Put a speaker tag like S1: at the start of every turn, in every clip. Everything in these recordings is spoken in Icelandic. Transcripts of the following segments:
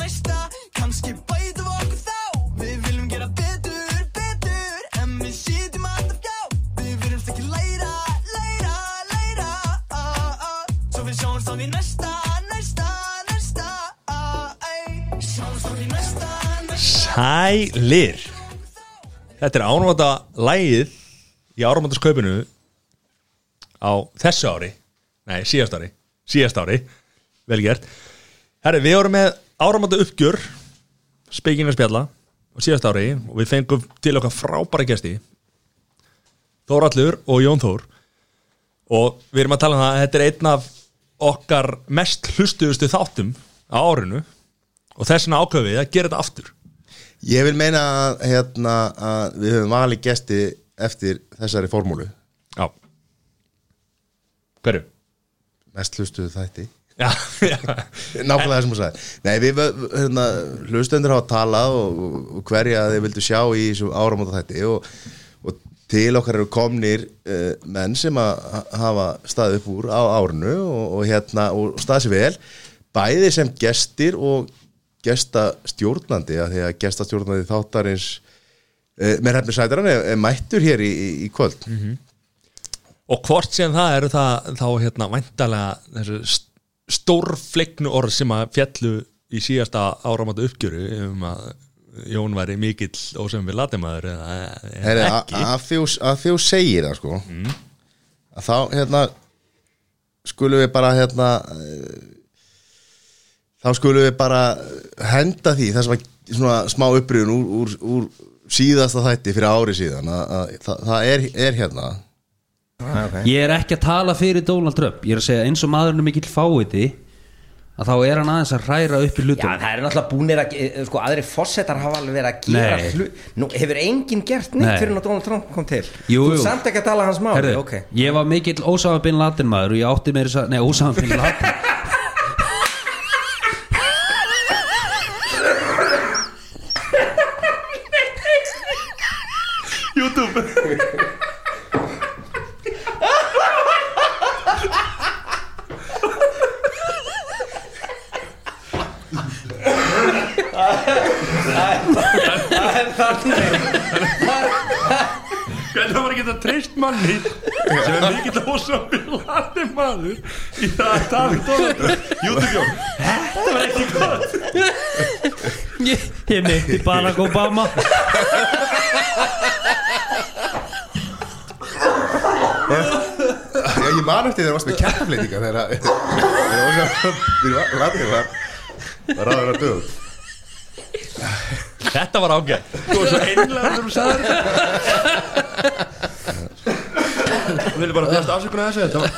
S1: næsta kannski bætum við okkur þá Við viljum gera betur, betur En við sýtum alltaf hjá Við viljumst ekki læra, læra, læra ah, ah. Svo við sjáumst á því næsta, næsta, næsta ah, ey. Sjáumst á því næsta, næsta
S2: Sælir Þetta er ánvata lægið í áramöndaskaupinu á þessu ári nei, síðast ári, síðast ári vel gert Herri, við vorum með áramönda uppgjör spekinga spjalla á síðast ári og við fengum til okkar frábæra gesti Þórallur og Jón Þór og við erum að tala um það að þetta er einn af okkar mest hlustuðustu þáttum á árinu og þess vegna ákveðum við að gera þetta aftur
S3: Ég vil meina að, hérna, að við höfum valið gesti eftir þessari formúlu
S2: Já Hverju?
S3: mest hlustuðu þætti
S2: Já, já
S3: Nákvæmlega þessum að sagði Nei, við hérna, hlustendur hafa talað og, og hverja þeir vildu sjá í þessu áramóta þætti og, og til okkar eru komnir uh, menn sem að ha- hafa staðið upp úr á árinu og, og, hérna, og staðið sér vel bæði sem gestir og gestastjórnandi af því að gestastjórnandi þáttarins uh, með hefnir sætaran er, er mættur hér í, í, í kvöld
S2: Og hvort sem það eru það þá hérna væntalega þessu st- stórflegnu orð sem að fjallu í síðasta áramata uppgjöru um að Jón væri mikill og sem við latum aður eða,
S3: Heri,
S2: eða
S3: a,
S2: ekki
S3: að, því, þú- að því þú segir það sko að þá hérna skulum við bara hérna eh, þá skulum við bara henda því það sem var svona smá upprýðun úr, úr, úr síðasta þætti fyrir ári síðan að, að, það, það er, er hérna
S4: Ég er ekki að tala fyrir Donald Trump Ég er að segja eins og maðurinn er mikill fáiði að þá er hann aðeins að hræra upp í
S5: Já, en
S4: hlutum
S5: það er náttúrulega búinir að, eh, sko, aðri fórsetar hafa alveg verið að gera
S4: Nei.
S5: hlut Nú, hefur enginn gert neitt
S4: Nei.
S5: fyrir en að Donald Trump kom til
S4: Jú,
S5: Þú ert
S4: jú.
S5: samt ekki að tala hans máli,
S4: Herðu,
S5: ok
S4: Ég var mikill Ósama bin Laden maður og ég átti meira þess að, nei Ósama bin Laden
S2: Hvernig var ekki þetta treyst manni sem er mikill ósamil latum maður í það að um Davíð Dóðan Jútubjón Þetta var ekki gott
S4: Ég, ég neytti Barack Obama
S3: Já, ég man eftir þegar varst með kertafleitinga þegar að- þegar Óskar Ladri var var aður að döð
S2: Þetta var ágætt Þú var svo einlega þegar þú sagði þetta Þú vilja bara bjast afsökunar þessu Þetta var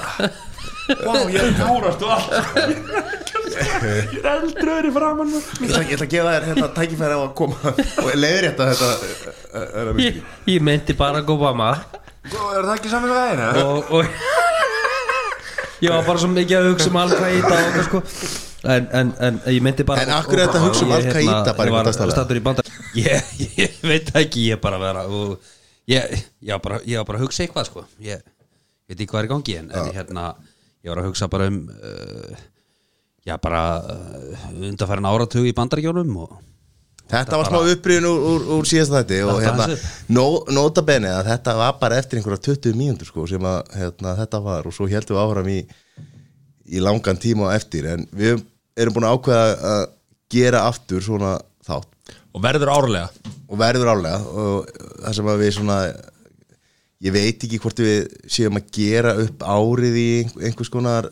S2: Vá, ég er kárast og allt sko. Ég er eldröður í framann
S3: Ég ætla, ég ætla að gefa þér hérna tækifæri á að koma og leiðir þetta þetta er að
S4: Ég, ég meinti Barack Obama
S2: Sko,
S3: Er það ekki saman með þeirra?
S4: og, og ég var bara svo mikið að hugsa um Al-Qaida og það sko En, en, en ég myndi bara
S3: En af hverju er þetta að hugsa um
S4: Ég, hérna,
S3: Al-Qaida bara í
S4: ég var
S3: bandastalega?
S4: stattur í bandar ég, ég veit það ekki, ég er bara að vera og, ég, ég, var bara, ég var bara að hugsa eitthvað sko Ég ég veit ekki hvað er í gangi en, en hérna, ég var að hugsa bara um uh, Já, bara uh, undarfærin áratug í bandaríkjónum og
S3: Þetta var smá upprýðin úr, úr, úr síðasta þætti og
S4: Þetta
S3: hérna,
S4: aðeins
S3: nó- nota bene að þetta var bara eftir einhverja 20 mínútur sko sem að hérna, þetta var og svo heldum við áfram í, í langan tíma á eftir en við erum búin að ákveða að gera aftur svona þátt
S2: Og verður árlega
S3: og verður álega og það sem að við svona ég veit ekki hvort við séum að gera upp árið í einhver- einhvers konar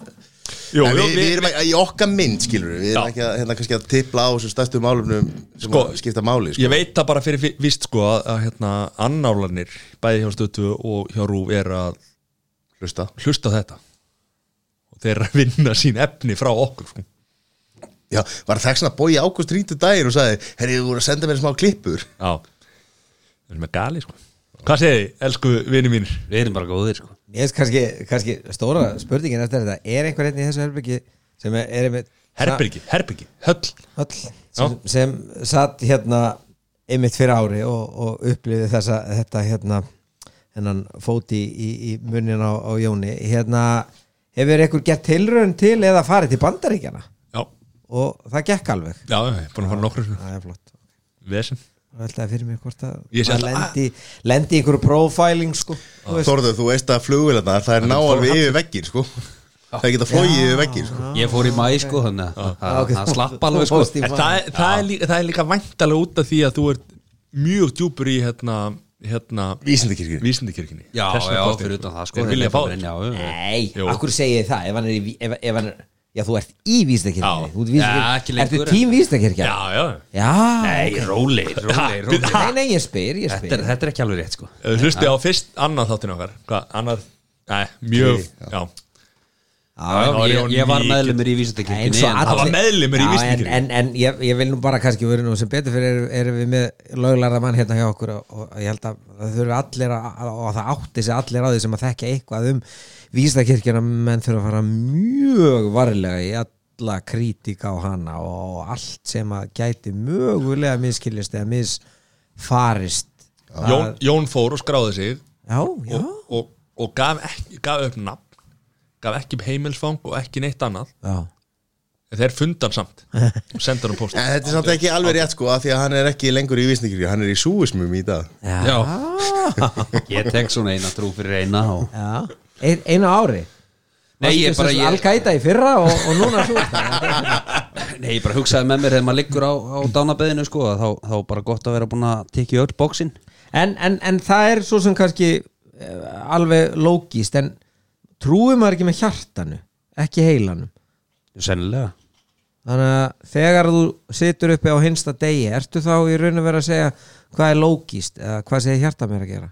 S2: Jú,
S3: En
S2: jú,
S3: við, við,
S2: við-
S3: erum ekki, í okkar mynd skilur við, við erum
S2: Já.
S3: ekki að, hérna, kannski að tipla á þessum stærstu málumnum sem
S2: Sko,
S3: að skipta máli sko.
S2: Ég veit það bara fyrir fi- víst sko að, að hérna annálanir bæði hjá stötu og hjá rúf er að
S3: hlusta
S2: hlusta á þetta og þeir eru að vinna sín efni frá okkur sko.
S3: Já, var það svona að bója ágúst rítu daginn og sagði, herri, þú voru að senda mér smá klippur
S2: Já Það er með gali sko Hvað segið þið, elsku vini mínir?
S4: við erum bara góðir sko
S6: Ég veist kannski, kannski stóra spurningin eftir þetta Er einhver
S5: hérna
S6: einn í þessu herbyggi sem er, er með
S2: Herbyrgi, herbyrgi, höll
S6: Öll, sem, sem satt hérna einmitt fyrir ári og, og upplifði þessa þetta hérna hennan fóti í, í munin á, á Jóni hérna hefur ykkur gert tilraun til eða farið til bandaríkjana
S2: Já,
S6: og það gekk alveg
S2: já, ég er búin að fara nokkru
S6: það er flott
S2: Vesen
S6: Veltaði fyrir mér hvort að
S2: Ég sé
S6: maður
S2: alltaf-
S6: lendi, lendi í einhverju profiling sko, þú veist.
S3: Þorður, þú veist að flugvélarna það er ná alveg yfir veggir sko það geta flogið yfir veggir sko
S4: Ég fór í mæ sko þannig að
S6: Já, ok,
S4: það- það
S6: þú-
S4: slapp
S6: þú
S4: alveg sko
S6: fórst í-
S2: En það, er- það, er líka, það er líka væntalega út af því að þú ert mjög djúpur í hérna, hérna
S3: Vísindakirkir
S2: vísindakirkjunni
S4: Já,
S2: Þess vegna
S4: já,
S2: kosti-
S4: fyrir utan það sko
S2: Þeir vilja fá
S4: Já,
S2: þetta
S4: já.
S5: Nei,
S2: Jú.
S5: akkur segi ég það ef hann er, í, ví- ef, ef hann er já þú ert í
S2: Já.
S5: vístakirkjunni þú ert
S4: Já,
S5: vístakirkjunni,
S4: ekki lengur,
S5: ertu tím vístakirkja
S2: Já, já
S5: já,
S4: Nei, róli, róli, róli
S5: nei, nei, ég spyr, ég spyr
S4: Þetta er- þetta er ekki alveg rétt sko
S2: Ef Þú hlusti á fyrst annað þáttin okkar Hvað, annað, nei, mjög Já,
S4: Já,
S2: það var
S4: ég,
S2: Jón
S4: ég var
S2: mikið-
S4: meðlumur í
S5: Nei, eins
S4: vísindakirkjunni
S5: og
S4: en-
S5: allir-
S2: var meðlimur í
S5: Já,
S2: vísindakirkjunni.
S5: En, en, en ég, ég vil nú bara kannski vera nú sem betur fyrir erum, erum við með lögulegra mann hérna hjá okkur og, og ég held að það þurfi allir að, að- og það átti sig allir á því sem að þekka eitthvað um vísindakirkjuna menn þurfa að fara mjög varlega í alla krítika á hana og allt sem að gæti mögulega miskiljast eða misfarist Það-
S2: Jón, Jón fór og skráði sig
S5: Já, já
S2: og, og, og gaf, ekki, gaf upp nafn gaf ekki upp heimilsfang og ekki neitt annað
S5: Já,
S2: en þeir fundan samt og senda hann post
S3: En þetta er samt ekki alveg rétt sko af því að hann er ekki lengur í vísindakirkir hann er í súismum í dag
S5: já,
S4: Já. Ég tek svona eina trú fyrir eina og...
S5: já. Ein, Einu ári
S4: Nei, ég bara, ég,
S5: Al-Qaida í fyrra og, og núna svo Já,
S4: nei, ég bara hugsaði með mér þegar maður liggur á, á dánabeðinu sko, að þá, þá bara gott að vera búin að tekja öll bóksin
S5: en, en, en það er svo sem kannski eh, alveg lógist en trúir maður ekki með hjartanu ekki heilanum
S4: Sennilega
S5: þannig að þegar þú situr uppi á hinsta degi ertu þá í raun að vera að segja hvað er lógist eða hvað segir hjarta mér að gera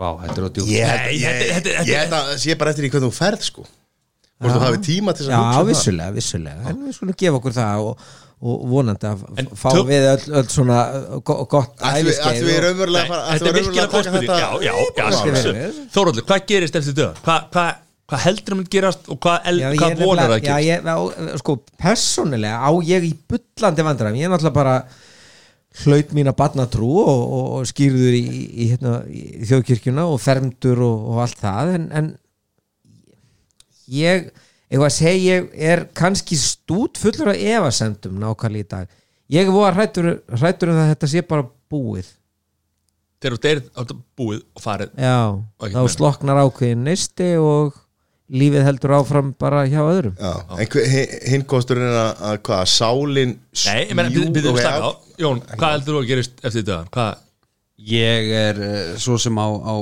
S4: Vá, þetta er á djúk
S3: Ég
S2: Nei, þetta-
S3: held
S2: þetta-
S3: ég held að sé bara eftir í hvernig þú ferð sko Hvort þú hafi tíma til þess
S5: Já,
S3: að hugsa um það.
S5: vissulega, vissulega en við skulum gefa okkur það og, og vonandi að
S2: En
S5: f- fá
S2: tök-
S5: við öll, öll svona eh, go- gott
S3: Ætlum við- ætlum við
S5: og-
S3: raunverulega að fara- ætlum
S2: Þetta er
S3: við raunverulega
S2: virkilega góð spurning
S3: að taka
S2: Já, já, já,
S5: Þetta er
S2: já,
S5: verið.
S2: já Þóróldur, hvað gerist eftir döð? Hvað hva, hva heldur hann gerast og hvað, el,
S5: Já, ég
S2: hvað
S5: er
S2: vonar
S5: nefnilega-
S2: að gerast?
S5: já, ég, á, sko, persónulega á ég í bullandi vandræðum ég er náttúrulega bara hlaut mína barnatrú og, og, og skýrður í, í, í, hérna, í þjóðkirkjuna og fermdur og, og allt það en, en ég ef að segja, ég er kannski stút fullur af efasendum nákvæmlega í dag ég er voða hrættur, hrættur um það að þetta sé bara búið
S2: Þegar þú deyrir, þá er þetta búið og farið
S5: já,
S2: Og ekki
S5: þá
S2: meira.
S5: sloknar ákveðin neisti og lífið heldur áfram bara hjá öðrum
S3: Já, en hver- hin- hinn kosturinn er að að hvað, að sálin
S2: Nei, ég meina,
S3: smjúg-
S2: við
S3: ok,
S2: erum stakka á
S3: já.
S2: Jón, hvað heldur þú að gerist eftir döðan? Hvað,
S4: Ég er eh, svo sem á, á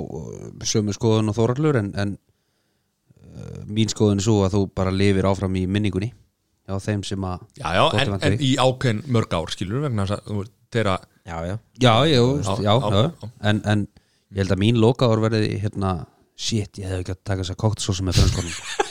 S4: sömu skoðun og þórallur en, en uh, mín skoðun er svo að þú bara lifir áfram í minningunni á þeim sem að
S2: já, já,
S4: gott
S2: en,
S4: vantar
S2: en í ákveðin mörg ár skilur vegna þess að þú veist, þeirra
S5: já, já
S4: Já, já, já,
S2: Já,
S4: já,
S2: já, já.
S4: En, en ég held að mín lokaður verði hérna, shit, ég hefði ekki að taka þess að kókt svo sem er frönskonum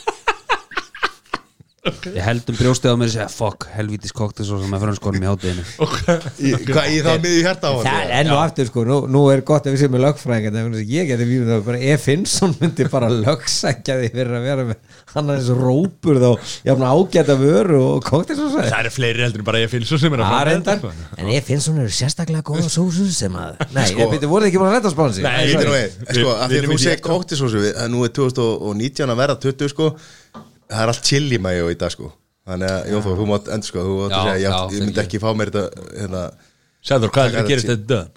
S4: Ég held um brjóstið á mér að segja, fuck, helvítis kókt svo sem er frönskonum í hátteginu
S3: Í- Hvað, ég þá miðið hjarta á hann
S5: Það er enn og aftur sko, nú, nú er gott að við séum með lögfræðingar en ég geti výmið það bara ef Finnsson myndi bara lögsækja því fyrir að vera með hann aðeins rópur þá jafn ágæta vöru og kóktis og sæði
S2: það eru fleiri heldur en bara ég fylg svo sem er að framleiða
S5: Arendar,
S2: þetta, sko.
S5: en ef Finnsson eru sérstaklega góða sósu sem að Nei, sko,
S3: Sko-
S5: við voruð ekki búin að redda spansi
S2: Nei.
S3: Ég veit nú
S2: sorry.
S3: eitt, sko,
S2: Við- við
S3: að því að þú
S2: erum í
S3: segir
S2: rétt.
S3: kóktisósu við- að nú er 2019 að verða 20 sko, það er allt chili mayo í dag sko Þannig að, Jóþór, þú mátt endur sko, þú mátt
S4: Já,
S3: að segja, ég átt-
S4: já,
S3: ég myndi
S4: fyrirgefðu.
S3: ekki fá mér þetta, hérna,
S2: Sæður, hvað heldur þú
S3: Taka
S2: að gerist
S3: þetta
S2: eftir döðan?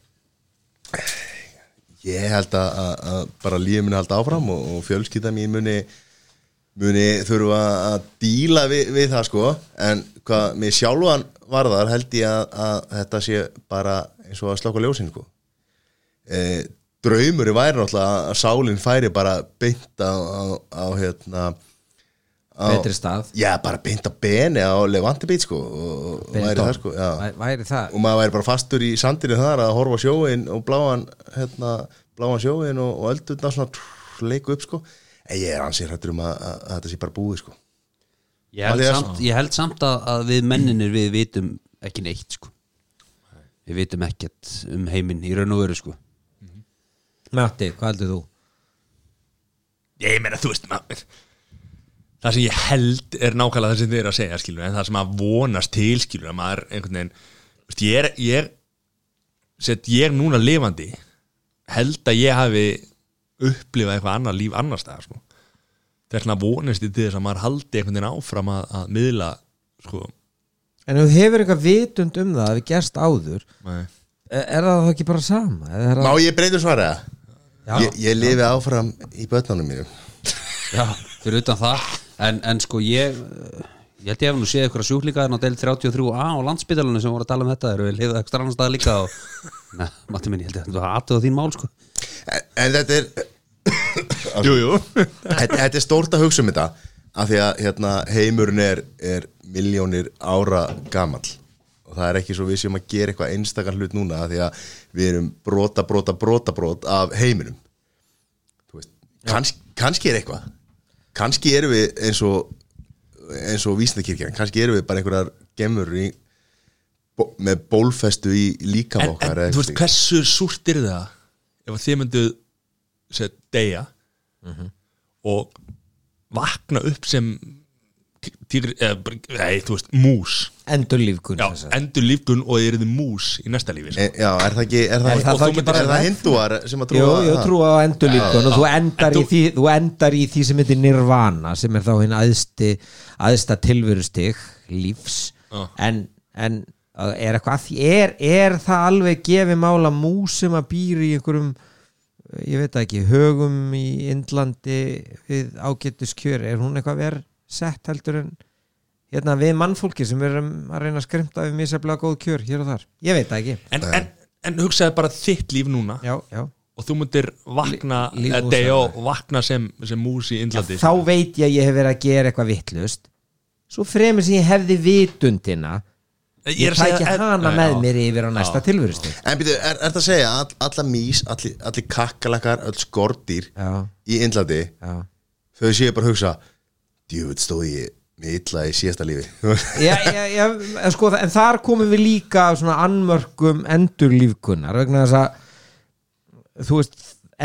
S3: ég held að, að, að bara lífið muni halda áfram og, og fjölskylda mín muni, muni þurfa að díla við, við það sko, en hvað mér sjálfan varðar held ég að, að þetta sé bara eins og að slaka ljósin sko e, draumur væri náttúrulega að sálinn færi bara beint á, á, á hérna á,
S5: Betri stað
S3: já bara beint á beni á Levante Beach sko og, og
S5: Benidorm.
S3: væri það sko já.
S5: Væ- Væri það
S3: og maður væri bara fastur í sandinu þar að horfa á sjóin og bláan hérna, bláan sjóin og, og öldurna svona trrr, leiku upp sko en ég er ansið hrættur um að, að, að þetta sé bara búið sko
S4: Ég held
S3: Matthías?
S4: samt, ég held samt að, að við menninir við vitum ekki neitt sko. Við vitum ekkert um heiminn í raun og veru sko.
S5: Matti, hvað heldur þú?
S2: Ég meina, þú veist maður Það sem ég held er nákvæmlega það sem þið eru að segja skilur, en það sem maður vonast til skilur að maður einhvern veginn Vist, ég er, ég er set, ég er núna lifandi held að ég hafi upplifað eitthvað annað líf annars staðar sko. þess vegna vonist ég til þess að maður haldi einhvern veginn áfram að, að miðla sko,
S5: En ef þú hefur eitthvað vitund um það að við gerst áður
S2: nei
S5: er er það þá ekki bara sama? Eða Er
S3: Má
S5: það,
S3: ég breyta svara? Ég, ég lifi áfram í börnunum mínum
S4: Já, fyrir utan það En, en sko ég eh, Ég held ég hef nú séð ykkur að sjúklingaðin á del 33a á landsbytalunum sem voru að tala um þetta eru við liðað ekstra annars staðar líka og Nei, Matti minn, ég held ég að þetta var aðtöða þín mál sko
S3: En, en þetta er
S2: Jú, jú
S3: þetta, þetta er stórt að hugsa um þetta af því að hérna, heimurinn er, er miljónir ára gamall og það er ekki svo við sem að gera eitthvað einstakar hlut núna af því að við erum brota, brota, brota, brot af heiminum Þú veist, kanns, kannski er eitthvað kannski erum við eins og eins og vísindakirkjan, kannski erum við bara einhverjar gemur í, bó- með bólfestu í líka
S2: En,
S3: okkar
S2: en þú veist, hversu súrt er það ef að þið mynduð set, deyja
S5: Mhm.
S2: og vakna upp sem týr, eða, bara- nei, þú veist, mús
S5: endur lífkunn
S2: Já, endur lífgun og þið eruð mús í næsta lífi
S5: Eh,
S2: sko.
S3: e, Já, er það ekki er það,
S5: Er það
S3: og
S5: þá
S3: þú
S5: ekki
S3: myndir-
S5: bara
S3: er það hindúar sem að
S5: Jú,
S3: trúa
S5: jú,
S3: það?
S5: trú á endur lífkunn og þú endar,
S2: En
S5: í
S2: þú-
S5: því, þú endar í því sem heitir nirvana sem er þá hinn aðsti, aðsta tilverustig lífs
S2: Já.
S5: en, en uh, er eitthvað að því er, er það alveg gefið mála músum að býri í einhverjum uh, ég veit það ekki, högum í Indlandi við ágættuskjör er hún eitthvað verð sett heldur en hérna við mannfólki sem erum að reyna að skrimta við misjaflega góð kjör hér og þar, ég veit það ekki
S2: en, en, en hugsaði bara þitt líf núna
S5: já, já
S2: og þú myndir vakna
S5: Lí- líf
S2: eða
S5: mús,
S2: deyja
S5: já.
S2: og vakna sem, sem mús í Indlandi sko.
S5: þá veit ég að ég hef verið að gera eitthvað vittlust svo fremur sem ég hefði vitundina
S2: Ég er
S5: ég
S2: að segja-
S5: tæki hana
S2: Nei,
S5: með
S2: já.
S5: mér yfir á næsta tilvörustu
S3: En býtu, er, er það að segja að alla mís, allir, allir kakkalakar, öll skortýr
S5: já,
S3: í Indlandi,
S5: já
S3: þau séu bara að hugsa Djúvill stóð ég með illa í síðasta lífi
S5: Já, já, já, en sko, en þar komum við líka að svona annmörkum endurlífkunnar vegna þess að þú veist,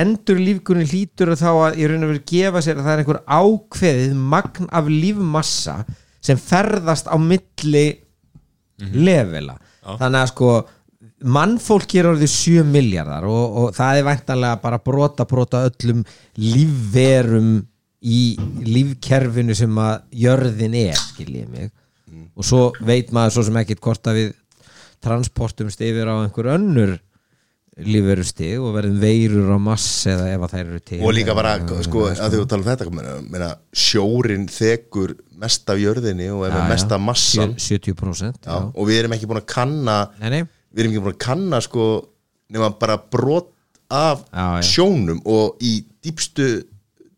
S5: endurlífkunni hlýtur þá að í raun og veru gefa sér að það er einhver ákveðið magn af lífmassa sem ferðast á milli
S3: Mhm.
S5: levela þannig að sko mannfólk er orðið 7 miljardar og, og það er væntanlega bara brota brota öllum lífverum í lífkerfinu sem að jörðin er skiljið mig
S3: Mhm.
S5: og svo veit maður svo sem ekkit hvort að við transportumst yfir á einhver önnur lífverustig og verðum veirur á mass eða ef að þær eru til
S3: og líka bara, sko, að því þú tala um þetta meina, meina, sjórin þekur mest af jörðinni og er með mesta massan já,
S5: 70% já.
S3: og við erum ekki búin að kanna
S5: Nei, nei.
S3: við erum ekki búin að kanna sko, nema bara brot af
S5: Já, já.
S3: sjónum og í dýpstu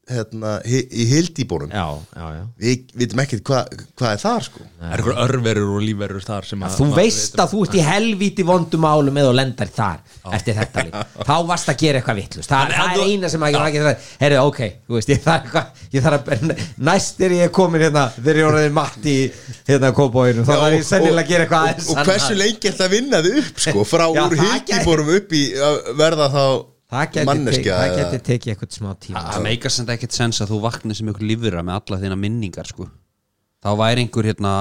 S3: hérna, hi- í hildýbónum
S5: Já, já, já.
S3: við vitum ekkert hvað hvað er þar sko
S2: Það er einhver örverur og lífverur þar sem að
S5: þú veist að þú ert í helvíti vondum álum eða og lendar þar eftir þetta líf þá varst að gera eitthvað vittlust það,
S2: En- en
S5: það er
S2: þú-
S5: eina sem að ég ekki það herru ok, þú veist, ég þarf eitthvað ég þarf að, næst er ég komin hérna þegar ég orðið matt í hérna kópóinu þá
S3: Já,
S5: var
S3: og-
S5: ég sennilega að gera eitthvað
S3: og-
S5: aðeins
S3: og
S5: annað.
S3: hversu lengi ert að vinna þið upp sko, frá
S5: Já,
S3: úr
S5: það
S3: hildibórum upp í að verða þá
S5: það geti, tek,
S3: manneskja
S5: það
S3: eða-
S5: geti tekið eitthvað smá tíma
S4: Það meikar sem þetta ekkert sens að þú vaknir sem ykkur lífura með alla þína minningar sko. Þá væri einhver hérna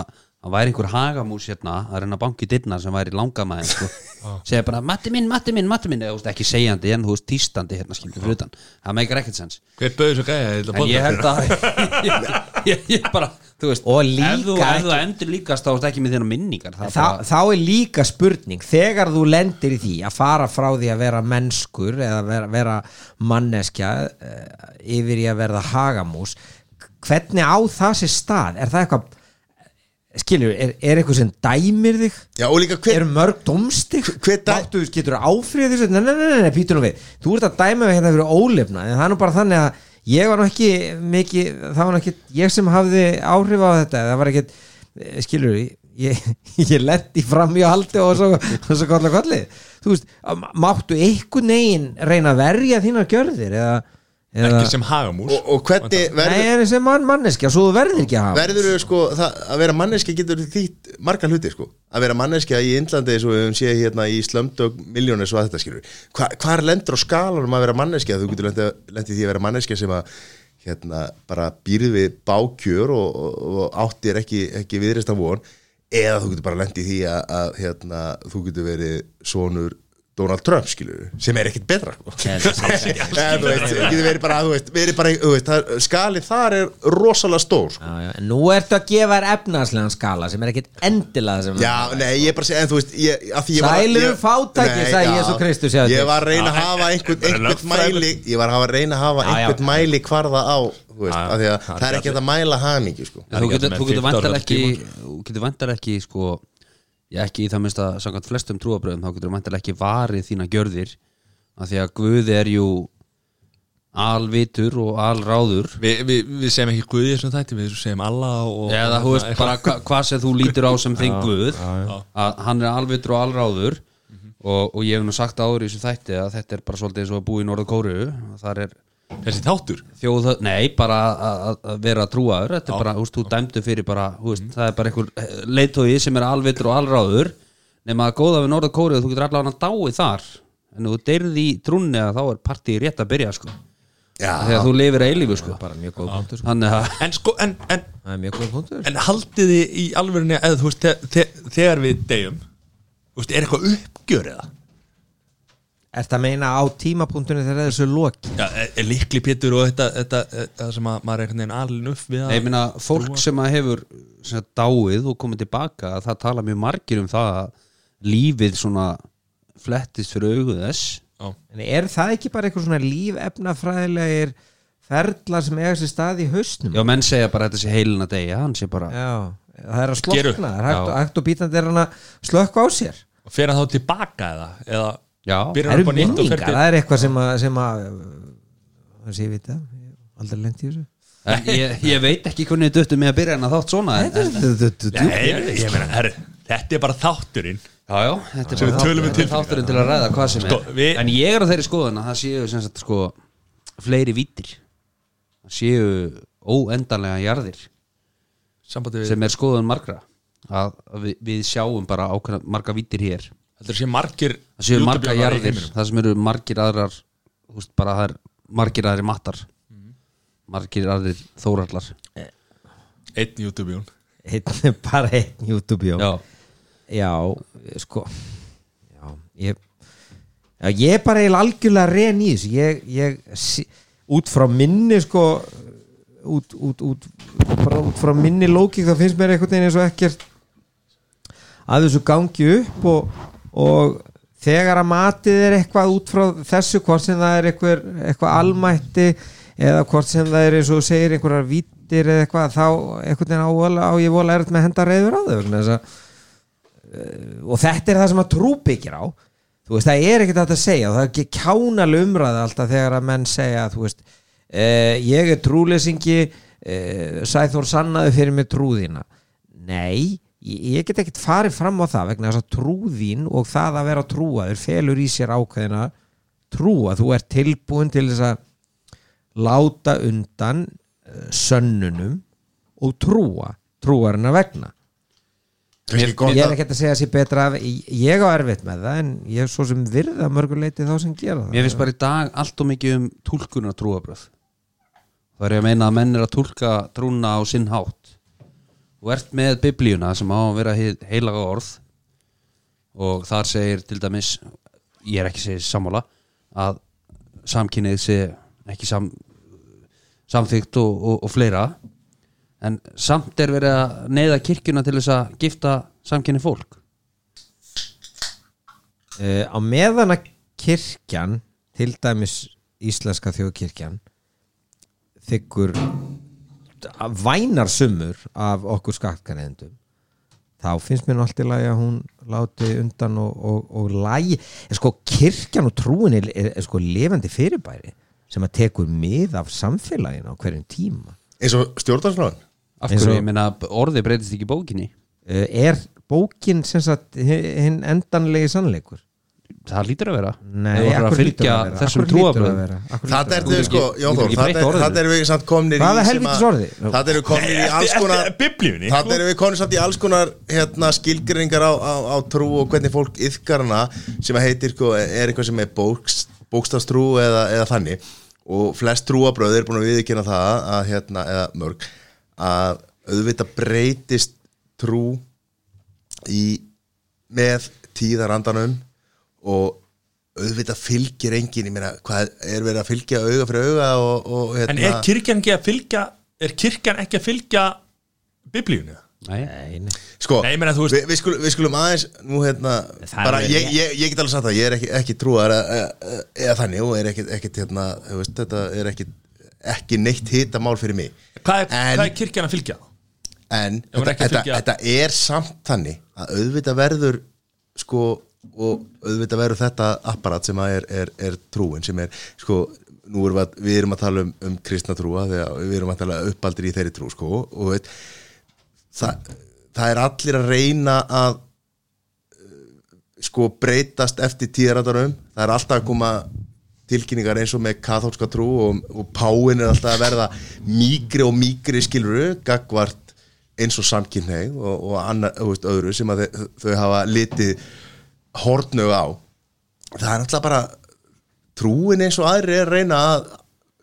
S4: Það væri einhver hagamús hérna að reyna að banki dyrnar sem væri langamæðin sko. segja bara matti minn, matti minn, matti minn eða þú veist, ekki segjandi en þú veist tístandi hérna skilur fyrir utan það meikar ekkert sens
S2: Hver bauði svo gæja Ég ætla að
S4: en ég
S2: podcast
S4: held
S2: hérna.
S4: að ég, ég, ég bara, þú veist
S5: Og líka
S4: ef þú,
S5: ekki-
S4: ef þú endur líkast þá veist ekki með þína minningar það,
S5: Þa, þá er líka spurning þegar þú lendir í því að fara frá því að vera mennskur eða vera, vera manneskja uh, yfir í að verða hagamús hvernig á það sér stað er það eitthvað skilur, er, er eitthvað sem dæmir þig
S3: já og líka hver
S5: eru mörg domstig
S3: hver dæ-
S5: Máttu, getur áfrið þessu nei, nei, nei, nei, nei, býtu nú við þú ert að dæma við hérna fyrir ólefna en það er nú bara þannig að ég var nú ekki mikið, það var nú ekki ég sem hafði áhrif á þetta það var ekkit, eh, skilur ég, ég lendi fram í haldi og svo, og svo kolla kolli þú veist, að ma- máttu einhvern veginn reyna að verja þínar gjörðir eða, eða
S2: Ekki sem hagamús
S3: og, og hvernig
S5: nei,
S3: verður
S5: en sem mann, manneskja, svo þú verður ekki að hafa
S3: verður sko það, að vera manneskja getur þýtt margar hluti sko að vera manneskja í Indlandi eins og við höfum séð hérna í slömdög miljónir svo að þetta skilur Hva, hvar lendur á skalanum að vera manneskja þú getur lendið lendi því að vera manneskja sem að hérna bara býrð við bákjör og, og, og áttir ekki, ekki viðreist von eða þú getur bara lent í því að, að hérna, þú getur verið sonur Donald Trump skilur sem er ekkit betra sko.
S4: Nei, það er-
S3: Eða, þú veist, getur verið bara, þú veist, verið bara þú veist, það, skalið þar er rosalega stór sko.
S5: já, já. En nú ertu að gefa þér efnaðslegan skala sem er ekkit endilega það sem
S3: Já, nei, ég bara segi, en þú veist ég, að því ég var að-
S5: Sælir
S3: ég-
S5: eru fátækir,
S3: Nei,
S5: sagði
S3: já.
S5: Jesú Kristus, sjáðu
S3: Ég
S5: til.
S3: var að reyna að
S2: Já,
S3: hafa
S2: þetta er
S3: einhvern, einhvern
S2: lögfræðilegt.
S3: mæli Ég var að hafa að reyna að hafa
S5: Já, já.
S3: einhvern mæli hvarða á þú veist,
S2: Já, já.
S3: af því að
S2: Það er
S3: Það er ekki
S2: allir.
S3: hægt að mæla hamingi sko.
S2: Það er
S4: Þú
S2: ekki
S4: getur,
S2: allt
S4: þú
S2: með
S4: getur
S2: 15 ára
S4: vantar ekki
S2: tíma.
S4: þú getur vantar ekki sko, já, ekki í það minnst að samkvæmt flestum trúabröðum þá getur vantar ekki varið þína gjörðir af því að Guð er jú alvitur og alráður
S2: Við vi, vi segjum ekki Guði þessum þætti, við segjum Allah og
S4: eða þú veist bara hva, hvað sem þú lítur á sem þinn Guð
S2: já. Mhm.
S4: að hann er alvitur og alráður og, og ég hef nú sagt áður í þessu þætti að þetta er bara svolítið eins og að búa í Norður Kóru þar er
S2: Þessi þáttur
S4: þjóð, nei, bara að- að- að vera trúaður, þetta er bara, þú veist, þú dæmdu fyrir bara, þú
S5: Mhm.
S4: veist, það er bara einhver leittói sem er alvitur og alráður nema að góða við Norða Kóri og þú getur allavega dáið þar, en ef þú deyrði í trúnni að þá er partíið rétt að byrja, sko
S3: Já,
S4: þegar þú lifir að eilífu, sko
S5: bara mjög góð punktur sko.
S4: þannig að,
S2: En sko, en, en,
S5: það er mjög góð punktur
S2: en haldið þið í alvörunni eða þú veist, þe þe þegar við deyjum Þú veist, er eitthvað uppgjör eða?
S5: Er það meina á tímapunktinu þegar þessu loki?
S2: Já, er, er líkli pétur og þetta, þetta, þetta sem að maður er einhvern veginn alin upp við að
S4: nei, ég meina fólk sem að hefur sem að dáið og komið tilbaka, að það tala mjög margir um það að lífið svona flettist fyrir augu þess
S2: Já,
S5: En er það ekki bara eitthvað svona lífefnafræðilegir ferlar sem eiga sér stað í hausnum?
S4: já, menn segja bara að þetta sé heilin að deyja, hann sé bara
S5: það er að
S2: Geru.
S5: slokna, það er hægt,
S4: Já.
S5: hægt og bítandi er hann að slökka á sér
S2: og fer hann þá tilbaka eða? Eða
S4: Já.
S2: byrjar
S5: Það
S2: hann
S5: eru
S2: upp á nýtt og fer
S5: minningar,
S2: til
S5: það er eitthvað sem að, sem að það sé ég vita, ég hef aldrei lent í þessu
S4: En ég, ég veit ekki hvernig þetta duttum mig að byrja en að þátt svona en, en,
S2: Nei, ég meina, herri, þetta er bara þátturinn
S4: Já, já, þetta er
S2: Sem við
S4: bara
S2: tölum við
S4: þátturinn-
S2: tilfinningar.
S4: þátturinn til að ræða hvað sem er
S2: Sko, við-
S4: En ég er á þeirri skoðun að það séu sem sagt sko fleiri vítir það séu óendanlega jarðir
S2: Sambandi við,
S4: sem er skoðun margra að, að við, við sjáum bara ákveðna marga vítir hér
S2: heldur sé margir
S4: það séu marga
S2: jútubjarar í
S4: jarðir
S2: heiminum.
S4: það sem eru margir aðrar þú veist, bara það er margir aðrir mattar
S2: Mhm.
S4: margir aðrir þórallar
S2: Einn YouTube-jón
S5: Einn- bara einn YouTube já.
S4: Já,
S5: já, sko já, ég já, ég er bara eiginlega algjörlega reyn í þessu ég, ég sí- út frá minni sko út, út, út, bara út frá minni lókik þá finnst mér einhvern veginn eins og ekkert að þessu gangi upp og, og þegar að matið er eitthvað út frá þessu hvort sem það er eitthvað, eitthvað almætti eða hvort sem það er eins og þú segir einhverjar vítir eða eitthvað þá einhvern veginn á, vola- á ég vola erut með að henda reyður á þau vegna þess að og þetta er það sem að trú byggir á þú veist, það er ekkert hægt að segja og það er ekki kjánaleg umræða alltaf þegar að menn segja, þú veist eh, ég er trúlesingi eh, Sæþór sannaði fyrir mig trúðina nei, ég, ég get ekkert farið fram á það vegna þess að trúðin og það að vera trúaður felur í sér ákveðina trú að þú er tilbúin til þess að láta undan eh, sönnunum og trúa trúarina vegna
S3: kannski
S5: ég
S3: gott
S5: er
S3: að-
S5: ekkert að segja sér betra af, ég á erfitt með það en ég er svo sem virða mörguleiti þá sem gera það
S4: Mér finnst bara í dag allt og mikið um tólkunar trúabröð Það er ég að meina að menn er að tólka trúna á sinn hátt Þú ert með biblíuna sem á að vera hið heilaga orð og þar segir til dæmis ég er ekki segið sammála að samkynnið sé ekki sam, samþykkt og, og, og fleira en samt er verið að neyða kirkjuna til þess að gifta samkynnið fólk
S5: uh, á meðan að kirkjan til dæmis íslenska þjóðkirkjan þykkur vænar sumur af okkur skattkanendum þá finnst mér nú allt í lagi að hún láti undan og, og, og lagi er sko kirkjan og trúin er, er, er sko lifandi fyrirbæri sem að tekur mið af samfélaginu á hverjum tíma
S3: eins og stjórnarsláðan
S4: Af
S5: Eins og-
S4: hverju, ég meina orði breytist ekki í bókinni
S5: uh, er bókin sem sagt hi- hinn endanlegi sannleikur
S4: það lítur að vera
S5: Nei,
S4: Ef þú ætlar
S5: akkur
S4: að
S5: hlýtur
S4: fylgja
S5: að vera,
S4: þessum
S5: akkur hlýtur að
S4: trúabröðum
S5: vera, akkur
S3: Það
S5: hlýtur
S3: er
S5: að
S3: þau
S5: vera.
S3: sko,
S4: ekki-
S3: já
S4: þú getur
S3: Þór,
S4: ekki breytt orðinu.
S3: það er við samt komnir
S5: Hvaða
S3: í sem
S5: helvítis
S3: að-
S5: orði?
S3: Það er við komnir í alls konar
S2: Bibliunni
S4: sko.
S3: Þannig erum við konið samt í alls konar hérna, skilgreiningar á, á, á trú og hvernig fólk yfkar hana sem að heitir sko, er eitthvað sem er bóks, bókstafstrú eða, eða þannig og flest trúabröð er búin að viðkynna það að, hérna, eða mörg að auðvitað breytist trú í, með tíðarandanum og auðvitað fylgir engin, ég meina, hvað er verið að fylgja auga fyrir auga og, og hérna,
S2: En er kirkjan ekki að fylgja Er kirkjan ekki að fylgja Biblíunni?
S4: Nei,
S3: sko,
S2: Nei, ég meina, þú veist-
S3: við, við, skulum, við skulum aðeins nú hérna,
S5: Það er
S3: bara
S5: vel-
S3: ég, ég, ég get alveg sagt það, ég er ekki, ekki trúar eða e, e, þannig, og er ekkit, ekkit hérna, þú veist, þetta er ekkit ekki neitt hitamál fyrir mig
S2: Hvað er,
S3: En-
S2: hvað er kirkjan að fylgja?
S3: en
S2: Ef hún
S3: þetta,
S2: er ekki að
S3: þetta,
S2: fylgja-
S3: þetta er samt þannig að auðvitað verður sko og auðvitað verður þetta apparat sem að er, er, er trúin sem er sko nú erum við, að, við erum að tala um, um kristna trúa þegar við erum að tala uppaldir í þeirri trú sko og veit, það, það er allir að reyna að eh, sko breytast eftir tíðarandarum það er alltaf að koma tilkynningar eins og með kathólska trú og, og páin er alltaf að verða mýgri og mýgri skiluru gagvart eins og samkynneig og, og annar, þú veist, öðru sem að þau, þau hafa litið hortnög á það er alltaf bara trúin eins og aðri er að reyna að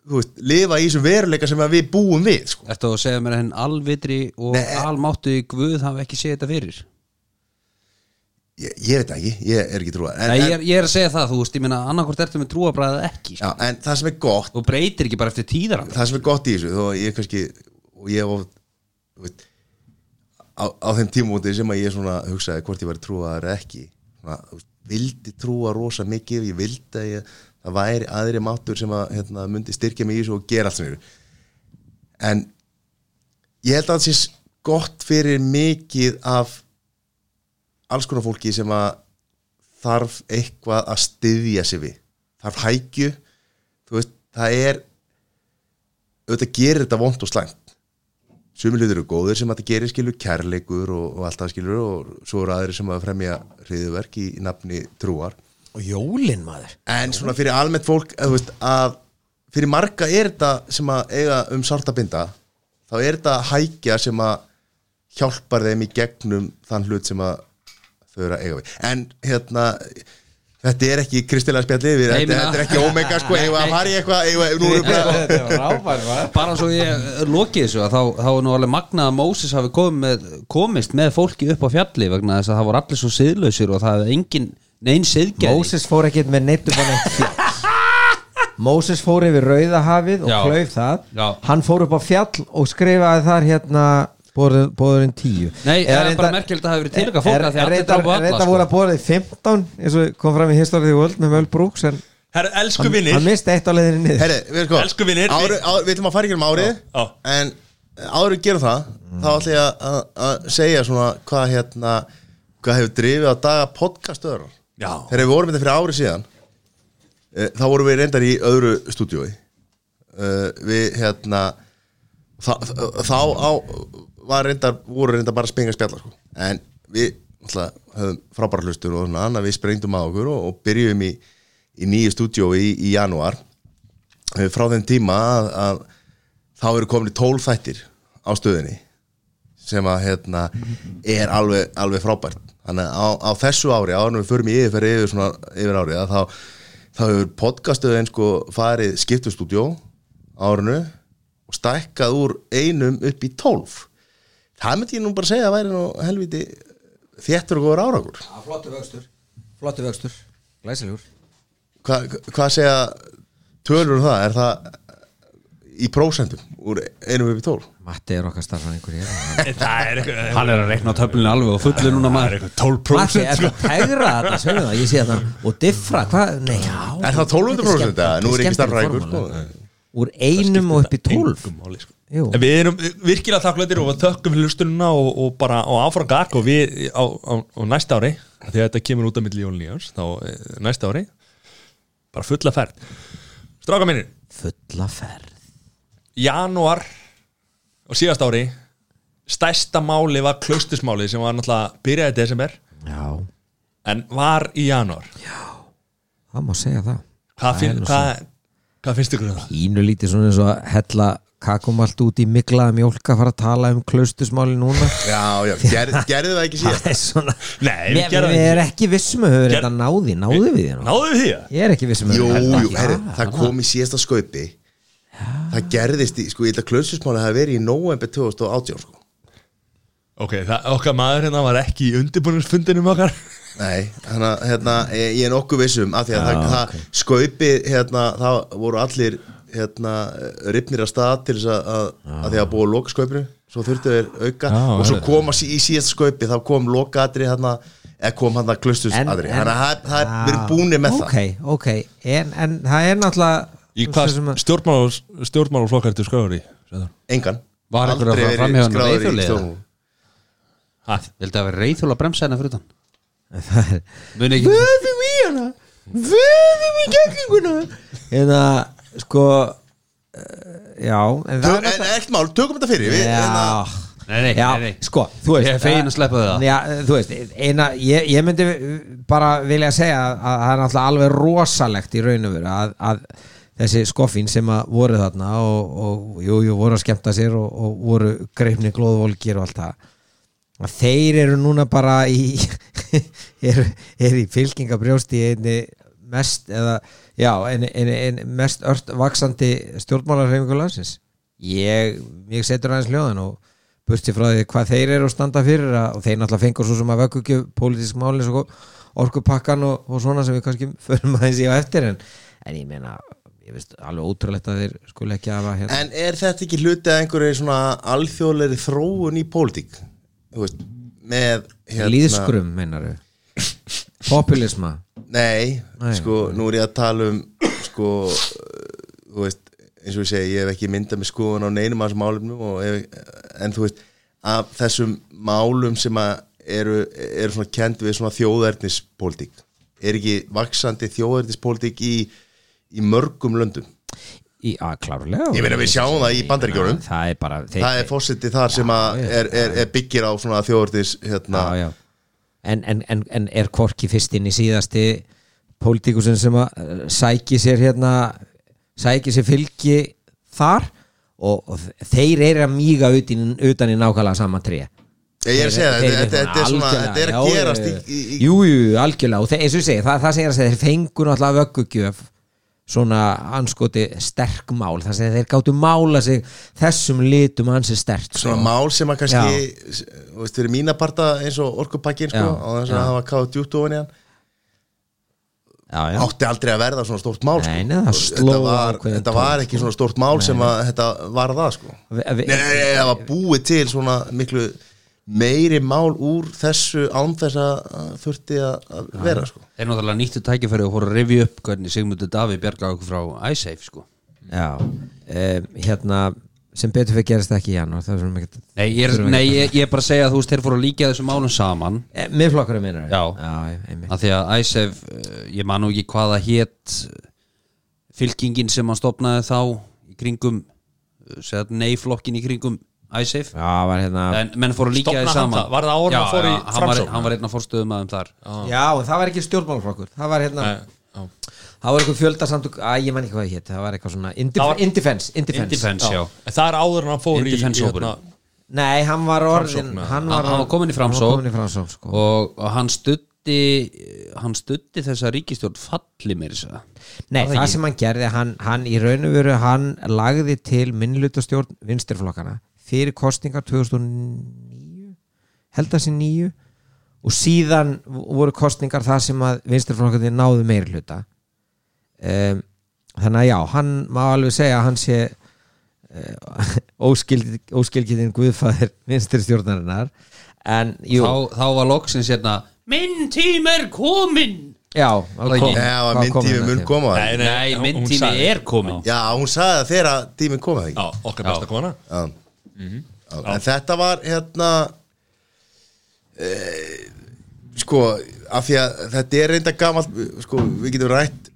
S3: þú veist, lifa í þessum veruleika sem að við búum við sko.
S4: Ertu að segja mér að henn alvitri og
S3: Nei.
S4: almáttu Guð hafa ekki séð þetta fyrir
S3: ég, ég veit það ekki, ég er ekki trúa en,
S4: Nei, ég
S3: en,
S4: er, ég er að segja það, þú veist, ég meina annarkvort ertu með trúabræðið ekki sko.
S3: já, en það sem er gott
S4: Þú breytir ekki bara eftir tíðarand
S3: það sem er gott í þessu þó að ég kannski og ég hef oft, þú veit, á, á þeim tímúti sem að ég svona hugsaði hvort ég var trúaðar eða ekki svona, þú veist, vildi trúa rosa mikið ég vildi að ég, það væri aðri máttur sem að hérna, myndi styrkja mig í þessu og gera allt sem ég en ég held að það sé s- gott fyrir mikið af alls konar fólki sem að þarf eitthvað að styðja sig við þarf hækju þú veist, það er auðvitað gerir þetta vond og slæmt sumir hlutir eru góðir sem þetta gerir skilur kærleikur og, og allt það skilur og svo eru aðrir sem að fremja hriðuverk í, í nafni trúar
S5: Og jólin maður
S3: en svona fyrir almennt fólk að, veist, að fyrir marga er þetta sem að eiga um sárt að binda þá er þetta hækja sem að hjálpar þeim í gegnum þann hlut sem að þau eru að eiga við en hérna þetta er ekki kristilega spjallið við,
S4: Nei,
S3: þetta,
S4: meina-
S3: þetta er ekki omega sko, eigum við að fara í eitthvað eigum við- nú erum við bara
S4: Bara svo ég eh, loki þessu að þá, þá er nú alveg magnað að Mósis hafi komið, með- komist með fólki upp á fjalli vegna þess að það voru allir svo siðlausir og það hefði engin neinn siðgerði
S6: Moses fór ekkert með neitt upp á neitt fjall. Moses fór yfir Rauðahafið og
S4: Já.
S6: klauf það
S4: Já.
S6: hann fór upp á fjall og skrifaði þar hérna bóðurinn tíu
S4: Nei, það
S6: Eða
S4: er bara
S6: reyndar-
S4: merkilegt að það hafi verið tilöka fólk
S6: Er-
S4: af því að
S6: er
S4: allir
S6: reyndar-
S4: drápu alla,
S6: er reyndar
S4: sko.
S6: voru að bóðið 15 eins og kom fram í History of the World með Möl Brooks en
S2: Herra, elsku
S6: hann,
S2: vinnir
S6: hann misti eitt á leiðinni niður
S3: Herri, við sko,
S2: Elsku vinir, við-
S3: ári, ári, Við ætlum að fara ekki um árið
S2: Já.
S3: En árið gerum það Þá ætlum ég að- að- að segja svona Hvað hérna Hvað hefur drifið á daga podcastöður
S2: Já.
S3: Þegar við vorum þetta fyrir árið síðan e, Þá vorum við reyndar í öðru stúdíói e, Við hérna Þá, þá á, var reyndar Voru reyndar bara að spenga spjalla sko. En við alltaf, höfum frábæra hlustur Og svona, annað við sprengdum að okkur Og, og byrjum í, í nýju stúdíói í, í janúar Eh, frá þeim tíma að, að þá eru komin tólf þættir á stöðinni sem að hérna er alveg, alveg frábært þannig að á, á þessu ári, ánum við förum í yfirferði yfir, svona, yfir árið að þá, þá hefur podcastöðin sko farið skiptustúdjó árinu og stækkað úr einum upp í tólf það myndi ég nú bara segja að væri nú helviti þéttur og góður árakur
S5: Flottu vöxtur Flottu vöxtur Glæsilegur
S3: Hva, hvað segja tölur um það, er það í prósentum úr einum upp í tólf
S5: Matti er okkar starfræðingur hér
S2: Það er eitthvað
S4: Hann er að reikna á töflunni alveg og fullu núna maður
S5: Matti,
S2: 12%
S5: er
S2: sko.
S5: það tegra þetta, segðu það, ég sé þetta Og diffra, hvað, nei, já
S3: Er það 1200%?
S5: Þetta
S3: Nú
S5: er skemmtilegt,
S3: er ekki
S5: skemmtilegt
S3: starfræðingur,
S5: formulega.
S3: sko.
S5: Úr einum og upp í tólf
S2: Engum máli, sko.
S5: Jú.
S2: En Við erum virkilega þakklættir og þökkum fyrir hlustununa og, og bara á áfram gag og við á, á, á næsta ári því að þetta kemur út af milli jólun í árs þá eh, næsta ári bara fulla ferð Stráka mínir,
S5: Fulla ferð
S2: janúar og síðast ári stærsta máli var klaustismáli sem var náttúrulega byrjaði í desember
S5: Já,
S2: en var í janúar
S5: það má segja það
S2: Hvað, finn,
S5: nú
S2: hvað, hvað finnst ykkur um það?
S5: Pínu lítið svona eins og að hella kakum allt út í miklaða mjólka að fara að tala um klaustusmáli núna
S3: Já, já, ger, gerðu það ekki síðan
S5: Það er svona
S2: Nei, við
S5: Við
S2: gerðum
S5: við
S2: ekki.
S5: erum ekki vissum að höfum
S2: Ger-
S5: þetta náði, náðu við þér
S2: Náðu við því að?
S5: Ég er ekki vissum að
S3: Jú, jú, herri,
S5: Já,
S3: það kom í síðasta skaupi Það gerðist í, sko, ég ætla klöðsusmála að það hafi verið í november 2018, sko
S2: Ok, það, okkar maður hérna var ekki í undirbúinusfundinum okkar
S3: Nei, þannig að hérna, ég ég er nokkuð vissum af því að það, það skaupi hérna, það voru allir hérna, ripnir að stað til þess að, að, að því að búa að loka skaupinu svo þurftu þeir auka
S2: Já,
S3: og svo
S2: heyrðu.
S3: kom að sí, í síðast skaupi þá kom lokaatri hérna, eða kom hérna klustusadri
S5: En- en-
S3: þannig að það- það er verið búinir með
S5: Ah, ok, ok, en, en það er náttúrulega
S2: Í hvað
S5: svo sem að-
S2: stjórnmál, stjórnmálflokkar ertu skráður í? Sæður.
S3: það engan,
S4: Var einhver að fara
S3: verið
S4: framhjá henni
S3: skráður í
S4: reiðhjóli eða?
S3: stjórnmál.
S4: Vildi að vera reyþúl að bremsa hennar fyrir utan
S5: það er
S4: Muni ekki
S5: vöðum í hana vöðum í gegninguna en að sko eh, já, en það
S3: Tök- en ekkert mál, tökum þetta fyrir við, hérna,
S5: Já,
S4: Nei, nei,
S5: já
S4: nei, nei.
S5: sko, þú veist
S4: Ég er feginn að sleppa þau það.
S5: Já, þú veist, eina, ég, ég myndi bara vilja segja að að það er náttúrulega alveg rosalegt í raun og veru að, að þessi skoffín sem að voru þarna og, og jú, jú, voru að skemmta sér og, og voru greifni glóðvolgir og allt það að þeir eru núna bara í eru er í fylkingabrjósti í einni mest eða, já, en, en, en mest ört vaksandi stjórnmálarreifingu landsins ég, ég setur aðeins hljóðan og burti frá því hvað þeir eru að standa fyrir að, og þeir náttúrulega fengur svo sem að vökkugjöf pólitísk máli og orkupakkan og, og svona sem við kannski förum aðeins í á eftir en, en ég meina, ég veist alveg ótrúlegt að þeir skuli ekki hafa hérna
S3: En er þetta ekki hluti að einhverju svona alþjóðleiri þróun í pólitík? Þú veist, með hérna-
S5: líðskrum, meinar populisma
S3: Nei,
S5: Nei.
S3: sko, nú er ég að tala um sko, uh, þú veist eins og ég segi, ég hef ekki myndað með skoðun á neinum af þessum málumnum og hef, en þú veist, af þessum málum sem að eru, eru svona kend við svona þjóðernispólitík er ekki vaksandi þjóðernispólitík í, í mörgum löndum
S5: Í, að klárlega
S3: Ég meina, við sjáum það í Bandaríkjunum.
S5: Það er bara þeir,
S3: það er fórseti þar sem að
S5: já,
S3: er, er, er byggir á svona þjóðernis hérna,
S5: já, já. En, en, en, en er Korki fyrst inn í síðasti pólitíkusin sem að eh, sæki sér hérna sæki sér fylgi þar og, og þeir eru að míga utan, utan í nákvæmlega sama tré
S3: Ég er að segja það,
S5: Þeir-
S3: þetta-
S5: þeir-
S3: þetta er svona
S5: algjörlega,
S3: þetta er að
S5: já,
S3: gerast í,
S5: já,
S3: í, í
S5: Jú, jú, algjörlega og þeir, eins og ég segi, það, það sem ég er að segja þeir fengur alltaf vöggugjöf svona anskoti sterk mál það sem þeir gáttu mála sig þessum litum ansi stert
S3: svona mál sem að kannski s- þú veist, fyrir mína parta eins og orkupakkin sko,
S5: Já,
S3: á þess að
S5: já.
S3: hafa káð djúpt ofan í hann
S5: já, já.
S3: átti aldrei að verða svona stórt mál sko.
S5: Nei, nei, það
S3: Og
S5: sló
S3: þetta, var,
S5: ákveðin sko.
S3: þetta var
S5: tón,
S3: ekki svona stórt mál sem að þetta var það sko. nei,
S5: Vi- vi-
S3: nei, nei, nei, það var búið til svona miklu meiri mál úr þessu án þess að að þurfti að að vera sko.
S4: Þeir náttúrulega nýttu tækifæri og fóru að rifja upp hvernig Sigmundur Davíð bjargaði okkur frá iSafe sko.
S5: Já, um, hérna sem betur fyrir gerist það ekki í janúar það er svona mikið
S4: Nei, ég er, nei ég, ég er bara að segja að þú veist þeir fóru að líka þessum málum saman
S5: Eh, Miðflokkurinn minnur
S4: Já.
S5: já einmitt.
S4: að því að iSafe, eh, ég man nú ekki hvað það hét eh, fylkingin sem hann stopnaði þá í kringum eh, neyflokkin í kringum iSafe
S5: Já, var hérna
S4: en menn fóru að líka
S2: Stofnaði
S4: þið
S2: hann
S4: saman
S2: það? Var það áður en
S4: Já,
S2: hann fór í
S4: já, hann var,
S2: Framsókn?
S4: hann var einn af fórstöðum aðeim þar
S5: Já, en það var ekki stjórnmálflokkur það var hérna það var eitthvað fjöldasamtök Æ, ég man ekki hvað það hétt það var eitthvað svona
S2: Það var-
S5: Indif- Indifens Indifens
S4: Indefense, já
S2: En það er áður en hann fór í, í
S4: Indefense-hópurinn.
S2: hérna,
S5: Nei, hann var orðin
S2: Framsókn, eða?
S5: hann
S4: Hann-
S5: var,
S4: hann var kominn í Framsókn.
S5: Hann var kominn í framsókn sko.
S4: og, og hann stutti hann stutti þessa ríkistjórn falli mér þess að
S5: Nei, það, sem hann gerði, hann, hann í raun og veru hann lagði til minnlutastjórn vinstirflokkana fyrir kostningar 2009 held að sé 9 og síðan voru kostningar þar sem að vinstirflokkandi náðu meiri hluta um, þannig að já, hann má alveg segja að hann sé uh, óskilgiðin guðfæðir vinstirstjórnarinnar en jú,
S4: þá, þá var loksins hérna minn tím er komin
S5: já
S4: Þá-
S3: Nei, það var minn
S5: hérna
S3: tími mun koma
S2: Nei,
S4: nei,
S2: hún-
S4: minn
S2: hún
S4: tími
S2: sagði-
S4: er komin
S3: já, hún sagði það þegar að tíminn koma ekki
S2: Já, okkar besta kona
S3: Já.
S2: Mhm.
S3: Já. En þetta var hérna e, sko af því að þetta er reynda gamalt sko við getum rætt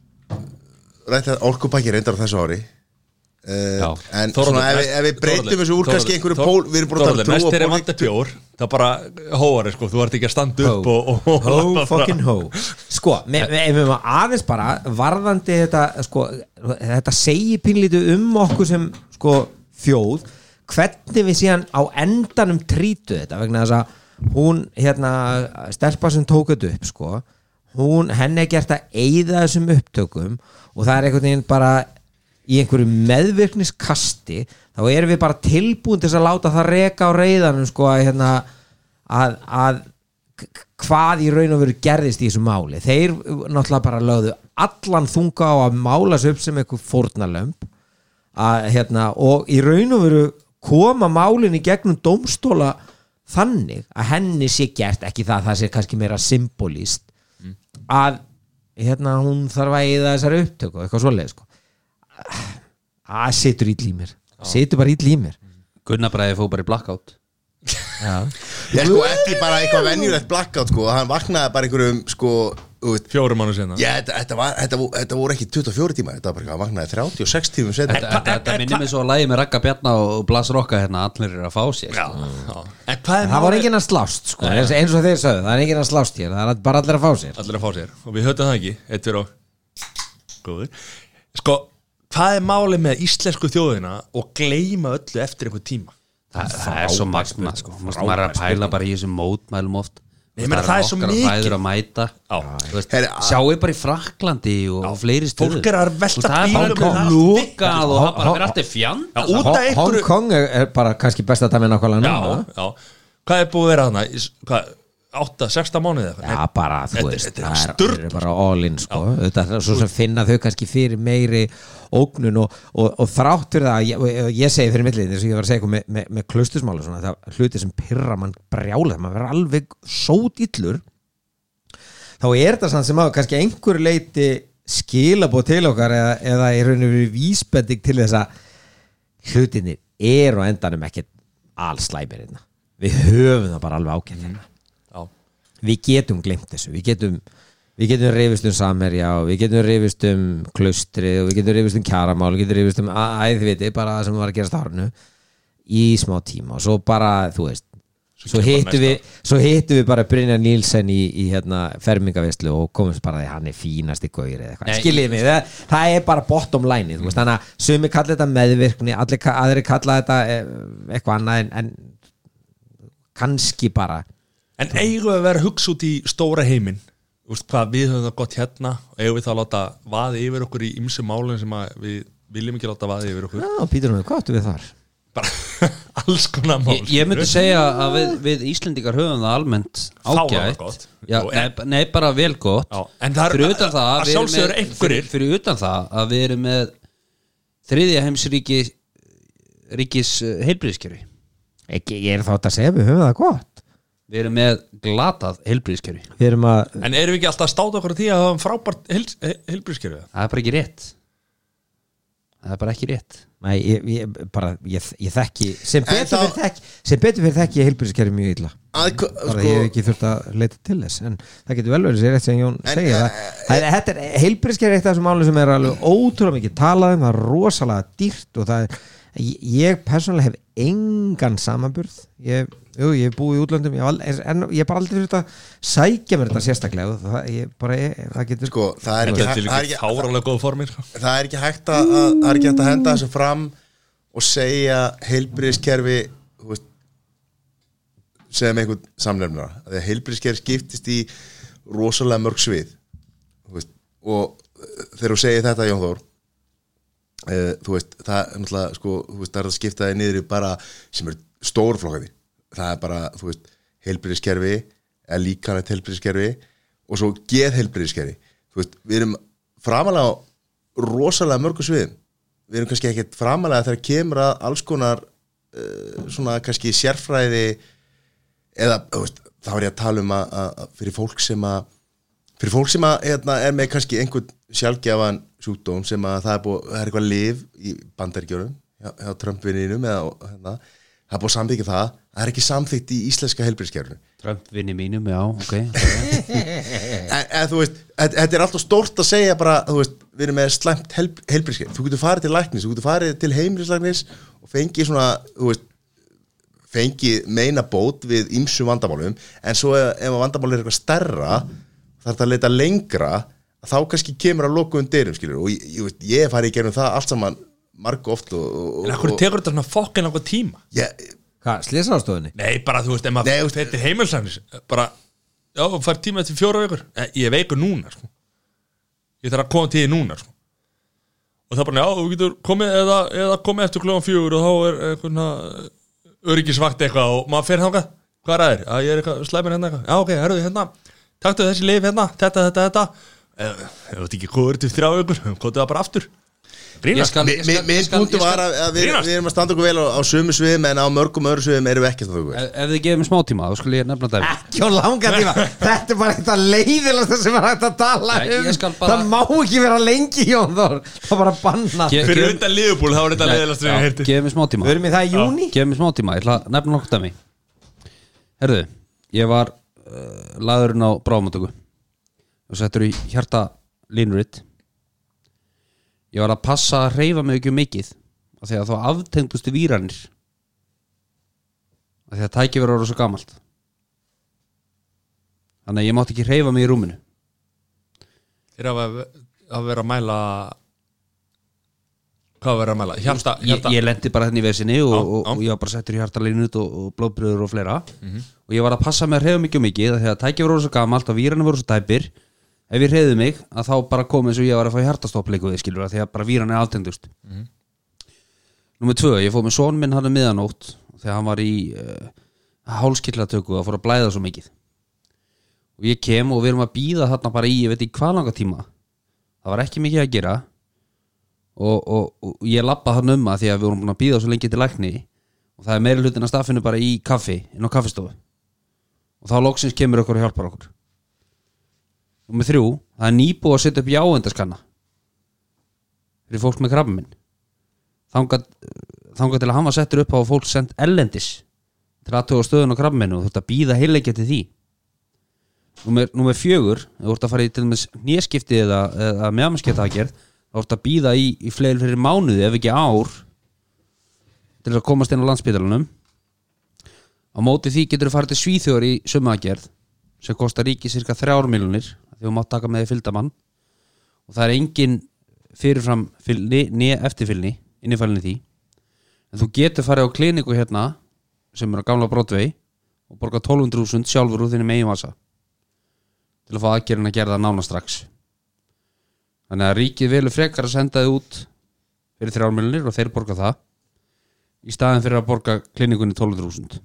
S3: rætt að orkupakki reyndar á þessu ári
S4: Já.
S3: Uh, en
S2: Þórhallur,
S3: svona ef, við-
S2: næst-
S3: ef við breytum
S2: Þórhallur,
S3: þessu úr kannski
S2: Þórhallur,
S3: einhverju pól við erum búin að tala
S2: Þórhallur,
S3: um
S2: næst
S3: trú
S2: er að
S3: og
S2: vanda bjór það bara hóari sko, þú ert ekki að standa upp og, og, og
S5: Ho
S2: labba frá.
S5: fucking ho Sko, me- me- ef við maður aðeins bara varðandi þetta sko, þetta segi pínlítið um okkur sem sko, þjóð hvernig við síðan á endanum trítu þetta vegna þess að hún hérna, stelpa sem tók þetta upp sko, hún, henni er gert að eyða þessum upptökum og það er einhvern veginn bara í einhverju meðvirkniskasti þá erum við bara tilbúin til þess að láta það reka á reyðanum sko að hérna að, að k- hvað í raun og veru gerðist í þessu máli þeir uh, náttúrulega bara lögðu allan þunga á að mála sig upp sem eitthvað fórnalömb að, hérna, og í raun og veru koma málin í gegnum dómstóla þannig að henni sé gert ekki það, það sé kannski meira symbolist að hérna, hún þarf að eða þessari upptöku eitthvað svoleið sko að situr ítl í mér situr bara ítl í mér
S4: Gunnar Bræði fóð bara í blackout
S3: Ég sko ekki bara eitthvað venjulegt blackout sko Hann vaknaði bara einhverjum sko þú veit,
S2: fjórum mánu sinna
S3: Já, þetta, þetta, var, þetta, vo- þetta voru ekki 24 tíma Þetta var bara eitthvað, hann vaknaði 36 tímum
S4: Þetta,
S3: setna
S4: þetta, þetta minnir mig svo að lægi með Ragga Bjarna og Blas Rokka hérna, allir eru að fá sér sko.
S2: En hvað er
S5: það var enginn að slást sko. eins og þeir sögðu, það er enginn að slást hér það er bara allir að fá sér
S2: Allir að fá sér Og við höfðum það ekki Eitt fyrir og Góður Sko, hvað er málið með íslensku þjóðina Og gleyma öllu eftir einhver tíma
S4: Þa, það er svo magna sko. Þú veist, maður er að pæla bara í þessum mótmælum oft
S2: Ég meina, það er svo
S4: okkar
S2: mikið.
S4: bræður að mæta
S2: Já.
S4: Þú veist,
S3: Herri, a-
S4: sjáu bara í Fraklandi og, og fleiri stöðu
S2: Fólk er að velta bílum og
S4: bara
S2: allt.
S4: lúkað og það bara verður alltaf fjand
S2: Já, út af
S5: Hong- Hong
S2: einhverju
S5: Kong er, er bara kannski besta dæmi nákvæmlega
S2: Já,
S5: núna
S2: já Hvað er búið að vera þarna? Í s- Hvað, átta, sexta mánuði eða?
S5: Já, bara, þú
S2: Þetta-
S5: veist,
S2: þetta er
S5: það er,
S2: sturlað.
S5: þeir eru bara all in, sko, auðvitað, svo sem finna þau kannski fyrir meiri ógnun og, og, og þrátt fyrir það, ég, og- og ég segi fyrir millið, þess að ég var að segja eitthvað með, með, með klustusmála, svona, það hluti sem pyrra mann brjálega, maður verður alveg sót illur, þá er það samt sem að kannski einhver leiti skilabóð til okkar eða, eða í rauninu verið vísbending til þess að hlutinir eru á endanum ekkert allslæmir hérna. Við höfum það bara alveg ágætt hérna
S2: Já,
S5: við getum glemt þessu við getum, við getum rifist um samherja og við getum rifist um klustri og við getum rifist um kjaramál við getum rifist um æðviti bara það sem var að gerast árnu í smá tíma og svo bara, þú veist svo
S2: kemur
S5: hittum
S2: næsta.
S5: við, svo hittum við bara Brynjar Nílsen í, í hérna, fermingavislu og komumst bara að hann er fínasti gaur eða eitthvað,
S4: Nei,
S5: skiljið mig, það, það er bara bottom line, þú veist, þannig að sumi kalla þetta meðvirkni, allir ka- aðrir kalla þetta eh, eitthvað annað en, en kannski bara
S2: En eigum við að vera að hugsa út í stóra heiminn Úst, hvað við höfum það gott hérna og eigum við þá að láta vaði yfir okkur í ymsu málum sem að við viljum ekki láta vaði yfir okkur
S5: Já, Pítur Númi, hvað áttu við þar?
S2: bara alls konar mál
S4: Ég, ég myndi segja að við, við Íslendingar höfum það almennt
S2: var það
S4: ágætt
S2: gott.
S4: Já,
S2: Og-
S4: nei, nei, bara vel gott
S2: Já, en það er-
S4: Fyrir utan það
S2: að
S4: við erum
S2: sjálfsögðu
S4: með-
S2: eru einhverjir.
S4: fyrir, fyrir utan það að við erum með þriðja heimsríki ríkis eh, heilbríðskjöri
S5: Ekki, ég er þátt að segja, við höfum það gott
S4: Við erum með glatað heilbríðskjöri
S5: Við erum að,
S2: En erum við ekki alltaf að státa okkur á því að það er frábært heilbrískerfið?
S4: Það er bara ekki rétt Það er bara ekki rétt
S5: næ, ég, ég, bara, ég, ég þekki sem
S3: En
S5: betur,
S3: þá-
S5: fyrir þekki sem betur fyrir þekki ég heilbyrðiskerfi mjög illa
S3: Að hva-
S5: bara
S3: sko-
S5: ég hef ekki þurft að leita til þess en það getur vel verið sér rétt sem Jón
S3: En,
S5: segja
S3: eh,
S5: það, það, er- þetta er heilbyrðiskerfi eitt af þessum málum sem er alveg ótrúlega mikið talað um, það er rosalega dýrt og það er, ég- ég persónulega hef engan samanburð ég, jú, ég hef búið í útlöndum ég hef, al- er- en ég hef bara aldrei þurft að sækja mér þetta sérstaklega og það, ég, bara, ég, það getur
S3: Sko, það er
S2: Það
S3: ekki,
S2: er til
S3: það er
S2: ykkur
S3: ekki,
S2: fárálega góð formir
S3: það er ekki hægt að, að, það er ekki hægt að henda þessu fram og segja heilbriðiskerfi veist, sem einhvern samlefnara Af því að heilbriðiskerfi skiptist í rosalega mörg svið þú veist, og eh, þegar þú segir þetta Jón Þór uh, þú veist, það er náttúrulega sko, þú veist, það er að skipta það niður í bara sem er stórflokkandi það er bara, þú veist, heilbyrðiskerfi eða líkanett heilbyrðiskerfi og svo geð heilbyrðiskerfi þú veist, við erum framalega á rosalega mörgum sviðum við erum kannski ekkert framalega þegar kemur að alls konar uh, svona kannski sérfræði eða, þú veist, þá er ég að tala um að, að, að fyrir fólk sem að fyrir fólk sem að, hérna, er með kannski einhvern sjálfgjafan sjúkdóm sem að það er, búið, það er eitthvað liv í bandaríkjörum hjá, hjá Trump-vinninum eða hérna, það er búið að samþykja það það er ekki samþykkt í íslenska helbriðskjörnum
S4: Trump vinni mínum, já, ok
S3: en, en Eh, þú veist, þetta- þetta er alltaf stórt að segja bara, þú veist, við erum með slæmt helb, helbriðskjörn, þú getur farið til læknis þú getur farið til heimilislæknis og fengið svona, þú veist fengið meina bót við ymsu vandamálum en svo ef, ef að vandamál er eitthvað stærra þarf það að leita lengra þá kannski kemur að lokuðum dyrum skilur og ég, ég, veist, ég hef farið í gerum það allt saman marg oft og, og,
S2: En af hverju
S3: og,
S2: tekur þetta svona fokkin okkur tíma?
S3: ég,
S5: hvað, slisaðarstofunni?
S2: Nei, bara þú veist, ef
S3: Nei, þú
S2: maður
S3: veist-
S2: þetta er heimilsænis bara, já, fær tíma til fjóra vikur Eh, Ég er veikur núna, sko Ég þarf að koma til því núna, sko Og það er bara, já, þú getur komið eða, eða komið eftir kljóðan fjögur eh, og þá er eitthvað öryggisvakt eitthvað og maður fer þangað hvað er að þér? Að ég er eitthvað slæmur hérna eitthvað. Já, ok, herruðu hérna, taktu þessi lif hérna, þetta, þetta, þetta Ef ef þú ert ekki kóður til þrjá ykkur, kóðu það bara aftur
S4: Ég
S2: Grínast,
S4: skal- ég skal- ég
S3: Minn
S4: skal-
S3: punktu
S4: ég
S3: var
S4: skal-
S3: að, að við,
S2: Grínast.
S3: við erum að standa okkur vel á, á sömu sviðum en á mörgum öðru sviðum erum við ekki að standa okkur vel
S4: Ef ef þið gefum smá tíma, þá skulle ég nefna dæmi
S6: ekki á langan tíma þetta er bara eitthvað leiðilegast sem er hægt að tala
S4: Nei, ég skal
S6: um
S4: bara-
S6: það má ekki vera lengi Jón Þór það er bara að banna
S4: Ge-
S2: fyrir
S4: gefum-
S2: utan liðbúl, þá er þetta leðilast sem ég heyrti
S4: Gefum við smá tíma
S6: við erum í það í júni
S4: Gefum við smá tíma, ég ætla að nefna nokkuð dæmi Herðu, ég var uh, laðurinn á bráðmátöku og settur í hjarta línuritt Ég var að passa að hreyfa mig ekki um mikið af því að þá aftengdustu víranir af því að tæki verður svo gamalt Þannig að ég mátti ekki hreyfa mig í rúminu
S2: Þeir hafa að vera að mæla Hvað vera að mæla? Hjarta,
S4: ég,
S2: hjarta
S4: ég lendi bara hérna í vesinni og,
S2: Já,
S4: og,
S2: já. Mhm.
S4: og ég var bara settur í hjartalinut og, og blóðbröður og fleira og ég var að passa mig að reyða mikið og mikið af því að tækið voru svo gamalt og vírana voru svo tæpir ef ég reyði mig að þá bara kom eins og ég var að fá hjartastoppleiku við skilur af því að bara víran er aftendust mm
S2: Mhm.
S4: -hmm. Númer tvö, ég fóð með son minn hann um miðanótt þegar hann var í uh, hálskillatöku og fór að blæða svo mikið og ég kem og við erum að býða þarna bara í, ég veit ekki hvað langa tíma það var ekki mikið að gera og, og, og ég lappa hann um að því að við vorum búin að býða svo lengi til lækni og það er meiri hlutin að staffinu bara í kaffi inn á kaffistofu og þá loksins kemur okkur og hjálpar okkur og með þrjú það er nýbúið að setja upp jáendaskanna fyrir fólk með krabba minn þangað, þangað til að hann var settur upp á fólk sendt ellendis til aðtöga stöðun á krabba minn og þú ert að býða heilengja til því Númer, númer fjögur, ef þú ert að fara í til dæmis nýjaskipti eða, eða meðamskipta aðgerð þá ert að býða í, í fleiri fyrir mánuði ef ekki ár til þess að komast inn á landspítalunum á móti því getur þú farið til svíþjóður í sömu aðgerð sem kostar ríki cirka þrjár miljonir því þú mátt taka með því fylgdamann og það er engin fyrirfram fylgni, neð eftirfylgni innifælinni því en þú getur farið á kliniku hérna sem er á gamla brotvei og borga 1200.000 sjálfur úr þinni meginvasa til að fá aðgerðin að gera það nána strax þannig að ríkið velu frekar að senda þið út fyrir þrjármjölunir og þeir borga það í staðin fyrir að borga klinikunni 12.000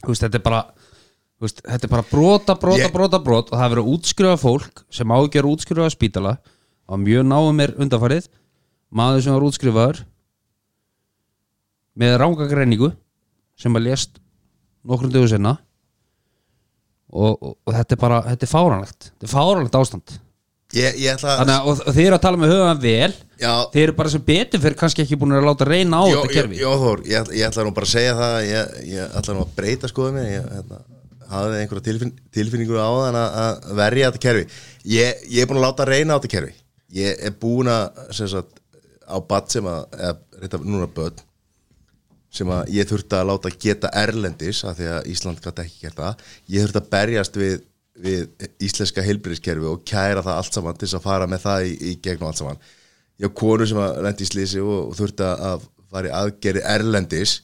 S4: Þú veist, þetta er bara þú veist, þetta er bara brota, brota,
S3: Ég-
S4: brota, brot og það er verið að útskrifa fólk sem á ekki að vera útskrifa spítala og mjög náum er undanfarið maður sem var útskrifaður með rángagreiningu sem að lést nokkrum dögu senna og, og, og þetta er bara, þetta er fáranlegt þetta er fáranlegt ástand
S3: Ég, ég ætla
S4: Þannig að og- og þið eru að tala með höfðan vel
S3: Já.
S4: Þið eru bara sem betur fyrir kannski ekki búin að láta reyna á
S3: Jó,
S4: þetta kerfi
S3: Jó, jó, Þór, ég, ætla- ég ætla nú bara að segja það ég, ég ætla nú að breyta skoðum minni ég hérna, hafði einhverja tilfin, tilfinningu á þann að, að verja þetta kerfi ég, ég er búin að láta reyna á þetta kerfi ég er búin að sem sagt, á bat sem að eða, reyta, núna börn sem að ég þurfti að láta geta erlendis af því að Ísland gæti ekki gert það ég þurfti að berjast við, við íslenska heilbyrðiskerfi og kæra það allt saman til þess að fara með það í, í gegn og allt saman ég á konu sem að lendi í slísi og, og þurfti að fara í aðgerði erlendis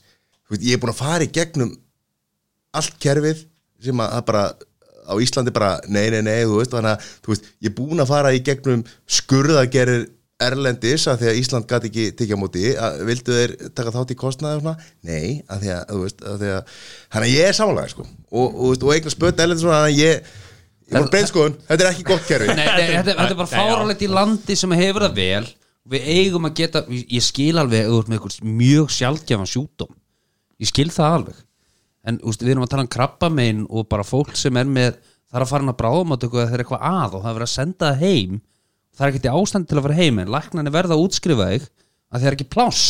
S3: Þú veit, ég er búin að fara í gegnum allt kerfið sem að það bara á Íslandi bara nei, nei, nei, þú veist, þannig að þú veist, ég er búin að fara í gegnum skurðagerir erlendis að því að Ísland gæti ekki tekja á móti, að, vildu þeir taka þátt í kostnaði og svona? Nei, að því að, þú veist, að því að, þannig að ég er samanlega, sko, og, og, þú veist, og eignar spöt erlendis svona, þannig að ég, ég búin að breyta skoðun, þetta er ekki gott kerfi.
S4: Nei, nei, þetta, þetta er bara fáralegt í landi sem hefur það vel Við eigum að geta, ég skil alveg að þú ert með einhvers mjög sjálfgjafan sjúkdóm Ég skil það alveg En úst, við erum að tala um krabba megin og bara fólk sem er með Það er að fara hann að bráðum að það er eitthvað að og það er verið að senda það heim Það er ekki ástand til að fara heim en læknarnir verða að útskrifa þig að það er ekki pláss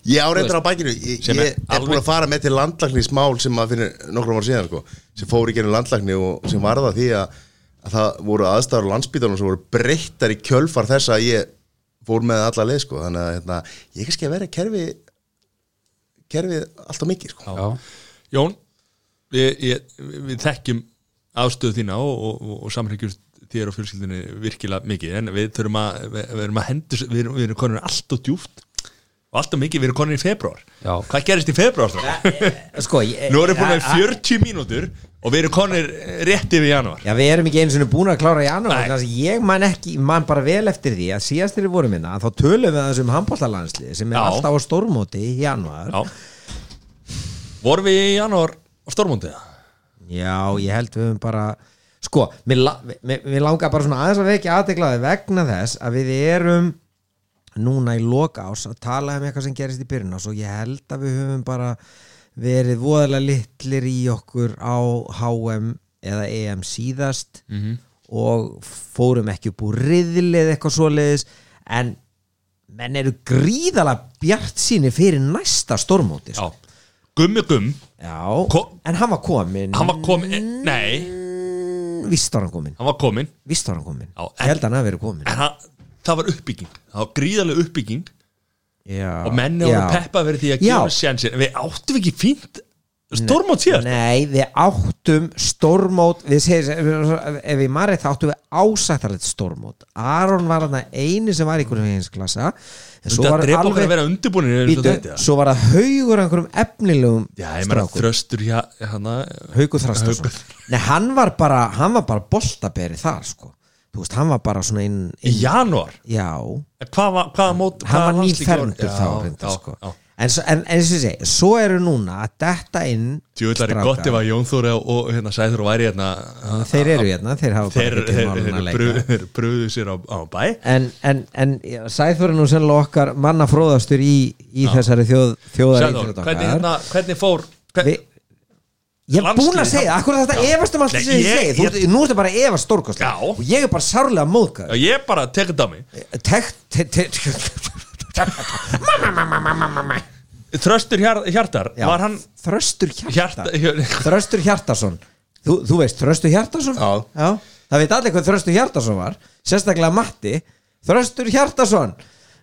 S3: Ég áreindar á bækinu, ég,
S2: Sem
S3: ég
S2: er
S3: er búin að fara með til landlagnismál sem maður finnir nokkrum ára síðan sko, sem fór í genið landlagni og sem varða því að, að það voru aðstæður á landsbítanum sem voru breyttar í kjölfar þess að ég fór með alla leið sko, þannig að hérna, ég er kannski að vera kerfi kerfið alltaf mikið sko.
S4: Já.
S2: Jón, ég, ég, við þekkjum afstöðu þína og, og, og, og samhyggjum þér og fjölskyldinni virkilega mikið en við þurfum að, við, við erum að hendur við erum, við erum konur allt og djúft og allt og mikið, við erum konur í februar
S4: Já.
S2: Hvað gerist í februar? strákar?
S6: sko,
S5: eh,
S6: ég,
S2: Nú erum við búin að vera 40 mínútur og við erum konur rétt yfir janúar
S6: Já, við erum ekki einu sinni búin að klára í annar
S2: Nei.
S6: Þannig að ég man ekki, man bara vel eftir því að síðast þegar við vorum minna, þá tölum við þessum handbóltalandslið sem er
S2: Já.
S6: alltaf á stórmóti í januar
S2: Já Vorum við í janúar á stormundið
S5: Já, ég held við höfum bara sko, mér, la, mér, mér langar bara svona aðeins að vekja aðteklaði vegna þess að við erum núna í loka ás að tala um eitthvað sem gerist í byrjun ás og ég held að við höfum bara verið voðalega litlir í okkur á HM eða EM síðast
S2: Mhm.
S5: -hmm. og fórum ekki upp úr riðlið eitthvað svoleiðis en menn eru gríðalega bjart síni fyrir næsta stormóti sko.
S2: Já, gummi gumm
S5: Já,
S2: Ko-
S5: en hann var komin
S2: Hann var komin, nei,
S5: Vist var hann komin
S2: hann var komin
S5: Vist var hann komin
S2: Já, en-
S5: Ég held að hann hafi verið komin
S2: En hann, það var uppbygging Það var gríðarlega uppbygging
S5: já,
S2: Og menni voru peppa verið því að
S5: Já.
S2: gefa sénsir En við áttum við ekki fínt Stormót síðast
S5: Nei, við áttum stormót Við segjum, ef ég marið þá áttum við ásættarlegt stormót Aron var hann eini sem var í einhverjum heginsklassa En svo
S2: Þetta
S5: var
S2: drepa okkar að
S5: alveg
S2: vera undirbúinir eins og
S5: Býtu,
S2: þetta.
S5: Svo var það haugur einhverjum efnilegum
S2: Já, ég meina
S5: strákum.
S2: þröstur hjá
S5: hérna,
S2: hana
S5: Haukur Þrastarsson
S2: Haukur.
S5: Nei, hann var bara, hann var bara boltaberi þar sko Þú veist, hann var bara svona inn,
S2: Í
S5: inn
S2: janúar
S5: Já,
S2: En Hvað var, hvað mót
S5: hann
S2: hvaða
S5: var
S2: landsleikir
S5: nýfermdur þá
S2: Já,
S5: reynda,
S2: já,
S5: sko.
S2: já.
S5: en, svo- en eins og ég segi, svo eru núna að detta inn
S2: Djúvillari
S5: stráka.
S2: gott ef að Jón Þóri og, og hérna, Sæður og væri hérna að-
S5: þeir eru hérna, þeir hafa
S2: Þeir
S5: bara ekki til málun að leika
S2: pröðu sér á, á bæ
S5: en, en, en Sæþór er nú sennilega okkar manna fróðastur í, í þessari þjóð, þjóðar
S2: Sæður, hvernig, hérna, hvernig fór
S5: Vi,
S2: hvern,
S5: ég er búin að
S2: Landslið-
S5: segja, akkur þetta efast um allt
S2: Nei,
S5: sem ég,
S2: ég-
S5: segi þú,
S2: ég-
S5: nú ertu bara að efast stórkostlega
S2: Já.
S5: og ég er bara sárlega móðgæð
S2: Ég bara tekið það mig
S5: tekt, te, te, te,
S2: Þröstur hjar, Hjartar,
S5: já,
S2: var hann
S5: þröstur hjarta,
S2: Hjarta hjör-
S5: Þröstur Hjartarsson þú, þú veist Þröstur Hjartarsson?
S3: Já.
S5: Það veit allir hvað Þröstur Hjartarsson var Sérstaklega Matti Þröstur Hjartarsson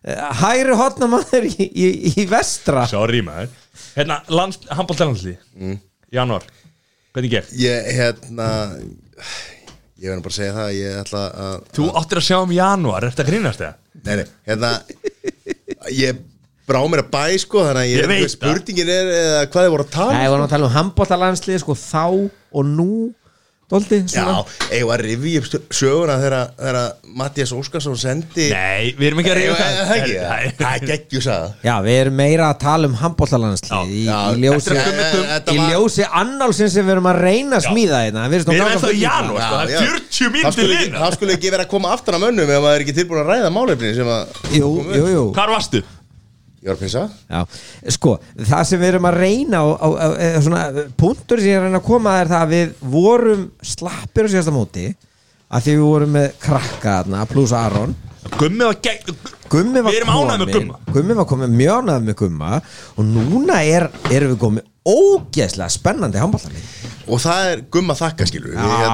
S5: eh, Hæri hotnamaður í, í, í vestra
S2: Sorry maður Hérna, lands, handbóltalandsli mm. Janúar, hvernig gekk?
S3: Ég, hérna Ég verður bara að segja það að Ég ætla að
S2: Þú áttir að sjá um janúar, er þetta grínast það?
S3: Nei, nei, hérna Ég brá mér að bæ, sko Þannig að ég,
S2: Ég veit það.
S3: Spurningin er eða, hvað þið voru að tala
S5: Nei,
S3: um.
S5: við varum að tala um handbóttalandslið sko, þá og nú Dóldi, svona
S3: Já, eigum að rifi upp stö- söguna þegar- Þegar Mattias Óskarsson sendi
S2: Nei, við erum ekki að reyða
S3: Eigum við-
S2: það
S3: það ekki,
S2: Nei.
S3: það er geggjú saga
S5: Já, við erum meira að tala um handbóttalandslið í,
S3: já,
S5: í ljósi
S3: þetta er- þetta
S5: Í
S3: var-
S5: ljósi annálsins sem við erum að reyna að smíða hérna Við
S2: Við erum
S5: nánast
S2: ennþá í
S5: fullkomna.
S2: janúar, sko, það
S3: Já,
S2: er
S3: já.
S2: 40
S3: Það
S2: myndir
S3: skulle ekki-
S2: lína
S3: Það skulle ekki vera að koma aftan að mönnum ef maður er ekki tilbúin að ræða málefni sem að
S5: Jú, jú, jú
S2: Hvar varstu?
S3: Ég var að pissa
S5: Já, sko, það sem við erum að reyna á, á, á, á svona, punktur sem ég er að reyna að koma að er það að við vorum slappir á síðasta móti að því við vorum með krakka þarna pluss Aron
S2: Gummi var gegn
S5: Gummi var
S2: Við erum ánægð með
S5: kominn-
S2: Gumma
S5: Gummi var komið mjög ánægð með Gumma og núna er, erum við komið ógeðslega spennandi handbóltanleik
S3: Og það er gumma þakka skilur við, hérna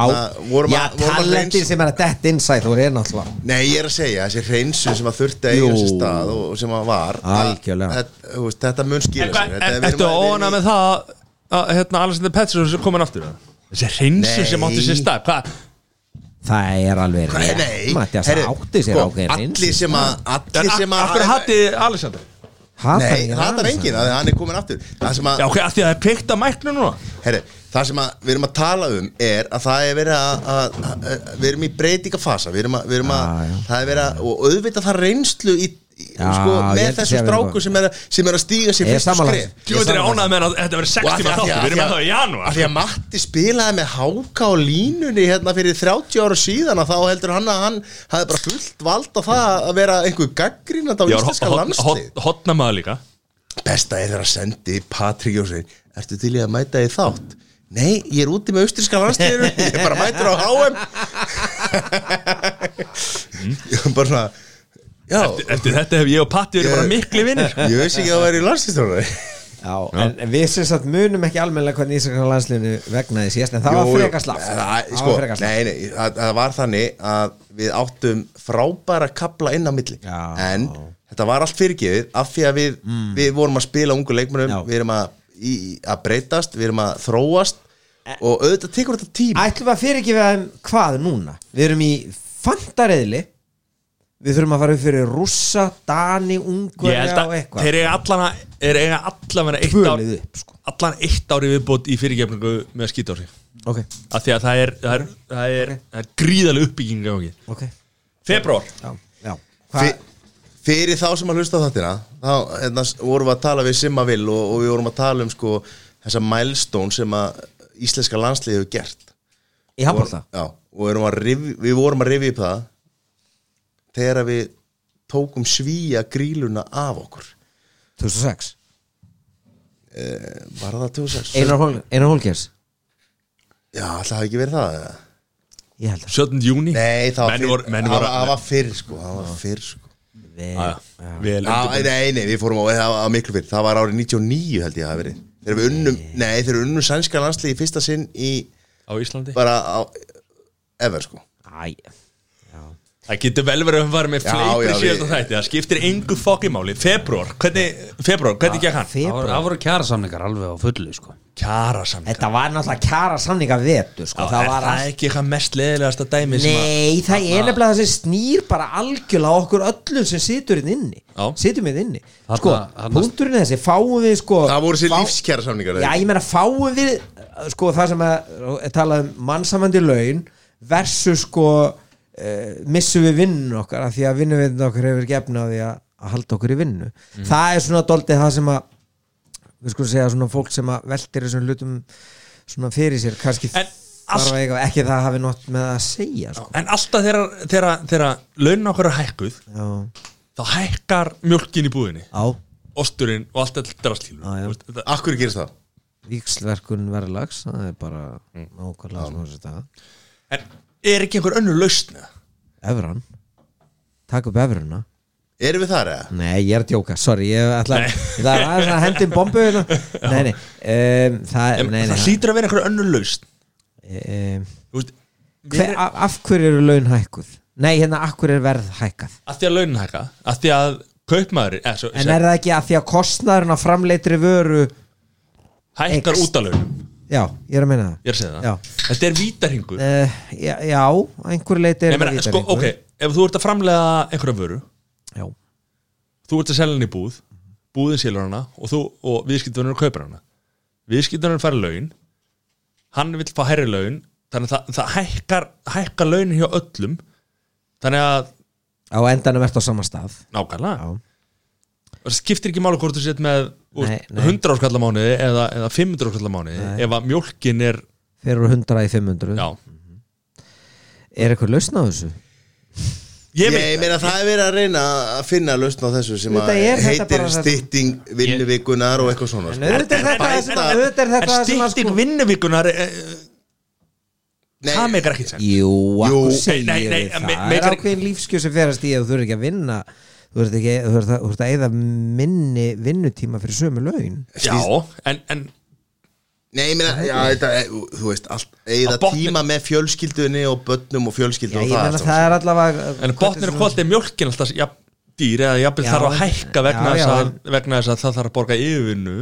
S3: vorum
S5: já,
S3: að- vorum að
S5: talentin
S3: hreinsa-
S5: sem er að detta innsæð þú er náttúrulega
S3: Nei, ég er að segja, þessi hreinsu sem að þurfti að eiga
S5: Jú.
S3: sér stað og og sem að var að-
S5: Algjörlega.
S3: þetta, þú veist, þetta mun skýra
S2: En
S3: sér
S2: hvað-
S3: Þetta er-
S2: en-
S3: við erum
S2: Ertu
S3: að- við erum
S2: óana
S3: í-
S2: með það að hérna, Alexander Pettersson sem komin aftur eða? Þessi hreinsu
S3: Nei.
S2: sem átti sér stað Hvað?
S5: það er alveg
S3: Nei,
S5: rétt
S3: nei,
S5: Mattias
S3: heyrðu,
S5: átti sér
S3: sko,
S5: ákveðin
S3: Allir sem að Allir sem
S2: En
S3: að
S2: akkur hatti Alexander?
S3: Nei, það er engin, það er hann er komin aftur Það sem að,
S2: Já, ok, af því að það er peikt að mæknu núna
S3: herri, það sem að við erum að tala um er að það er verið að, að, að, að við erum í breytingafasa við erum að, við erum að,
S5: Já, já.
S3: það er verið að og auðvitað það reynslu í, í
S5: Já,
S3: sko,
S5: ég
S3: með
S5: held að sé
S3: þessu
S5: að við erum
S3: stráku sem er, að- sem er að stíga sér
S5: Ég er
S3: fyrstu
S5: sammála.
S3: skrif
S2: Jú, þetta er
S5: sammála.
S2: ánað með að þetta verið 6 tíma þáttu Við erum að það í
S3: Af
S2: janúar
S3: því að Matti spilaði með háka á línunni hérna fyrir 30 ára síðan að þá heldur hann að hann hafði bara fullt vald á það að vera einhver gaggrínand á íslenska landslið
S2: Hotna maður líka
S3: Besta er þegar að sendi Patrik Jósvein Ertu til ég að mæta þig þátt? Nei, ég er úti með austriska landsliðinu Ég er bara mætur á HM Ég er bara svona Já,
S2: Eftir þetta hef ég og Patti verið bara mikli vinnir
S3: ég veist ekki að það væri í landslistrónu
S5: Já, en en við sem sagt munum ekki almennilega hvernig Ísaka landsliðinu vegnaði síðast en það
S3: Jú,
S5: var
S3: jú.
S5: frekar slapp
S3: Það-
S5: Það
S3: sko,
S5: var frekar slapp
S3: Nei, nei, það það var þannig að við áttum frábæra kapla inn á milli
S5: Já. Mm.
S3: En þetta var allt fyrirgefið af því að við, við vorum að spila ungu leikmönum
S5: Já.
S3: Við erum að, í, að breytast, við erum að þróast
S5: E-
S3: Og auðvitað tekur þetta tíma
S5: Ætlum við að fyrir ekki við þeim hvað núna Við erum í fantareðli Við þurfum að fara upp fyrir rússa, dani,
S2: Ég
S5: ungverja
S2: held
S5: og
S2: að
S5: eitthvað
S2: þeir eiga allan að Þeir eiga allan að vera eitt ár
S5: Bölið upp sko.
S2: Allan eitt ári viðbót í fyrirgefningu með skýt á sig
S5: okay.
S2: Af því að það er, það er, það er, það er gríðaleg uppbygging í gangi.
S5: Okay.
S2: Februar
S5: Já, já. Hva,
S3: Fyr, Fyrir þá sem að hlusta á þáttina Þá hérna, vorum við að tala við Simma Vill og, og við vorum að tala um sko þessa milestone sem að íslenska landsliði hefur gert
S5: í handbólta
S3: Já, og erum að rifi, við vorum að rifi upp það þegar að við tókum svíja gríluna af okkur
S5: 2006
S3: Eh, var það 2006?
S5: Einar, Hol Einar Holgers
S3: Já, alltaf hafi ekki verið það eða?
S5: ég held
S2: 17. júni
S3: Nei, það var
S2: Menn voru- menn
S3: það
S2: voru-
S3: var- það var fyrr sko, það var fyrr sko
S5: að
S2: Vel
S3: Já,
S2: undirbúin.
S3: nei, nei, við fórum á, það var miklu fyrir Það var árið 99 held ég að hafa verið Þegar við unnum, nei, þegar við unnum sænska landslið í fyrsta sinn í
S2: á Íslandi
S3: bara á ever sko
S5: Æ,
S2: Það getur vel verið að við varum með
S3: Já,
S2: fleipur í
S3: já,
S2: síðasta
S3: við-
S2: þætti Það skiptir engu fokkimáli Februar, hvernig, februar, hvernig gekk hann?
S4: Það voru- það voru kjara samningar alveg á fullu sko.
S2: Kjara samlinga
S5: þetta var náttúrulega kjara samninga vetur sko. það var
S2: það ekki eitthvað mest leðilegasta dæmi sem að-
S5: Nei, það er nefnilega það sem snýr bara algjörlega á okkur öllum sem situr inn inni
S2: Já.
S5: situr með inni
S4: Þarna-
S5: sko,
S4: þarna-
S5: punkturinn er þessi, fáum við sko,
S3: Það voru sér
S5: fá-
S3: lífskjæra samningar
S5: Já, ég meina fáum við uh, sko það sem að uh, talað um mannsamandi laun versus sko uh, missum við vinnun okkar af því að vinnuvinn okkar hefur gefna á því að, að halda okkur í vinnu það er svona doldið það sem að við skulum segja svona fólk sem að veltir þessum hlutum svona fyrir sér kannski
S2: En
S5: þarf að eiga ekki það hafi nátt með að segja sko.
S2: En alltaf þegar, þegar, þegar launin okkar er hækkuð
S5: já,
S2: þá hækkar mjölkin í búðinni
S5: á
S2: osturinn og allt þetta drastlílu
S5: Já, já.
S3: Akkur gerist það?
S5: víkslverkun verðlags það er bara nákvæmlega svona þessi dag
S2: En er ekki einhver önnur lausna?
S5: Evran, takk upp Evruna
S3: Erum við þar eða?
S5: Nei, ég er að djóka, sorry Ég ætla
S2: Nei.
S5: ég ætla aðeins að hendi um bombu hérna. Nei, nei, um, það,
S2: En
S5: nei, nei
S2: það hlýtur að vera einhver önnur lausn
S5: um,
S2: Þú veist,
S5: hver,
S2: mér er-
S5: af, af hverju eru laun hækkuð? Nei, hérna, af hverju er verð hækkað?
S2: að því að launin hækka að því að kaupmaður eh, svo,
S5: En er það ekki að því að kostnaðurinn á framleitri vöru
S2: hækkar
S5: eykst?
S2: út af launum
S5: Já, ég er að meina það
S2: Ég er að segja það
S5: Já.
S2: Þetta er vítarhingur
S5: uh, Já, já, að einhverju leiti er
S2: Ég meina, sko, ok, ef þú ert að framlega einhverja vöru
S5: Já,
S2: þú ert að selja henni í búð búðin selur hana og, þú, og viðskiptunum kaupir hana viðskiptunum fær laun hann vill fá herri laun þannig að það, það hækkar, hækkar launin hjá öllum þannig að
S5: á endanum ert á sama stað
S2: nákvæmlega
S5: Já.
S2: og það skiptir ekki mála hvort þú sett með úr,
S5: Nei, nei.
S2: 100 áskallamániði eða, eða 500 áskallamániði ef að mjólkin er
S5: Þeir eru 100 í 500
S2: já,
S5: Er eitthvað lausn á þessu?
S2: ég
S3: Ég,
S2: veit
S3: meina það er verið að reyna að finna lausn á þessu sem
S5: Þetta
S3: að
S5: er þetta
S3: heitir
S5: bara þetta.
S3: stytting vinnuvikunar og eitthvað svona
S5: En
S3: sko.
S5: auðvitað er þetta það sem að- auðvitað er
S2: en
S5: þetta það sem að
S2: stýttir
S5: sko-
S2: vinnuvíkunar eh,
S3: Nei,
S2: það meikar ekki sens
S5: Jú,
S3: Jú.
S5: akkur segir
S2: Nei, nei,
S5: það
S2: me-
S5: Það er
S2: meikar-
S5: ákveðin lífskjöð sem ferast í að þú eru ekki að vinna þú ert, ekki, þú ert, að, þú ert að eyða minni vinnutíma fyrir sömu laun
S2: já, en, en
S3: Nei, ég meina, já, þetta, er- þú veist, allt, eða
S2: Að botni-
S3: tíma með fjölskyldunni og bönnum og fjölskyldu og
S5: Já, ég
S3: það,
S5: menna
S3: allt
S5: það er allavega
S2: En botnir og kvöld er mjölkin alltaf ja, dýr eða jafnvel
S5: Já,
S2: þarf að
S5: en-
S2: hækka vegna,
S5: já,
S2: þess,
S5: já,
S2: að, vegna þess að það þarf að borga yfirvinnu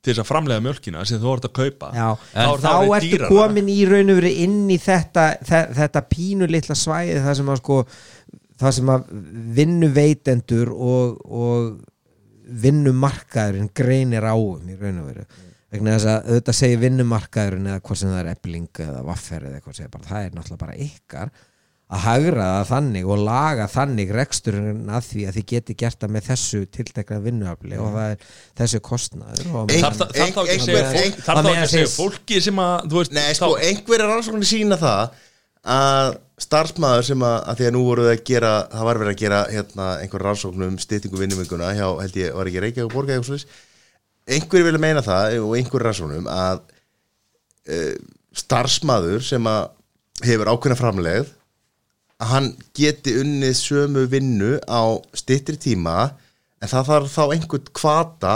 S2: til þess að framlega mjölkina sem þú ert að kaupa
S5: Já,
S2: er
S5: en
S2: það
S5: þá
S2: orðið
S5: ertu
S2: dýrara.
S5: komin í raun og verið inn í þetta, þe- þetta pínu litla svæði það sem að sko það sem að vinnuveitendur og, og vinnumarkaðurinn greinir á um í raun og verið vegna þess að auðvitað segir vinnumarkaðurinn eða hvað sem það er ebling eða vaffer eða hvað segir bara það er náttúrulega bara ykkar að hagra það þannig og laga þannig reksturinn að því að þið geti gert það með þessu tiltekna vinnuafli og það er þessu kostnaður og á
S3: Eitt-
S5: meðan-
S2: Þarf það þarf þá ekki að
S3: Einhver-
S2: segja fólk-
S3: ein-
S2: þarf
S5: að
S2: þá ekki
S5: meina
S2: að segja
S5: þess-
S2: fólki sem að þú veist,
S3: Nei, sko, einhverja rannsóknir sína það að starfsmæður sem að, að því að nú voru það að gera, það var verið að gera hérna einhver rannsóknum um styttingu vinnumenguna hjá, held ég, var ekki Reykjavík borga eitthvað slis einhverju vilja meina það og einhverju rannsóknum að e, starfsmæður sem að hefur ákveðna framlegð að hann geti unnið sömu vinnu á styttri tíma en það þarf þá einhvern kvata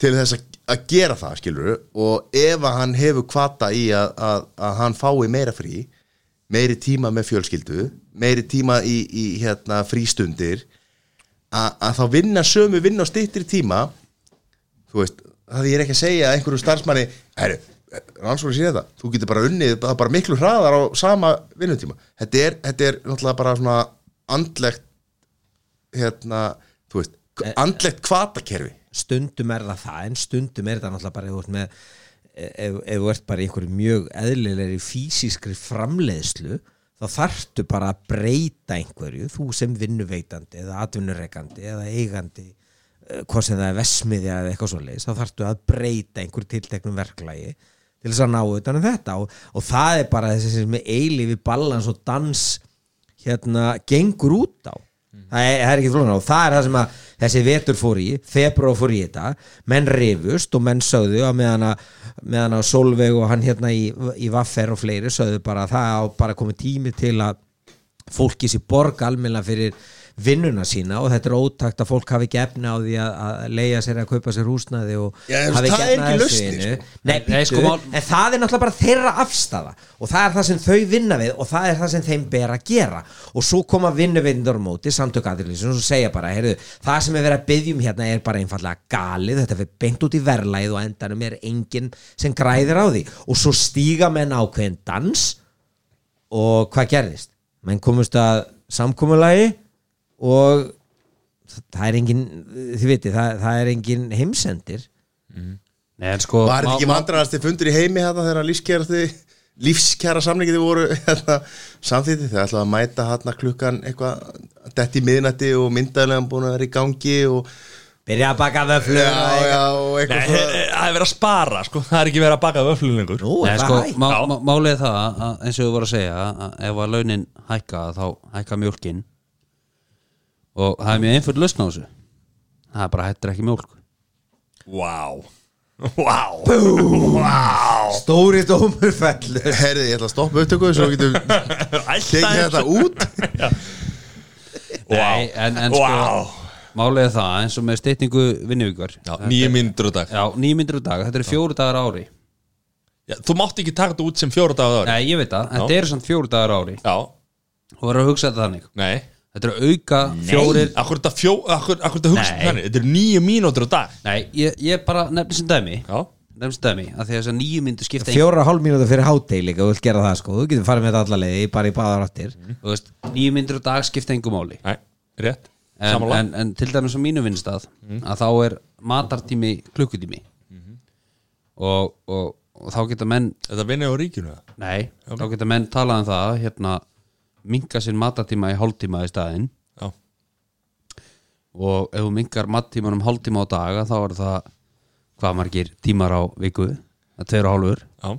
S3: til þess að, að gera það skilur og ef að hann hefur kvata í að, að, að hann fái meira frí meiri tíma með fjölskyldu meiri tíma í, í hérna, frístundir að, að þá vinna sömu vinna á styttri tíma þú veist, það er ekki að segja að einhverju starfsmanni, herru rannsóknir síðan þetta, þú getur bara unnið það bara miklu hraðar á sama vinnutíma þetta er, þetta er náttúrulega bara svona andlegt hérna, þú veist, andlegt kvatakerfi
S5: stundum er það það en stundum er það náttúrulega bara ef þú ert með ef, ef þú ert bara í einhverju mjög eðlilegri físiskri framleiðslu þá þarftu bara að breyta einhverju, þú sem vinnuveitandi eða atvinnureikandi eða eigandi eh, hvort sem það er vesmiðja eða eitthvað svoleiðis þá þarftu að breyta einhver tilteknum verklagi til þess að ná utan um þetta og, og það er bara þessi sem er eilífi ballans og dans hérna gengur út á það, er, það er ekki flóna og það er það sem að þessi vetur fór í, februar fór í þetta menn rifust og menn sögðu að meðan að, meðan að Solveig og hann hérna í, í Vaffer og fleiri sögðu bara að það á bara komið tími til að fólki sér borga almenna fyrir vinnuna sína og þetta er ótakt að fólk hafi ekki efni á því að, að leiða sér að kaupa sér húsnaði og
S3: Já, en
S5: hafi
S3: það er
S5: efni á
S3: ekki
S5: þessu
S3: lausnin,
S5: einu.
S3: sko.
S5: Nei,
S4: Nei,
S5: bíddu,
S4: sko, mál-
S5: en það er náttúrulega bara þeirra afstafa og það er það sem þau vinna við og það er það sem þeim ber að gera og svo koma vinnuvindar á móti samtök aðrilýsum og segja bara, heyrðu, það sem er verið að byggjum hérna er bara einfallega galið þetta fyrir beint út í verðlæð og á endanum er enginn sem græðir á því og svo stíga menn ákveðin dans og hvað gerðist? Menn komust að samkomulagi og það er engin, þið viti, það, það er engin heimsendir
S4: Nei, en sko
S3: Var þetta
S4: má-
S3: ekki
S4: má-
S3: vandrarasti fundur í heimi hérna þegar lífskjæra þið lífskjæra samlingið þið voru hérna, samþýtti þegar ætlaði að mæta hérna klukkan eitthvað dett í miðnætti og myndaðlega búin að vera í gangi og,
S5: Byrja að baka vöflur
S3: já, já, og
S2: Nei,
S3: eitthvað
S2: he-
S3: svona
S2: he- það er verið að spara sko. það er ekki verið að baka vöflun lengur
S5: Nú,
S4: Nei,
S5: er
S4: sko,
S5: það hægt?
S4: má, má, málið er það að eins og við vorum að segja að ef að launin hækka þá hækka mjólkin og það er mjög einföld lausn á þessu það er bara hættir ekki mjólk
S2: Vá Vá Vá
S5: Stóri dómur fellur
S3: Herði, ég ætla að stoppa upptöku svo getum tekið þetta út
S4: Nei, en, en sko, málið er það eins og með steytningu vinnuvíkvar
S2: Já, nýju mínútur á dag
S4: já nýmyndur dag, þetta eru fjóru dagar á ári
S2: já, Þú mátt ekki taka þetta út sem fjóra dagar á ári
S4: Nei, ég veit það, þetta eru samt fjóru dagar á ári
S2: Já,
S4: og verður að hugsa þetta þannig
S2: nei
S4: þetta eru auka fjórir
S2: Akkur þetta fjó, akkur, akkur þetta hugsa
S4: Nei.
S2: þannig Þetta eru nýju mínútur á dag
S4: Nei, ég, ég bara nefnir sem dæmi
S2: Já
S4: nefnir sem dæmi, að því að þessar nýju myndu skipta
S5: Fjóra og hálf mínúta fyrir hátegi líka, þú vilt gera það sko Þú getur farið með þetta alla leiði, bara í báðar áttir
S2: Mhm.
S4: þú veist, nýju myndir á dag skipta engum máli
S2: Nei, rétt
S4: en,
S2: Samanlega
S4: en, en til dæmis á mínu vinnstað að þá er matartími klukkutími og, og, og þá geta menn
S2: Þetta vinnir á ríkinu það
S4: nei, þá geta menn talað um það hérna, minka sinn matartíma í hálftíma í staðinn
S2: Já,
S4: og ef þú minkar mattíman um hálftíma á daga þá er það hvað margir tímar á viku það er tveir og hálfur
S2: já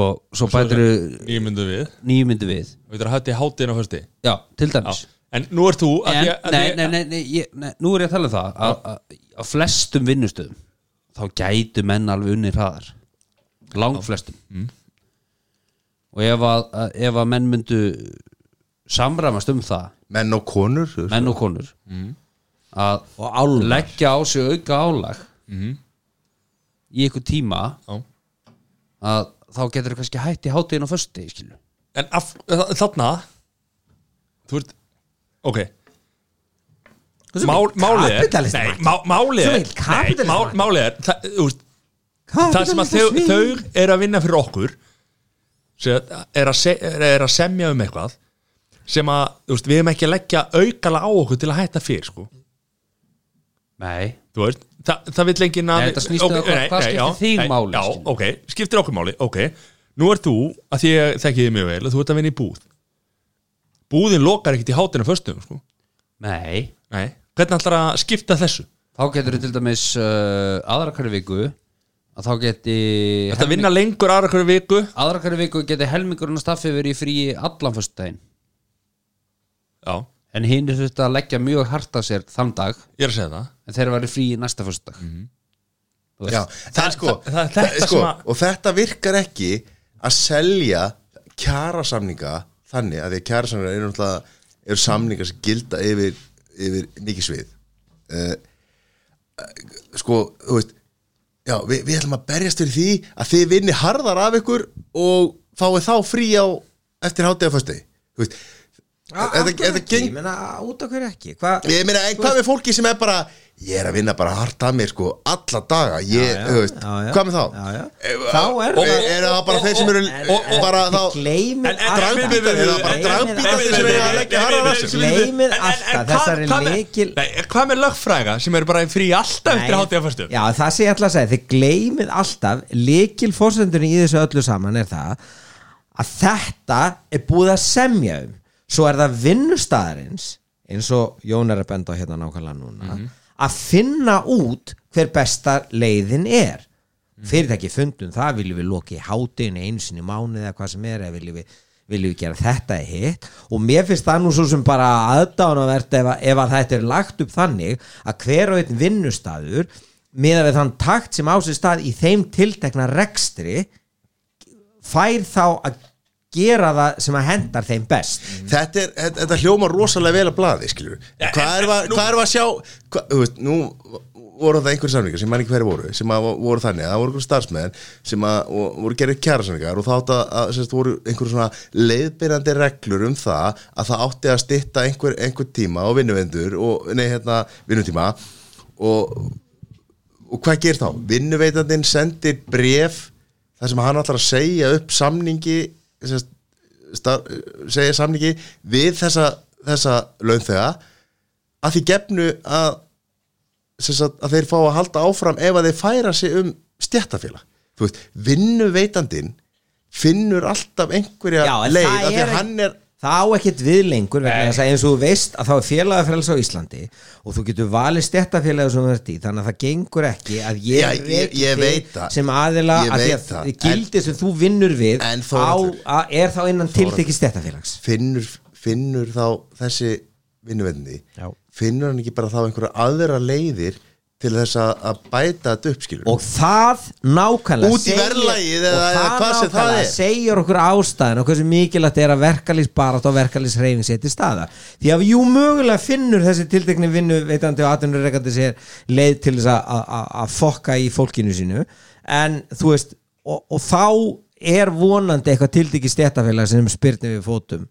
S4: og svo bætir
S2: Nýju mínútur við
S4: nýju myndi við
S2: Og þetta er hætti hátíðin á hösti
S4: já, til
S2: Já
S4: dæmis
S2: En nú ert þú að
S4: en,
S2: því að- að
S4: nei,
S2: því-
S4: nei, nei, nei, ég, nei, nú er ég að tala um það að, að, að flestum vinnustöðum þá gætu menn alveg unni hraðar langflestum
S2: Mm.
S4: og ef að, að, ef að menn myndu samramast um það
S3: Menn og konur þú veist.
S4: menn og konur
S2: Mm.
S4: að
S5: Og álfar.
S4: leggja á sig auka álag í einhver tíma
S2: Mm. Já.
S4: að þá getur þú kannski hætt í hátíðin á föstudegi skilu
S2: En af, þa- þarna Þú ert Ok Mál, Málið er
S5: kapitalismi,
S2: Nei,
S5: Matti.
S2: má, Málið
S5: Svo
S2: er
S5: mikill kapitalismi,
S2: Nei, mál-
S5: Matti.
S2: Málið er Það, þú veist, það sem að
S5: Kapitalismi
S2: þau,
S5: svin.
S2: þau er að vinna fyrir okkur sem er, að se, er að semja um eitthvað sem að þú veist, við erum ekki að leggja aukala á okkur til að hætta fyrir sko.
S4: nei,
S2: Þú veist, Þa, það vil enginn að
S4: Nei, þetta snýst um
S2: Ok,
S4: það hvað-
S2: nei, nei,
S4: hvað skiptir
S2: já,
S4: þig
S2: nei,
S4: máli,
S2: Já,
S4: skilur?
S2: ok, skiptir okkur máli, ok Nú ert þú, að því ég þekki þig mjög vel að þú ert að vinna í búð Búðin lokar ekkit í hátinu föstum sko.
S4: nei
S2: Nei, hvernig ætlar að skipta þessu?
S4: þá getur þú til dæmis uh, aðra hverju viku að þá geti
S2: Þetta vinna lengur aðra hverju viku
S4: aðra hverju viku geti helmingurinn að staffi verið í fríi allan föstudaginn
S2: Já,
S4: en hinn er þetta að leggja mjög hart af sér þann dag
S2: ég er að segja það
S4: en þeir eru fríi næsta föstudag
S2: Mhm.
S4: Þú veist.
S3: Já, það er sko,
S2: það- það er þetta
S3: sko
S2: sem að-
S3: og þetta virkar ekki að selja kjarasamninga þannig að því að kjarasamninga eru náttúrulega eru samninga sem gilda yfir, yfir mikið svið uh, sko, þú veist já, við, við ætlum að berjast fyrir því að þið vinni harðar af ykkur og fáið þá frí á eftir hátíða föstu þú veist
S5: Ah, Af
S3: Þetta-
S5: hverju
S3: þetta
S5: ekki?
S3: geng-
S5: Ég meina, út af hverju ekki? Hvað?
S3: Ég meina, en hvað með fólki sem er bara Ég er að vinna bara hart að mér sko Alla daga, ég, þú veist
S5: já, já.
S3: Hvað með þá?
S5: Já, já.
S3: Eh,
S5: Þá er
S3: og-
S5: það-
S3: Eru það bara þeir sem eru
S2: og- og-
S3: Bara þá
S5: Gleimið
S2: En- en- en- en- en- en- en-
S3: dragbítar þeir sem eru að leggja harðan að sér.
S2: En- en-
S5: Gleymið
S2: en hvað-
S5: alltaf þessari
S2: hvað með-
S5: lykil-
S2: Nei, en hvað með lögfræga sem eru bara í frí alltaf eftir hátíða fyrstu?
S5: Já, það sé ég ætla að segja, þið gleymið alltaf leikil fórsendurinn í þessu öllu saman er það að þetta er búið að semja um svo er það vinnustaðarins eins og Jón er að benda á hérna nákvæmlega núna að finna út hver besta leiðin er fyrirtæki fundum það viljum við loki hátinu einsinni mánuð eða hvað sem er eða viljum við, viljum við gera þetta eða hitt og mér finnst það nú svo sem bara aðdánavert ef, að- ef að þetta er lagt upp þannig að hver og einn vinnustadur meða við þann takt sem á sér stað í þeim tiltekna rekstri fær þá að gera það sem að hendar þeim best
S3: Mm. þetta, er, þetta, þetta hljóma rosalega vel að blaði skilur
S2: Ja,
S3: hvað
S2: en-
S3: er, va,
S2: en nú-
S3: hvað er að sjá hva, þú veist, nú voru það einhverjir samlingar sem maður ekki hverju voru sem að vo- voru þannig að það voru einhverjir starfsmenn sem að og, voru gerir kjæra samlingar og þá átt að, að sérst, voru einhverjum svona leiðbyrjandi reglur um það að það átti að stytta einhver, einhver tíma og vinnuvendur og nei hérna vinnutíma og, og hvað gerir þá? vinnuveitandinn sendir bref þar sem hann ætlar að segja upp samningi sérst, star, segja samningi við þessa, þessa launþega að því gefnu að, sem sagt, að þeir fá að halda áfram ef að þeir færa sig um stjættafélag þú veist, vinnuveitandin finnur alltaf einhverja
S5: Já, en
S3: leið
S5: það
S3: af því að
S5: er ekki-
S3: hann er
S5: það á ekkert við lengur vegna
S2: Nei.
S5: þess að eins og þú veist að þá er félagafræls á Íslandi og þú getur valið stjættafélagi sem þú ert í þannig að það gengur ekki að ég,
S3: Já, ég-
S5: reki
S3: ég
S5: þig
S3: veit það.
S5: sem aðila
S3: Ég
S5: að því
S3: veit
S5: að
S3: það.
S5: það. gildi sem þú vinnur við
S3: En
S5: á,
S3: Þórhallur.
S5: a, er þá innan tiltekið stjættafélags
S3: finnur, finnur þá þessi vinnuveitandi
S5: Já.
S3: finnur hann ekki bara þá einhverja aðra leiðir til þess að, að bæta þetta upp skilur
S5: og það nákvæmlega
S3: Út í
S5: segir-
S3: verðlagið
S5: og
S3: eða- eða hvað sem það
S5: nákvæmlega
S3: er.
S5: segir okkur ástæðan og hversu mikilvægt er að verkalýsbarat og verkalýsreyfing sér til staða því að jú mögulega finnur þessi tiltekni vinnu veitandi og atvinnureikandi sér leið til þess að- að að- að fokka í fólkinu sínu en þú veist og, og þá er vonandi eitthvað tiltekki stéttafélag sem spyrnir við fótum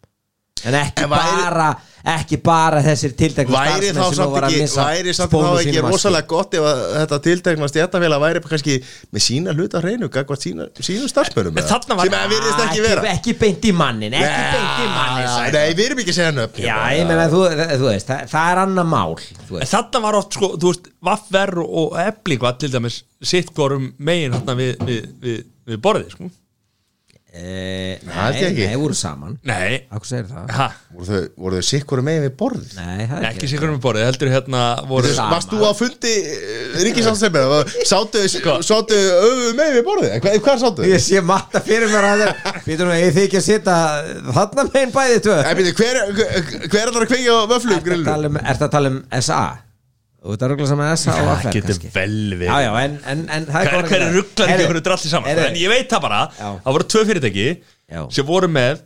S5: en ekki
S3: En væri-
S5: bara ekki bara þessir tiltekni
S3: væri þá samt ekki, væri samt þá ekki rosalega gott ef að þetta tiltekna stjættafélag væri bara kannski með sína hluta á hreinu gagvart sína, sínum starfsmönum
S2: En þarna var-
S3: sem að virðist ekki vera
S5: ekki beint í mannin ekki beint í mannin sagði
S3: nei, við erum ekki að segja nöfn
S5: Já, ég meina, þú, þú veist, það, það er annað mál þú
S2: En
S5: veist.
S2: þarna var oft sko, þú veist, vaffer og ebling var til dæmis sitt hvorum megin þarna við, við, við, við borðið, sko.
S5: e,
S3: held
S5: Nei,
S3: ég ekki.
S5: nei, voru saman
S2: Nei,
S5: Akkur segir það?
S2: ha,
S3: voru þau, voru þau sikkur um megin við borð
S5: Nei, það er
S2: ekki sikur um borðið, heldur hérna voru...
S5: Saman. Sko.
S3: varst þú á fundi ríkisáttsemina sátu, sátu öfu megin við borðið hvað, hvað sátu?
S5: Ég sé matta fyrir mér að það Býtum við, ég þykja að sita þarna megin bæði tvö
S3: Nei, byrju, hver, hver- hver er það að kveikja á vöflum
S5: Ertu að
S3: grillu?
S5: tala um- ertu að tala um SA? Þú ert að ruggla saman SA og
S2: Það
S5: AFR
S2: getur
S5: kannski
S2: vel við.
S5: Já, já, en, en, en það
S2: Hver,
S5: góð
S2: hver er
S5: regla.
S2: rugglar
S5: Heyrðu,
S2: ekki okkur drasli saman
S5: heyrðu,
S2: En ég veit það bara,
S5: Já.
S2: það voru tvö fyrirtæki
S5: Já.
S2: sem voru með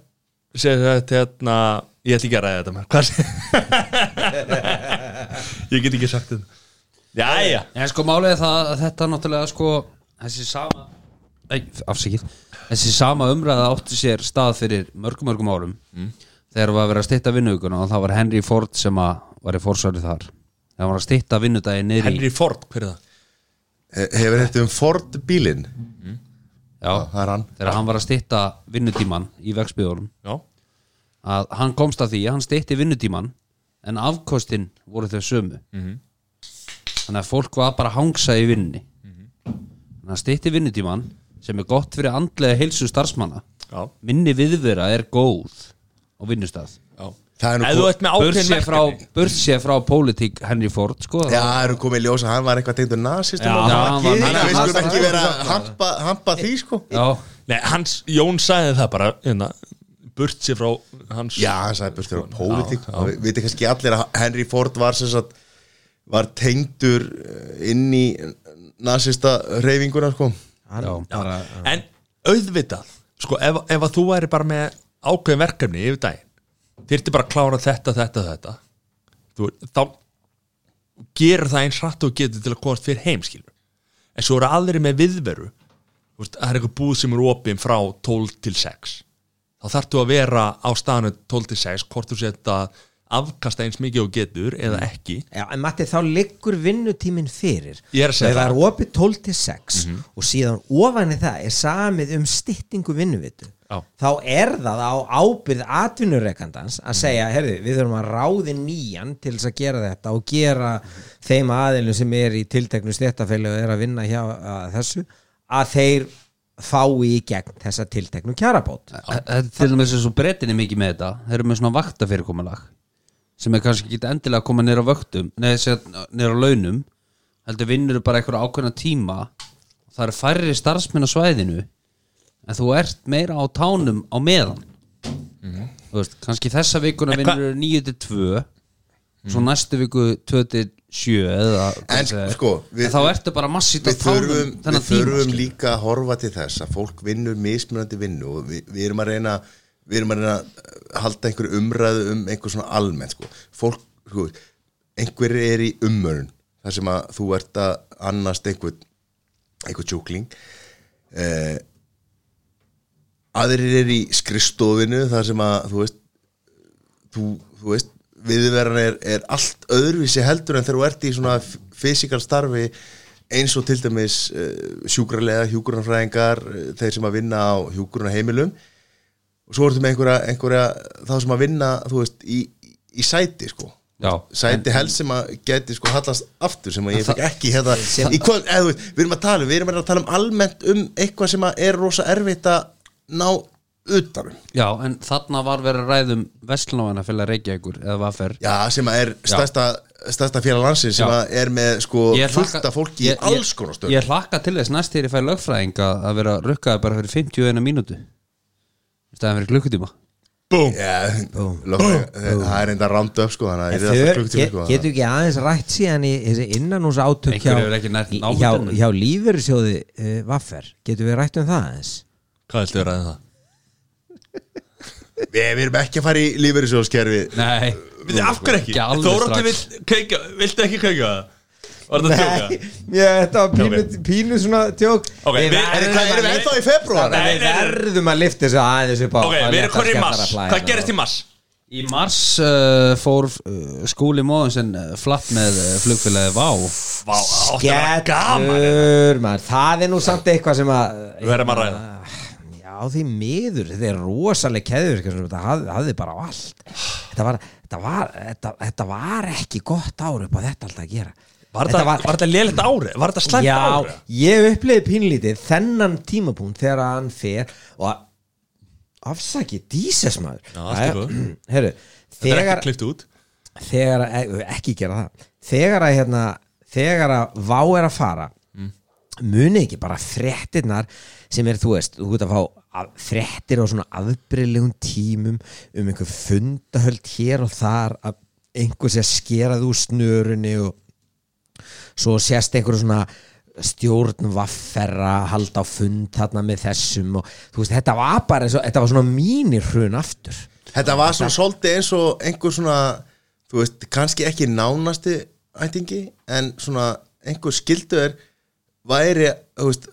S2: sem þetta, hérna, ég ætla ekki að ræða þetta maður. Hvað sé? ég get ekki sagt þetta Jæja,
S4: En sko málið er það að þetta náttúrulega sko þessi sama Ei, afsakið Þessi sama umræða átti sér stað fyrir mörgum mörgum árum
S2: Mhm.
S4: þegar var að vera að stytta vinnuguna og það var Henry Ford sem að var í forsvari þar það var að stytta vinnudagi niður í
S2: Henry Ford, hver er það?
S3: Hefur þetta um Ford bílinn?
S4: Já,
S3: Það er hann
S4: þegar hann var að stytta vinnutíman í vegspiðunum
S2: Já,
S4: að hann komst að því að hann stytti vinnutíman en afkostin voru þau sömu þannig að fólk var bara að hangsa í vinnunni þannig að stytti vinnutíman sem er gott fyrir andlega heilsu starfsmanna
S2: já,
S4: minni viðvera er góð á vinnustað
S2: já
S3: Það er nú
S2: Ef þú ert með ákveðin
S4: börsið frá,
S2: verkefni.
S4: börsið frá pólitík Henry Ford sko
S3: Já, það eru komið í ljós að hann var eitthvað tegndur nasist
S4: Já, hann var
S3: Þannig að við
S4: nasist.
S3: skulum ekki vera að hampa, hampa því sko
S4: Já,
S2: Nei, hans, Jón sagði það bara hérna, burt sér frá hans
S3: Já, hann sagði burt fyrir pólitík Við veitum kannski allir að Henry Ford var sem sagt var tengdur eh, inn í nasista reyfinguna sko
S4: já.
S2: En auðvitað, sko, ef, ef að þú væri bara með ákveðin verkefni yfir daginn þyrfti bara að klára þetta, þetta, þetta þú, þá gerir það eins hratt og þú getur til að komast fyrir heim, skilur en svo eru aðri með viðveru Þú veist, það er eitthvað búð sem er opin frá 12 til 6 þá þarf þú að vera á staðanu 12 til 6 hvort þú setja afkasta eins mikið og þú getur eða ekki
S5: Já, en Matti, þá liggur vinnutíminn fyrir
S2: Ég er að segja
S5: Þegar
S2: það. Mhm.
S5: það er opið 12 til 6 og síðan ofan í það er samið um styttingu vinnuvitu
S2: Já.
S5: þá er það á ábyrð atvinnurekandans
S2: Mhm.
S5: að segja, herðu, við þurfum að ráði nýjan til þess að gera þetta og gera þeim aðilum sem er í tilteknu stéttafélag og er að vinna hjá að þessu, að þeir fái í gegn þessa tilteknu kjarabót
S4: Þetta er til dæmis eins og breytinni mikið með þetta þeir eru með svona vakta fyrirkomulag sem er kannski ekki endilega að koma neyra vögtum neyra launum heldur vinnur bara einhverja ákveðna tíma það eru færri starfsmenn á svæðinu en þú ert meira á tánum á meðan þú veist, kannski þessa vikuna
S2: Mhm. En hva- Mhm.
S4: vinnur 9 til 2 svo næstu viku 2 til 7 eða,
S3: En sko, við-
S4: við, þá ertu bara massít á
S3: við þurfum,
S4: tánum
S3: við
S4: þennan tíma
S3: þurfum
S4: skilur.
S3: líka að horfa til þess að fólk vinnur mismunandi vinnu og við, við erum að reyna við erum að reyna að halda einhver umræðu um einhver svona almennt sko. fólk, sko, einhverjir er í ummörun þar sem að þú ert að annast einhver, einhver sjúkling eh, aðrir er í skrifstofinu þar sem að þú veist þú, þú veist viðverðan er, er allt öðruvísi heldur en þegar þú ert í svona fysikal starfi eins og til dæmis uh, sjúkralega, hjúkurnafræðingar eh, þeir sem að vinna á hjúkurnaheimilum og svo ertu með einhverja, einhverja þá sem að vinna, þú veist, í, í sæti sko
S4: Já,
S3: sæti helst sem að geti sko hallast aftur sem að ég
S4: Það-
S3: fikk ekki hérna í kvöld, eða þú veist, við erum að tala um- við erum að tala um almennt um eitthvað sem að er rosa erfitt að ná um. utanum
S4: Já, en þarna var verið að ræðum Vestlunavana fyrir að reykja ykkur eða vafer
S3: Já, sem að er stærsta, stærsta félag landsins sem
S4: Já.
S3: að er með sko fullt af fólki í alls konar
S4: ég,
S3: stöð
S4: ég hlakka til þess næst þegar ég fæ lögfræðing að, að vera rukkaði bara fyrir 51 mínútu í staðan fyrir klukkutíma
S2: Búm
S3: Já, lögfræðingar, það er enda ránd upp sko þannig að það er
S7: Þau
S3: klukkutíma
S7: get-
S3: sko
S7: getur ekki aðeins rætt síðan í þessi innanús átök hjá,
S4: Einhver hefur ekki nært
S7: hjá,
S4: námundunum.
S7: hjá, hjá lífverðsjóði uh,
S5: eh,
S7: Vaffer, getur við rætt um það aðeins?
S2: Hvað viltu vera að það?
S3: Við við erum ekki að fara í lífverðisjóðskerfi
S4: Nei,
S2: Við af hverju ekki?
S4: Ekki alveg
S2: Þórótti
S4: strax.
S2: vill keikja, viltu ekki keikja það? Var þetta að tjóka?
S5: já, þetta var pínu,
S2: Ok.
S5: pínu svona tjók
S2: Ok, við-
S3: Er
S2: Nei,
S3: það
S2: nei,
S3: erum við
S2: nei.
S3: ennþá í februar?
S2: Nei, nei,
S5: Við
S2: nei.
S5: verðum að lifta þessu aðeins upp á
S2: Ok,
S5: að
S2: við erum
S5: létta
S2: konir í
S5: skemmtara
S2: mars
S5: flæðina
S2: Hvað gerist í mars?
S4: í mars uh, fór uh, skúli móðinsen uh, flatt með uh, flugfélagi Vá
S2: Vá, átti að vera gaman
S5: Skellur maður, það er nú samt eitthvað sem að
S2: Við verðum að ræða
S5: Ah, Já því miður, þetta er rosaleg keður þetta hafði, hafði bara á allt þetta var, þetta, var, þetta, þetta var ekki gott ár upp á þetta alltaf að gera
S2: Var þetta, var þetta lélitt ári? Var þetta slæmt ári?
S5: Já, ég upplegi pínlítið þennan tímapunkt þegar að hann fer og að- afsakið díses maður
S2: Já, allt í góðu.
S5: Heru,
S2: Þetta er
S5: þegar,
S2: ekki klift út
S5: þegar að- eh, ekki gera það þegar að, hérna, þegar að vá er að fara munið ekki bara fréttirnar sem er þú veist, þú veit að fá að- fréttir á svona afbreyðlegum tímum um einhver fundahöld hér og þar að einhver sé að skerað úr snörunni og svo sést einhverju svona stjórn vafferra halda á fund þarna með þessum og þú veist, þetta var bara eins og, þetta var svona mínir hrun aftur
S3: Þetta var svona svolítið eins og einhver svona þú veist, kannski ekki nánasti ættingi, en svona einhver skildu er væri, þú veist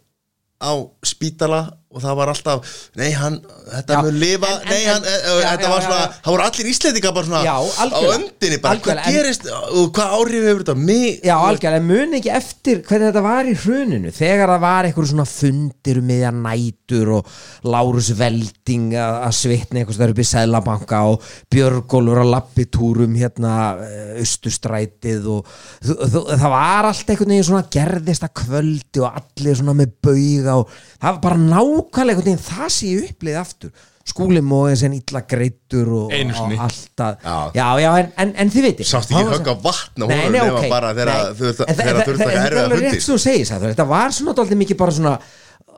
S3: á spítala og það var alltaf nei, hann, þetta
S5: Já,
S3: mun lifa
S5: en- en-
S3: nei, hann,
S5: en-
S3: e, e,
S5: já,
S3: þetta
S5: já,
S3: var
S5: já,
S3: svona,
S5: já.
S3: það voru allir íslendingar bara svona
S5: Já,
S3: á
S5: algjörlega.
S3: öndinni bara, hvað
S5: Algjörlega, en-
S3: gerist og hvað áhrif hefur þetta á mig
S5: Já, algjörlega, muni ekki eftir hvernig þetta var í hruninu þegar það var einhverju svona fundir meðja nætur og Lárus Velding að að svitna einhvers þar upp í Sæðlabanka og Björgólfur að lappitúrum hérna eh, austustrætið og þú- þú- það var allt einhvern veginn svona gerðist að kvöldi og allir svona með bauga og það var bara nákvæmlega einhvern veginn það sé ég upplið aftur skúli móðið sem illa greittur og,
S2: Einu
S5: og
S2: sinni.
S5: alltaf
S3: Já.
S5: já, já, en, en, en þið veitir
S3: Sást ekki
S5: Það var
S3: högg
S5: sem-
S3: á vatn á
S5: Nei,
S3: honum
S5: nei,
S3: nema
S5: ok,
S3: bara þegar
S5: nei.
S3: þú-
S5: En þa-
S3: þegar
S5: þa-
S3: þú ert að
S5: þa-
S3: erfiða
S5: þetta er alveg
S3: fundi.
S5: rétt sem þú segir Sæður, þetta var svona dálítið mikið bara svona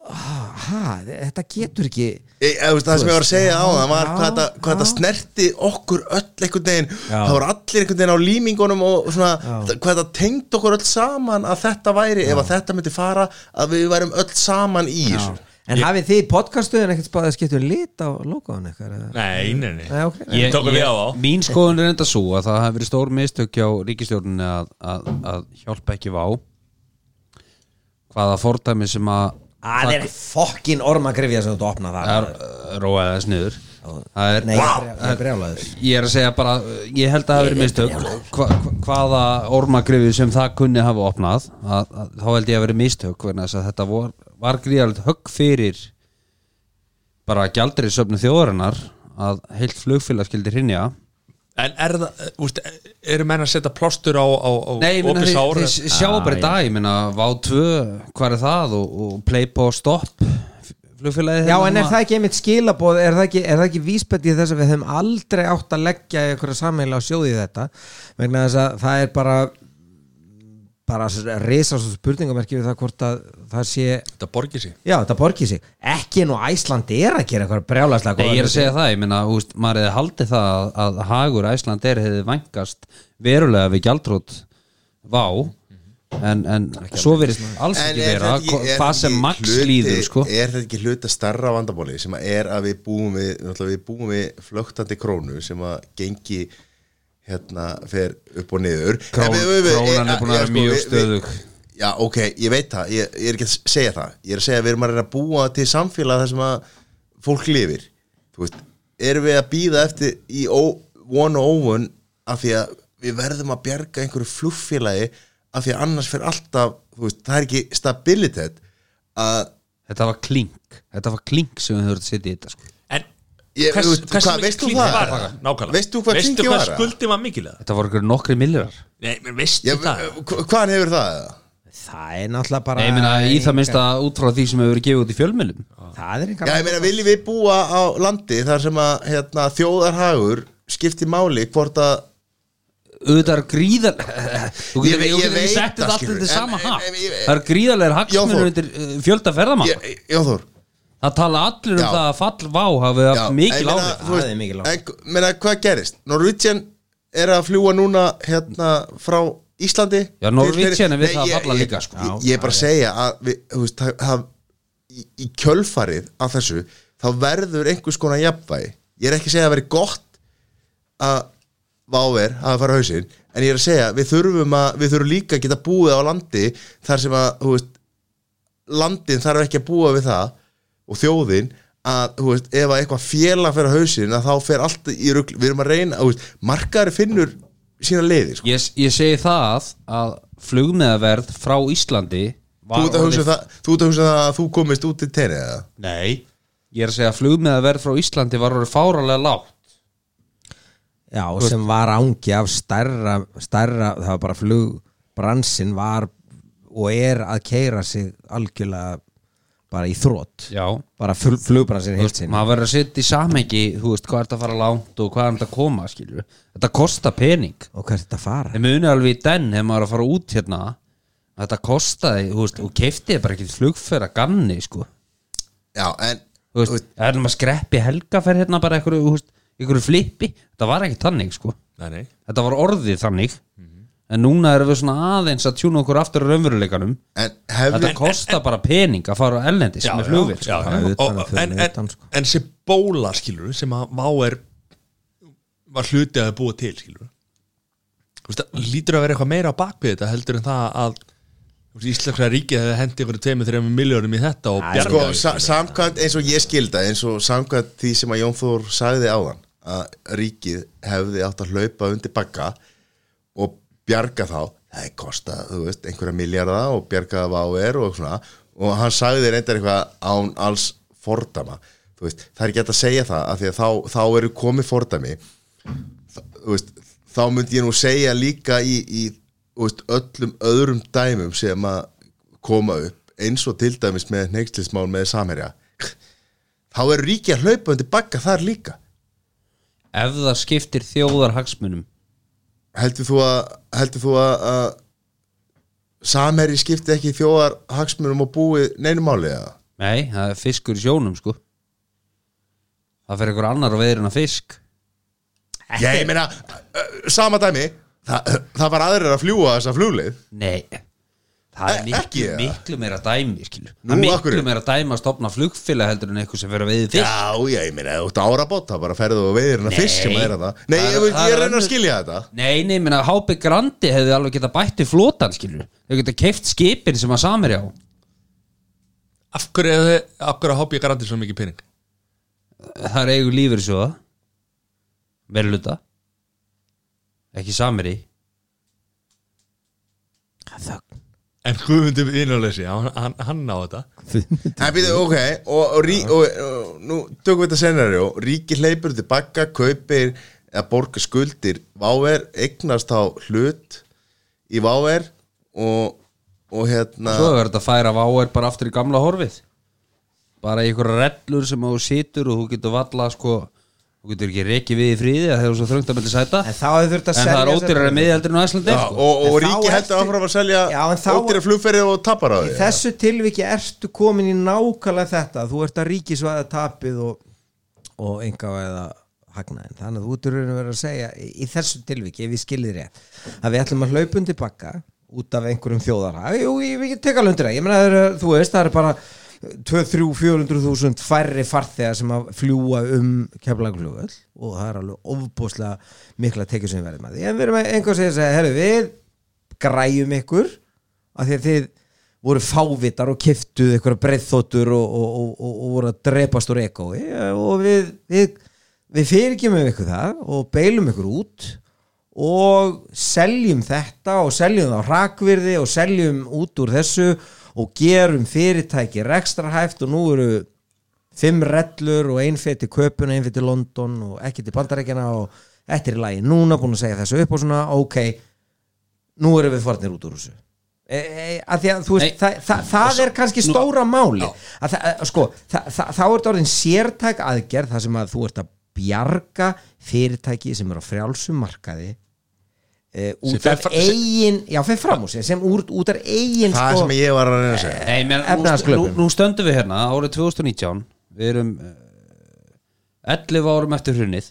S5: "Ah, ha, þetta getur ekki
S3: Ég, eða, þú veist, það sem ég var að segja á það var
S5: Já,
S3: hvað þetta, hvað þetta
S5: já.
S3: snerti okkur öll einhvern veginn, það voru allir einhvern veginn á límingunum og og svona, þetta- hvað þetta tengd okkur öll saman að þetta væri ef að þetta myndi fara að við værum öll saman í þessu
S5: en hafið þið í podcastuðin ekkert spáðið að skiptum lit á logoðan eitthvað eða?
S2: Nei, nei, nei
S5: Nei, ok.
S2: Ég- Tókum við á á
S4: Mín skoðun er enda svo að það hafi verið stór mistök hjá ríkistjórnunni að, að, að hjálpa ekki vá hvaða fordæmi sem að
S5: Að það er fokkin ormagrifja sem þú ert að opna það
S4: er uh, róaði þess niður það er,
S5: Nei, ég er brjá- ég er brjálaður
S4: ég er að segja bara uh, ég held að það hafi verið mistök hva, hva, hvaða ormagrifi sem það kunni hafa opnað að, að, þá held ég að verið mistök vegna þess að þetta vor, var gríðalegt högg fyrir bara gjaldri söfnu þjóðarinnar að heilt flugfélag skildi hrinja
S2: En er það, úst, eru menn að setja plástur á, á, á
S4: Nei, ég meina,
S2: opið
S4: þeir,
S2: sár?
S4: þeir sjá bara í dag, ég meina, Vá 2, hvað er það og, og Playboy Stop flugfélagið
S6: Já, en
S4: Hérna-
S6: er það ekki einmitt skilaboð er það ekki, er það ekki vísbætt í þess að við hefum aldrei átt að leggja ykkur sammeila á sjóði þetta vegna þess að það er bara bara reysa svo spurningamerki við það hvort að það sé
S2: Þetta borgir sig
S6: já, þetta borgi sig, ekki nú Æsland er að gera eitthvað brjálæslega
S4: Nei, ég er að segja það, ég meina, þú veist, maður hefði haldið það að, að hagur Æsland er hefði vængast verulega við gjaldrót vá en, en svo verið alls
S3: En
S4: ekki
S3: er
S4: vera
S3: þetta ekki- er
S4: hvað
S3: þetta
S4: sem
S3: ekki
S4: Max
S3: hluti-
S4: líður sko
S3: Er þetta ekki hluta starra vandabóli sem að er að við búum við, náttúrulega við búum við flögtandi krónu sem að gengi hérna fer upp og niður
S4: Krón-
S3: En við- við- við-
S4: krónan
S3: eh,
S4: er búin að
S3: já,
S4: vera
S3: sko,
S4: mjög
S3: við- við-
S4: stöðug.
S3: Já, ok, ég veit það, ég, ég er ekki að segja það Ég er að segja að við erum að reyna að búa til samfélag þar sem að fólk lifir Þú veist, erum við að býða eftir í ó- von og óvun af því að við verðum að bjarga einhverju flugfélagi af því að annars fer alltaf, þú veist, það er ekki stabilitet að
S4: þetta var klink, þetta var klink sem við höfum að setja í þetta sko
S2: En
S3: Ég-
S2: hvers-
S3: þú-
S2: hversu
S3: hvað-
S2: mikil
S3: veist þú
S2: klíning
S3: það?
S2: var það? Nákvæmlega
S3: Veist þú hvað klíngið var
S2: Veistu
S3: það?
S2: hvað skuldið var mikilega?
S4: þetta voru ykkur nokkri millirar
S2: Nei, menn veistu
S3: Já,
S2: það?
S3: hva- hvaðan hefur það? eða?
S6: það er náttúrulega bara
S4: Nei, ég meina, í það minnst að út frá því sem hefur verið gefið út í fjölmjölum
S3: Já,
S6: það er einhver
S3: ég meina, viljum við búa á landi þar sem að hérna, þjóðarhagur skipti máli hvort að
S4: auðvitað er gríðar þú
S3: Ég
S4: getur
S3: ve-
S4: ég,
S3: ég
S4: ég,
S3: veit
S4: ég sett
S3: það,
S4: þetta allt
S3: skilur.
S4: undir
S3: En-
S4: sama
S3: en-
S4: hatt
S3: en- ég-
S4: það er gríðarlegar
S3: Jóþór.
S4: hagsmunur undir uh, fjölda ferðamann
S3: Ég- Jóþór
S4: það tala allir um
S3: Já.
S4: það að fall vá hafið
S3: Já,
S4: haft mikil
S3: en ég meina,
S4: áhrif
S3: þú veist,
S6: Það er mikil áhrif.
S3: En meina, hvað gerist? Norwegian er að fljúa núna hérna frá Íslandi
S4: Já, Norwegian er við það að falla
S3: ég,
S4: líka, sko.
S3: Ég, ég er bara að segja að við, þú veist, það, það, í, í kjölfarið af þessu þá verður einhvers konar jafnvægi Ég er ekki að segja að það veri gott að váver að fara á hausinn en ég er að segja við þurfum að við þurfum líka að geta búið á landi þar sem að, þú veist, landin þarf ekki að búa við það og þjóðin að, þú veist, ef að eitthvað félag fer á hausinn að þá fer allt í rugl, við erum að reyna þú veist, markaður finnur sína leiðir sko.
S4: ég, ég segi það að flugmiðaverð frá Íslandi
S3: þú ert að hugsa um það, þú ert að hugsa um það að þú komist út til tenni eða?
S4: Nei Ég er að segja að flugmiðaverð frá Íslandi var orðið fáralega lágt
S5: Já, sem var ángi af stærra, stærra það var bara flugbransin var og er að keira sig algjörlega bara í þrótt
S4: Já
S5: bara fl flugbransin heilt sinni
S4: Maður verður að setja í samhengi, þú veist, hvað er þetta að fara langt og hvað er þetta að koma, skilur Þetta kostar pening
S5: og hvert þetta fara
S4: Þeir muni alveg í den ef maður er að fara út hérna að Þetta kostaði, þú veist, og keftið bara ekki flugferð að gamni, sko
S3: já, en
S4: Þú veist, það er maður skreppi helgaferð hérna bara einhverju, þú veist, einhverju flippi Þetta var ekki tannig, sko
S2: Nei, nei
S4: Þetta var orðið þannig
S3: Mhm.
S4: En núna erum við svona aðeins að tjúna okkur aftur á raunveruleikanum
S3: en hefði,
S4: Þetta kostar bara pening að fara á ellendis
S2: Já,
S4: með
S2: já,
S4: flugvill
S2: já,
S4: sko.
S2: já.
S5: Bara utan
S2: Og-
S5: að fyrir
S2: en,
S5: utan,
S2: en,
S5: sko.
S2: en sem bóla skilur sem að vá er var hluti að búa til skilur Vist, lítur að vera eitthvað meira á bakvið þetta heldur en það að þú veist, Íslenska ríkið hefði hendi ykkur 2-3 miljónum í þetta og
S3: sko,
S2: bjargaði
S3: sa, samkvæmt eins og ég skilda eins og samkvæmt því sem að Jón Þór sagði áðan að ríkið hefði átt að hlaupa undir bagga og bjarga þá það er kosta, þú veist, einhverja miljarda og bjarga það á er E og svona og hann sagði reyndar eitthvað án alls fordama, þú veist, það er ekki hægt að segja það af því að þá, þá eru komið fordami Þa- þú veist, þá myndi ég nú segja líka í, í þú veist, öllum öðrum dæmum sem að koma upp eins og til dæmis með neykslismál með samherja þá er ríki að hlaupa undir bagga þar líka
S4: Ef það skiptir þjóðar hagsmunum
S3: heldur þú að, heldur þú að, að samherji skipti ekki þjóðar hagsmunum og búið neynumáli eða?
S4: Nei, það er fiskur í sjónum sko Það fer einhver annar að veiðir en að fisk
S3: Ég meina, ö, sama dæmi það, það var aðrir að fljúa þessa flugleið
S4: Nei Það er
S3: E-
S4: miklu,
S3: ekki, eða?
S4: miklu meira dæmi skilur
S3: Nú,
S4: Það er
S3: af
S4: miklu
S3: hverju?
S4: meira dæmi að stopna flugfélag heldur en eitthvað sem fer að veiði fisk
S3: Já, já, ég meina, þú ert árabót þá bara ferðu og veiðir hennar fisk sem að er það Nei,
S4: Það
S3: ég,
S4: er-
S3: veit, ég
S4: það er
S3: er reyna að
S4: önnur-
S3: skilja þetta
S4: Nei, nei, menna HB Grandi hefði alveg geta bætti flotan skilur Þau geta keift skipin sem að samherja á
S2: af hverju, hefði- af hverju að hápa ég garantið svo mikið pening
S4: það er eigu lífur svo verið luta ekki samir í
S2: en Guðmundur innanleysi, hann, hann, hann á þetta
S3: En býtu, ok, og, og, rí, og, og nú tökum við þetta senari og ríki hleypur til bakka, kaupir eða borga skuldir váver, eignast þá hlut í váver og, og hérna
S4: svo er þetta að færa váer bara aftur í gamla horfið bara í einhverja rellur sem þú situr og þú getur valla sko, þú getur ekki rekið við í fríði að þegar þú svo þröngt að meldi sæta
S5: En þá hefur þurft að
S4: en það er
S5: selja
S4: ódýrara miðjaldurinn á Æslandi
S3: Já,
S4: sko.
S3: og, og
S5: En þá
S3: ríki
S5: ertu-
S3: heldur áfram að selja
S5: Já, en þá-
S3: ódýra flugferði og tapar á
S5: Í
S3: því
S5: þessu tilviki ertu komin í nákvæmlega þetta þú ert að ríkisvæða tapið og, og enga eða hagnaðin þannig að þú ert í raun að vera að segja í, í þessu tilviki, ef ég skilir rétt að við ætlum að hlaupum tilbaka út af einhverjum þjóðarhag jú, ég vil ekki teka lundir það ég meina, það eru- þú veist, það er bara 2-3-400 þúsund færri farþegar sem að fljúa um keflagflugvöld og það er alveg ofbúslega mikla tekið sem við verðum að því en við erum að einhver segja að segja, herru við græjum ykkur af því að þið voru fávitar og kiftuð einhverja breiðþóttur og, og, og, og, og voru að drepast úr ekói og við, við, við fyrirgjumum ykkur það og beilum ykkur út og seljum þetta og seljum það á rakvirði og seljum út úr þessu og gerum fyrirtæki rekstrarhæft og nú eru fimm rellur og ein fyrir til Köpun ein fyrir til London og ekki til Bandarækjana og þetta er í lagi núna búin að segja þessu upp og svona ok, nú erum við farnir út úr þessu e, e, að því að þú veist,
S4: Nei.
S5: það, það, það er kannski stóra máli að það, að, sko, það, það, þá ert orðin sértæk aðgerð þar sem að þú ert að bjarga fyrirtæki sem er á frjálsum markaði e,
S2: Sem
S5: út
S2: fer
S5: af
S2: fra- sem-
S5: eigin já, fyrir fram úr sér, sem úr, út af eigin
S3: það
S5: sko,
S3: sem ég var að reyna að segja
S4: Nei, menn, nú,
S5: Efnahagsglöpum.
S4: nú, nú stöndum við hérna árið 2019 við erum eh, 11 árum eftir hrunnið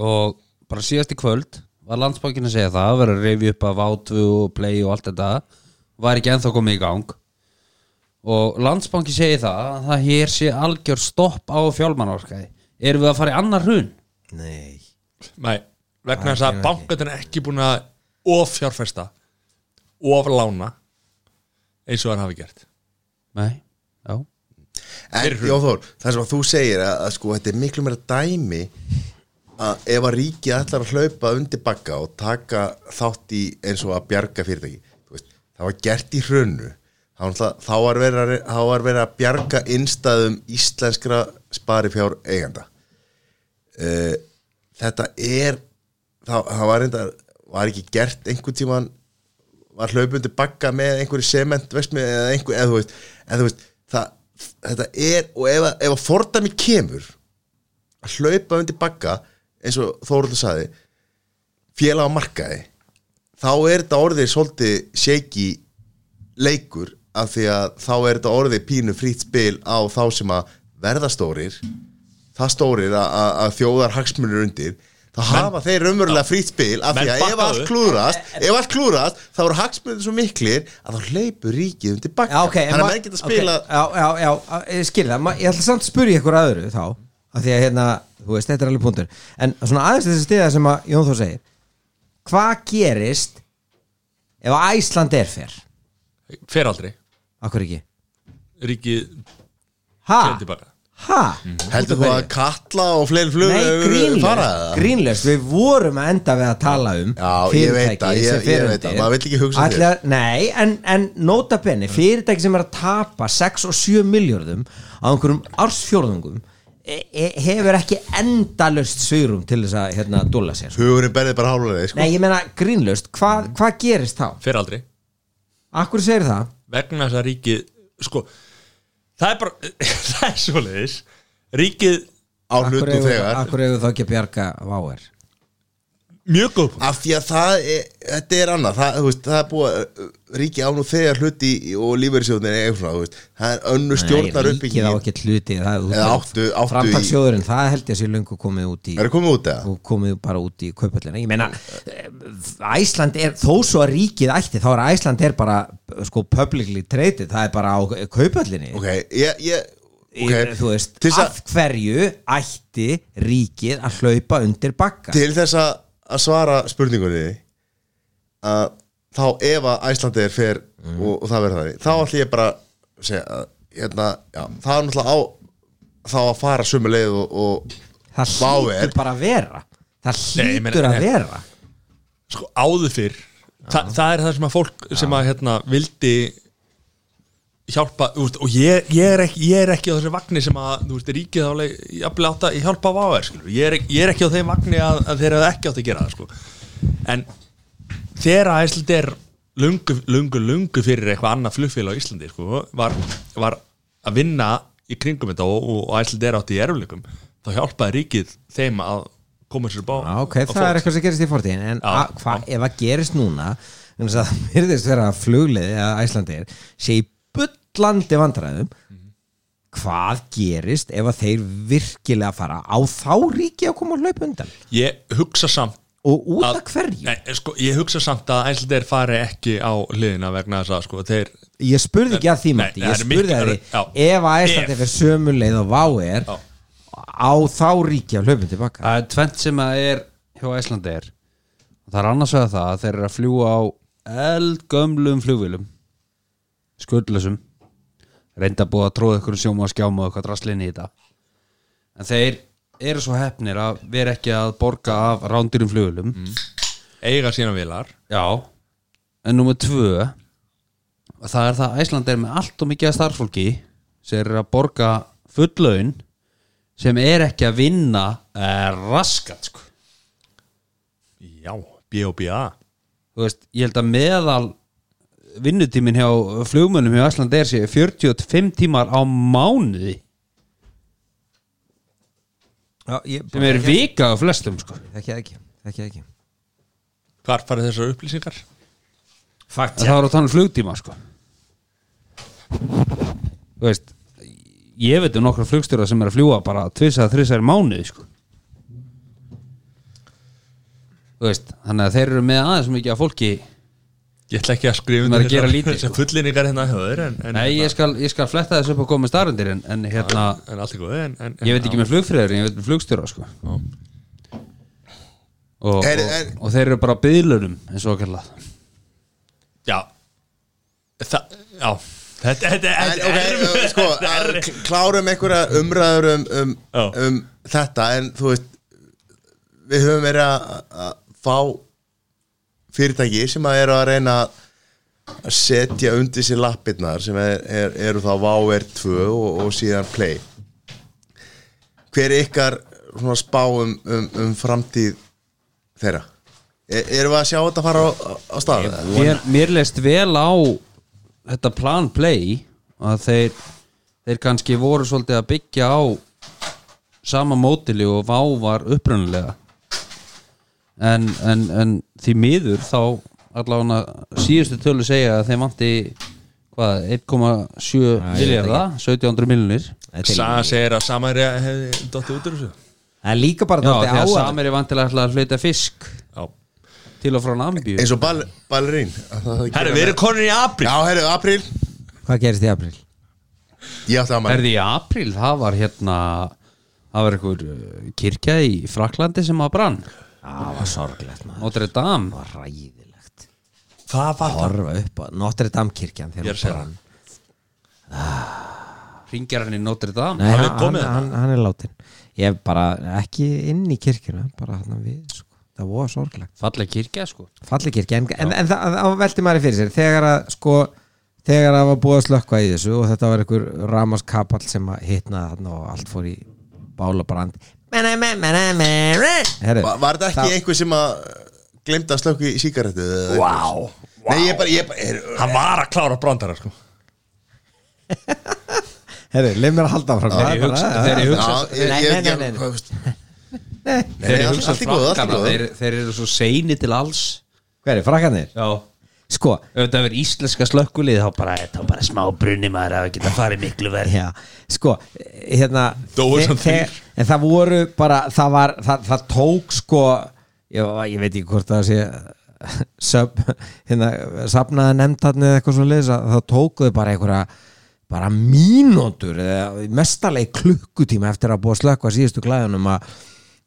S4: og bara síðast í kvöld var landsbankin að segja það að vera að reyfi upp af átvö og play og allt þetta var ekki ennþá komið í gang og landsbanki segi það að það hér sé algjör stopp á fjálmanarskaði erum við að fara í annar hrun
S5: nei
S2: Nei, vegna þess að bankatin er ekki búin að offjárfesta oflána eins og hann hafi gert
S4: nei, já
S3: en Jóþór, það sem að þú segir að, að sko, þetta er miklu meira dæmi að ef að ríki ætlar að hlaupa undir bakka og taka þátt í eins og að bjarga fyrirtæki Þú veist, það var gert í hrunu þá var náttúrulega- þá var verið að, þá var verið að bjarga innstæðum íslenskra sparifjár eiganda þetta er það, það var reyndar var ekki gert einhvern tíman var hlaupundi bakka með einhverju sement vestmið eða einhver eða þú veist, eða, þú veist það, þetta er og ef, að- ef að fordæmi kemur að hlaupa undir bakka eins og Þóruldur saði félag á markaði þá er þetta orðið svolítið shaky leikur af því að þá er þetta orðið pínu frýtt spil á þá sem að verða stórir það stórir að- að að þjóðar hagsmunir undir þá hafa þeir raunverulega frýtt spil af því
S2: Menn
S3: að ef
S2: bakkaðu.
S3: allt klúrast
S5: Eh,
S3: ef allt klúrast þá eru hagsmunir svo miklir að þá hleypur ríkið undir bakka
S5: já, ok, en
S3: þannig að
S5: ma-
S3: menn geta spilað
S5: ok, já, já, já, já, ég skil það, ma- ég ætla samt að spyrja ykkur aðru þá af því að hérna, þú veist, þetta er alveg punktur en svona aðeins þessi stiða sem að Jón Þór segir hvað gerist ef að Æsland er fer
S2: fer aldrei,
S5: akkur ekki
S2: ríkið
S5: ha,
S2: kemur tilbaka
S5: ha,
S3: heldur þú að Katla og fleiri flug
S5: nei,
S3: fara það?
S5: grínlöst grínlöst, við vorum að enda við að tala um
S3: Já, ég veit það, ég- ég veit það, maður vill ekki hugsa um
S5: Alla, Nei, en, en nota bene fyrirtæki sem er að tapa 6 og 7 miljörðum á einhverjum ársfjórðungum e e hefur ekki endalöst svýrum til þess að hérna dóla sér sko.
S3: hugurinn berði bara hálflega sko.
S5: Nei, ég meina grínlöst, hvað hva gerist þá?
S2: fer aldrei,
S5: Akkur segir það?
S2: vegna þess að ríkið sko, það er bara það er svoleiðis ríkið,
S3: á
S5: Akkur
S3: hlutum
S5: hefur,
S3: þegar
S5: akkur hefur þá ekki að bjarga váer?
S2: mjög góð punktur.
S3: af því að það er, þetta er annað það, þú veist, það er búið að uh, ríki án og þegar hluti í- og lífverðisjóðin er eitthvað þú veist. það er önnu stjórnar
S5: Ríkið á
S3: uppbygging
S5: ekki hluti það,
S3: Eða áttu- áttu í-
S5: Framtakssjóðurinn, það held ég að sé löngu komið út í
S3: er komið út eða?
S5: og komið bara út í kaupöllina ég meina, eh, Æsland er þó svo að ríkið ætti, þá er Æsland er bara sko publicly traded það er bara á kaupöllinni
S3: ok, ég, ég
S5: Ég-
S3: ok.
S5: þú veist,
S3: til, þess
S5: af
S3: að,
S5: hverju ætti ríkið að hlaupa undir bakka
S3: til þess að, að svara spurningunni að þá ef að Æslandi er fer og, og það verður það þá ætlum ég bara að segja að hérna, já, það er náttúrulega á þá að fara sömu leið og, og
S5: það
S3: Vá
S5: hlýtur
S3: er.
S5: bara að vera það
S2: Nei, ég meina,
S5: hlýtur að
S2: nei.
S5: vera
S2: sko, áður fyrr Þa, það er það sem að fólk sem að hérna, vildi hjálpa þú veist, og ég, ég, er ekki, ég er ekki á þessu vagni sem að þú veist, ríkið áleg jafnvel átt að hjálpa á áver ég, er ekki- ég er ekki á þeim vagni að, að þeir hefðu ekki átt að gera það sko. en þegar að Íslandi er lungu, lungu, lungu fyrir eitthvað annað flugfélag á Íslandi sko, var, var að vinna í kringum þetta og, og æslið er átt í erfleikum þá hjálpaði ríkið þeim að koma sér bá
S5: Já, ok, það er eitthvað sem gerist í fortíðin en
S2: Já,
S5: a- hvað ef það gerist núna þannig að það virðist vera að flugliði eða Æslandir sé í bullandi vandræðum hvað gerist ef að þeir virkilega fara á þá ríki að koma að laupa undan
S2: Ég hugsa samt
S5: og út
S2: Að-
S5: af hverju
S2: Nei, sko, ég hugsa samt að æslið er fari ekki á hliðina vegna þess að sko, þeir
S5: ég spurði ekki að því
S2: Nei,
S5: Matti,
S2: það
S5: ég
S2: eru
S5: spurði
S2: miklu-
S5: að
S2: já.
S5: því ef að Æslandi
S2: Ef.
S5: fyrir sömu leið og vá er
S2: Já.
S5: á þá ríki að laupa tilbaka
S4: Það er tvent sem að er hjá Æslandi er Það er annars vegar það að þeir eru að fljúa á eldgömlum flugvílum Skuldlösum Reynda búið að tróða ykkur sjóma og skjáma og eitthvað draslinni í þetta En þeir eru svo hefnir að vera ekki að borga af rándurum flugvílum
S2: eiga sína vilar
S4: Já En nummer tvö Það er það að Æsland er með allt og mikið af starfsfólki sem er að borga fullaun sem er ekki að vinna eh, raskat sko.
S2: Já, B.O.B.A.
S4: Þú veist, ég held að meðal vinnutíminn hjá flugmönnum hjá Æsland er sér 45 tímar á mánuði
S5: Já, ég-
S4: sem er vika á flestum sko.
S5: þekki það ekki, þekki það ekki.
S2: Hvar farið þessar upplýsingar?
S4: En það var á þannig flugtíma sko. Þú veist ég veit um nokkra flugstjóra sem er að fljúa bara tvisa að þrisa er mánuði sko. Þú veist, þannig að þeir eru með aðeins mikið af fólki
S2: Ég ætla ekki að skrifa
S4: Sem er að gera lítið, sko.
S2: þessar fullinningar hérna höður en, en,
S4: Nei, ég skal, ég skal fletta þessu upp og koma með starundir en, en hérna,
S2: en allt er góð en, en,
S4: ég veit ekki með flugfræður en ég veit með flugstjóra sko. og, og,
S3: Er- er-
S4: og þeir eru bara byðlunum eins og kallað
S2: Já, Þa, já. Þetta, þetta,
S3: En,
S2: þetta
S3: ok,
S2: er
S3: uh, sko, að kl- klárum einhverja umræður um, um,
S2: Já.
S3: um þetta en þú veist við höfum verið að að fá fyrirtæki sem að eru að reyna að setja undir sér lappirnar sem er, er, eru þá Váver 2 og, og síðan Play hver er ykkar svona spá um, um, um framtíð þeirra? E, erum við að sjá þetta fara á, á stað?
S4: mér, mér leist vel á þetta plan play að þeir, þeir kannski voru svolítið að byggja á sama mótili og vá var upprunalega en, en, en því miður þá allavega síðustu tölu segja að þeir vanti hvað, 1,7 miljarda 1700 miljonir
S2: Saga segir að Samaria hefði dottið út úr þessu
S5: það er líka bara
S4: Já, því
S5: dálítið
S4: að
S5: áhugavert.
S4: samir er vantilega ætla að flytja fisk
S2: Já
S4: til og frá Nambíu
S3: eins og ball, ballerín
S2: Herri, við erum konin í apríl
S3: Já, herru, apríl
S5: hvað gerist í april?
S3: Ég átti afmæli
S4: Erði í apríl, það var hérna það var einhver uh, kirkja í Fraklandi sem að brann
S5: það var sorglegt maður
S4: Notre Dame
S5: var ræðilegt
S2: Hvað var það?
S5: horfa upp á Notre Dame kirkjan
S2: Ég
S5: þegar
S2: er að
S5: hún
S2: segja
S5: brann
S4: ringir hann í Notre Dame
S5: Nei,
S2: Hann er
S5: hann, hann,
S2: komið
S5: hann, hann er látin ég er bara ekki inn í kirkjuna bara hann við sko. það var sorglegt
S4: falleg kirkja sko
S5: falli kirkja en, en, en það, það velti maður fyrir sér þegar að sko þegar að var búið að slökka í þessu og þetta var einhver ramaskapall sem að hitnaði hann og allt fór í bálabrand Herru,
S3: Var, var þetta ekki
S5: það-
S3: einhver sem að glemta að slökku í sígarettu? Vá wow. Nei, ég bara, ég bara er, uh,
S2: Hann var að klára brandara sko
S5: herru, leið mér að halda frá
S4: Þegar ég hugsa- þegar ég hugsa
S3: Já, ég,
S5: Nei,
S3: ég,
S5: nei, nei, nei, nei.
S3: nei
S4: þegar ég
S3: allt-
S4: hugsa
S3: allt í góðu, allt í
S4: Frakkana,
S3: góðu.
S4: þeir, þeir eru svo seini til alls
S5: hver er frakkanir?
S4: Já
S5: sko,
S4: Ef þetta verður íslenska slökkulið þá bara, þá bara smá brunni maður að geta farið miklu verð
S5: já, sko eh, hérna
S2: Dóu
S5: þe-
S2: samt
S5: þe-
S2: þrír.
S5: en það voru bara það, var, það, það tók sko ég, ég veit ekki hvort það sé sub, hérna, safnaði nefndarni eða eitthvað svo leiðis það tókuðu bara einhverja bara mínútur eða mestalegi klukkutíma eftir að búa að slökka síðustu glæðunum að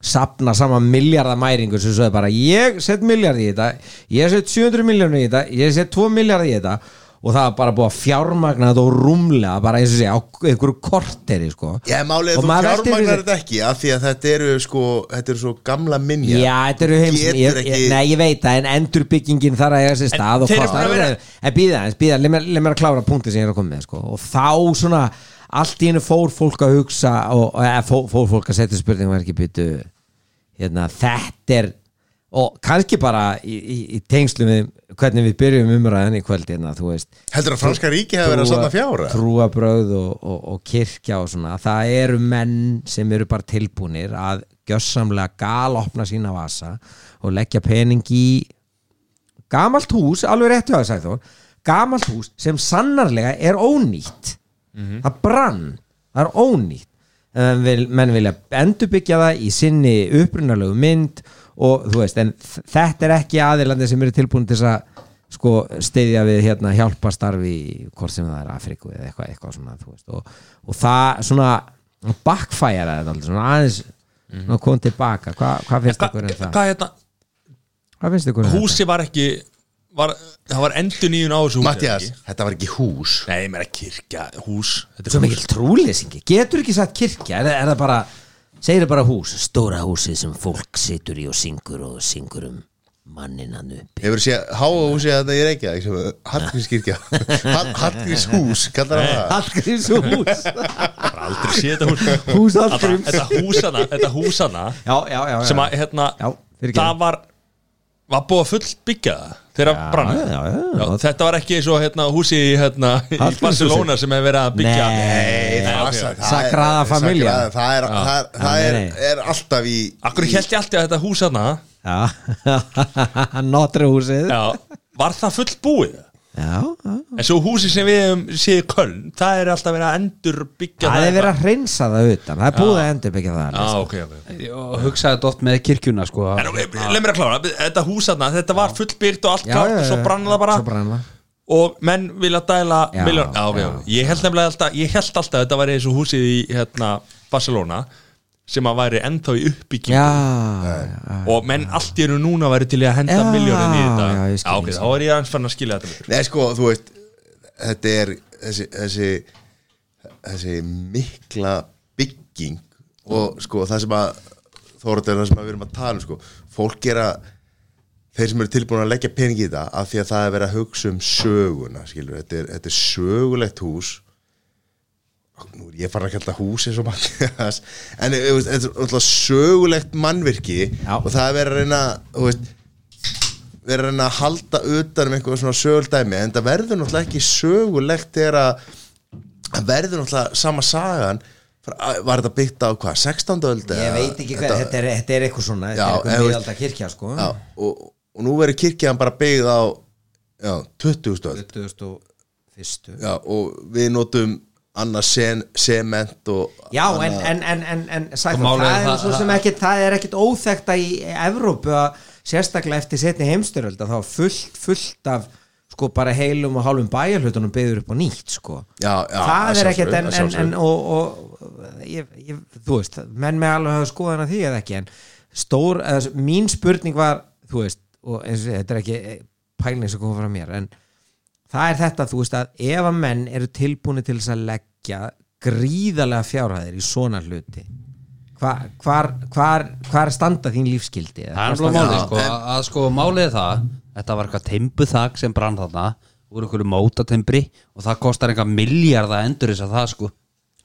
S5: safna saman miljardamæringu sem sögðu bara ég set miljard í þetta ég set 700 miljónu í þetta ég set 2 miljard í þetta og það var bara búið að fjármagna þetta og rúmlega bara eins og segja á einhverju korteri sko.
S3: Ég málið að
S5: Og
S3: þú
S5: maður veltir fyrir sér-
S3: fjármagnar þetta ekki af því að þetta eru sko, þetta eru svo gamla minja
S5: Já, þetta eru heims
S3: Getur
S5: ég, ég,
S3: ekki-
S5: Nei, ég veit það, en endurbyggingin þar að eiga sér stað og
S2: þeir eru
S5: kostar-
S2: búin að vera-
S5: En býða, en býða, leið mér- leið mér að klára punkti sem ég er að koma með sko. og þá svona, allt í hennu fór fólk að hugsa og, og eða, fór, fór fólk að setja spurningum er ekki byttu hérna, þetta er og kannski bara í, í, í tengslu við hvernig við byrjum umræðan í kvöldina þú veist
S3: Heldur að franska ríki hefur verið að safna fjára?
S5: trúabröð og, og, og kirkja og svona það eru menn sem eru bara tilbúnir að gjössamlega galopna sína vasa og leggja pening í gamalt hús, alveg réttu að sagði þó gamalt hús sem sannarlega er ónýtt það brann, það er ónýtt en vil, menn vilja endurbyggja það í sinni upprunalegu mynd og þú veist, en þ- þetta er ekki aðilandi sem eru tilbúin til þess að sko steyðja við hérna hjálpa starfi hvort sem það er Afriku eða eitthvað, eitthvað svona, þú veist, og, og það svona backfire þetta aldrei, svona aðeins mm -hmm. kom tilbaka, Hva, hvað finnst ykkur um það?
S2: hvað hérna,
S5: Hvað finnst ykkur um það?
S2: húsi var ekki var, það var endur nýjun á þessu húsi,
S3: Mattias,
S2: ekki?
S3: þetta var ekki hús
S2: nei, mér er kirkja, hús þetta
S5: Svo
S2: er
S5: mikil
S2: hús.
S5: trúleysingi, getur ekki sagt kirkja er, er það bara, segir það bara hús Stóra húsið sem fólk situr í og syngur og syngur um manninan uppi
S3: Hefur séð háa húsi að þetta er ekki Hallgrímskirkja Hallgrímshús, kallar það það
S5: Hallgríms hús
S2: Ég hef aldrei séð þetta hús
S5: Hús
S2: Þetta,
S5: Hallgríms
S2: þetta húsana, þetta húsana
S5: Já, já, já, já.
S2: sem að hérna,
S5: Já, fyrirgefðu.
S2: það var var búið að fullbyggja það þegar brann
S5: já, já, já.
S2: þetta var ekki eins og hérna, húsi í, hérna, í
S5: Hallgrímshúsi.
S2: Barcelona sem hefur verið að byggja
S5: Nei.
S2: Nei, ok,
S3: Það
S2: ok.
S3: er-
S5: Sagrada Familia.
S3: Sagrada, Það er, það er, það
S5: Já,
S3: er,
S5: nei, nei.
S3: er alltaf í
S2: Akkur
S3: í-
S2: held ég alltaf að þetta húsana
S5: Já, notri húsið
S2: já, var það fullbúið
S5: já, já.
S2: en svo húsi sem við hefum séð í Köln það er alltaf verið að endur byggja
S5: Það er verið að hreinsa það utan Það er búið að endur byggja það
S2: Já, ok, ok
S4: og hugsaði þetta oft með kirkjuna sko
S2: En
S5: hérna.
S2: leið mér að klára, þetta hús þarna, þetta var fullbyrgt og allt klárt og svo brann það bara
S5: Svo brann það
S2: og menn vilja dæla
S5: Já,
S2: miljón, já, já,
S5: já,
S2: ég held nefnilega alltaf ég held alltaf að þetta væri eins og húsið í hérna, Barcelona sem að væri ennþá í uppbyggingu
S5: Já, já,
S2: og menn allt í eru núna væri til í að henda
S5: Já,
S2: miljónin í þetta
S5: já, ég skil,
S2: ok,
S5: ég skil.
S2: þá er ég aðeins fann að skilja þetta mér
S3: Nei, sko, þú veist Þetta er þessi, þessi, þessi mikla bygging og sko, það sem að Þórat er það sem að við erum að tala um sko. fólk er að þeir sem eru tilbúin að leggja pening í það af því að það er verið að hugsa um söguna skilur, þetta er, þetta er sögulegt hús nú er ég farin að kalla húsi svo Mattias en eh, þú veist, þetta er alltaf sögulegt mannvirki
S5: Já.
S3: og það er verið að reyna þú veist, verið að reyna að halda utan um einhver svona söguldæmi en það verður náttúrulega ekki sögulegt þegar að það verður náttúrulega sama sagan frá- var þetta byggt á hvað, 16. öld
S5: Ég
S3: eða-
S5: veit ekki hvað, þetta er, þetta er eitthvað svona Þetta
S3: Já,
S5: er eitthvað
S3: en þú veist-
S5: miðalda kirkja, sko
S3: já, og, og nú verður kirkjaðan bara byggð á já, 20. öld
S5: 2001
S3: já, og við notum annars sen, sement og
S5: Já, en, en, en, en, en sagt,
S4: Og
S5: það,
S4: málið er
S5: það, er
S4: það-
S5: svo sem ekkit, það er ekkit óþekta í Evrópu að sérstaklega eftir setni heimstyröld að þá er fullt, fullt af sko bara heilum og hálfum bæjarhlutunum byggður upp á nýtt sko
S3: Já, já,
S5: það
S3: að
S5: er ekkit
S3: sjálfsögðu,
S5: en,
S3: að
S5: en,
S3: sjálfsögðu.
S5: en og, og ég, ég, þú veist, menn með alveg hafa skoðan að því eða ekki en stór, eða, mín spurning var þú veist, og eins og þetta er ekki eh, pæling sem kom frá mér en það er þetta, þú veist að ef að menn eru tilbúinu til þess að leggja gríðarlega fjárhæðir í svona hluti hvar, hvar, hvar, hvar standa þín lífskildi? eða
S4: það er
S5: hvar
S4: alveg
S5: standa-
S4: málið sko að, að sko málið er það þetta var eitthvað timbuþak sem brann þarna úr einhverju mótatembri og það kostar einhver miljard að endur þess að það sko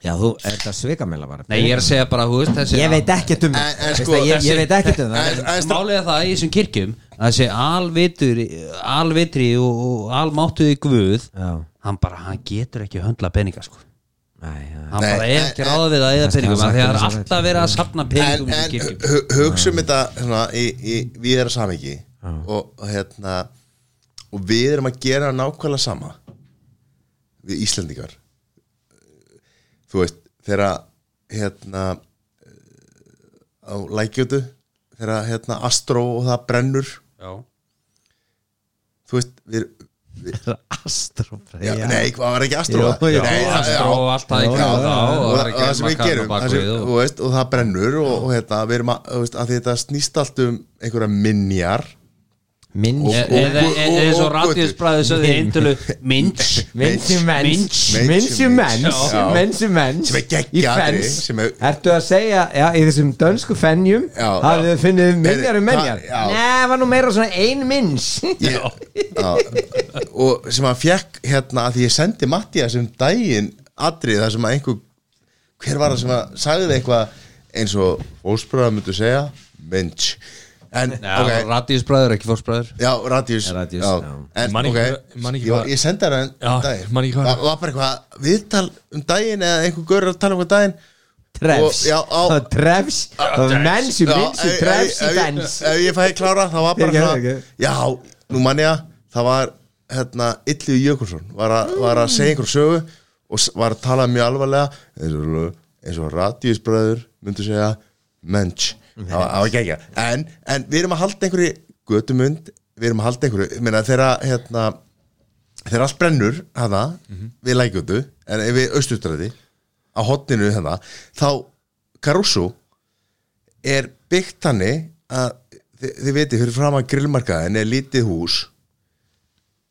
S5: Já, þú, er þetta svikamela bara?
S4: nei ég er að segja bara hú veist þessi
S5: Ég veit ekki um
S3: En- en
S5: það
S3: sko,
S5: sko, ég, ég
S4: þessi-
S5: veit ekki um það
S3: en- en- en-
S4: málið er það í þessum kirkjum að þessi alvitri alvitri og, og almáttuði guð
S5: Já.
S4: hann bara hann getur ekki höndla peninga sko
S5: Nei, já.
S4: hann
S3: Nei,
S4: bara er
S3: en-
S4: ekki ráða við að eða peningum
S5: hann
S4: af því að það er
S5: sagt
S4: alltaf verið að safna peningum í
S3: en,
S4: þessum
S3: en
S4: kirkjum
S3: hu- hugsum þetta svona, í, í, við erum samiki og, og hérna og við erum að gera nákvæmlega sama við Íslendingar þú veist þegar að, hérna á lækjötu þegar að, hérna Astro og það brennur
S4: Já.
S3: þú veist við,
S5: Astrofreyja
S3: já, nei, hvað var ekki Astro
S5: Jú,
S3: það?
S5: jú.
S3: nei,
S4: og Astro og allt það í
S3: Já,
S4: kringum það
S3: og,
S4: og
S3: og,
S4: það er
S3: og
S4: ekki
S3: það sem við
S4: makarinn á
S3: gerum það sem,
S4: bakvið og-
S3: þú veist, og það brennur og, og hérna, við erum að, þú veist, að því þetta snýst allt um einhverja minjar
S5: Minns
S3: Og- og-
S4: eða eh, eins og
S3: og-
S4: radíusbræði sögðu í eintölu minns
S5: Minns í menns
S3: Minns.
S5: Minns í menns
S3: Já.
S5: Minns í menns
S3: Sem er
S5: Í
S3: geggjadri,
S5: fens.
S3: sem er-
S5: Ertu að segja, já, í þessum dönsku fennjum
S3: Já,
S5: hafið
S3: já.
S5: þið finnið minjar um
S3: Heyrðu,
S5: minjar
S3: hvað- já.
S5: Nei, var nú meira svona ein minns
S3: ég, á, og sem hann fekk hérna að því ég sendi Mattias um daginn atrið þar sem að einhver hver var það sem að sagði eitthvað eins og óspröða myndu segja mensch En, ok,
S4: Já, okay. radíusbræður, ekki fórsbræður
S3: já, Radius,
S5: Radius, já.
S3: En,
S2: Man ekki
S3: ok,
S2: hvað- man ekki
S3: ég,
S2: hvað-
S3: ég sendi hana
S2: Já,
S3: um daginn
S2: man ekki hvað-
S3: Það var bara eitthvað viðtal um daginn eða einhver gaur að tala um hvað daginn
S6: Trefs
S3: Og- já, á-
S6: Það er trefs Það er menn
S3: Já,
S6: sem vinsi
S3: ef- ef-
S6: Trefs í
S3: ef-
S6: bens
S3: Ef ég fæði klára, það var bara
S6: Ekki,
S3: svona
S6: ekki.
S3: Já, nú mann ég að það var hérna, Illu Jökulsson var, a, var að segja einhver sögu og s- var að tala mjög alvarlega eins og, eins og radíusbræður myndu segja mensch það var, það var ekki ekki en, en við erum að halda einhverju götumund við erum að halda einhverju, ég meina þeirra hérna, þegar allt brennur hana, við lækjótu en ef við austustræði á hotninu hana, þá Caruso er byggt þannig að þið, þið veitir, fyrir fram að grillmarkaðin er lítið hús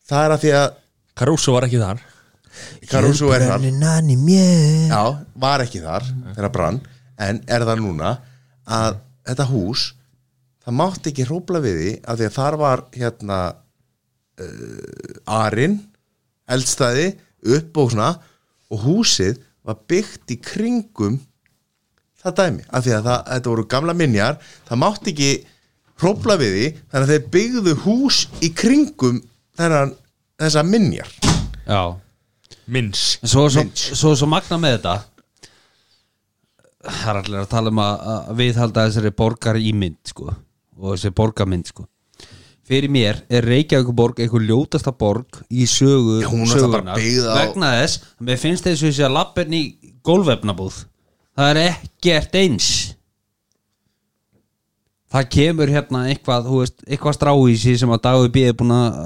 S3: það er að því að
S2: Caruso var ekki þar
S3: Caruso er þar
S5: nanni mér
S3: já, var ekki þar þegar brann, en er það núna að þetta hús það mátti ekki hrópla við því af því að þar var hérna uh, arinn eldstæði upp og svona og húsið var byggt í kringum það dæmi af því að það, þetta voru gamla minjar það mátti ekki hrópla við því þannig að þeir byggðu hús í kringum þennan, þessa minjar
S4: Já,
S2: Minns
S4: En svo, svo, svo, svo magna með þetta Það er allir að tala um að, að viðhalda þessari borgar í mynd sko, og þessari borgarmynd sko. Fyrir mér er Reykjavíkuborg einhver ljótasta borg í sögu
S3: Já, hún er alltaf bara
S4: sögunar
S3: byggð á-
S4: vegna þess að mér finnst þessu þessi að lappin í gólvefnabúð Það er ekkert eins Það kemur hérna eitthvað, þú veist, eitthvað strá í sig sem að dagur býði búin að,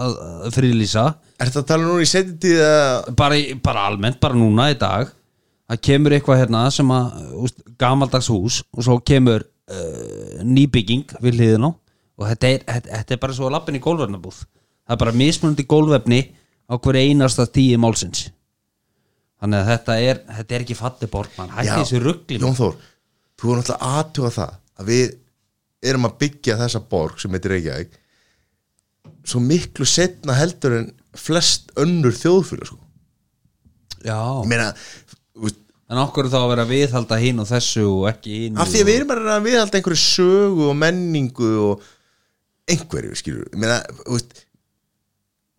S4: að, að friðlýsa
S3: Er þetta að tala núna í setjandi að
S4: bara, í- bara almennt, bara núna í dag það kemur eitthvað hérna sem að úst, gamaldags hús og svo kemur uh, nýbygging við hliðin á og þetta er, þetta, þetta er bara svo lappin í gólfefnabúð það er bara mismunandi gólfefni á hver einasta tíu málsins þannig að þetta er, þetta er ekki falli borg mann, hætti
S3: Já,
S4: þessu ruggli
S3: Jón Þór, þú er náttúrulega aðtuga það að við erum að byggja þessa borg sem heitir Reykjavík svo miklu setna heldur en flest önnur þjóðfélag sko.
S4: já,
S3: ég meina þú veist,
S4: en okkur þá að vera að viðhalda hinn og þessu og ekki hinn
S3: af því að við erum að reyna að viðhalda einhverju sögu og menningu og einhverju skilur ég meina, þú veist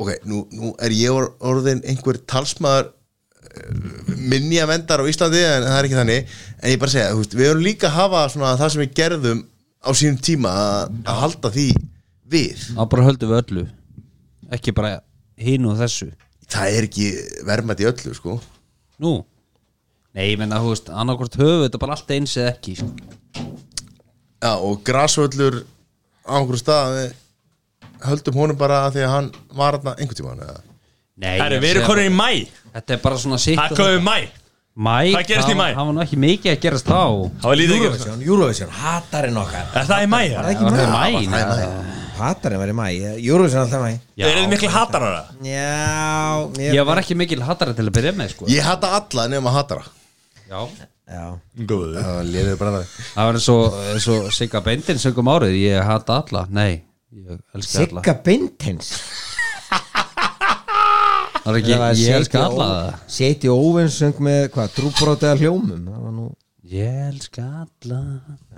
S3: ok, nú, nú er ég or- orðinn einhver talsmaður minja vendar á Íslandi en það er ekki þannig en ég bara segja, þú veist, við erum líka að hafa svona, það sem við gerðum á sínum tíma að, að halda því við
S4: þá bara höldum við öllu ekki bara hinn og þessu
S3: það er ekki verðmætt í öllu sko.
S4: Nú Nei, ég menna, þú veist, annarkvort höfu þetta bara allt eins eða ekki sko.
S3: Já, og grasvöllur á einhverju stað við höldum honum bara að því að hann var þarna einhvern tímann eða
S4: Nei,
S2: Herri,
S4: ég
S2: við erum
S4: segi
S2: konur í mæ
S4: bara- Þetta er bara svona sitt
S2: Það komum í mæ
S4: Mæ,
S2: Hvað gerist í maí?
S4: Það var nú ekki mikið að gerast þá
S2: Það var lítið ekki
S5: Eurovision, Eurovision, hattarinn okkar
S2: Er það í mæ?
S5: Það er
S2: eða?
S5: ekki mæ
S4: Mæ, nei,
S5: Hattarinn var í mæ, Eurovision alltaf mæ
S4: Já.
S2: Eru þið miklu hattar á það?
S5: Já, mér
S4: ég var ekki mikil hattara til að byrja með sko.
S3: Ég hata alla nema hatara
S4: Já.
S5: Já,
S2: Góðu
S3: Það léður bara
S4: Það var eins og, eins og Sigga Bendin sögum árið, ég hata alla Nei, ég elska alla
S5: Sigga Bintins
S4: Það er ekki, ég elska alla
S5: Seti Óvins söng með, hvað, trúbrótið að hljómum Það var nú
S4: Ég elska alla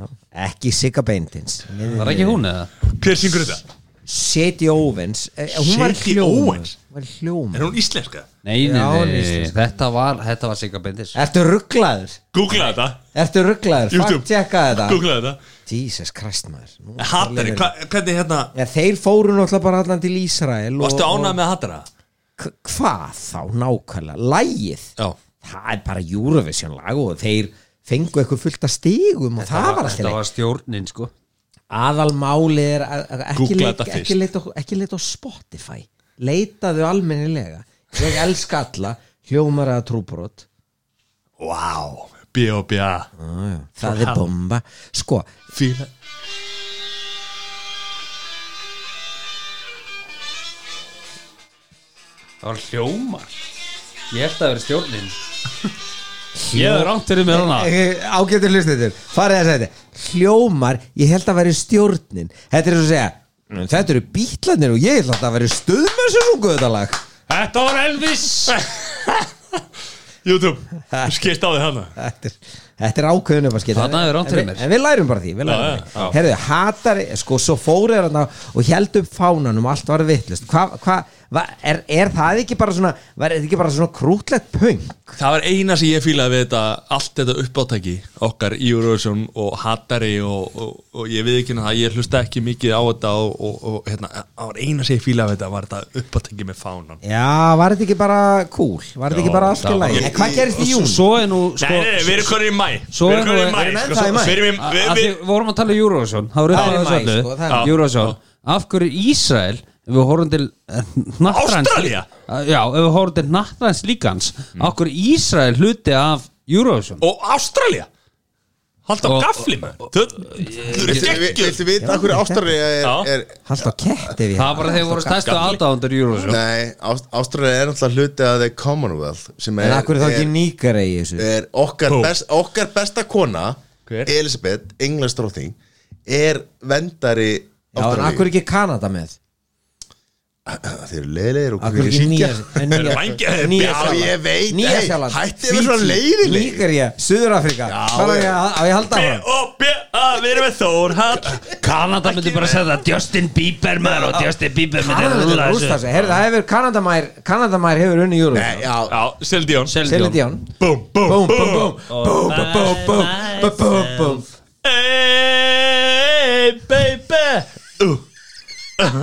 S5: Já. Ekki Sigga Bentins
S4: Það er ekki hún eða?
S2: Hver syngur þetta?
S5: Sadie Owens eh, Hún var í
S2: Sadie
S5: hljómum.
S2: Owens?
S5: Hún var í hljómum
S2: Er hún íslenska?
S4: Nei, nei,
S5: Já, hún
S4: nei,
S5: er
S4: nei.
S5: íslensk.
S4: Þetta var, þetta var Sigga Bendis
S5: Ertu rugglaður?
S2: Googla þetta
S5: Ertu rugglaður?
S2: YouTube.
S5: Fakt checka þetta
S2: Googla þetta
S5: Jesus Christ maður Nú er
S2: Hattari,
S5: alveg-
S2: hva- hvernig hérna
S5: Ja, þeir fóru náttúrulega bara allan til Ísrael og-
S2: Varstu ánað
S5: og-
S2: með hattara?
S5: K- Hvað þá nákvæmlega? Lægið?
S2: Já
S5: Það er bara Eurovision lag og þeir fengu eitthvað fullt að stígum og það var alltaf
S4: Þetta var stjórnin sko
S5: aðalmáli er að- að ekki,
S2: Googla
S5: leik,
S2: þetta fyrst.
S5: ekki, leita, á- ekki leita á Spotify leitaðu almennilega ég elska alla hljómar að trúbrot
S2: Vá B.O.B.A.
S5: það er bomba sko,
S2: Fíla
S4: Það var hljómar Ég held að vera stjórnin Ég er rámt fyrir með hana
S5: ágættur eh, hlustendur farið að segja þetta hljómar, ég held að veri stjórnin þetta er svo að segja þetta eru bítlanir og ég held að það veri stuðmessu svo guðalag
S2: Þetta var Elvis YouTube Skist á þig hana
S5: þetta er, Þetta er ákveðun upp að skita
S4: Þarna hefur rangt fyrir mér.
S5: En við lærum bara því, við lærum
S2: Já,
S5: já,
S2: já,
S5: því. Herðu, hatari, sko, svo fóru er þarna og held upp fánanum, allt var vittlust hva, hva, hva, er, er það ekki bara svona var þetta ekki bara svona krútlegt pöng?
S2: Það var eina sem ég fílaði við þetta allt þetta uppáttæki okkar í Eurovision og Hattari og, og, og ég við ekki það, ég hlusta ekki mikið á þetta og, og, og hérna, það var eina sem ég fílaði við þetta var þetta uppáttæki með fánan
S5: Já, var þetta ekki bara cool? Var þetta
S4: Já,
S5: ekki bara allt í
S4: það var-
S5: lagi? En Hvað gerist í jún?
S4: Svo er nú
S2: Nei, nei, nei, við erum konur í mæ
S4: Sko- Svo
S2: Við
S4: er
S2: erum konur
S4: nú-
S2: í mæ
S5: erum ennþá
S2: sko,
S5: í maí.
S2: Við erum, við,
S4: að því
S2: við,
S4: við vorum að tala um Eurovision það voru
S5: Það
S4: upp
S5: er
S4: á
S5: í maí,
S4: þessu
S5: sko,
S4: öllu
S5: það
S2: er-
S4: Eurovision af hverju Ísrael ef við horfum til nattræns
S2: Ástralía? Mm.
S4: já, ef við horfum til nattræns líkans af hverju Ísrael hluti af Eurovision
S2: og Ástralja Hald á
S4: Og-
S2: gafli með Þú þú eru geggjur
S3: Viltu vita hverju Ástralja
S2: Já.
S3: er, er
S5: Hallt á ketti við hérna.
S4: það bara þeir voru stærstu
S2: gamli.
S4: aðdáðandur Eurovision
S3: Nei, Ástralja er náttúrulega hluti af The Commonwealth sem
S5: En
S3: er,
S5: akkur er það ekki
S3: er,
S5: nýkara í þessu?
S3: er okkar,
S2: Bú.
S3: best, okkar besta kona
S2: Hver?
S3: Elisabeth, englandstróting er vendari
S5: Já, en akkur
S3: Ástralíu
S5: ekki Kanada með?
S3: Þeir eru leiðilegir og
S5: Akkur
S3: hvílir
S5: ekki
S3: síkja
S5: nýja en
S2: Þeir eru
S5: nýja-
S2: vængjaðir,
S5: nýja-
S2: Já,
S5: Nýja-Sjáland.
S3: ég veit,
S5: Nýja-Sjáland
S3: hey, hættið að vera svona leiðileg.
S5: Nígerja, Suður-Afrika Hvað á ég að á ég að halda
S2: B
S5: áfram?
S2: og B A Við erum með Þórhall
S4: Kanada myndi bara segja það Justin Bieber maður og Justin Bieber myndi
S5: Kanada
S4: rúla
S5: rústa
S4: þessu
S5: þessu Herðu, það hefur Kanadamær Kanadamær hefur unni júru
S3: Nei, já,
S2: Já, Seldjón
S5: Selin Dion
S2: Búm, búm,
S5: Búm, búm,
S2: búm
S5: búm Búm, búm, búm, búm Búm, búm, búm
S2: Hey, baby Uh.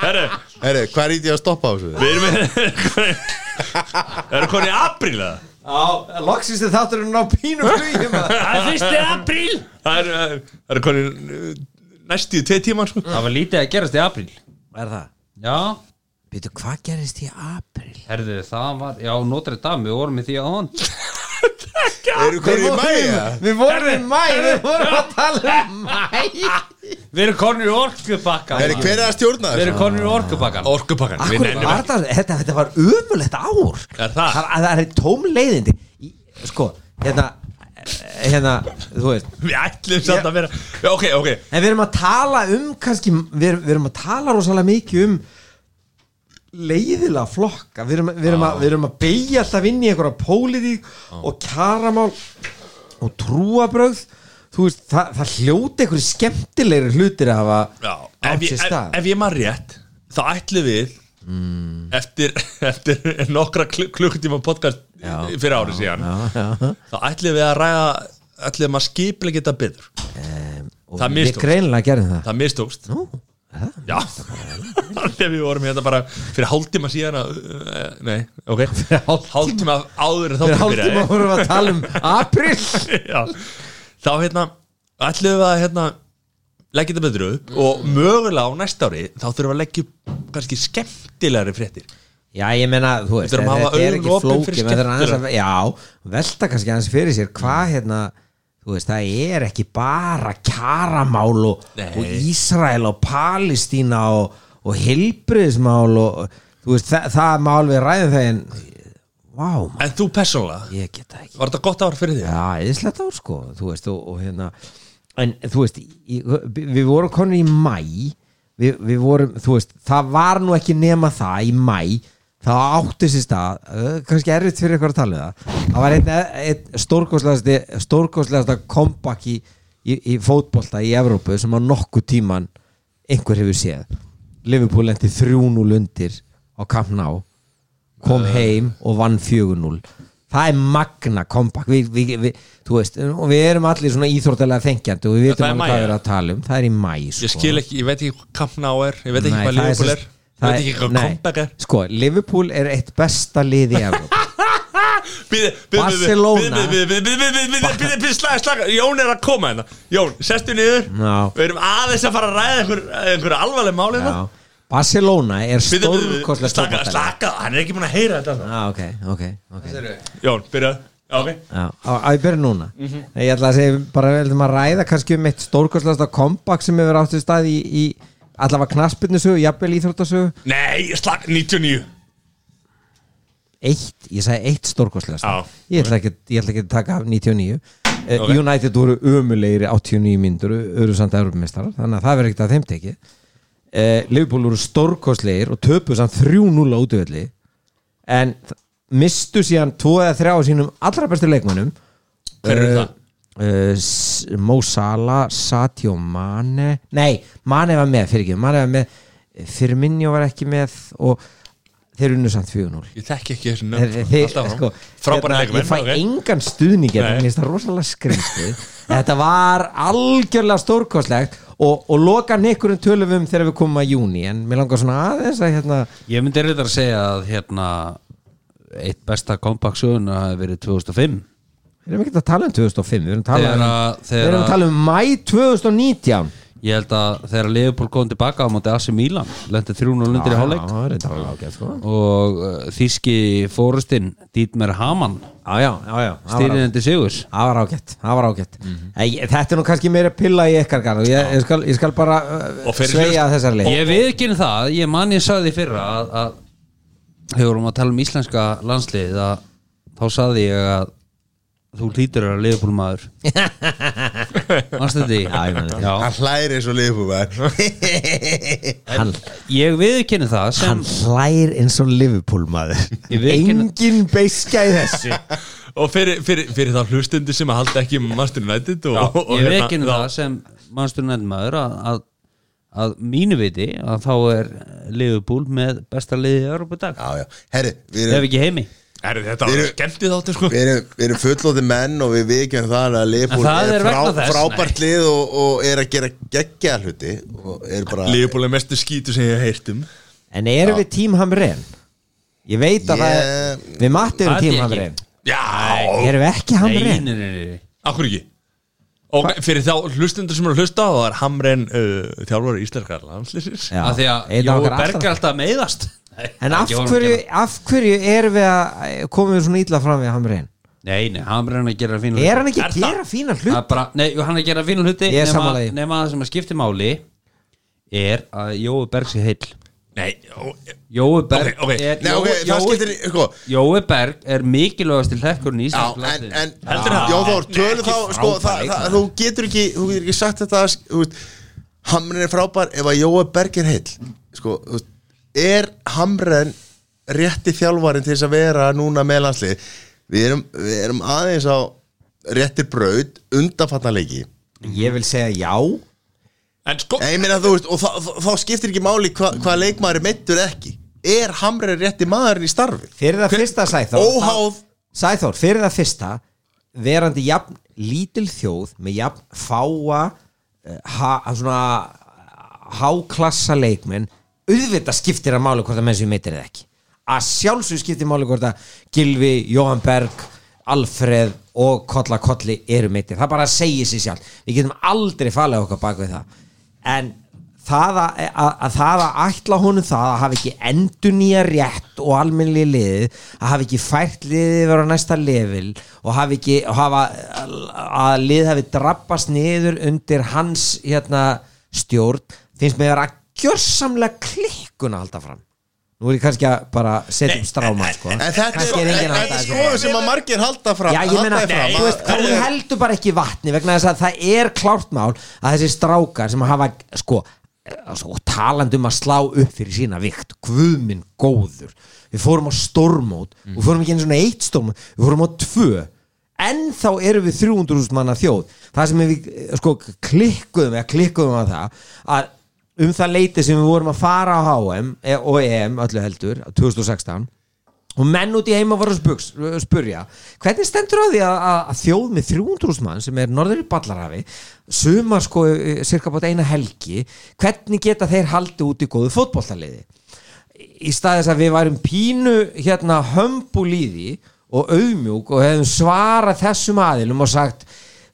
S2: Herru,
S3: herru, hvað er í því að stoppa á þessu?
S2: við erum með Erum konið í apríl eða?
S5: Já, loksins þið þáttur hún á pínu flugi maður.
S4: það er fyrsti apríl
S2: Það er, það er- það er konið næstu í tvei tíman sko
S4: það var lítið að gerast í apríl
S5: Er það?
S4: já
S5: Býtu, hvað gerist í april?
S4: herðu það var já, Notre Dame við vorum í því á hann
S3: Eru hverju í mæja?
S5: Við vorum í mæ, við vorum að tala um mæ
S4: við erum konur í orkubakka
S3: Herru, hver er að stjórna
S4: Við erum
S3: þessu?
S4: konur í orkupakkan
S2: Orkupakkan, við
S5: Akkur,
S2: nefnum
S5: Arnar, þetta, þetta var ömulegt ár
S2: Er það?
S5: Það, það er tóm leiðindi Í- Sko, hérna hérna, þú veist
S2: Við ætlum samt að vera Já, Ok, ok
S5: En við erum að tala um kannski, við, erum- við erum að tala rosalega mikið um leiðilega flokka við erum, við erum, að, við erum að beigja alltaf inn í einhverja pólitík og kjaramál og trúabrögð þú veist, það, það hljóti einhverju skemmtilegri hlutir að hafa
S2: Já, ef,
S5: átt
S2: ég,
S5: sér
S2: ef,
S5: stað
S2: ef ég maður rétt þá ætlum við eftir, eftir nokkra kl klukkutíma podcast já, fyrir ári síðan
S5: já.
S2: þá ætlum við að ræða ætlum við að skipla geta betur
S5: og
S2: það
S5: ég
S2: mistókst.
S5: greinlega gerði það
S2: það mistókst
S5: Nú, er það?
S2: já, þegar við vorum hérna bara fyrir hálftíma síðan að, uh, nei, ok
S5: hálftíma.
S2: hálftíma áður en þátturinn
S5: Fyrir hálftíma
S2: byrjaði.
S5: vorum við að tala um april
S2: Já. þá hérna ætlum við að hérna leggja þetta betur upp og mögulega á næsta ári þá þurfum við að leggja upp kannski skemmtilegri fréttir
S5: Já, ég meina, þú veist,
S2: Við þurfum að hafa
S5: þetta er
S2: augun
S5: ekki
S2: opin
S5: flókið
S2: fyrir
S5: maður þarf aðeins að- Já, velta kannski aðeins fyrir sér hvað hérna, þú veist, það er ekki bara kjaramál og,
S2: Nei.
S5: og Ísrael og Palestína og, og helbriðismál og, þú veist, það, það má alveg ræðum það en Vá, maður,
S2: en þú persónulega
S5: ég get það ekki
S2: Var þetta gott ár fyrir því?
S5: Já, eðislegt ár sko, þú veist og, og hérna, en þú veist í, við vorum konur í mæ við, við vorum, þú veist það var nú ekki nema það í mæ það átti sér stað eh, kannski erfitt fyrir eitthvað að tala um það það var einn, einn stórkoslegasti stórkoslegasta kompaki í, í, í fótbolta í Evrópu sem á nokkuð tíman einhver hefur séð Liverpool lendi 3-0 undir á Camp Nou kom
S2: Eh.
S5: heim og vann 4-0 það er magna kompakt við, við, við, þú veist, og við erum allir svona íþróttalega þengjandi og við
S2: Það
S5: vitum
S2: er
S5: alveg
S2: mæ,
S5: hvað við erum
S2: ja.
S5: að tala um það er í mæ sko.
S2: Ég skil ekki, ég veit ekki hvað kampna á er Ég veit ekki hvað Liverpool er Ég
S5: Nei, það sem- það
S2: veit ekki hvað
S5: nei,
S2: comeback er
S5: sko, Liverpool er eitt besta lið í Evróp
S2: Bíði, bíði,
S5: Barcelona.
S2: Bíði, bíði, bíði, bíði, bíði, bíði, slaga, slaga Jón er að koma hérna Jón, sestu niður
S5: Já.
S2: Við erum aðeins að fara að ræða einhver, einhver alvarleg máli
S5: Já.
S2: hérna
S5: Barcelona er
S2: Bíði, bíði, bíði,
S5: stórkostlega
S2: slaka, slaka Hann er ekki búin að heyra þetta
S5: ah, ok, ok, ok
S2: Jón, byrja, já, ok
S5: Já, á- á, ég byrja núna
S2: Mhm.
S5: Ég ætla að segja, bara við ætlum að ræða kannski um eitt stórkostlegasta kompakt sem hefur áttið stað í, í allavega knaspirnusögu, jafnvel íþróttasögu
S2: Nei, slaka, 99
S5: eitt, ég sagði eitt
S2: Já.
S5: stórkostlegast ég ætla ekki, ég ætla ekki að taka af 99 okay.
S2: Ok.
S5: Eh, United voru ömulegri 89 myndur, eru samt Evropameistarar þannig að það verður ekkert að þeim tekið uh, Liverpool voru stórkostlegir og töpuð samt 3-0 á útvöldi en þ- mistu síðan 2 eða 3 á sínum allra bestu leikmönnum
S2: Hver eru það?
S5: uh, S- Mo Salah Sadio Mane nei, Mane var með, fyrir ekki Mane var með, Firmino var ekki með og þeir unnu samt 4-0
S2: Ég þekki ekki þessu
S5: Þeir-
S2: nöfn
S5: þeir-
S2: Alltaf
S5: sko,
S2: áfram. Frábæra
S5: hérna, ég
S2: leikmenn
S5: fæ
S2: ok.
S5: engan stuðning hérna,
S2: Nei.
S5: mér finnst það rosalega skrýmstið þetta var algjörlega stórkostlegt og, og loka nekkurum tölum við um þegar við komum að júni en mér langar svona aðeins að hérna
S4: Ég myndi reyndar að segja að hérna eitt besta comeback söguna hafi verið 2005
S5: við erum ekki að tala um 2005 við erum að tala,
S4: Þegar
S5: um,
S4: að-
S5: við
S4: þegar
S5: erum að tala um mæ 2019
S4: Ég held að þegar Leopold kom tilbaka á móti AC Milan, lendi 300 lundir í hálfleik
S5: Já, já, reyndar alveg ágætt, sko.
S4: og uh, þíski fórustinn Dietmar Hamann
S5: Já, já, já, já, það var ágætt.
S4: stýriðandi sigurs
S5: það var ágætt, það var ágætt mm
S2: Mhm.
S5: þetta er nú kannski meira pilla í ykkar garð og ég, ég, skal, ég skal bara uh,
S2: Og fyrir
S5: sveja
S2: hlust-
S5: þessar leik
S4: Ég við ekki það, ég man ég sagði því fyrra að, að þegar vorum að tala um íslenska landslið að þá sagði ég að þú hlýtur að liðbúl maður Manstu þetta í?
S5: Já, ég man þetta.
S4: Já.
S3: Hann hlæri eins og liðbúmaður
S5: hann,
S4: Ég viðurkenni það sem
S5: hann hlær eins og Liverpool maður
S4: Ég viðurkenni-
S5: engin beiska í þessu
S2: Og fyrir, fyrir, fyrir það hlustundi sem að halda ekki Master United og, og,
S4: Ég
S2: hérna,
S4: viðurkenni það sem mannstur nefnmaður að, að, að mínu viti að þá er liðbúl með besta liðið í Európa í dag
S3: Já, já, herri, við
S4: Ef
S3: erum,
S4: ekki heimi
S2: Herri, Þetta var
S3: Við-
S2: skemmtið áttu sko
S3: við erum, við erum fullóði menn og við vikjum það að Leopold
S4: En það er vegna þess,
S3: frábært lið og, og er að gera geggja hluti og er bara
S2: Leifbúlega mestu skítu sem ég hef heyrt um
S5: en erum við Team Hamren? ég veit að það
S3: Ég-
S5: er við matti erum
S4: Það er
S5: Team
S4: ég
S5: Hamren
S2: Já,
S5: erum við ekki
S4: Nei,
S5: Hamren?
S4: nei, nei, nei.
S2: akkur ekki Og fyrir þá hlustundur sem eru að hlusta þá er Hamren uh, þjálfur íslenskar landslýsins
S5: Já,
S4: Af því að
S5: einn af
S4: Jói
S5: okkar allra-
S4: Berg er alltaf að meiðast Nei,
S5: en af
S4: ekki honum að
S5: hverju,
S4: kenna.
S5: af hverju erum við að komum við svona ítla fram við Hamren?
S4: Nei, nei, hann er hann að gera fínu
S5: er hann ekki
S2: Er
S5: að
S2: það-
S5: gera fína
S4: Það
S5: hlut?
S4: er bara, nei, jú, hann er að gera fínu hluti
S5: Ég er
S4: nema,
S5: sammála því.
S4: nema það sem að skipti máli er að Jói Berg sé heill
S2: Nei, ó,
S4: Jói Berg
S2: Ok, ok.
S4: er
S3: Nei, ok,
S4: Jói-
S3: það
S4: Jói-
S3: skiptir, sko
S4: Jói Berg er mikilvægastil hlekkurinn í
S3: Já,
S4: Íslands
S3: en, en
S2: Heldur það?
S3: Jón Þór, tölum
S2: Ekki
S3: þá sko,
S4: frábær
S3: það, það,
S4: leikmaður.
S3: þú, getur ekki, þú getur ekki sagt þetta þú veist, Hamren er frábær ef að Jóa Berg er heill sko, þú veist, Er Hamren rétti þjálfarin til þess að vera núna með landslið Við erum, við erum aðeins á réttir braut undanfattanleiki
S5: ég vil segja já
S2: En sko,
S3: Ég meina þú veist, og þá- þá- þá skiptir ekki máli hva, hvað leikmaður er meittur eða ekki Er Hamren rétti maðurinn í starfi?
S5: fyrir það fyrsta Sæþór
S3: Óháð
S5: Sæþór, fyrir það fyrsta verandi jafn lítil þjóð með jafn fáa eh, ha, svona háklassa leikmenn auðvitað skiptir að máli hvort að menn sem meitir eða ekki að sjálfsög skiptir máli hvort að Gilvi, Jóhann Berg Alfreð og Kolla Kolli eru meitir, það bara segir sér sjálf við getum aldrei falið okkar bak við það en það að, að, að það að ætla honum það að hafa ekki endur nýja rétt og almennli liðið að hafa ekki fært liðið yfir á næsta level og hafa ekki og hafa, að liðið hafi drabbast niður undir hans hérna, stjórn finnst mér að vera gjörsamlega klikkun að halda fram nú er ég kannski að bara setja um stráma sko.
S3: En þetta
S5: kannski
S3: er,
S5: er
S3: en-
S5: enginn að
S3: en
S5: halda þessu
S3: skoðum sem að margir halda fram
S5: Já, ég meina,
S3: halda því fram
S5: þú
S3: að-
S5: veist, hún
S3: Herðu,
S5: heldur bara ekki í vatni vegna þess að það er klárt mál að þessi strákar sem hafa, sko, sko talandi um að slá upp fyrir sína vikt, guðminn góður við fórum á stormót, við fórum ekki einu svona eitt stormót, við fórum á tvö en þá erum við 300.000 manna þjóð það sem við, eh, sko, klikkuðum eða klikkuðum að það að um það leiti sem við vorum að fara á HM eh, og EM öllu heldur 2016 og menn út í heima voru að spugs, spurja hvernig stendur á því að, að, að þjóð með 300 mann sem er norður í Ballarhafi sumar sko eh, cirka bátt eina helgi hvernig geta þeir haldið út í góðu fótbolltaliði í staði þess að við værum pínu hérna hömbulíði og auðmjúk og hefðum svarað þessum aðilum og sagt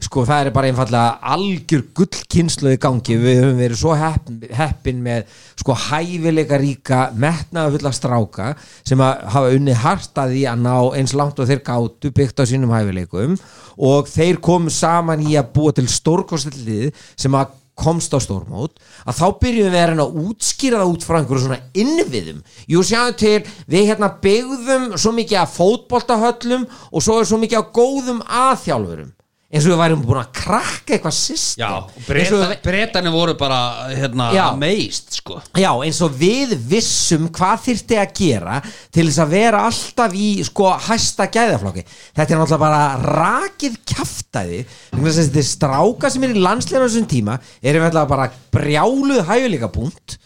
S5: sko það er bara einfallega algjör gullkynslu í gangi, við höfum verið svo heppin, heppin með sko hæfileika ríka, metnaðafulla stráka sem að hafa unni hartaði að ná eins langt og þeir gátu byggt á sínum hæfileikum og þeir komu saman í að búa til stórkostlið sem að komst á stórmót að þá byrjum við að reyna að útskýra það út frá einhverju svona innviðum jú sjáum til, við hérna byggðum svo mikið af fótboltahöllum og svo er svo mikið af góðum aðþjálfurum eins og við værum búin að krakka eitthvað system
S4: Já,
S5: eins og,
S4: breytan, breytanir voru bara hérna,
S5: Já.
S4: meist sko.
S5: já, eins og við vissum hvað þyrfti að gera til þess að vera alltaf í sko hæsta gæðaflokki þetta er náttúrulega bara rakið kjaftaði vegna þess að þessi stráka sem er í landsleira á þessum tíma erum við alltaf bara brjáluð hæguleika punkt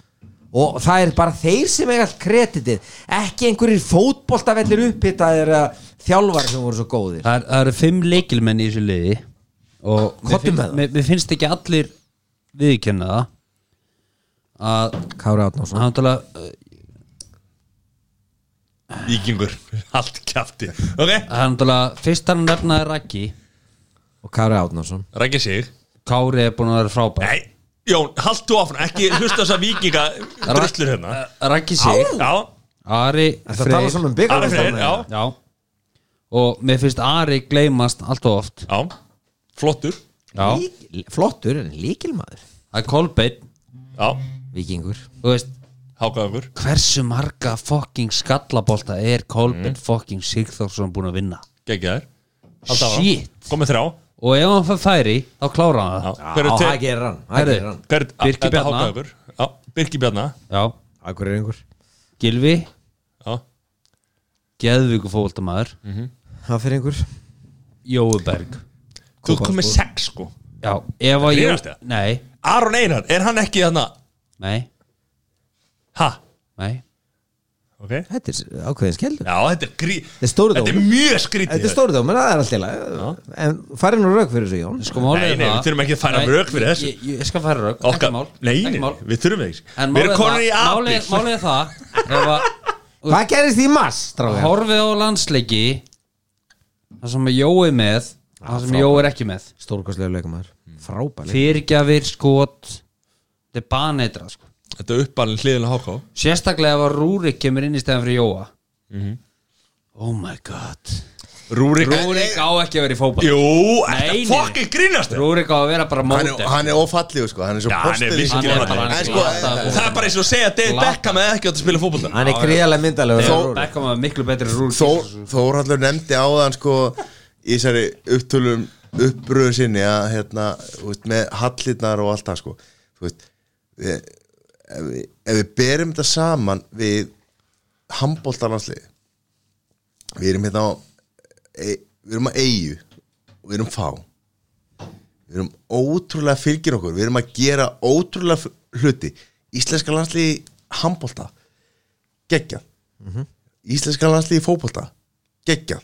S5: og það er bara þeir sem eiga allt kreditið ekki einhverjir fótboltavellir upphitaðir eða þjálfar sem voru svo góðir
S4: það, er, það eru fimm leikilmenn í þessu liði og mér
S5: Komdu
S4: finnst,
S5: með það.
S4: mér, mér finnst ekki allir viðkynna það að
S5: Kári Átnársson
S4: hann tala
S2: Íkingur, allt kjafti Ok,
S4: Það er náttúrulega, fyrst hann nefnaði Raggi
S5: og Kári Átnársson
S2: rækja sig
S4: Kári er búin að vera frábær
S2: Nei, Jón, haldu áfram, ekki hlusta þess að vikinga druslur hérna
S4: Raggi sig,
S2: Já,
S4: Ari
S5: Það tala saman um
S2: Ari Freyr, já,
S4: Já Og mér finnst Ari gleymast allt og oft
S2: já Flottur,
S4: Já
S5: Lík- Flottur en líkilmaður
S4: Það er Kolbeinn,
S2: já,
S5: Vikingur
S4: þú veist
S2: hákaðungur
S4: Hversu marga fucking skallabolta er
S2: Mm.
S4: Kolbeinn fucking Sigþórsson búin að vinna
S2: Gekkjaður
S4: Shit.
S2: Komið þrá
S4: Og ef hann fær færi, þá klára hann
S2: Já,
S4: það
S2: hver er
S5: Já, það
S2: til
S5: gerir hann, það
S4: Herðu.
S5: gerir hann.
S2: Hver,
S4: Birkir
S2: þetta
S4: Bjarna.
S2: Hákaðungur, já, Birki Bjarna
S4: Já,
S5: Akureyringur
S4: Gilvi,
S2: Já,
S4: Geðvíku fólktamæður
S2: Mm.
S5: Haferingur
S4: Jóuberg
S2: þú ert komið sex sko
S4: Já, ef að Jó-
S2: Grínast eða?
S4: Nei,
S2: Aron Einar, er hann ekki þarna
S4: nei,
S2: Ha,
S4: nei
S2: ok Já,
S5: Þetta er ákveðin skeldur
S2: þetta er grí
S5: Þetta er stóri
S2: Þetta er
S5: dómur
S2: mjög skrítið
S5: Þetta er stóri dómur, það er allt í lagi En farið nú rauk fyrir þessu Jón
S4: sko málið
S2: Nei,
S4: er
S2: nei,
S4: það-
S2: við þurfum ekki að færa
S4: Nei,
S2: rök fyrir
S4: ég-
S2: þessu.
S4: ég, ég skal færa rök,
S2: Okkar,
S4: ekki mál
S2: nei,
S4: ekki
S2: nei,
S4: mál.
S2: við þurfum það ekki
S4: En
S2: Við erum
S4: málið
S2: konur í
S4: það-
S2: apil
S4: málið- Málið er það ef að
S5: Hvað gerist í mars, strákar?
S4: horfið á landsleiki það sem Jói er með það sem Jói er ekki með
S5: Stórkostlega leikumæður Frábær leik
S4: fyrirgjafir, skot þetta er baneitra sko.
S2: Þetta er uppalinn hliðin á HK
S4: sérstaklega ef að Rúrik kemur inn í stæðan fyrir Jóa oh my god
S2: Rúrik
S4: Rúrik á ekki að vera í fótball
S2: Jú,
S4: Nei,
S2: þetta
S4: nei.
S2: fokkin grínast þér
S4: Rúrik á að vera bara
S3: hann,
S4: móti
S3: er- hann er ofallið sko, hann er svo
S2: Já, hann er
S3: postið í
S2: virkilega
S3: svona-
S2: fallegur.
S3: En sko,
S4: Hann
S2: Það er bara eins og að segja að David
S4: Glata.
S2: Beckham eða ekki átt að spila fótbolta
S5: Hann er gríðarlega myndalegur
S3: Þó-
S4: Beckham var miklu betri en Rúrik
S3: Þór, Þórhallur nefndi á þann sko í þessari upptölum uppbröðu sinni að hérna þú veist, með hallirnar og allt það sko þú veist við, ef, við, ef við berum þetta saman við handbóltalansliði við erum hérna á e, við erum að eigu og við erum fá við erum ótrúlega fylgir okkur við erum að gera ótrúlega f- hluti íslenska landsliði handbólta geggjað íslenska landslíði í fótbolta geggjað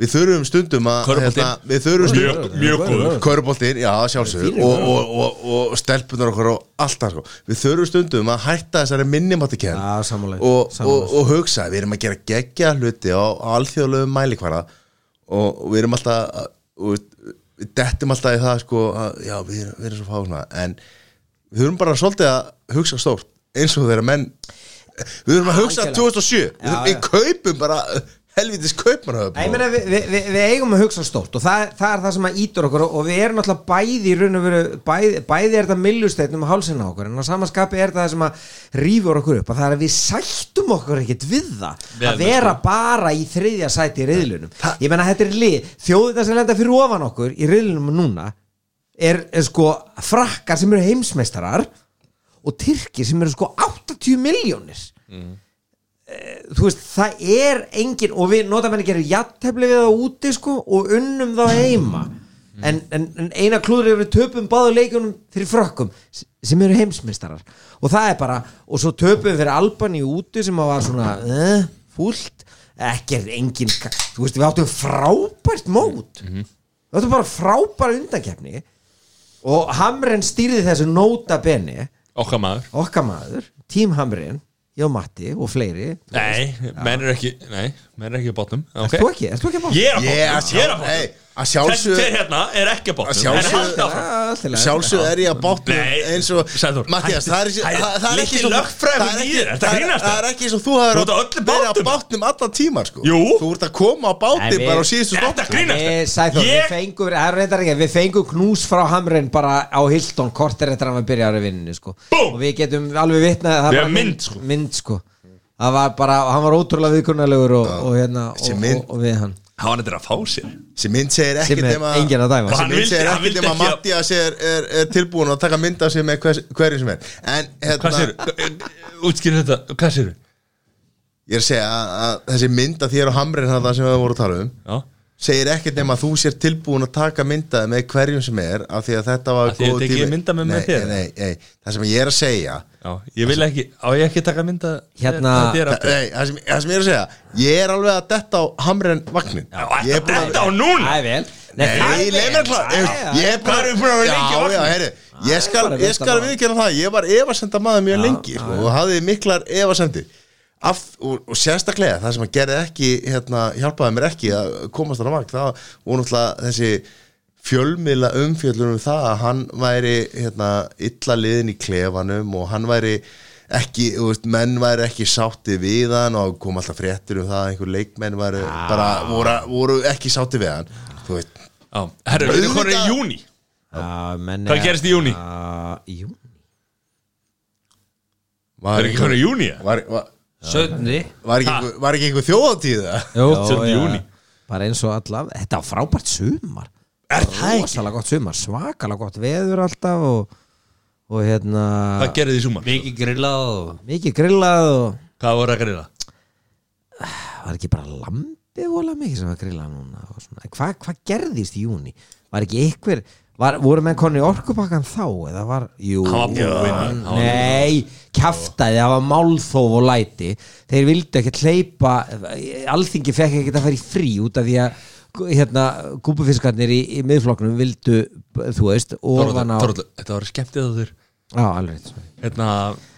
S3: við þurfum stundum að hérna,
S2: Körfuboltinn.
S3: við þurfum
S2: Mjög,
S3: stundum
S2: mjög góður
S3: Köruboltinn, já sjálfsög og, og, og, og stelpunar okkar og allt það sko. við þurfum stundum að hætta þessari minnimattikern
S5: Já, sammála.
S3: og,
S5: Sammála.
S3: og, og hugsa, við erum að gera geggja hluti á alþjóðlegu mælikvara og, og við erum alltaf að- og, við dettum alltaf í það sko, að, já, við, erum- við erum svo fá svona en við þurfum bara svolítið að hugsa stórt eins og þeirra menn við þurfum að hugsa 2007 við, þurfum, við kaupum bara helvitis kaupmanhöfum
S5: Nei, ég meina, við, við, við, við eigum að hugsa stórt og það, það er það sem að ítur okkur og og við erum náttúrulega bæði í raun og veru bæði, bæði er þetta millusteinnum og hálsinn á okkur en á samanskapi er það sem að rýfur okkur upp að það er að við sættum okkur ekkert við sko. það að vera bara í þriðja sæti í riðlunum ég meina þetta er lið, þjóðina sem lenda fyrir ofan okkur í riðlunum núna er, er sko frakkar sem eru heimsmeistarar og tyrkir sem eru sko 80 miljónir þú veist, það er engin og við nota menn gerum jattefli við það úti sko og unnum þá heima en, en, en eina klúður eru töpum báðu leikunum fyrir frökkum s- sem eru heimsmyndstarar og það er bara, og svo töpum fyrir Albani úti sem að var svona eh, fúlt, ekki er engin ka- þú veist, við áttum frábært mót við áttum bara frábæra undankefni og Hamren stýrði þessu nota beni
S2: Okkar maður
S5: okkar maður, Tím Hamren ég og Matti og fleiri
S2: Nei, menn er ekki Nei, menn er ekki á botnum
S5: okay.
S2: okay.
S5: Ertu ekki, ertu ekki að bá?
S2: Ég er á botnum
S3: Ég að
S2: Ég er á
S3: sjálfsög
S2: botnum
S3: hey, að
S2: Þessi
S3: sjálfsög
S2: tveir hérna er ekki á botnum
S3: Að
S2: En
S3: sjálfsögðu-
S2: halda áfram
S3: Sjálfsög er ég að botna
S2: Nei,
S3: eins og
S2: Sæþór,
S3: Mattias, það er ekki
S2: hættu.
S3: það- það er
S2: Litli
S3: ekki svo-
S2: lögfræðingur
S3: það
S2: í
S3: er ekki-
S2: þér, ertu að
S3: það er-
S2: grínast
S3: Það er ekki eins og þú hefur
S2: Þú ert á öllum
S3: verið
S2: bátum.
S3: á bátnum allan tíman sko
S2: Jú.
S3: Þú ert að koma á
S5: Nei,
S3: bátinn
S5: við-
S3: bara á síðustu
S2: Þetta
S3: stopp
S2: grínast
S5: Nei,
S2: þér.
S5: Sæþór, við
S2: Ég
S5: fengum, það er reyndar ekki, við fengum knús frá Hamren bara á Hilton kortir eftir að hann byrja ára vinninu sko.
S2: Búm!
S5: og við getum alveg vitnað að það
S2: Við
S5: var
S2: höfum mynd, sko.
S5: mynd sko. það var bara, hann var ótrúlega viðkunnalegur og, og, hérna,
S3: þessi
S5: og,
S3: mynd.
S5: og, og við hann
S2: hann var þetta að fá sér
S3: sem mynd segir
S5: Sem
S3: ekkert
S5: er
S3: nema
S5: enginn að dæma.
S2: Og
S3: sem
S2: hann
S3: mynd
S2: vildi-
S3: segir
S2: hann
S3: ekkert
S2: vildi
S3: nema að
S2: ekki að-
S3: Mattias er, er, er tilbúin að taka mynd af sér með hvers, hverjum sem er en
S2: Hvað
S3: hérna,
S2: sér, útskýrðu þetta, hvað sér
S3: ég er að segja að, að þessi mynd af þér og hamrin hann sem við vorum að tala um
S2: Já,
S3: segir ekkert nema að þú sér tilbúin að taka myndaði með hverjum sem er af því að þetta var
S2: Af því að þetta ekki er mynda með-
S3: nei,
S2: með þér?
S3: nei, nei, það sem ég er að segja
S2: já, ég vil ekki, á ég ekki taka mynda
S5: Hérna-
S2: þér aftur
S3: nei, það, sem, það sem ég er að segja ég er alveg að detta á hamrin vagnin
S2: Já,
S3: ég er
S2: ætla
S3: búin að
S2: þetta á núna
S5: er vel
S3: Nei, leið mér klart Ég er bara
S2: Hvað erum við búin að vera lengi á
S3: Já,
S2: vagninum?
S3: já, heyrðu Ég skal,
S5: bara
S3: ég skal
S5: viðstadda.
S3: viðkjöna það Ég var efasemda maður mjög lengi sko, og hafði miklar efasemdi Af, og, og sérstaklega það sem að gerði ekki hérna, hjálpaði mér ekki að komast hann á vagn það voru náttúrulega þessi fjölmiðla umfjöllunum það að hann væri hérna, illa liðin í klefanum og hann væri ekki, þú veist, menn væri ekki sátti við hann og kom alltaf fréttir um það að einhver leikmenn væri bara voru, voru ekki sátti við hann þú veist,
S2: Já, herru, við erum konur í
S3: Auðvitað-
S2: júni
S5: Hvað
S2: Hvað gerist í júni?
S5: Jú
S2: Það er ekki konur í júni, ja?
S3: var, var,
S4: Söndri
S3: var, ekki, einhver, var ekki einhver þjóðatíð það?
S2: sjötta
S5: já.
S2: júní.
S5: bara eins og alla, þetta var frábært sumar er það ekki? rosalega gott sumar, svakalega gott veður alltaf og, og hérna
S2: Hvað gerði þið sumar?
S4: Mikið grillað og
S5: mikið grillað og
S2: Hvað voru að grilla?
S5: var ekki bara lambi vola mikið sem var grillað núna og svona. Hva, hvað gerðist í júni? Var ekki ykkur var, voru menn konni orkupakkan þá eða var, jú
S2: Hann var búinn, hann- hann var-
S5: nei, kjaftaði það var málþóf og læti þeir vildu ekki hleypa alþingi fekk ekki að fara í frí út af því að hérna, gúbufiskarnir í, í miðflokknum vildu, þú veist ofan á,
S2: Þorvaldur, þetta var skemmtið að þur
S5: á alveg rétt, sorry.
S2: Hérna,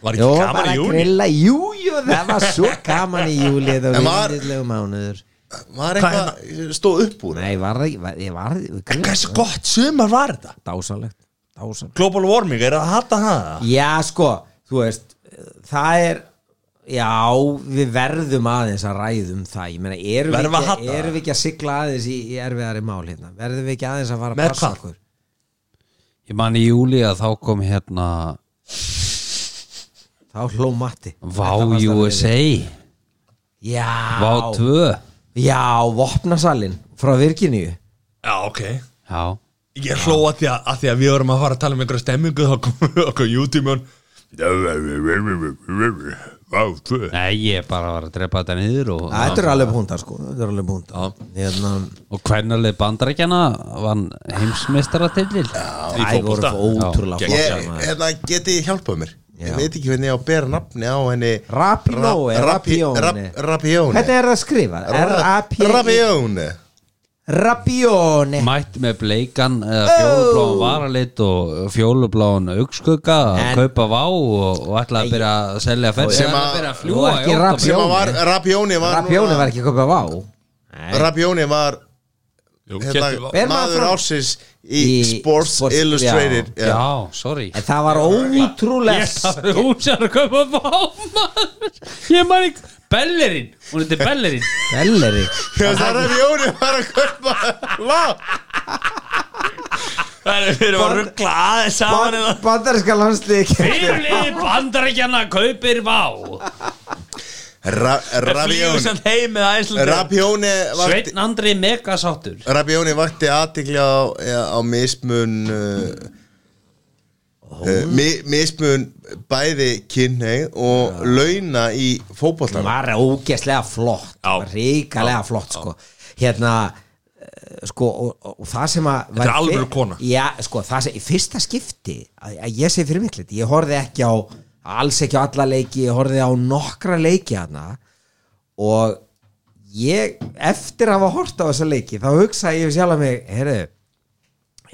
S2: var
S5: Jó,
S2: ekki gaman
S5: bara
S2: í júni?
S5: grilla, jú, jú, það var svo gaman í júli það
S3: En
S5: var
S3: var-
S5: vindilegu mánuður
S3: Var eitthvað stóð upp
S2: sko.
S3: úr?
S5: Nei, var það ekki, var- ég var
S2: En hversu gott sumar var þetta?
S5: Dásalegt, dásalegt
S2: Global warming, er það að hata það?
S5: Já, sko, þú veist Það er, já, við verðum aðeins að ræðum það Ég meina, erum,
S2: Verðum
S5: við
S2: að
S5: ekki,
S2: hatta það?
S5: erum við ekki að sigla aðeins í, í erfiðari mál hérna Verðum við ekki aðeins að fara að
S2: Með
S5: passa
S2: hvað?
S5: okkur
S4: Ég man í júli að þá kom hérna
S5: Þá hló matti
S4: Vá
S5: Þetta fannst alveg
S4: USA
S5: við. Já,
S4: Vá 2
S5: já, vopnasalinn frá Virginíu
S2: Já, ok
S4: Já
S2: Ég hló að því að, að því að við vorum að fara að tala um einhverja stemmingu þá kom okkur YouTube-jón Vá, þú
S4: Nei, ég bara var að drepa þetta niður og,
S5: Þetta eru alveg púntar, sko Þetta eru alveg púntar Hérna,
S4: og hvernarlega bandarækjana vann heimsmeistaratillil
S2: Í
S5: æ, voru
S2: fótbolta.
S5: ótrúlega
S3: Ég,
S5: flottir, maður.
S3: hérna, geti ég hjálpað mér?
S5: Já.
S3: Ég veit ekki hvernig ég á að bera nafni á henni
S5: Rapinoe, eh, Rapione.
S3: Rapione
S5: Þetta er það skrifað R-A-P-I
S3: Rapione
S5: Rapione
S4: Mætt með bleikan eða fjólubláan varalit og fjólubláan augskugga
S5: En-
S4: að kaupa vá og, og ætla að byrja að selja ferð
S3: Sem
S4: sem
S3: að-
S4: að byrja að fljúa
S5: Og ekki
S4: í
S5: raps-
S4: óttabæ
S3: sem að var, Rapione var
S5: Rapione var ekki að kaupa vá
S3: Rapione var hérna,
S2: Hérna,
S5: Ber maður
S3: maður
S5: fram.
S3: ásins í,
S5: Í
S3: Sports,
S5: Sports-
S3: Illustrated
S4: Já, sorry
S5: En það var ótrúlega
S4: Það er hún sér að kaupa vámaður Ég man ekki Bellerin, hún heitir Bellerin
S5: Belleri
S3: Það er Rapione var að kaupa Lá
S2: Það er fyrir að ruggla aðeins saman
S5: hérna.
S2: eða
S5: Bandarinska landslið
S4: Fyrirliði bandarækjana kaupir vá
S3: Ra-
S2: Flýgur
S3: Rapione
S2: sem heim með æslandir
S3: Rapione var
S4: Sveinn Andri megasáttur
S3: Rabjóni vakti aðtikli á, á mismun uh, uh, mi, mismun bæði kynneið og launa í
S5: Það
S3: fótbollar
S5: var ógeðslega flott
S2: sko. Já.
S5: Ríkalega flott sko Hérna eh, sko, og, og, og það sem að
S2: Þetta er
S5: var-
S2: alvöru kona.
S5: já, sko, það sem, í fyrsta skipti að, að ég segi fyrir miklit, ég horfði ekki á alls ekki á alla leiki, ég horfði á nokkra leiki hana og ég, eftir að hafa hort á þessa leiki, þá hugsaði ég sjálf að mig, heyrðu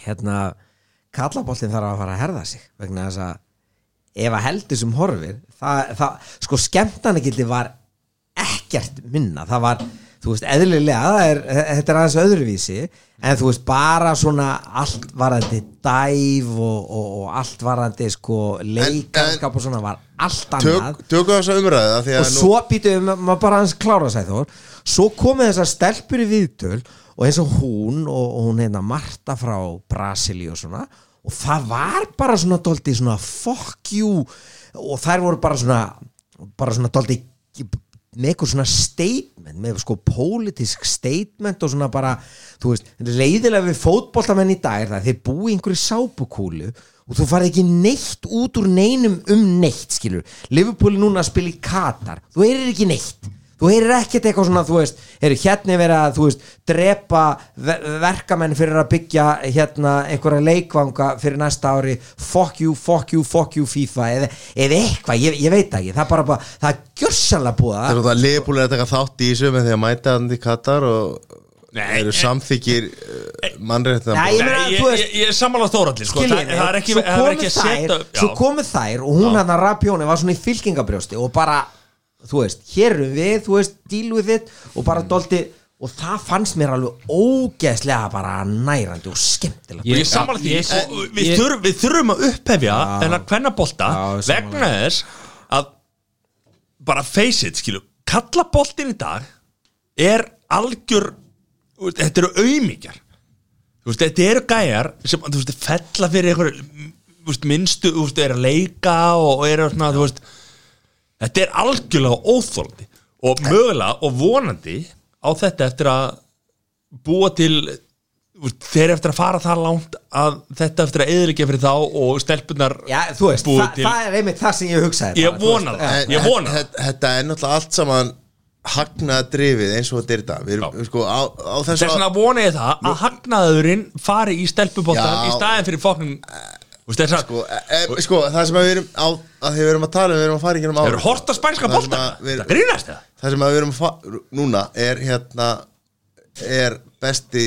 S5: hérna, kallaboltin þarf að fara að herða sig vegna þess að ef að heldur sem horfir það, það, sko skemmtanagildi var ekkert minna, það var þú veist, eðlilega, það er, þetta er aðeins öðruvísi, en þú veist, bara svona allt varandi dæf og, og, og allt varandi sko leikarskap og svona var allt annað
S3: Tök, Tökum þessa umræða því að
S5: og svo býtum við, maður bara aðeins klára sæður svo komið þessar stelpur í viðtöl og eins og hún og, og hún hérna Marta frá Brasili og svona og það var bara svona dóldi svona fuck you og þær voru bara svona bara svona dóldi með eitthvað svona statement með sko pólitísk statement og svona bara, þú veist, leiðilega við fótboltamenn í dag er það að þeir búi í einhverju sápukúlu og þú farið ekki neitt út úr neinum um neitt skilur, Liverpool er núna að spila í Katar, þú heyrir ekki neitt þú heyrir ekkert eitthvað svona, þú veist eru hérna er verið að, þú veist, drepa ver verkamenn fyrir að byggja hérna einhverja leikvanga fyrir næsta ári, fuck you, fuck you, fuck you FIFA, eða, eða eitthvað ég, ég veit ekki, það er bara, bara það er gjörsanlega búið
S3: Það er
S5: að
S3: náttúrulega að Leopold er að taka þátt í þessu með því að mæta hann í Katar og
S2: Nei,
S3: eru uh,
S2: eh,
S3: samþykir mannréttina
S5: Nei, ég meina,
S2: Nei, ég,
S5: þú veist-
S2: ég, ég er samanlega Þóraldi sko.
S5: Skiljið
S2: það,
S5: mig,
S2: það er ekki,
S5: svo
S2: það er ekki
S5: komu
S2: að
S5: þær
S2: setja
S5: svo
S2: já.
S5: komu þær og hún hann að rapjóni var svona í fylkingabrjósti og bara, þú veist, hér erum við þú veist, deal with it og
S2: Mm.
S5: bara doldi og það fannst mér alveg ógeðslega bara nærandi og skemmtilegt
S2: og ég er samanlega því
S4: Ég-
S2: og við, þurfum, við þurfum að upphefja þennan kvennabolta
S5: Já, ég er sammála.
S2: vegna þess að bara face it skilu kallaboltin í dag er algjör þetta eru auðmíkjar veist, þetta eru gæjar sem þú veist, fella fyrir einhver veist, minnstu, þú veist, er að leika og, og er að svona, þú veist þetta er algjörlega óþólandi og mögulega og vonandi á þetta eftir að búa til þú veist, þeir eftir að fara það langt að þetta eftir að eðlíkja fyrir þá og stelpunar
S5: Já, þú veist,
S2: búið
S5: þa
S2: til-
S5: það er einmitt það sem ég hugsaði
S2: Ég vona
S5: það
S3: Eh,
S2: það, ég vona það
S3: Þetta er náttúrulega allt saman hagnaða drifið eins og þetta er í dag Við erum
S2: Já.
S3: sko á, á
S2: Þess
S3: þessu
S2: vegna vona ég það að hagnaðurinn fari í stelpubóttan
S3: Já.
S2: í staðin fyrir fokkin Þú veist þess að
S3: sko, e, e, sko, það sem að við erum á, að því við erum að tala um, við erum að fara í gennum
S2: Þeir eru hort á spænska
S3: Það sem
S2: bolta
S3: að við-
S2: Það grínast það
S3: það sem að við erum að fa- núna er hérna er besti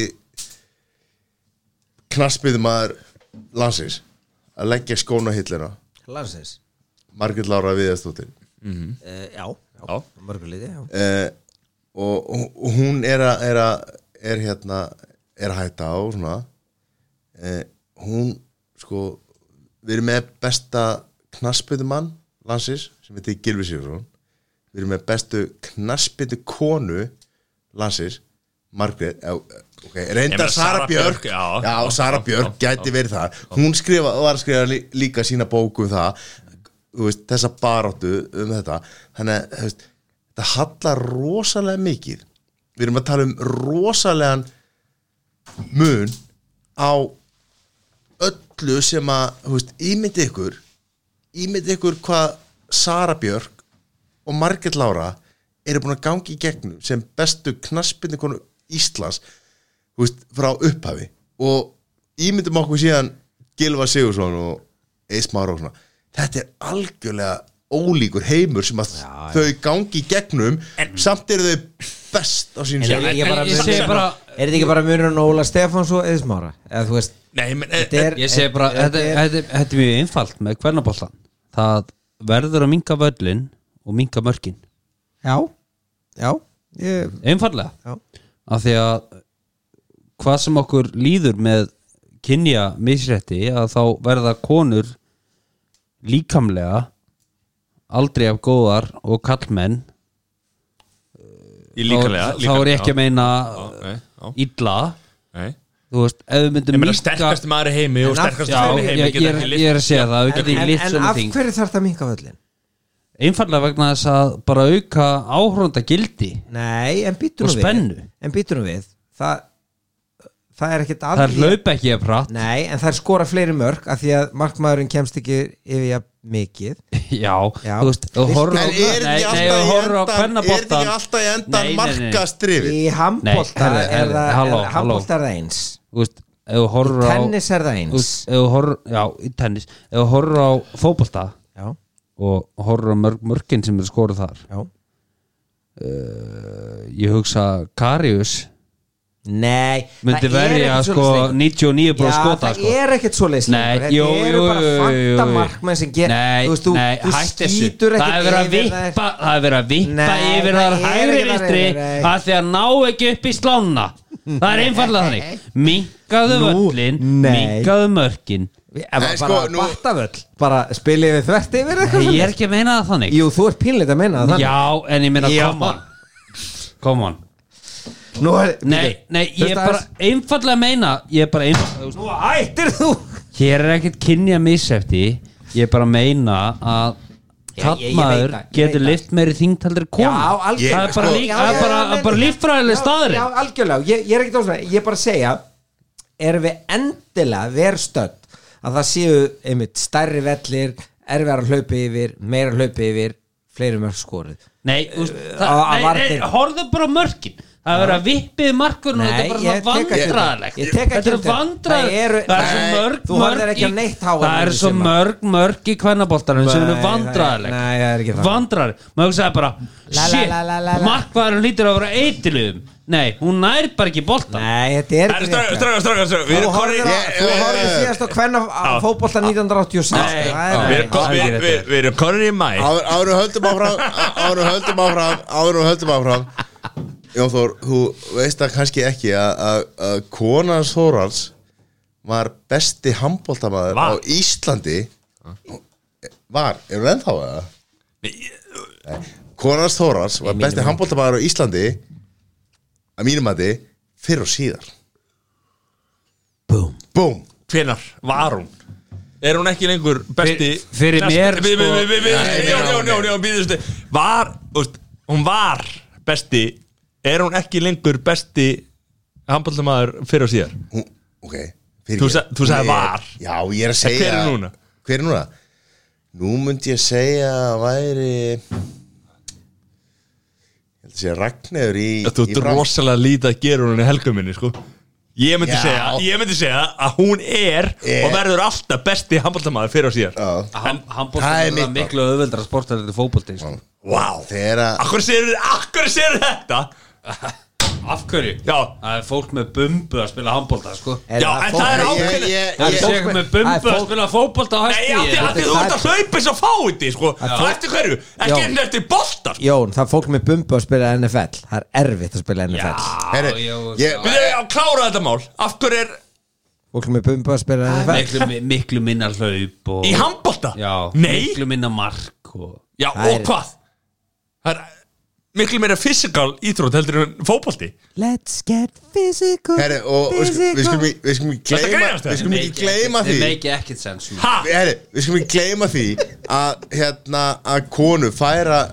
S3: knassbyðumæður landsins að leggja skóna hillina
S5: Landsins,
S3: Margrét Lára Viðastóttir
S5: uh, já, já,
S2: Já.
S5: mörguleiti já.
S3: eh, og, og, og hún er að er, að, er hérna er að hætta á svona eh, hún sko við erum með besta knassbyðumann landsins sem heitir Gilvi Sigurðsson við erum með bestu knassbyttu konu landsins Margrét, eh, okay,
S2: Ég
S3: reyndar
S2: meina
S3: Sara
S2: Sara
S3: Björk,
S2: Björk, já.
S3: já, Sara
S2: Já,
S3: Björk
S2: já,
S3: gæti verið það hún skrifa, var að skrifa lí, líka sína bóku um það þú veist, þessa baróttu um þetta þannig að þú veist, þetta hallar rosalega mikið við erum að tala um rosalegan mun á öllu sem að þú veist, ímyndi ykkur ímyndi ykkur hvað Sara Björk og Margrét Lára eru búin að gangi í gegnum sem bestu knassbyrni konu Íslands þú veist, frá upphafi og ímyndum okkur síðan Gilva Sigursson og Eismar og svona þetta er algjörlega ólíkur heimur sem að þau gangi í gegnum samt eru þau best á sínum
S5: En
S2: Já,
S5: er
S2: en-
S4: en
S5: þetta ekki bara
S4: ég segi
S5: munurinn-
S4: bara-
S5: er þetta ekki bara munurinn á Óla Stefáns og Eðismára eða þú veist
S2: Nei, menn, eh,
S5: Þetta er-
S4: Ég segi bara,
S5: Þetta
S4: þetta
S5: er-
S4: þetta er þetta er mjög einfalt með kvernabóltan Það verður að minka völlin og minka mörkin
S5: Já, já, ég,
S4: Einfallega
S5: Já.
S4: Af því að hvað sem okkur líður með kynja misrétti að þá verða konur líkamlega aldrei af góðar og kallmenn
S2: Ég líkalega
S4: þá, þá er ég ekki að meina
S2: nei, já.
S4: illa
S2: meina
S4: þú veist, ef við myndum
S2: Ég meina sterkast maður í heimi og
S5: En af-
S2: sterkast
S4: já,
S2: maður í
S4: ég,
S2: heimi
S4: ég,
S2: getur
S4: er-
S2: ekki
S4: ég er
S2: list
S4: að segja það við
S5: en,
S4: getum ekki
S5: en,
S4: lýst
S5: en
S4: svona
S5: af
S4: þing
S5: hverju þarf það minga völlin?
S4: einfallega vegna þess að bara auka áhrónda gildi
S5: Nei, en býtur
S4: Og
S5: nú
S4: spennu.
S5: við En býtur nú við Það, það er ekkert
S4: það er
S5: allir-
S4: hlaupa ekki að pratt
S5: Nei, en það er skora fleiri mörg af því að markmaðurinn kemst ekki yfir jafn mikið
S4: já,
S5: Já.
S4: þú veist, og horfa
S3: En er þetta ekki alltaf í endan er þetta ekki alltaf í endan markastrifið
S5: Í handbólta
S4: herri,
S5: er
S4: herri,
S5: það
S4: halló, halló.
S5: er- handbolta er það eins
S4: þú veist, ef þú horfur á
S5: Tennis er það
S4: þú
S5: eins
S4: veist, ef þú horfur, já, í tennis ef þú horfur á fótbolta
S5: Já,
S4: og horfur á mörg, mörgin sem eru skoruð þar Eh,
S5: já
S4: ég hugsa Karius
S5: Nei,
S4: myndi
S5: það er
S4: verja
S5: ekkert
S4: sko
S5: svoleiðis leikur.
S4: 99
S5: Já,
S4: brúð skota
S5: það
S4: sko.
S5: er ekkert svo leiðis
S4: Nei,
S5: Þetta
S4: jú,
S5: eru
S4: jú,
S5: bara
S4: jú, jú,
S5: fanta
S4: jú.
S5: markmenn sem ger
S4: Nei,
S5: þú veist, þú,
S4: nei,
S5: þú
S4: hætt þessu
S5: skýtur
S4: Það er verið að
S5: yfir þær.
S4: vippa Það er verið að vippa
S5: Nei,
S4: yfir
S5: það
S4: þar
S5: er
S4: hægri
S5: ekki verið að
S4: vinstri
S5: yfir, nei.
S4: að því að ná ekki upp í slána Það er einfallega þannig Minkaðu
S5: Nú,
S4: völlin,
S5: nei.
S4: minkaðu mörkin
S5: Við- Bara,
S3: Nei,
S5: bara
S3: sko, nú-
S5: battavöll Bara spilið við þvert yfir eitthvað
S4: Ég
S5: svoleiðis.
S4: er ekki að meina það þannig
S5: Jú, þú ert pínleitt að meina það þannig.
S4: Já, en ég meina
S5: Já.
S4: come on Come on
S5: Nú er-
S4: Nei,
S5: Bíddu,
S4: nei, ég
S5: hlusta
S4: er bara
S5: aðeins.
S4: einfallega að meina Ég er bara einfallega
S5: Nú hættir þú
S4: Hér er ekkert kynja missefti Ég er bara að meina að Kappmaður getur lift meiri þingtaldir kona
S6: Já,
S4: Það
S6: algjörlega,
S4: er bara,
S6: sko.
S4: líf,
S6: Já,
S4: það
S6: já,
S4: er bara,
S6: já, en-
S4: bara líffræðileg
S6: Já,
S4: staðri
S6: Já, algjörlega, ég, ég er ekkert áslega Ég er bara að segja Erum við endilega verstödd að það séu einmitt stærri vellir erfiðar að hlaupa yfir, meira að hlaupa yfir fleiri mörg skoruð
S4: Nei, þú veist,
S6: Á- á
S4: það- nei,
S6: varnir.
S4: nei, horfðu bara á mörkin Það er verið að vippið markur og
S6: Nei,
S4: þetta er bara
S6: ég
S4: svona
S6: tek ekki
S4: vandræðilegt
S6: undir. Ég tek ekki
S4: Þetta er
S6: undir. Það eru-
S4: vandræðilegt Það er svo
S6: Nei,
S4: mörg,
S6: þú horfðir
S4: mörg
S6: ekki á
S4: í-
S6: neitt háar
S4: Það er
S6: í
S4: svo
S6: sumar.
S4: mörg, mörg í kvennaboltanum sem eru
S6: Nei,
S4: vandræðilegt
S6: nei, það er ekki það.
S4: Vandræðilegt, maður sagði bara
S6: la,
S4: Shit,
S6: la, la, la, la.
S4: markvarun lítur að vera eitilugum Nei, hún nær bara ekki boltan
S6: Nei, þetta er
S2: Stráka,
S6: ekki rétt.
S2: stráka, stráka, stráka Við
S6: Þú
S2: erum
S6: horfðir
S2: komin
S6: á- þú horfðir síðast á hvenna fótbolta 1986
S4: Nei,
S6: það
S4: á-
S6: er-
S2: Við erum
S4: það er
S2: komin-
S4: ekki rétt.
S2: við- við erum komin í mæ
S3: Áður áður en höldum áfram Áður en höldum áfram Áður en höldum áfram Jón Þór, þú veist það kannski ekki að- að að konan Þórals var besti handbóltamaður á
S2: Var.
S3: Íslandi Var, erum við ennþá að það? Konan Þórals var besti handbóltamaður á Íslandi að mínum að þið fyrr og síðar
S4: Búm
S3: Búm
S2: Hvenar var hún? Er hún ekki lengur besti
S4: Fyr- fyrir mér,
S2: Við, við,
S4: sko-
S2: við, við, við Jón, Jón, Jón, Jón, býðustu Var, úst, hún var besti Er hún ekki lengur besti handbóltamaður fyrir og síðar?
S3: Hún- ok fyrir
S2: Þú
S3: ég.
S2: sa- þú sagði
S3: Hún er-
S2: var.
S3: já ég er að segja
S2: hver er núna?
S3: hver er núna nú myndi ég segja að væri ég held að segja Ragnar í
S2: Þú
S3: í
S2: ert
S3: Fram-
S2: rosalega lítið að gera hún í helgum minni, sko Ég myndi,
S3: Já.
S2: segja, ég myndi segja að hún er
S3: Er.
S2: og verður alltaf besti handbóltamaður fyrir og síðar
S3: Já.
S4: Handbóltan
S3: Það er
S4: er það
S3: mitt mál.
S4: miklu auðveldra sportar þetta fótbolti sko.
S3: Vá þegar að
S2: Akkur sér, akkur sér þetta?
S4: Af hverju?
S2: Já,
S4: Það er fólk með bumbu að spila handbólta sko.
S6: Eh,
S2: já en það er
S3: Ég-
S2: ákveðin
S3: ég-
S4: Það
S3: ég-
S4: er fólk með bumbu að spila fótbolta á
S2: Nei, af því af því
S4: hætti
S2: þú ert að hlaupa eins og fáiði, sko Það eftir hverju, ekki
S5: Já.
S2: einu eftir sko? boltar
S5: Jón, það er fólk með bumbu að spila NFL Það er erfitt að spila NFL
S3: Herri, ég-
S4: Miklu,
S2: Við erum að klára þetta mál Af hverju er
S5: Fólk með bumbu að spila
S3: Ah,
S5: NFL
S4: mi- miklu minna hlaup og,
S2: í handbolta?
S4: Já,
S2: Nei,
S4: Miklu minna mark og,
S2: já
S5: Það
S2: og
S5: er-
S2: hvað? Það er miklu meira fysikal íþrótt heldur en fótbolti
S5: Let's get physical
S3: herri og og sko- við skulum í- við skulum ekki
S2: Þetta
S3: gleyma
S2: grínast,
S3: við skulum ekki gleyma
S4: Þeir
S3: því
S4: make ekkert sko. sens svona.
S2: Ha?
S3: Við- herri, við skulum ekki gleyma því að hérna að konu færa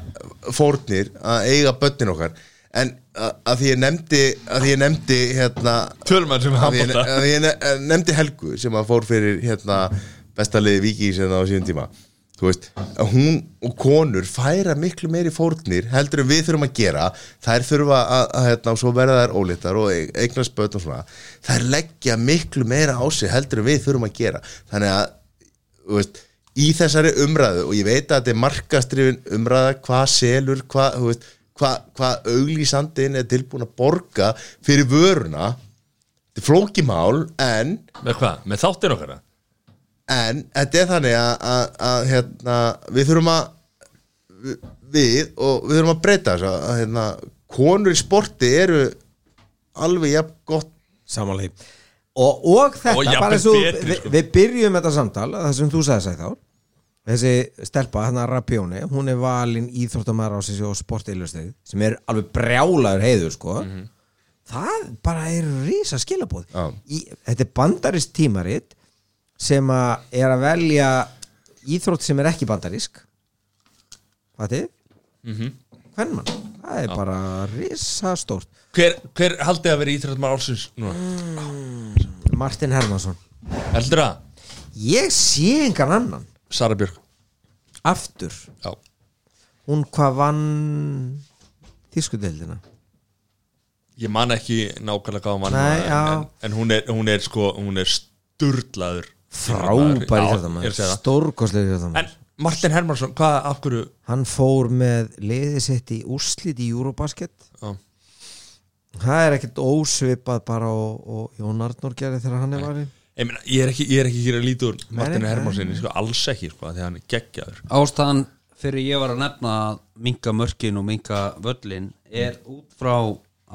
S3: fórnir að eiga börnin okkar en að, að því ég nefndi að því ég nefndi hérna
S2: Tölumann sem er
S3: að ég,
S2: handbolta
S3: að ég ne- nefndi Helgu sem að fór fyrir hérna, bestaliði Viki sem hérna á síðan tíma þú veist, að hún og konur færa miklu meiri fórnir heldur en við þurfum að gera þær þurfa að, að hérna, svo verða þær ólittar og eig- eignast börn og svona þær leggja miklu meira á sig heldur en við þurfum að gera þannig að þú veist, í þessari umræðu og ég veit að þetta er markastrifin umræða hvað selur, hvað þú veist, hvað hva auglýsandin er tilbúin að borga fyrir vöruna þetta er flókimál en,
S2: Með hvað? Með þáttin okkar?
S3: en þetta er þannig að, að, að hérna, við þurfum að við og við þurfum að breyta þess að, að hérna, konur í sporti eru alveg jafn gott
S5: Samanlega Og, og þetta,
S2: Og
S5: bara
S2: jafnvel
S5: svo
S2: betri,
S5: við,
S2: sko.
S5: við byrjum þetta samtal það sem þú sagði sæð þá þessi stelpa, hérna Rapjóni, hún er valin íþróttamæður á sér og sportilustöð sem er alveg brjálaður heiður sko.
S2: Mhm.
S5: það bara er risa skilabóð
S3: Já.
S5: Í, þetta er bandarist tímarit sem að er að velja íþrótt sem er ekki bandarísk hvað þið?
S2: Mhm.
S5: Mm -hmm. það er bara risa stórt
S2: Hver, hver haldið að vera íþróttmann álsins núna?
S5: Martin Hermansson
S2: Heldur það?
S5: ég sé engan annan
S2: Sara Björk
S5: aftur
S2: Já
S5: hún hvað vann þískudeldina
S2: Ég man ekki nákvæmlega hvað mann
S5: Nei, já.
S2: en, en hún er, hún er sko, hún er sturlaður
S5: frábæri þetta
S2: Já, ég er
S5: maður
S2: að segja það.
S5: stórkostlega þetta
S2: En
S5: maður
S2: Martin Hermansson, hvað, af hverju
S5: hann fór með liðið sitt í úrslit í Eurobasket
S2: Já.
S5: það er ekkert ósvipað bara og, og Jón Arnór gerði þegar hann er varinn
S2: Ég, meina, ég, er ekki, ég er ekki hér að líta úr Martin
S5: nei, nei.
S2: Hermansinni, sko, alls ekki sko, því hann er geggjaður
S4: Ástæðan fyrir ég var að nefna að minka mörkin og minka völlin er út frá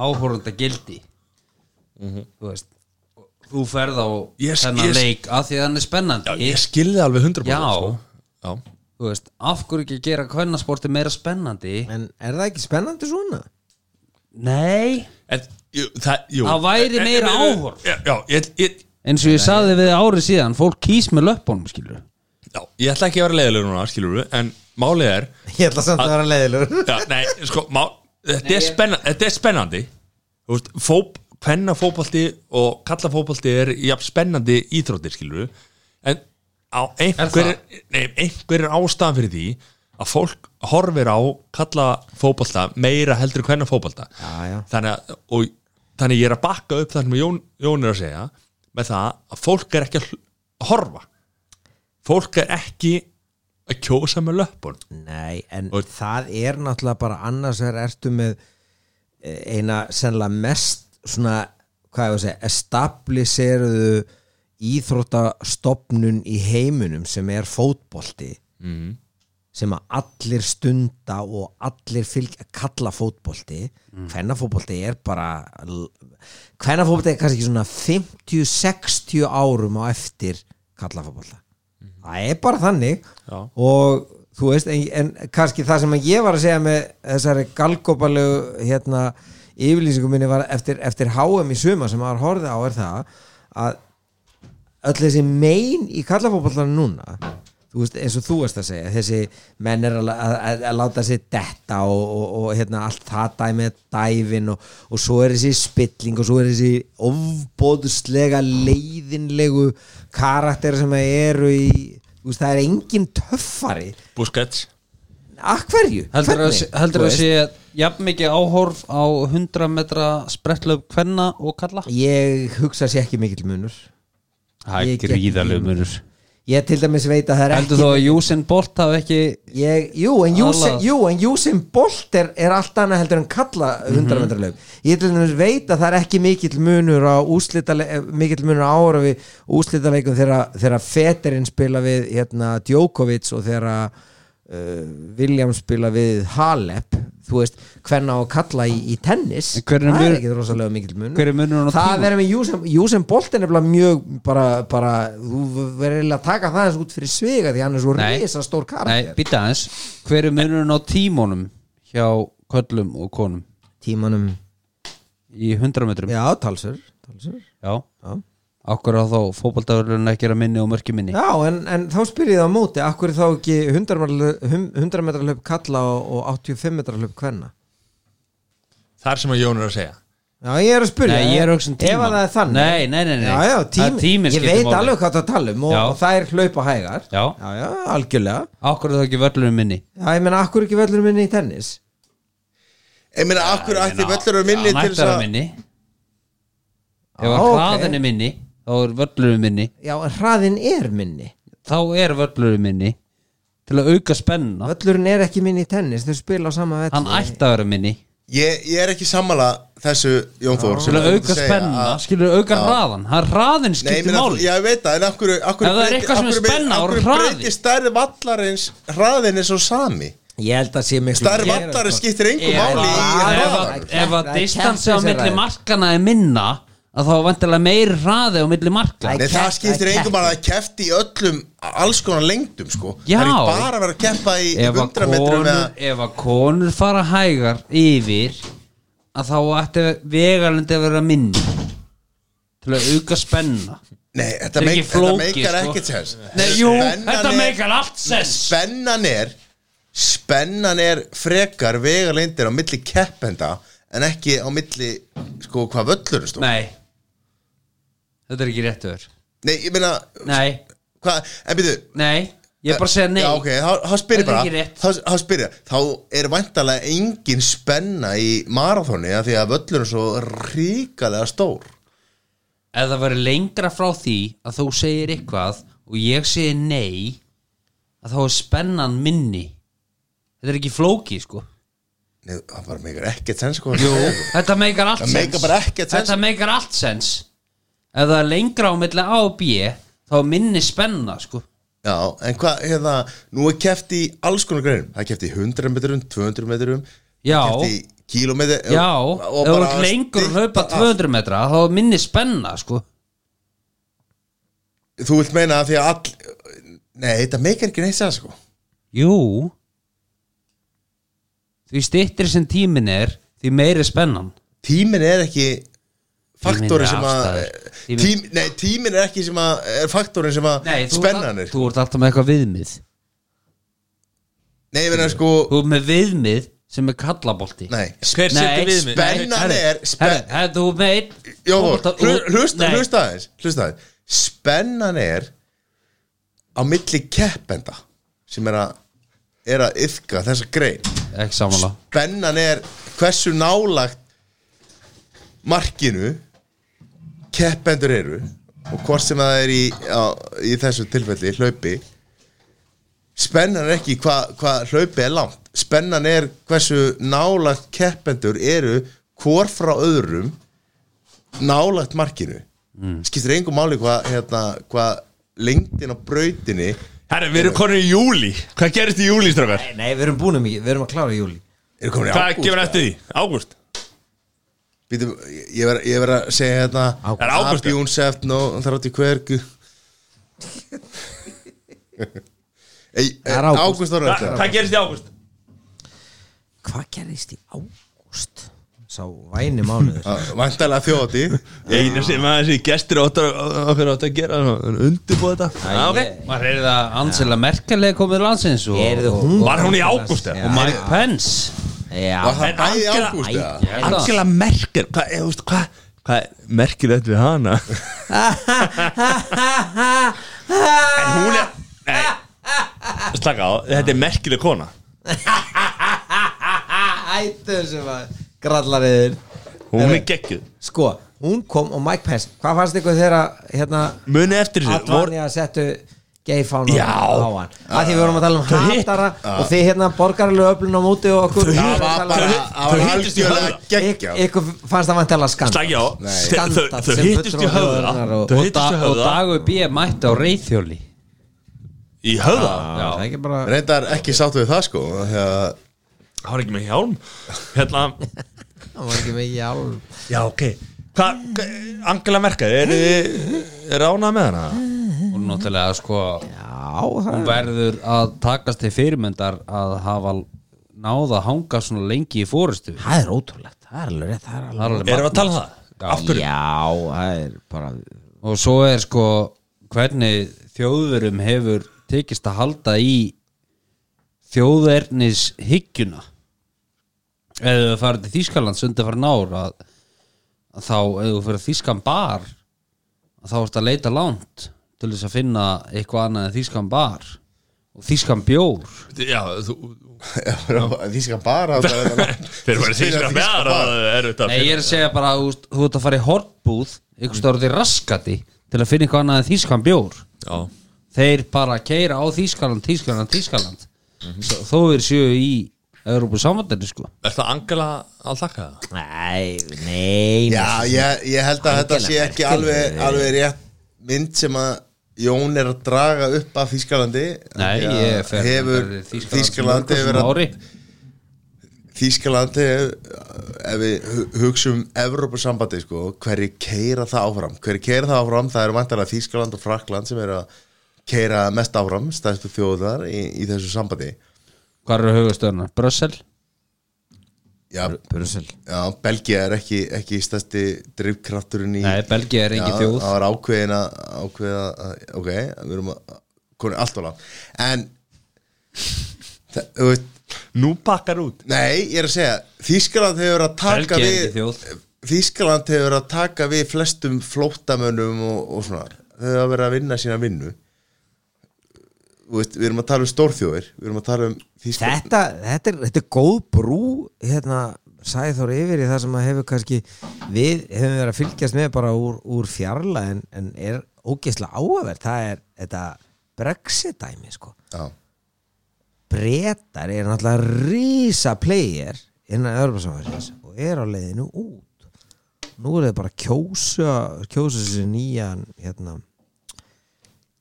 S4: áhorunda gildi
S3: Mhm.
S4: Þú veist Þú ferð á
S2: Ég-
S4: þennan
S2: ég-
S4: leik að því að hann er spennandi
S2: Ég skilði alveg 100%
S4: Já.
S2: Sko. Já.
S4: Þú veist, af hverju ekki gera kvennasporti meira spennandi
S5: en er það ekki spennandi svona?
S4: Nei
S2: En, jú, það, jú.
S4: Það væri
S2: En- en-
S4: meira
S2: en-
S4: áhorf.
S2: Já, já, ég, ég,
S4: eins og ég saði við árið síðan fólk kýs með löppunum skilur
S2: já, ég ætla ekki að vera leiðilegur núna skilur við, en Málið er
S5: Ég ætla samt að vera leiðilegur
S2: já, nei, sko, má, þetta, er spenna, þetta er spennandi Þú veist, fóp, Hvenna fótbolti og kalla fótbolti er jafn spennandi íþróttir skilur en á einhver, nei, einhver er ástæðan fyrir því að fólk horfir á kalla fótbolta meira heldur en hvenna fótbolta
S5: Já, já.
S2: Þannig, að, og, þannig ég er að bakka upp það sem Jón, Jón er að segja með það að fólk er ekki að hl- horfa fólk er ekki að kjósa með löppun
S5: Nei, en
S2: Og-
S5: það er náttúrulega bara annars er ertu með eh, eina sennilega mest svona, hvað ég að segja, establisheruðu íþróttastofnun í heiminum sem er fótbolti mm. sem að allir stunda og allir fylg, kalla fótbolti mm. hvernafótbolti er bara hvernafótbolti er kannski svona 50-60 árum á eftir kalla fótbolta það er bara þannig
S2: Já.
S5: og þú veist, en, en kannski það sem ég var að segja með þessari galgopalegu hérna, yfirlýsingum minni var eftir, eftir HM í suma sem maður horfði á er það að öll þessi mein í kallafótballarinn núna þú veist, eins og þú veist að segja þessi menn er að, að, að, að láta sig detta og, og, og hérna, allt það dæmið dæfin og, og svo er þessi spilling og svo er þessi ofbóðslega leiðinlegu karakter sem að eru í þú veist, það er engin töffari
S2: Busquets
S5: að hverju?
S4: Heldur að,
S5: Hvernig?
S4: heldur að
S5: Þú veist,
S4: sé jafn mikið áhorf á 100 metra sprettlöf kvenna og kalla?
S5: ég hugsa sér ekki mikill munur
S4: Það er
S5: Ég get-
S4: gríðalög munur
S5: ég til dæmis veit að það er
S4: Heldur
S5: ekki
S4: þú að Júsin Bolt hafi ekki
S5: Ég, jú, en Usain,
S4: Alla.
S5: jú, en Usain Bolt er, er allt annað heldur en kalla 100 metra löp ég til dæmis veit að það er ekki mikill munur á úslitaleik mikill munur á ára við úslitaleikum þegar, þegar Federin spila við hérna, Djokovic og þegar uh, William spila við Halep þú veist, hvenna á kalla í, í tennis
S4: En hver er
S5: það er
S4: mun-
S5: ekki rosalega mikill munur
S4: hver er munurinn á
S5: það
S4: tímum?
S5: verður með Usain, Usain Bolt er nefnilega mjög bara, bara þú verður eiginlega að taka það eins út fyrir sviga því hann er svo
S4: Nei.
S5: risa stór karakter
S4: Nei, býta aðeins Hver er munurinn á tímónum hjá köllum og konum
S5: tímanum
S4: í 100 metrum?
S5: já, talsur, talsur.
S4: Já.
S5: Já.
S4: Akkur á þá fótboltafurinn ekki að minni og mörki minni
S5: já en, en þá spyr ég það á móti akkur er þá ekki 100 metra hlaup- hum- 100 metra hlaup kalla og, og 85 metra hlaup hvenna
S2: Það er sem að Jón er að segja
S5: já, ég er að spyrja
S4: Nei, ég er að hugsa um
S5: ef
S4: tímann.
S5: að það er þannig
S4: Nei, nei, nei, nei.
S5: Já, já,
S4: Það er tíminn
S5: tímin ég
S4: skiptir
S5: veit
S4: máli.
S5: alveg hvað það tala um og,
S4: Já.
S5: og það er hlaupa hægar
S4: Já.
S5: já, já algjörlega
S4: Akkur er þá ekki völlurinn minni
S5: já, ég menna akkur ekki vellur minni í tennis
S3: Ég meina, akkur
S4: Ég
S3: ætti
S4: meina,
S3: völlur að minni
S4: hann
S3: til
S4: ætti
S3: þess
S4: að vera
S3: að
S4: minni Ef að
S5: Já, Ah, ok.
S4: hraðin er minni þá er völlurinn minni
S5: já, en hraðin er minni
S4: þá er völlurinn minni til að auka spenna
S5: vellurinn er ekki minni í tennis þau spila á sama velli
S4: hann ætti að vera minni
S3: Ég, ég er ekki sammála þessu Jón Þór sem
S4: til að
S3: þú ert
S4: auka
S3: segja
S4: spenna
S3: að-
S4: skilur auka hraðan það er hraðin
S3: Nei, ég
S4: skiptir
S3: meina,
S4: máli
S3: ég veit það, en akkur, akkur
S4: Ef það er eitthvað sem er spenna og hraði.
S3: breyti stærri vallarins hraðin er svo sami
S5: ég held að sé miklu
S3: Stærri
S5: meira,
S3: vallarins
S5: sko.
S3: skiptir engu
S4: Ef
S3: máli í
S4: að- ef
S3: hraðan
S4: að- ef að
S5: Það er
S4: distansi á
S5: keppnis-
S4: milli
S5: ræður.
S4: markana er minna að þá er vantilega meir hraði á milli marka
S5: Það
S3: Nei, það
S5: kepp-
S3: skiptir
S5: það er
S3: engum bara að kefti í öllum alls konar lengdum, sko
S4: Já.
S3: Það er ekki bara að vera að keppa í í
S4: ef að
S3: 100 metrum
S4: konur,
S3: eða
S4: ef að konur fara hægar yfir að þá ætti vegalandi að vera minni til að auka spenna
S3: Nei, þetta
S4: Þetta er
S3: meik-
S4: ekki
S3: þetta
S4: flókið,
S3: meikar
S4: sko.
S3: ekkert sens
S4: Nei, jú,
S3: Spennan
S4: þetta
S3: er-
S4: meikar allt sens
S3: Spennan er Spennan er frekar vegalindir á milli keppenda en ekki á milli, sko, hvað völlurinn stóð
S4: Nei Þetta er ekki rétt öður
S3: Nei, ég meina,
S4: Nei,
S3: hvað, en byrju
S4: nei, ég er bara að segja nei
S3: Já, ok, þá- þá spyrir
S4: Þetta er
S3: bara
S4: ekki rétt.
S3: þá- Þá spyrir, þá er væntalega engin spenna í marathóni af því að völlurinn er svo ríkalega stór
S4: Ef það verður lengra frá því að þú segir eitthvað og ég segir nei að þá er spennan minni Þetta er ekki flóki, sko
S3: Nei, það bara meikar ekkert sens sko
S4: Jú, þetta meikar allt
S3: Það
S4: sens
S3: meikar bara ekkert sens.
S4: Þetta meikar allt sens Ef það er lengra á milli A og B þá er minni spenna, sko
S3: Já, en hvað, hérna, nú er keft í alls konar greinum Það er keft í 100 metrum, 200 metrum
S4: Já.
S3: Keft í kílómetri
S4: Já, ef þú ert lengur að hlaupa 200 metra þá er minni spenna, sko
S3: Þú vilt meina að því að all Nei, þetta meikar ekki neitt sens sko
S4: Jú Því styttir sem tímin er því meiri spennan
S3: Tímin er ekki
S4: er
S3: faktorin sem að
S4: afstæður. Tíminn-
S3: tím, Nei, tímin er ekki sem að er faktorin sem að
S4: Nei, þú,
S3: spennanir
S4: þú ert alltaf með eitthvað viðmið
S3: Nei, ég verður sko
S4: Þú er með viðmið sem er kallabolti
S3: Nei,
S2: Hver setur
S4: Nei,
S2: við mig?
S3: spenn- Spennan er- spen-
S4: Herra, þú er með einn
S3: Jóhór,
S4: fótbolta- og-
S3: hlusta,
S4: Nei.
S3: hlusta aðeins Hlusta aðeins Spennan er á milli keppenda sem er að er að yfka þessa grein
S4: Ekki samanlá
S3: Spennan er hversu nálagt markinu keppendur eru og hvort sem það er í, á, í þessu tilfelli hlaupi spennan er ekki hvað hva hlaupi er langt spennan er hversu nálagt keppendur eru hvort frá öðrum nálagt markinu skiptir engum máli hvað hérna, hva lengdin á brautinni
S2: Herra, við erum konur í júli Hvað gerist í júli, strafgar?
S5: Nei, við erum búin um ekki, við erum að klára í júli
S3: eru komin í
S2: Hvað
S3: ágúst
S2: gefur eftir því? Ágúst
S3: Býtum, ég verð ég verð að segja hérna
S2: Er ágúst, ja?
S3: Bjúnseft, nó, þrátt í hvergu Ei,
S5: er
S3: er
S5: ágúst.
S3: eh, ágúst ára
S2: Hva- Hvað gerist í ágúst?
S5: Hvað gerðist í ágúst? Sá væni mánuður
S3: Ah, Væntalega þjóti
S2: Einu sem að þessi gestur áttur okkur átt að gera undirbúið þetta Já, ok.
S4: Maður er það Ansela Merkel er komið til landsins og,
S5: Heyrðu,
S4: og,
S5: hún-
S2: Var hún í ágúst? eða?
S5: Já.
S4: og Mike Pence
S5: Já,
S3: Var það
S2: En
S3: bæði í
S2: Angela-
S3: ágúst eða?
S4: Ég held að-
S2: Angela Merkel Hvað, ég veist, hvað Hvað er merkilegt við hana? en hún er Nei Slaka á, þetta er merkileg kona
S5: Ættu sem að grallariður
S2: Hún er geggjuð
S5: Sko, hún kom og Mike Pence Hvað fannst ykkur þegar að, hérna
S2: Munið eftir þessu vor-
S5: Advanja settu gayfána
S2: Já.
S5: á hann að því við vorum að tala um
S2: Þau hitt-
S5: hatara og þið hérna borgarlega öflun á móti og
S2: Þau
S5: okkur Við
S3: Það
S5: vorum að
S3: var
S5: tala um-
S3: bara
S2: Þau-
S3: Það
S2: þau
S3: var
S2: hittust í
S3: algjörlega
S2: höfða.
S3: geggjað
S5: Ykk- ykkur fannst það vantilega skand
S2: Slaki á Þau-
S5: Skandall
S2: þau- Þau
S5: sem
S2: hittust í
S5: fulltrúar
S2: höfða
S5: þjóðarinnar og-
S2: Þau
S4: og, da,
S2: hittust í
S4: og
S2: höfða
S4: dagur B. mætti á reyðhjóli
S2: Í höfða
S4: Já.
S5: Það er ekki bara
S3: Reyndar ekki sáttu við það sko þegar-
S2: Það var ekki með hjálm Hérna
S5: Það var ekki með hjálm
S2: Já, ok Hvað, hva- Angela Merkel, er þið ránað með hana?
S4: og náttúrulega sko
S5: Já, það
S4: hún verður að takast til fyrirmyndar að hafa náða að hanga svona lengi í fórustu
S5: Það er ótrúlegt, það er alveg rétt, það er alveg
S2: Erum við að tala um það? Af hverju?
S5: Já, það er bara
S4: og svo er sko hvernig þjóðverum hefur tekist að halda í þjóðernis hyggjuna eða þú farið til Þýskalands undir farin ár að, að þá eða þú fyrir Þýskan bar að þá ertu að leita langt til þess að finna eitthvað annað en Þýskan bar og Þýskan bjór
S2: Já, þú
S3: Þýskan bara
S2: Þeir eru þýskra með aðra er þetta
S4: Nei, ég er að segja bara að þú ert að fara í hortbúð einhvers stóður því raskati til að finna eitthvað annað en þýskan bjór
S2: Já,
S4: þeir bara keira á Þýskaland, Þýskaland, Þýskaland Svo- þó er séu í Európu samvandinu sko
S2: er það Angela að þakka það?
S5: Nei, nei
S3: Já, ég, ég held að þetta sé ekki alveg, alveg rétt mynd sem að Jón er að draga upp af Þýskalandi
S4: Nei,
S3: Því að
S4: ég fer
S3: hefur
S4: bara til Þýskalands
S3: Þýskaland hefur
S4: mörgum sinnum
S3: að
S4: ári.
S3: Þýskalandi ef við hu- hugsum Evrópusambandi sko, hverju keira það áfram hverju keira það áfram, það eru vantarlega Þýskaland og Frakland sem eru að keira mest áfram, stærstu þjóðar í, í þessu sambandi
S4: Hvar eru höfustöðunar? Brussel?
S3: Já,
S5: Brussel
S3: já Belgia er ekki, ekki stærsti drifkrafturinn í
S4: Nei, Belgia er engin
S3: Já,
S4: þjóð
S3: Það var ákveðin að ákveða að, ok, við erum að konið allt og langt en það, þú veist,
S2: Nú bakkar út
S3: nei, ég er að segja Þýskaland hefur verið að taka
S4: Belgía er ekki þjóð.
S3: við Þýskaland hefur verið að taka við flestum flóttamönnum og, og svona þau hafa verið að vinna sína vinnu Þú veist, við erum að tala um stórþjóðir við erum að tala um Þýskaland
S5: þetta, þetta, er, þetta er góð brú hérna, sagði þóra yfir í það sem að hefur kannski við hefum verið að fylgjast með bara úr, úr fjarla en, en er ógeðslega áhverð það er þetta Brexit dæmi sko.
S3: Já,
S5: brettar er náttúrulega rísa player innan Örbasamvæðis og er á leiðinu út nú er þetta bara að kjósa kjósa sér nýjan hérna,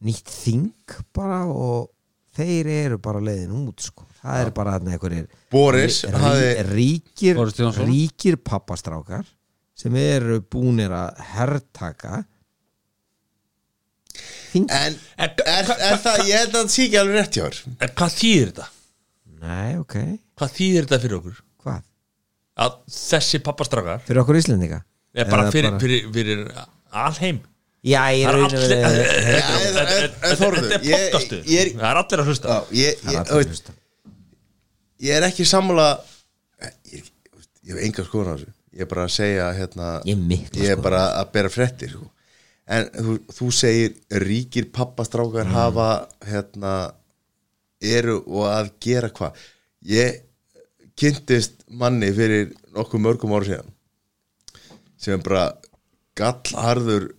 S5: nýtt þing bara og þeir eru bara á leiðinu út sko. það er bara þarna einhverjir
S3: Boris hafði-
S5: ríkir,
S4: Boris Johnson.
S5: ríkir pappastrákar sem eru búnir að herrtaka þing
S3: en, en, en það, ég held að það sé ekki alveg rétt hjá þér.
S2: En hvað þýðir þetta?
S5: nei ok,
S2: Hvað þýðir þetta fyrir okkur?
S5: hvað?
S2: Að þessi pappastrakar
S5: fyrir okkur Íslendinga
S2: er bara
S5: Eða
S2: fyrir, fyrir, fyrir alheim
S5: Já, ég
S2: Það er
S5: raunum
S2: allir
S5: allir...
S2: Þetta er-
S5: við
S2: þetta er-
S3: en- en-
S2: þetta er
S3: Eh, Þórður, ég-
S2: podcastu
S3: ég-
S2: Það er allir að hlusta
S3: Já, ég, ég,
S5: Það
S3: þú
S5: er allir
S3: veist,
S5: hlusta
S3: ég er ekki sammála ég, er ekki- ég hef enga skoðun á þessu ég er bara að segja hérna
S5: Ég er mikla sko.
S3: ég er bara að bera fréttir sko. en þú, þú segir ríkir pappastrákar hafa hérna eru og að gera hvað ég kynntist manni fyrir nokkuð mörgum ára síðan sem er bara gallharður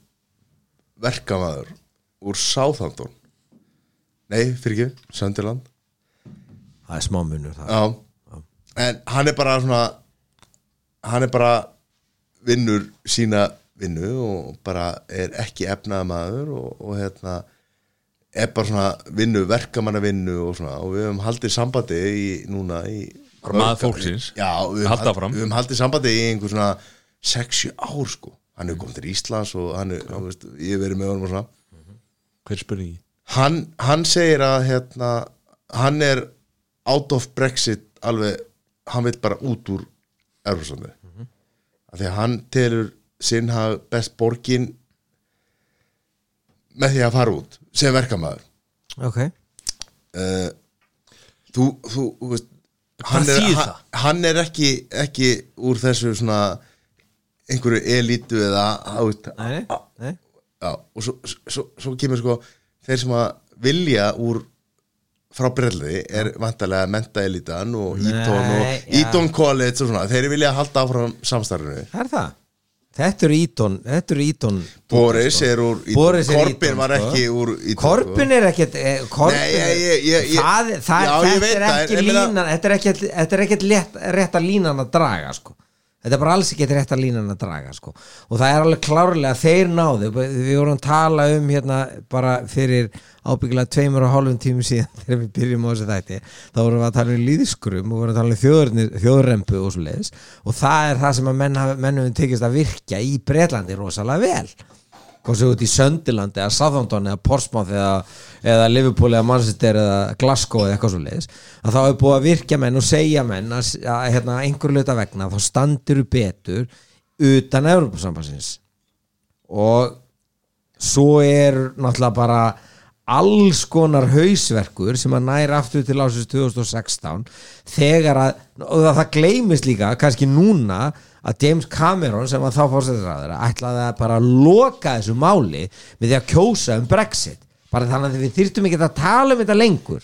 S3: verkamaður úr Southampton nei, fyrir ekki, Sönderland
S5: það er smá munur það
S3: Já. En hann er bara svona hann er bara vinnur sína vinnu og bara er ekki efnaða maður og, og hérna er bara svona vinnu, verkamanna vinnu og svona og við höfum haldið sambandi í, núna í
S2: Bara maður fólksins.
S3: Já, við höfum,
S2: Halda
S3: hald,
S2: áfram.
S3: við höfum haldið sambandi í einhver svona 60 ár sko hann er komið til Íslands og hann er, þú veist, ég hef verið með honum og svona
S2: Hver spurningi?
S3: hann, hann segir að hérna, hann er out of Brexit alveg, hann vil bara út úr Evropsandi mm af því að hann telur sinn haf best borgin með því að fara út sem verkamaður Ah.
S5: ok
S3: uh, þú, þú, þú veist hann er,
S2: þýðir
S3: hann, hann er ekki, ekki úr þessu svona einhverju elítu eða þú veist,
S5: nei,
S3: Ah.
S5: nei.
S3: já, og svo, svo, svo kemur sko þeir sem að vilja úr frá brelli er vantarlega mentaelítan og Eton
S5: Nei,
S3: og
S5: já.
S3: Eton College og svona, þeir vilja halda áfram samstarfinu
S5: það er það þetta eru ítón þetta eru ítón
S3: Boris er úr Eton,
S5: Boris er
S3: Corbyn
S5: Eton,
S3: var
S5: sko.
S3: ekki úr Eton
S5: Korpun er ekkert eh, Korbin,
S3: Nei, ég- ég- ég- ég-
S5: það, það,
S3: Já, ég
S5: þetta,
S3: veit
S5: er
S3: það,
S5: ekki
S3: en ég meina-
S5: línan, þetta er ekkert þetta er ekkert létt- rétta línan að draga sko. þetta er bara alls ekki rétta línan að draga sko. og það er alveg klárlega þeir náðu, við vorum að tala um hérna bara fyrir ábyggilega tveimur og hálfum tímum síðan þegar við byrjum á þessu þætti, þá vorum við að tala um líðskrum og vorum að tala um þjóðurni, þjóðurrempu og svo leiðis og það er það sem að menn, hafa- menn hefur tekist að virkja í Bretlandi rosalega vel hvort sem þú ert í Söndilandi eða Southampton eða Portsmouth eða, eða Liverpool eða Manchester eða Glasgow eða eitthvað svo leiðis að þá er búið að virkja menn og segja menn að, að hérna, einhver hluta vegna þá standur betur utan Evropasambansins og svo er náttúrulega bara alls konar hausverkur sem að næra aftur til ásins 2016 þegar að, og það, það gleymist líka kannski núna að James Cameron sem að þá fórsetisraður ætlaði að bara loka þessu máli með því að kjósa um Brexit bara þannig að við þyrftum ekki að tala um þetta lengur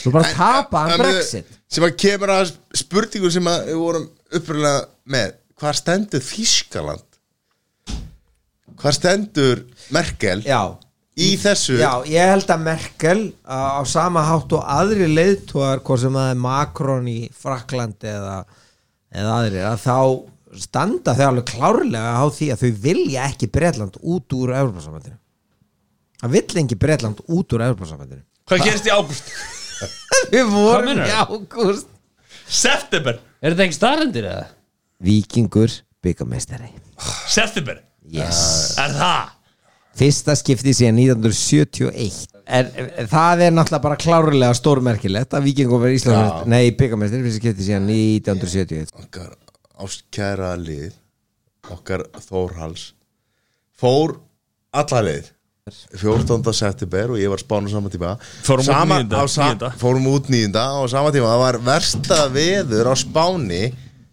S5: svo bara tapa um
S3: En, en,
S5: Brexit
S3: sem að kemur að spurningu sem að við vorum upprunlega með hvað stendur Þískaland hvað stendur Merkel
S5: já,
S3: í þessu
S5: Já, ég held að Merkel á, á sama hátt og aðri leiðtóðar hvort sem það er Macron í Fraklandi eða, eða aðri að þá standa þau alveg klárlega á því að þau vilja ekki Bretland út úr Evropasambandinu það vill ekki Bretland út úr Evropasambandinu
S2: Hvað gerist í águst?
S5: Við
S8: Hvað
S5: vorum
S8: meinarðu?
S5: í ágúst
S2: September
S8: Er þetta ekki starendir eða?
S5: Víkingur byggamestari
S2: September
S5: Yes
S2: Er það?
S5: Fyrsta skipti síðan 1971 er, er, Það er náttúrulega bara klárlega stórmerkilegt að Víkingum verið Íslandsmeist Nei, byggamestri fyrsta skipti síðan 1971
S3: okkar ástkæra lið okkar Þórhals fór alla leið 14. september og ég var spánu sama tíma
S2: Fórum út
S3: sama,
S2: níunda,
S3: á sa-
S2: níunda.
S3: fórum út nýjunda og sama tíma það var versta veður á Spáni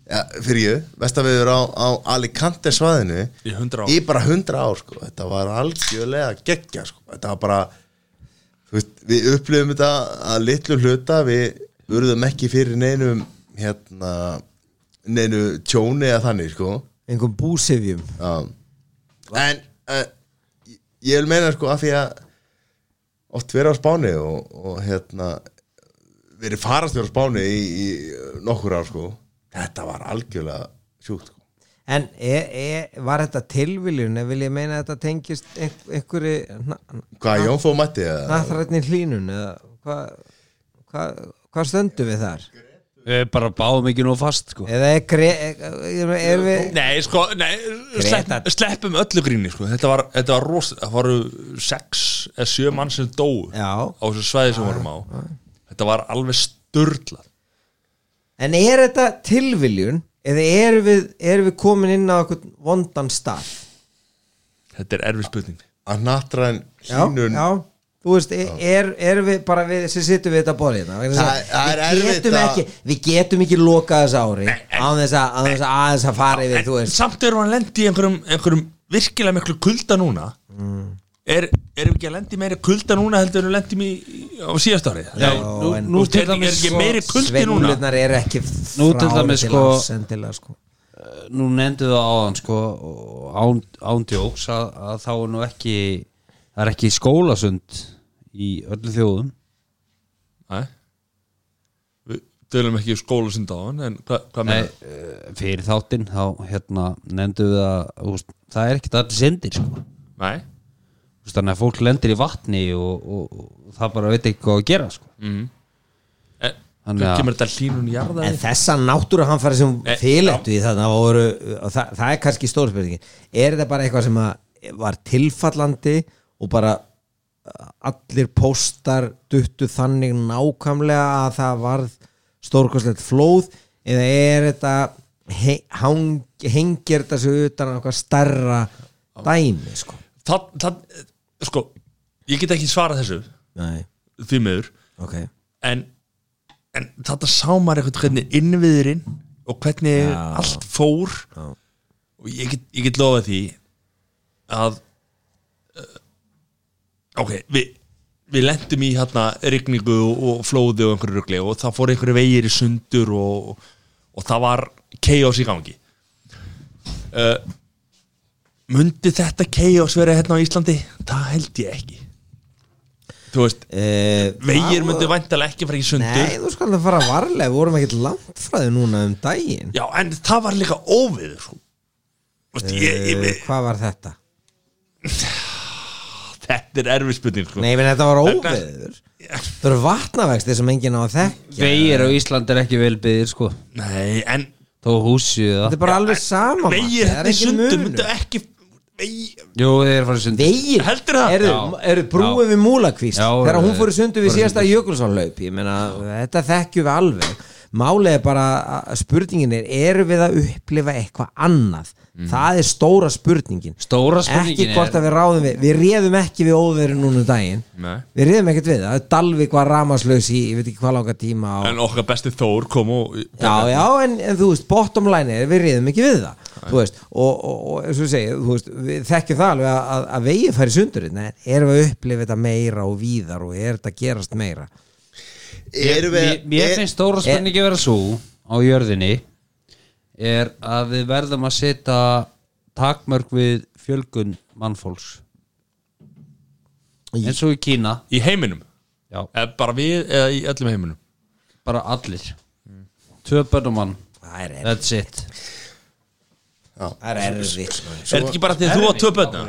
S3: ja, fyrir ég, versta veður á, á Alicante svaðinu
S2: Í 100 ár.
S3: í bara 100 ár sko. þetta var algjörlega geggja sko. þetta var bara þú veist, við upplifum þetta að litlu hluta við urðum ekki fyrir neinum hérna neinu tjóni eða þannig sko
S5: Engum búsifjum
S3: um, en uh, ég- ég vil meina sko að því að oft verið á Spáni og, og hérna verið farastjóra á Spáni í, í nokkur ár sko þetta var algjörlega sjúkt sko
S5: En er, er, var þetta tilviljun eða vil ég meina að þetta tengist ein- einhverju
S3: hvað Jón fóð mætti eða
S5: nathrætni hlínun eða hvað hva, hva stöndum við þar?
S4: Við bara báðum ekki nú fast sko
S5: Eða er, gre, er, er við
S2: Nei, sko, nei,
S5: Greta.
S2: slepp, sleppum öllu gríni sko. Þetta var, þetta var rosa Það voru sex eða sjö mann sem dóu
S5: Já.
S2: Á þessu svæði sem vorum á Þetta var alveg störlað
S5: En er þetta tilviljun eða erum við, erum við komin inn á einhvern vondan stað?
S2: Þetta er erfið spurning
S3: að natræn hlínun
S5: já, þú veist, e- er, er við bara við sem sittum við þetta borðið hérna, vegna
S3: Það-
S5: þess
S3: það
S5: að
S3: er
S5: við
S3: erfitt
S5: getum
S3: að-
S5: ekki við getum ekki lokað þessu ári án þess að án þess að aðeins að fara yfir þú
S2: en
S5: veist,
S2: samt erum við að lendi í einhverjum, einhverjum virkilega miklu kulda núna
S3: Mm.
S2: er, erum við ekki að lendi meiri kulda núna heldur en við lendum í í- á síðast ári Já,
S5: nú- en-
S2: nú til dæmis er ekki meiri kuldi núna
S5: sveimlunar er ekki
S4: Nú
S5: frá
S4: til dæmis,
S5: til
S4: sko-
S5: alls endilega sko
S4: Eh, nú nefndu það áðan sko, og án, án djóks að, að þá er nú ekki það er ekki skólasund í öllu þjóðum
S2: Nei Við tölum ekki skóla sinn dáin en hva, hvað
S4: Nei,
S2: með
S4: eh, fyrir þáttinn þá hérna, nefndu við að þú veist, það er ekkert allir sindir sko.
S2: Nei,
S4: Þú veist, þannig að fólk lendir í vatni og, og, og það bara veit ekki hvað að gera sko.
S2: en
S4: Þannig
S2: þú
S4: að-
S2: kemur þetta hlínun í jarðaði
S5: En þessa náttúruhamfari sem
S2: Nei,
S5: fylættu í þarna voru, og það, það er kannski stórspurningin, er þetta bara eitthvað sem að var tilfallandi og bara eh, allir póstar duttu þannig nákvæmlega að það varð stórkostlegt flóð eða er þetta he, hang, hengir þetta sig utan á eitthvað starra dæmi sko
S2: það, það, Sko, ég get ekki svarað þessu
S5: Nei,
S2: því meður
S5: ok
S2: en, en þetta sá maður eitthvað hvernig innviðurinn og hvernig allt fór
S5: Já.
S2: og ég get, ég get lofað því að uh, ok, við við lendum í hérna rigningu og, og flóði og einhverju rugli og það fór einhverju vegir í sundur og, og það var chaos í gangi uh, mundi þetta chaos vera hérna á Íslandi? það held ég ekki þú veist
S5: eh,
S2: Vegir
S5: það-
S2: myndu væntalega ekki fara í sundur
S5: Nei, þú skal það fara varlega, við vorum ekkert langt frá þau núna um daginn
S2: Já, en það var líka óviður sko. Vist, ég, ég,
S5: Eh, Hvað var þetta?
S2: Þetta er erfið spurning sko.
S5: Nei, menn þetta var
S2: Þetta-
S5: óveður Það eru vatnavexti sem enginn á að þekkja
S4: vegir á Ísland er ekki velbyðir sko.
S2: Nei, en
S4: þó húsið
S5: Þetta er bara alveg sama Matti,
S2: vegir
S5: það
S2: hérna
S5: er
S2: í
S5: engin
S2: sundur
S5: munur.
S2: myndu ekki vegi,
S4: jú, þeir eru farið sundir
S5: Vegir
S2: Heldur það?
S5: Eru,
S4: Já.
S5: eru brúið
S4: Já.
S5: við múlakvísl
S4: Já,
S5: Þegar hún
S4: eh,
S5: fór í sundu við
S4: fór í
S5: síðasta Jökulsánlaup Ég meina, þetta þekkjum við alveg Málið er bara að spurningin er Eru við að upplifa eitthvað annað Það er stóra spurningin
S4: Mm. Stóra spurningin
S5: Ekki hvort
S4: er-
S5: að við ráðum við Við réðum ekki við óveður núna um daginn
S2: Nei.
S5: Við réðum ekkert við það Dalvik var ramaslaus í, ég veit ekki hvað langa tíma á,
S2: En okkar besti Þór kom og
S5: Já, já, en, en þú veist, bottom line er við reyðum ekki við það, þú veist og, og, og eins og við segjum, þú veist, við þekkjum það alveg að, að, að vegið færi sundurinn en erum við að upplifa þetta meira og víðar og er þetta að gerast meira
S3: Erum við
S4: mér, mér
S3: er-
S4: finnst stóra spurningi vera svo á jörðinni er að við verðum að setja takmörk við fjölgun mannfólks eins og í Kína
S2: í heiminum
S4: já,
S2: eða bara við eða í öllum heiminum
S4: bara allir tvö börn og mann,
S5: Það er erfitt,
S4: that's it
S5: það er erfitt sko.
S2: Er þetta ekki bara því að þú var tvö bönna?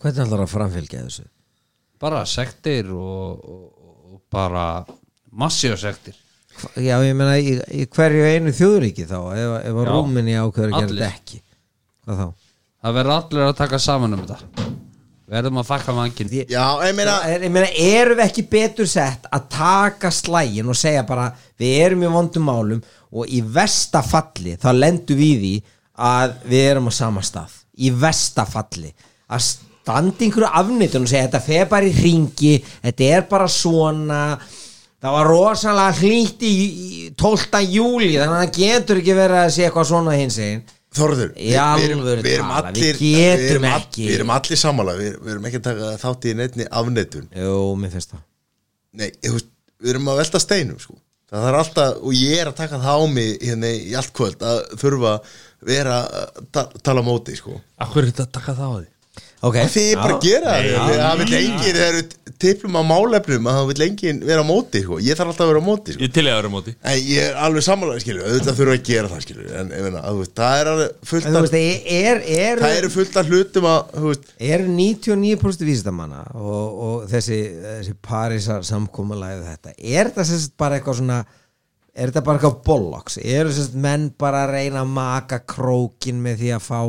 S5: Hvernig ætlar að framfylgja þessu?
S4: bara sektir og, og, og bara massíu sektir
S5: Hva- Já, ég meina, í, í hverju einu þjóðuríki þá ef, ef að
S4: Já.
S5: rúminni ákveður að gera
S4: Allir.
S5: þetta ekki Hvað þá?
S4: það verður allir að taka saman um þetta verðum að fakka mangin
S5: Ég-
S3: Já, ég meina
S5: er, ég meina, erum við ekki betur sett að taka slægin og segja bara við erum í vondum málum og í versta falli þá lendum við í því að við erum á sama stað í versta falli að standa einhverju afnýttun og segja þetta fer bara í ringi, þetta er bara svona það var rosalega hlýtt í í 12. júli þannig að það getur ekki verið að sé eitthvað svona hins einn
S3: Þorður,
S5: Í alvöru
S3: við erum
S5: tala, við
S3: allir
S5: getum
S3: erum all-
S5: ekki.
S3: Við erum allir sammála, við, við erum ekki að taka þátt í neittni afneitun
S5: Jú, mér finnst það
S3: Nei, ég veist, við erum að velta steinum sko. Það er alltaf, og ég er að taka það á mig hérna í allt kvöld að þurfa vera að ta tala á móti sko.
S2: Akkur er þetta að taka það á því?
S5: okay.
S3: Því ég bara að gera það Þegar það vill engin, þegar við tiplum á málefnum að það vill engin vera á móti sko. Ég þarf alltaf að vera á móti sko.
S2: Ég til ég að vera á móti
S3: En ég er alveg sammálaði skilju, auðvitað þurfa að gera það skilju En ég meina, að þú veist, það er alveg fullt
S5: En þú veist,
S3: að
S5: er, er,
S3: Það eru fullt að hlutum að, þú veist
S5: eru 99% vísindamanna og, og þessi, þessi parísar samkomulæðu þetta er þetta sérst bara eitthvað svona er þetta bara eitthvað bollocks eru sérst menn bara að reyna að maka krókin með því að fá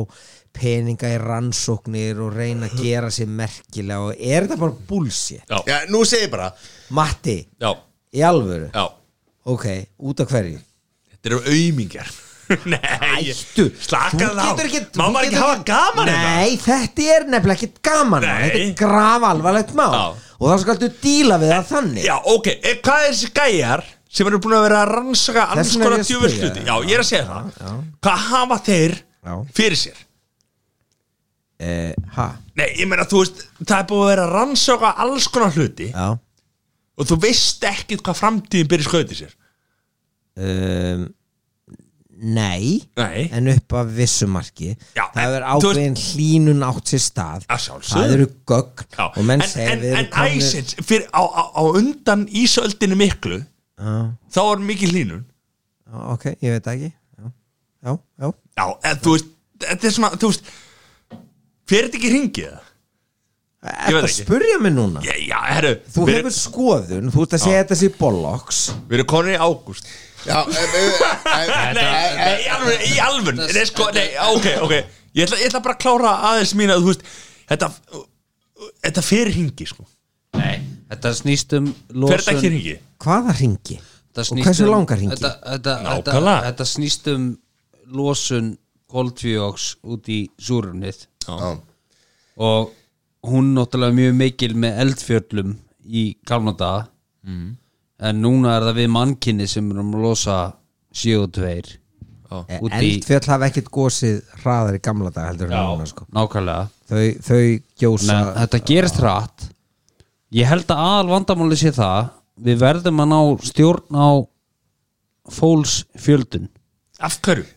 S5: peninga í rannsóknir og reyna að gera sér merkilega og er þetta bara bullshit
S2: Já,
S3: Já, nú segi ég bara
S5: Matti,
S2: já,
S5: í alvöru
S2: já
S5: ok, út af hverju
S2: Þetta eru aumingjar Nei,
S5: Ættu
S2: slakaðu á.
S5: Þú getur ekki-
S2: Má
S5: þú
S2: maður ekki
S5: getur
S2: hafa gaman
S5: Nei,
S2: hérna?
S5: þetta er nefnilega ekkit gaman mál.
S2: Nei.
S5: Þetta er graf alvarlegt mál
S2: Já.
S5: Og þá skaltu díla við það þannig
S2: Já, ok, e, hvað er þessi gæjar sem eru búin að vera að rannsaka alls
S5: Þess vegna er
S2: konar
S5: ég að
S2: djúvel
S5: spyrja.
S2: hluti Já, ég er að segja það Hvað hafa þeir
S5: Já.
S2: fyrir sér?
S5: Eh, Ha,
S2: Nei, ég meina, þú veist, það er búin að vera að rannsaka alls konar hluti
S5: já
S2: og þú veist ekkit hvað framtíðin byrja skautið sér
S5: um, Nei
S2: Nei,
S5: En upp að vissu marki
S2: Já,
S5: Það
S2: en,
S5: er
S2: þú
S5: ákveðin hlínun átt sér stað
S2: Að sjálfsögðu.
S5: Það eru gögn
S2: Já.
S5: Og menn
S2: en,
S5: segja
S2: en,
S5: við
S2: en æsins, fyrir á, á, á undan ísöldinu miklu þá var mikil hlínun
S5: Ok, ég veit það ekki Já, já, já
S2: Já, en, þú veist, þetta er svona, þú veist fyrir þetta ekki hringið það?
S5: Ertu
S2: veit
S5: að
S2: ekki.
S5: spurja mig núna?
S2: Já, já, herru,
S5: Þú
S2: við,
S5: hefur skoðun, þú ert að segja þetta sér bollocks
S2: við erum konin í ágúst
S3: Já, ef- ef- ef-
S2: Nei, nei, í alveg, í alveg Nei, sko, nei, ok, ok Ég ætla, ég ætla bara að klára aðeins mín að þú veist Þetta, þetta fyrir hringi, sko
S4: Nei, þetta snýst um
S2: Fer þetta
S4: losun
S2: ekki hringi?
S5: Hvaða ringi?
S4: Þetta
S5: Og
S4: snýst
S5: hversu
S4: um-
S5: langar hringi?
S4: Þetta, þetta, þetta,
S2: Nákvæmlega.
S4: þetta snýst um losun koltvíóks út í súrunnið
S3: Já.
S4: og hún náttúrulega mjög mikil með eldfjöllum í kalnada mm. en núna er það við mannkinni sem erum að losa CO2 út í
S5: Eldfjöll hafa ekkert gósið hraðar í gamla dag heldur en núna sko.
S4: nákvæmlega
S5: þau, þau gjósa
S4: Nei, þetta gerist hratt ég held að aðal vandamáli sé það við verðum að ná stjórn á fólksfjöldun
S2: Af hverju?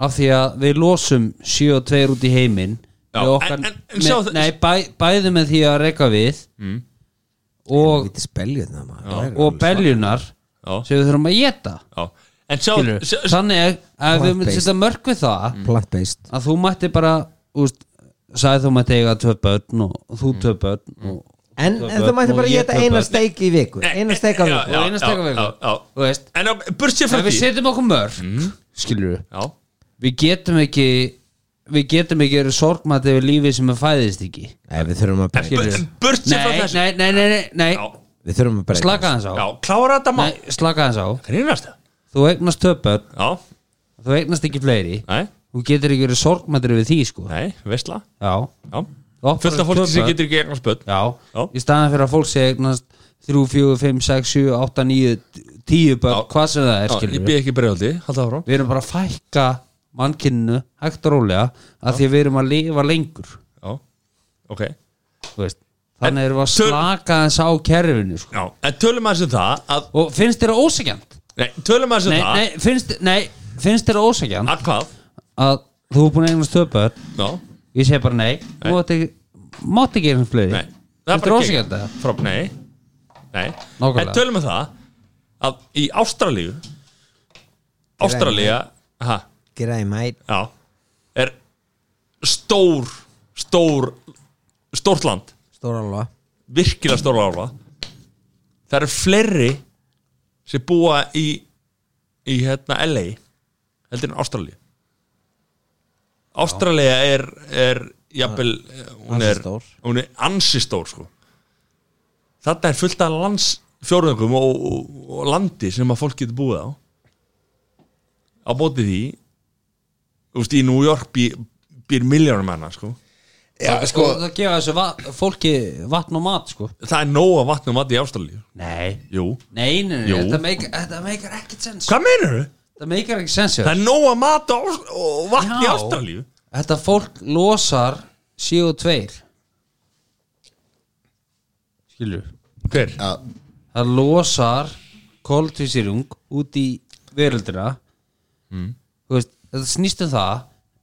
S4: af því að við losum 7-2 út í heiminn
S2: Já,
S4: með okkar,
S2: en- en- en
S4: með,
S2: sjá- Mm.
S4: nei, bæ, bæði með því að reyka við og,
S5: Lítið speljuðna maður Það er
S4: og
S5: alveg-
S4: beljunar
S2: Já.
S4: sem við þurfum að geta
S2: Já, en sjá,
S4: skilurðu.
S2: sjá, sjá
S4: þannig að við myndum
S5: Plant-based.
S4: setja mörg við
S2: Mm.
S4: það
S5: Plant-based
S4: að þú mætti bara úst, sagði þú mætti eiga tvö börn og þú
S2: Mm.
S4: tvö börn og,
S5: En,
S4: tvö
S5: en
S4: börn
S5: það mætti
S4: og
S5: bara
S4: ég
S5: geta
S4: tvö
S5: eina
S4: börn.
S5: steik í viku Eina steik á
S2: Já,
S5: viku
S2: já,
S4: og eina steik á
S2: já,
S4: viku.
S2: já, já.
S4: Þú veist.
S2: En á, burt sér frá
S4: ef við
S2: því
S4: setjum okkur mörg
S2: Mhm.
S4: mm. skilur við
S2: Já,
S4: við getum ekki við getum ekki verið sorgmætt yfir lífi sem við fæðist ekki
S5: Nei, við þurfum að breyta
S2: en burt sér frá
S4: nei,
S2: þessu
S4: nei, nei, nei, nei, nei.
S2: Já,
S5: Við þurfum að breyta
S4: slaka hans á
S2: já, klára þetta má
S4: nei, slaka hans á
S2: Grínast það?
S4: þú eignast töpöld,
S2: Já,
S4: þú eignast ekki fleiri
S2: nei,
S4: þú getur ekki verið sorgmættur yfir því sko já,
S2: nei, veistla
S4: já.
S2: Já,
S4: Þú opnar
S2: fullt af
S4: tvö
S2: fólki sem
S4: börn.
S2: getur ekki eignast börn Já.
S4: í staðan fyrir að fólk sé eignast 3, 4, 5, 6, 7, 8, 9 10 börn,
S2: Já.
S4: hvað sem það er
S2: Já,
S4: skilur
S2: Ég
S4: við.
S2: byrði ekki bregðaldi, halda áfram
S4: við erum bara að fækka mannkinnu hægt og rólega að því að við erum að lifa lengur
S2: Já, ok
S4: þú veist. þannig erum við að
S2: töl-
S4: slaka hans á kerfinu sko.
S2: Já, en tölum aðeins um það að,
S4: og finnst þér ósækjant
S2: Nei, tölum aðeins um
S4: nei,
S2: það
S4: nei, finnst, nei, finnst þér ósækjant
S2: Að hvað?
S4: að þú er búin að eignast töpöld
S2: Já,
S4: ég segi bara nei, þú mátt ekki mátt ekki eins og fleiri
S2: nei
S4: það er bara
S2: gegn-
S4: ósíkjönda
S2: Frá, nei, nei
S4: Nákvæmlega.
S2: En tölum að það að í Ástralíu Ástralía ha,
S5: Græði mæt
S2: já, er stór stór stórt land,
S5: Stóra alva
S2: virkilega stór álfa Það eru fleiri sem búa í í hérna LA heldur en Ástralíu Ástralíu er er jafnvel hún
S5: ansi
S2: er,
S5: stór.
S2: hún er ansi stór sko þetta er fullt af landsfjórðungum og, og, og landi sem að fólk getur búið á á bóti því þú veist í New York býr, býr miljónum manna sko
S3: Já,
S4: sko,
S3: sko
S4: það gefa þessu vat, fólki vatn og mat sko.
S2: það er nóg að vatna og mat í Ástralíu
S4: nei,
S2: jú
S4: nei, nei, nei
S2: Jú.
S4: þetta meikar- þetta meikar ekkert sens
S2: hvað meinar þau?
S4: þetta meikar ekkert sens
S2: það
S4: hjá
S2: er nóg að mat og, ás- og vatn í
S4: Já.
S2: Ástralíu
S4: þetta fólk losar CO2 skilur
S2: hver?
S3: Já,
S4: það losar koltvísirung út í veröldina þú veist, þetta snýst um það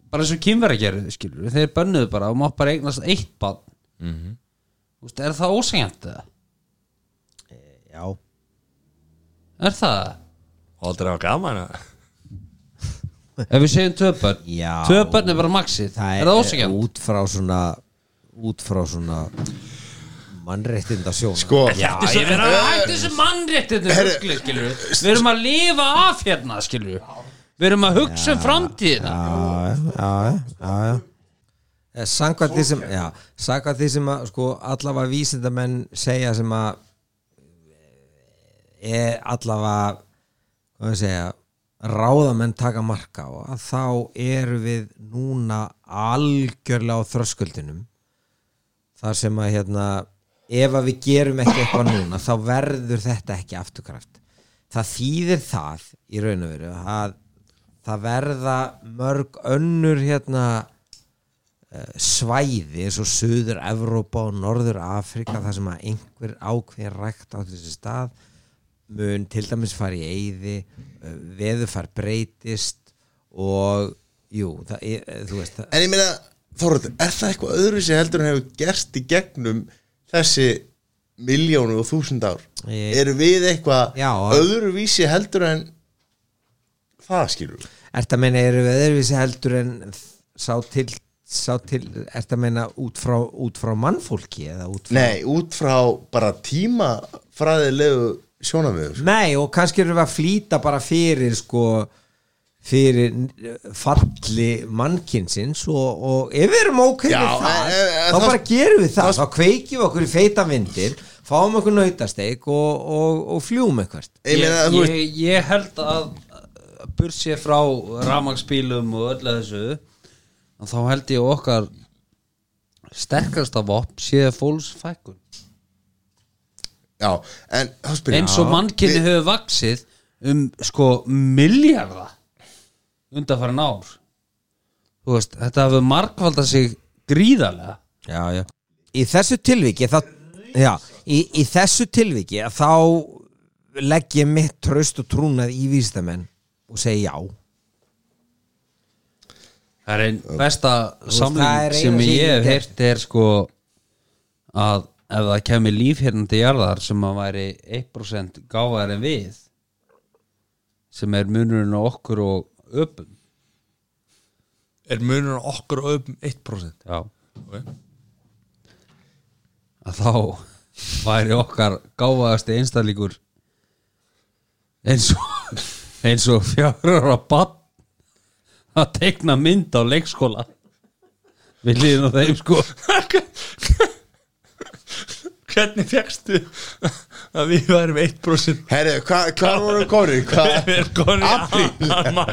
S4: bara eins og kynverja gerðu skilur þeir bönnuðu bara og mátt bara eignast eitt bann þú veist, er það ósengjant það?
S5: Eh, Já
S4: Er það?
S2: aldrei hafa gaman að
S4: Ef við segjum tvö börn
S5: Já.
S4: Tvö börn er bara maxið
S5: Það
S4: Er það ósengjant?
S5: út frá svona Út frá svona Mannréttinda sjóna
S3: sko
S2: Þetta er svo-
S4: Það er hægt þessu mannréttinu hugli, skilur við Við erum að lifa af hérna, skilur við Við erum að hugsa um framtíðina
S5: já, já, já, já. Eh, Samkvæmt því sem, já, samkvæmt því sem að, sko, allavega vísindamenn segja sem að eh, er allavega, hvað að segja, ráðamenn taka marka á að þá eru við núna algjörlega á þröskuldinum þar sem að hérna ef að við gerum ekki eitthvað núna þá verður þetta ekki afturkraft það þýðir það í raun og veru að það verða mörg önnur hérna eh, svæði eins og Suður Evrópa og Norður Afrika þar sem að einhver ákveðin rækt á þessi stað mun til dæmis fara í eyði veðufar breytist og jú, það, er- þú veist það,
S3: En ég meina, Þorvaldur, er það eitthvað öðruvísi heldur en hefur gerst í gegnum þessi miljónu og þúsund ár?
S5: Ég-
S3: Erum við eitthvað
S5: Já.
S3: öðruvísi heldur en það skilur við?
S5: Ert að meina eru við öðruvísi heldur en sá til, sá til ert að meina út frá, út frá mannfólki eða út frá
S3: Nei, út frá bara tímafræðilegu sjónamiðu.
S5: Nei, og kannski erum við að flýta bara fyrir sko fyrir eh, falli mannkinsins og, og ef við erum ok
S3: Já,
S5: með það,
S3: eh, eh,
S5: þá
S3: það-
S5: bara gerum við það, þá kveikjum við okkur í feita vindir fáum okkur nautasteik og, og, og fljúum eitthvert
S3: Ég meina, þú
S4: ég,
S3: veist,
S4: ég, ég held að bursi frá rafmagnspílum og öllu þessu að þá held ég að okkar sterkasta vopn sé fólksfækun
S3: já, en þá spyrir
S4: eins og mannkinni hefur vaksið um sko miljarda undanfærin ár þú veist, þetta hefur markvalda sig gríðarlega
S5: já, já. í þessu tilviki þá, já, í, í þessu tilviki að þá legg ég mitt tröst og trúnað í vísdamenn og segi já
S4: það er einn besta
S5: veist, það er
S4: samling
S5: eina
S4: sem
S5: sem
S4: ég
S5: ég
S4: hef
S5: get-
S4: heyrt er sko að ef það kemur líf hérna til jarðar sem að væri 1% gáðar en við sem er munurinn á okkur og öpum
S2: Er munur á okkur og öfum 1%
S4: já,
S2: okay.
S4: að þá væri okkar gáðaðasti einstælíkur eins og eins og fjárur að bann að tekna mynd á leikskóla við liðum á þeim sko
S2: Hvernig fegstu að við værum 1%
S3: Herri, hvað hva voru konir? Hvað?
S2: Við erum konið að
S3: Apríl.
S2: Ah, mæ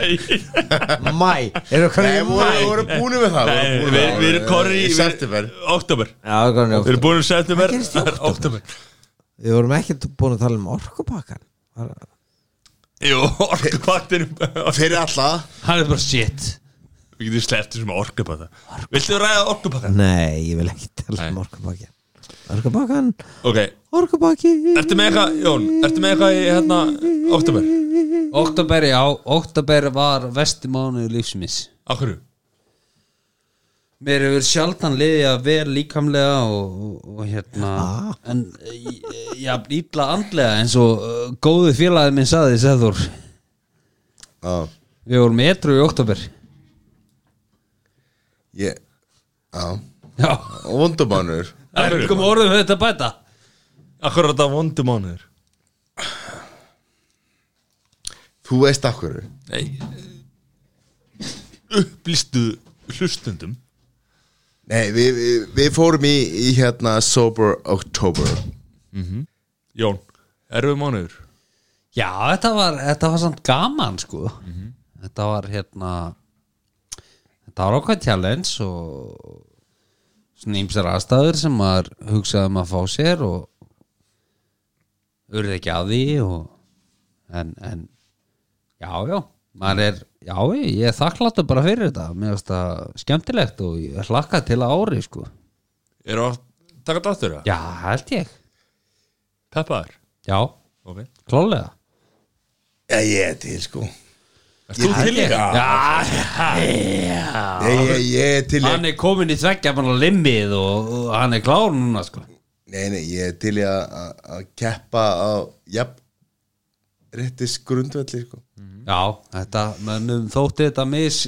S5: mæ, eru
S3: Nei,
S5: komin í
S3: voru,
S5: mæ
S3: voru búinu með það
S2: Nei, við, við erum konið í
S3: September
S2: Oktober
S5: Já, við erum komin í
S2: Við erum búin um september
S5: Það gerist í
S2: Það er oktober
S5: Við vorum ekki búin að tala um orkupakkan
S2: Jú, orkupaktin Við
S3: Fyrir alla
S4: hann er bara shit
S2: getum sleppt þessum orkupakta Viltu ræða orkupakta?
S5: Nei, ég vil ekki tala um
S2: Nei.
S5: orkupakkan Orkupakkan,
S2: Ok,
S5: orkupakki
S2: ertu með eitthvað, Jón? Ertu með eitthvað í hérna oktober?
S4: Oktober, já, oktober var vesti mánuði lífsmis
S2: Á hverju?
S4: Mér hefur sjaldan liðið að vel líkamlega og, og, og hérna en ég haf ítla andlega eins og uh, góðu félagið minn saði Sæður,
S3: Já,
S4: við vorum etru í oktober
S3: ég Já,
S4: Já,
S3: vondumánur
S4: það er komið orðum við þetta að bæta
S2: Á hverju er þetta vondu mánuður?
S3: Þú veist af hverju
S2: Nei Upplýstu hlustundum
S3: Nei, við, við, við fórum í, í hérna Sober October
S2: Jón, erfið mánuður
S4: Já, þetta var, þetta var samt gaman sko Þetta var hérna Þetta var okkar challenge og svona ýmsar aðstæður sem maður hugsaði um að fá sér og urði ekki að því og en, en já, já maður er, já, ég er þakkláttur bara fyrir þetta, mér finnst það skemmtilegt og ég hlakka til að ári sko
S2: Eru að taka dáttur það?
S4: Já, held ég
S2: Peppaður
S4: Já,
S2: okay.
S4: klálega
S3: Já, ég er til sko
S2: Ert Þú til líka?
S4: Já,
S3: Nei, ég, ég er til í
S4: hann
S3: að-
S4: er komin í tveggja manna limmið og, og hann er klár núna sko
S3: Nei, nei, ég er til í að- að að keppa á Jafn Réttis grundvelli sko
S4: já, Mhm. þetta, mönnum þótti þetta mis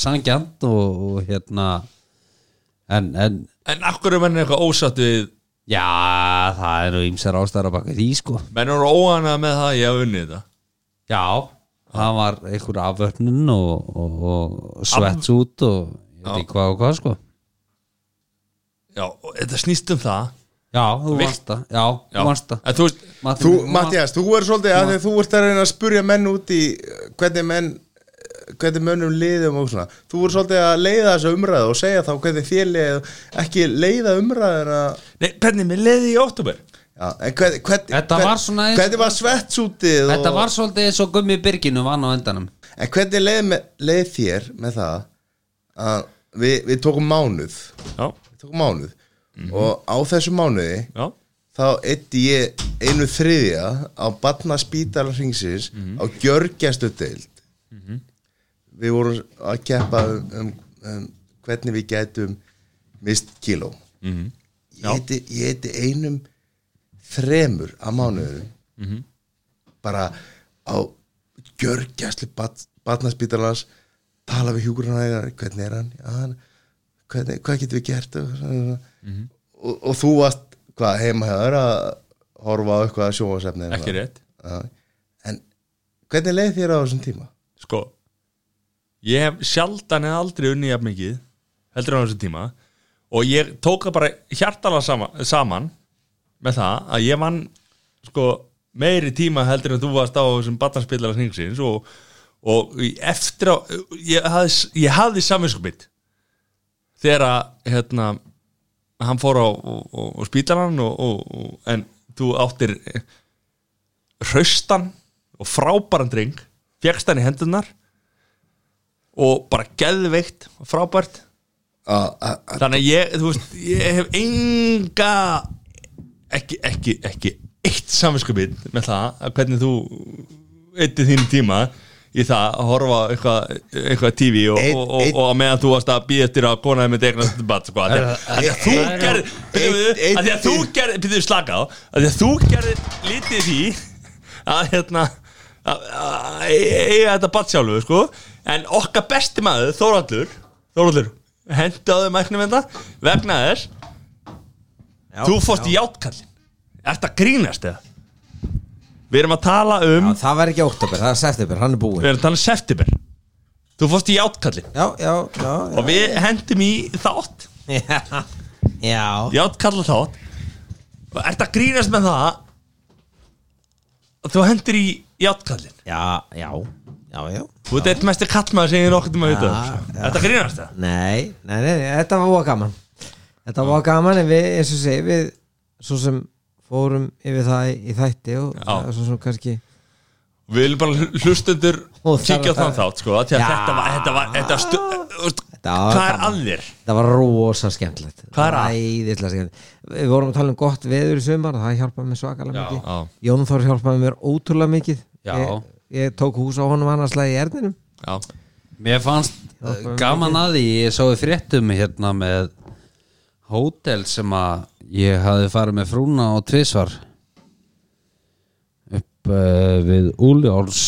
S4: sangjant og, og hérna en, en
S2: En af hverju menn er eitthvað ósatt við
S4: já, það er nú ýmsar ástæður að baka því sko
S2: Menn eru óanað með það að ég hafa unnið þetta
S4: já, það var einhver afvörnun og, og, og svets út og ég veit ekki hvað og hvað sko
S2: Já, og þetta snýst um það
S4: Já, þú
S2: Vilt-
S4: vannst það Já, þú vannst það
S2: En þú veist,
S4: Matti-
S3: Þú,
S4: þú vannst-
S3: Mattias, þú er svolítið að því að þú ert að reyna að spurja menn út í eh, hvernig menn eh, hvernig mönnum liðum og svona þú er svolítið að leiða þessa umræðu og segja þá hvernig þér leiðið ekki leiða umræðina
S2: nei, hvernig mér leiði í óttúber?
S3: já, en hvern, hvern,
S4: Þetta var svona eins-
S3: hvernig var svetsútið
S4: Þetta
S3: og,
S4: var svolítið eins og gummi Birginu vann á endanum
S3: en hvernig leið, með, leið þér með það að við, við tókum mánuð við
S2: Já,
S3: tókum mánuð
S4: Mhm.
S3: og á þessu mánuði
S2: já,
S3: þá eitti ég einu þriðja á batna spítala hringsins
S4: Mhm.
S3: á gjörgjastu deild við vorum að keppa um, um, um hvernig við gætum mist kíló
S4: Mhm.
S3: ég,
S2: Já.
S3: heiti, ég heiti einum þremur að mánuður
S2: Mhm.
S3: bara á gjörgjastli bat, batnaspítalans tala við hjúgrunæðar hvernig er hann, ja, hann hvernig, hvað getum við gert og,
S2: Mhm.
S3: og, og þú varst hvað heimahöður að horfa á eitthvað sjóasefni eða
S2: ekki
S3: eitthvað.
S2: rétt
S3: Já. en hvernig leið þér á þessum tíma?
S2: Sko, ég hef sjaldan eða aldrei unnið jafn mikið heldur á þessum tíma og ég tók það bara hjartala saman, saman með það að ég vann sko meiri tíma heldur en þú varst á þessum batnarspillara hringsins og, og í- eftir á ég hafði, ég hafði saminskupið þegar að hérna, hann fór á, og, og, og spítalann og, og, og, en þú áttir eh, hraustan og frábæran dreng fjekkst hann í hendunar og bara geðveikt og frábært
S3: Að- að- að-
S2: þannig að ég, þú veist, ég hef enga ekki, ekki, ekki eitt samvinskupið með það að hvernig þú eittir þín tíma í það að horfa á eitthvað, eitthvað TV og,
S3: Einn-
S2: og, og,
S3: einn-
S2: og að meðan þú varst að býja eftir að konaði með degna þetta bat sko, að því að- að því að þú
S3: Einn-
S2: gerði byrjuðu,
S3: einn-
S2: að því að þú
S3: einn-
S2: gerði, byrjuðu slaka á að því að þú gerði lítið í því að hérna að- að eiga þetta bat sjálfu sko, en okkar besti maður Þóraldur, Þóraldur hendaðu mæknum þetta vegna þess þú fórst í játkallin Ert að grínast eða? Við erum að tala um
S5: Já, það var ekki óttubur, það er september, hann er búinn
S2: Við erum að tala um september Þú fórst í játkallin
S5: Já, já, já
S2: Og við hendum í þátt
S5: Já, já.
S2: Játkalla þátt Og ert að grínast með það að Þú hendur í játkallin
S5: já, já, já, já.
S2: Þú ert eitt mestir kallmaður sem ég nokkuð um að vita
S5: Já, já.
S2: Ert að grínast eða?
S5: Nei, nei, nei, nei, þetta var voða gaman Þetta var voða gaman en við, eins og segi, við svo sem fórum yfir það í- í þætti og
S2: Já.
S5: svo sem kannski
S2: Við viljum bara hlustundur
S5: Ó,
S2: kíkja á
S5: það-
S2: þann þátt sko, af því að
S5: Já.
S2: Þetta var, þetta var, þetta stu,
S5: Þetta var
S2: Hvað er
S5: gaman.
S2: að þér?
S5: það var rosa skemmtilegt
S2: Hvað er að?
S5: Æðislega skemmtilegt Við vorum að tala um gott veður í sumar það hjálpaði mér svakalega mikið Jón Þór hjálpaði mér ótrúlega mikið
S4: Já.
S5: ég, ég tók hús á honum annarslega í erninum
S2: Já, já.
S4: Mér fannst uh, gaman að því Ég sá í fréttum hérna með Hótel sem að Ég hafði farið með frúna og tvisvar Upp uh, við Úljáls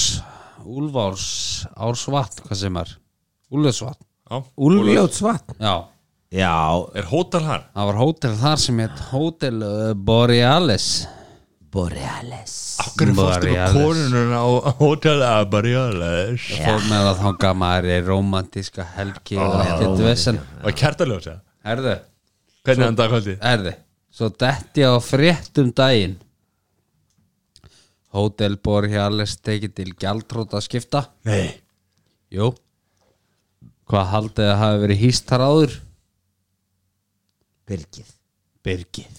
S4: Úlfáls Ársvatn, hvað sem er Úlfársvatn,
S2: já.
S5: Úlfljótsvatn
S4: já
S5: Já,
S2: Er hótel hann?
S4: Það var hótel þar sem hétt Hótel uh, Borealis
S5: Borealis
S2: Akkur fórstu með
S4: Borealis.
S2: konunum á Ah, á Hotel Borealis
S4: Fór með að þanga maður í romantíska helgi og ekkert vesen
S2: Og kjartaljósa
S4: Herðu,
S2: Hvernig hann dag kvöldi?
S4: herðu Svo detti ég á fréttum daginn Hótel Borealis tekið til gjaldróta skipta
S2: Nei
S4: Jú Hvað haldið að hafi verið hýst þar áður?
S5: Birgið
S4: Birgið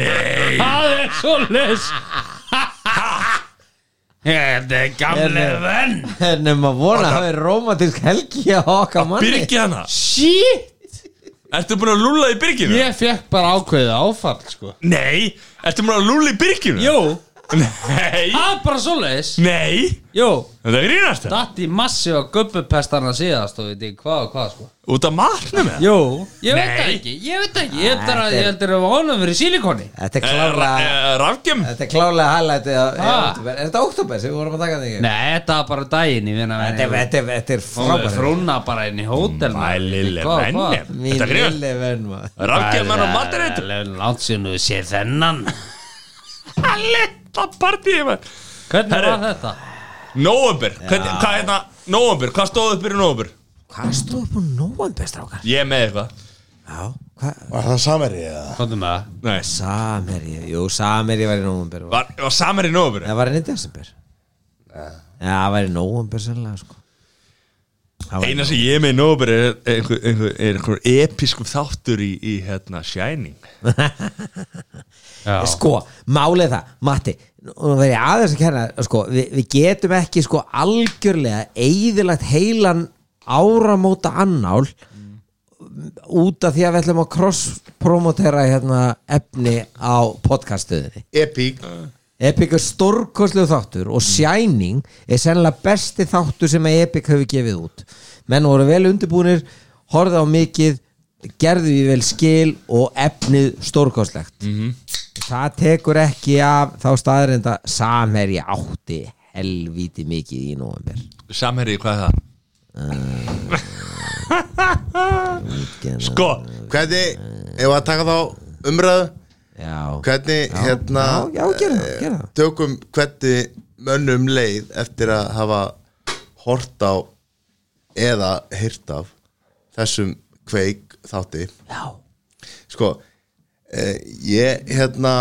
S4: Nei Það er svo les Þetta er gamle venn
S5: Nefnum að vona að það er romantísk helgi á okkar manni
S2: Byrgi hana
S4: Shit
S2: Ertu búin að lúla í byrginu?
S4: Ég fekk bara ákveðið áfall sko
S2: Nei Ertu búin að lúla í byrginu?
S4: Jú,
S2: Nei
S4: það er bara svoleiðis
S2: Nei
S4: Jú,
S2: Þetta er grínast það
S4: datt í massi á gubbupestana síðast og veit ekki hvað og hvað sko
S2: Út af matnum eða?
S4: Jú, ég veit
S2: Nei.
S4: það ekki, ég veit það ekki Ég heldur
S5: Þetta
S4: að
S5: er-
S4: ég heldur að vonum fyrir sílikoni
S5: Þetta er
S2: Eh, ra-
S5: klálega
S2: eh, Rafgjum
S5: Þetta er klálega highlightið
S4: Ha?
S5: á er október. Er þetta oktober sem við vorum að taka þig?
S4: Nei, þetta var bara daginn í vina
S5: Þetta er, þetta er, þetta er
S4: frábæð
S5: frábært
S4: Frúna bara inn í hótel
S2: My little venn.
S5: Mín
S2: Þetta er grínast.
S5: lille venn maður.
S2: Rafgjum hann á matnum
S4: Látt sér nú sé þennan
S2: Lilla partíði maður
S4: Hvernig
S2: Herri.
S4: var þetta?
S2: Nóumbur Hvað hérna Nóumbur Hvað stóðu upp fyrir nóumbur?
S5: Hvað stóð upp á nóan bestrákar?
S2: Ég er með eitthvað
S5: Já, hvað?
S8: Var það samverið eða?
S4: Kondum með það
S2: Nei,
S5: Samherji, jú, Samherji var í nóvumber
S2: var, var samar í nófur
S5: Það var hann í desember Já, það var í nóvumber sannlega sko Það var í
S2: Eina sem ég er með í nófur er einhver, einhver, er einhver episkum þáttur í, í hérna Shining
S4: Já.
S5: sko, málið er það, Matti nú verð ég aðeins að kenna sko, við, við getum ekki sko algjörlega eigðilagt heilan áramóta annál út af því að við ætlum að cross-promotera hérna efni á podcastuðinni
S3: Epic
S5: Epic er stórkostlegu þáttur og Shining er sennilega besti þáttur sem að Epic hefur gefið út menn voru vel undirbúinir horfið á mikið, gerðu við vel skil og efnið stórkostlegt -hmm. það tekur ekki af þá staðrenda samherji átti helvíti mikið í nóvember
S2: Samherji, hvað er það? Sko,
S3: Hvernig, ef að taka þá umræðu
S5: já,
S3: Hvernig, hérna
S5: já, já, gera það, gera það.
S3: Tökum hvernig mönnum leið eftir að hafa hort á eða hýrt af þessum kveik þátti
S5: já,
S3: Sko, eh, ég, hérna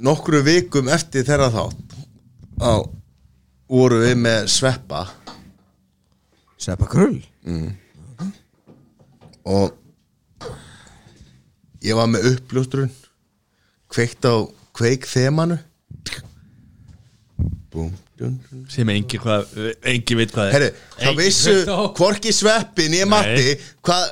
S3: nokkru vikum eftir þeirra þátt á, voru við með sveppa
S5: Sveppa Krull
S3: og ég var með uppljóstrun kveikt á kveik þemanu búm dun, dun.
S2: sem engi hvað engi veit hvað er
S3: herri, það vissu hvorki sveppi nýja matti hvað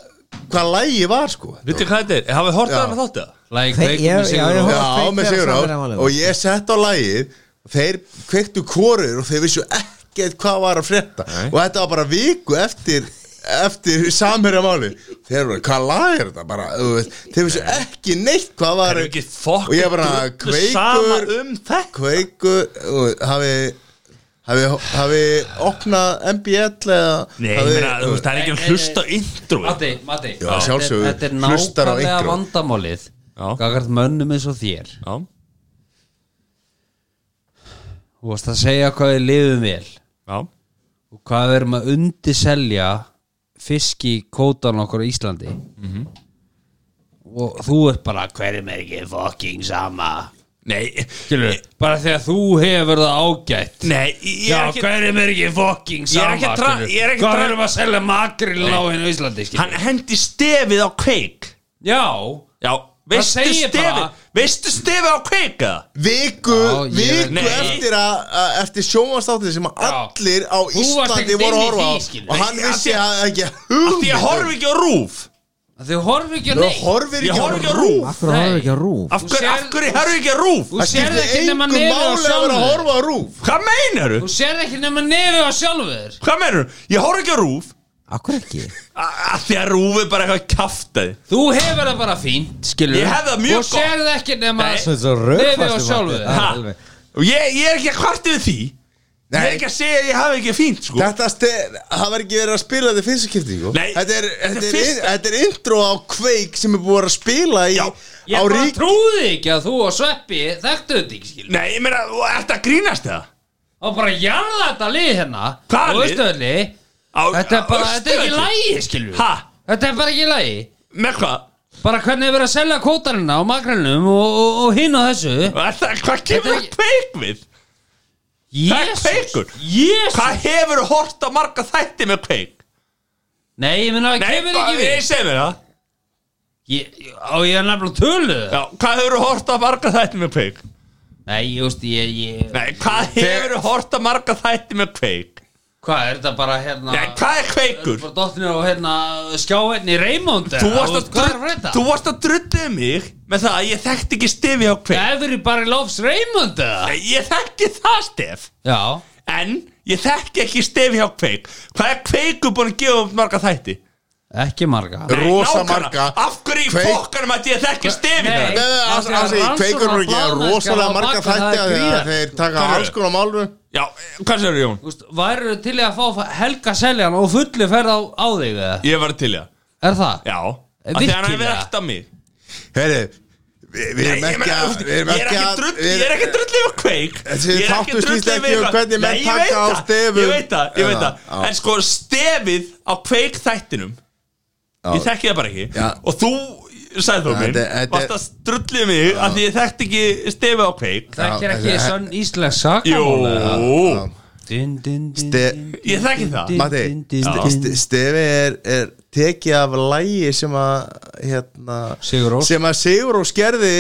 S3: hva lægi var sko
S2: Vitið hvað þetta er? Hafið hortað
S3: Já.
S2: hann að þáttu?
S4: Læk,
S5: Hver-
S4: veik,
S5: ég-
S4: með sigur og
S5: já, já.
S3: já,
S5: Kveik
S3: með
S5: þeirra
S3: sigur
S5: saman er málið.
S3: og ég sett á lægið þeir kveiktu kórur og þeir vissu ekkert hvað var að frétta og þetta var bara viku eftir eftir samherja máli þeir voru, hvað lag er þetta bara þú veist, þeir vissu ekki neitt hvað
S2: Það
S3: var
S2: er ekki
S3: og ég bara,
S2: fokkur sama
S3: kveikur
S2: um þetta
S3: kveikur og hafi hafi, hafi opnað MBL eða
S2: Nei, ég meina, þú veist, það er ekki að hlusta á introið
S4: Matti, Matti
S3: Já, sjálfsögðu,
S4: Þetta er
S3: hlustar á
S4: nákvæmlega
S3: einhverjum.
S4: vandamálið
S2: Já.
S4: Gagart mönnum eins og þér
S2: Já,
S4: Þú varst að segja hvað við lifum vel
S2: já,
S4: og hvað við erum að undiselja fiski kótan okkur á Íslandi
S3: Mhm.
S4: og þú ert bara hverjum er ekki fucking sama
S2: nei
S4: Skilur, bara þegar þú hefur það ágætt
S2: Nei, ég
S4: Já,
S2: er ekki
S4: hverjum er ekki fucking
S2: Ég er
S4: sama
S2: ekki að tra-
S4: skilur?
S2: ég er ekki að
S4: Hvað
S2: tra-
S4: erum að selja makril á hennu á Íslandi skilur?
S2: Hann hendi stefið á kveik
S4: Já,
S2: Já, veistu
S4: segir
S2: stefið
S4: bara-
S2: Veistu stefið á kveik eða?
S3: viku,
S4: Já, ég veit-
S3: viku
S2: Nei.
S3: eftir að, að eftir sjónvastáttið sem að
S4: Já.
S3: allir á
S4: Þú varst
S3: Íslandi
S4: ekkert
S3: voru að
S4: inn í
S3: horfa á
S4: því, skilur.
S3: og hann
S2: Nei,
S3: vissi
S2: af því-
S3: að ekki
S2: Af Því ég horf ekki á rúf
S4: þau horfum ekki að
S3: Þú
S4: neitt
S3: horfir
S2: Ég
S3: ekki á
S2: horf ekki á
S3: RÚV.
S2: rúf
S5: Akkur
S4: Nei.
S5: horfum við ekki að rúf
S2: Af hverju,
S4: sérð-
S2: af hverju horf ekki á rúf?
S4: Þú sérð
S3: skiptir
S4: ekki nema
S3: engu máli
S4: nefið á
S3: að vera að
S4: sjálfur
S3: horfa á rúf
S2: Hvað meinaru?
S4: Þú sérð ekki nema nefið á sjálfur
S2: Hvað meinaru? Ég horf ekki á rúf
S5: Akkur ekki
S2: A- Af því að rúf er bara eitthvað kjaftaði
S4: Þú hefur það bara fínt, skilur
S2: Ég hef það mjög
S4: Þú sérð ekki nema
S2: Nei.
S5: Svo- svo rökfastur
S4: nefið á
S5: Matti.
S4: sjálfur
S5: Já,
S2: Ha?
S5: alveg.
S2: Og ég, ég er ekki að kvarti við því Ég er
S3: Nei.
S2: ekki að sko- segja að ég hafi ekki fínt sko
S3: Þetta stið, það var ekki verið að spila þetta í fyrsta kipti sko.
S2: Nei,
S3: þetta, er,
S2: þetta er
S3: þetta, er in,
S2: fyrsta-
S3: þetta er intro á kveik sem er búið að vera að spila í,
S2: Já,
S4: Ég
S3: á
S4: bara
S3: rík
S4: trúði ekki að þú og Sveppi þekktu þetta ekki, skilur
S2: Nei, ég meina, þú ert að grínast það?
S4: Og bara jarða þetta lið hérna
S2: Hvaða
S4: Og
S2: lið?
S4: Austurvelli
S2: Á-
S4: Þetta er
S2: á
S4: bara, þetta er ekki
S2: Austurvelli?
S4: lægi, skilur
S2: Ha?
S4: Þetta er bara ekki lægi
S2: Með hvað?
S4: Bara hvernig er verið að selja kótanina á makranum og, og, og hinn á þessu
S2: Er það- Hvað kemur
S4: Þetta
S2: það
S4: er-
S2: kveik við? Það er kveikur. Hvað
S4: Jésus
S2: hefur hort á marga þætti með kveik?
S4: Nei, ég minna, það kemur ekki
S2: hvað- ég
S4: við
S2: segi mér það
S4: Ég, á, ég er nefnilega töluð
S2: Já, hvað hefur hort á marga þætti með kveik?
S4: Nei, ég veist, ég, ég
S2: Nei, hvað hefur hort á marga þætti með kveik?
S4: Hvað er þetta bara hérna
S2: Nei, hvað er kveikur?
S4: Bara dottinu á hérna skjáinni Raymond
S2: Þú
S4: eða?
S2: varst að,
S4: veist, Hvað er
S2: drull,
S4: þetta?
S2: þú varst að drullið mig með það að ég þekkti ekki stefi á kveik
S4: Everybody loves Raymond eða?
S2: Nei, ég þekki það stef
S4: Já
S2: En ég þekki ekki stefi á kveik Hvað er kveikur búin að gefa upp marga þætti?
S4: Ekki marga
S2: Nei,
S3: Rosa
S2: nákvæmlega.
S3: marga.
S2: Af hverju í
S3: Kveik-
S2: fokkanum að ég þekki stefi
S4: Nei.
S2: það?
S3: Nei, alls- alls ekki, Kveikur er ekki að rosalega marga þætti af því að þeir taka
S2: Hvað eru?
S3: alls konar málum
S2: Já, hvað sér Jón?
S4: Úst, væru til í að fá Helga Seljan og fullu ferð á, á þig eða?
S2: Ég var til í það
S4: Er það?
S2: Já,
S4: Eh,
S2: af því að hann hefur
S4: virkilega?
S2: vekt að mig
S3: Herri, við, við erum
S2: Nei, ég
S3: ekki
S2: meina,
S3: að
S2: þú veist,
S3: við erum
S2: Ég er ekki
S3: að-
S2: drull-
S3: við-
S2: ég er ekki drullið á kveik
S3: Þessi
S2: Ég er
S3: þáttur
S2: ekki
S3: snýst
S2: drullið
S3: ekki um
S2: eitthvað.
S3: hvernig menn
S2: Nei, ég veit
S3: taka á
S2: það. sko,
S3: stefum.
S2: Ég veit það, ég veit
S3: Já,
S2: það
S3: já.
S2: En sko stefið á kveik þættinum ég þekki það bara ekki
S3: Já.
S2: og þú, sagði þú
S3: Já,
S2: minn
S3: þetta- þetta-
S2: varst að strullið mig að því ég þekkti ekki stefi á kveik
S4: Þekkir
S3: Já,
S4: ekki
S3: þetta-
S4: sann íslensk
S2: jú,
S4: sakamál
S3: já.
S4: Din, din, din,
S3: Ste-
S4: din,
S2: ég þekki það
S4: din,
S3: Matti,
S4: din, din,
S3: ste-
S4: din.
S3: ste- Stefi er, er tekið af lægi sem að hérna,
S4: Sigur Rós.
S3: sem að Sigur Rós gerði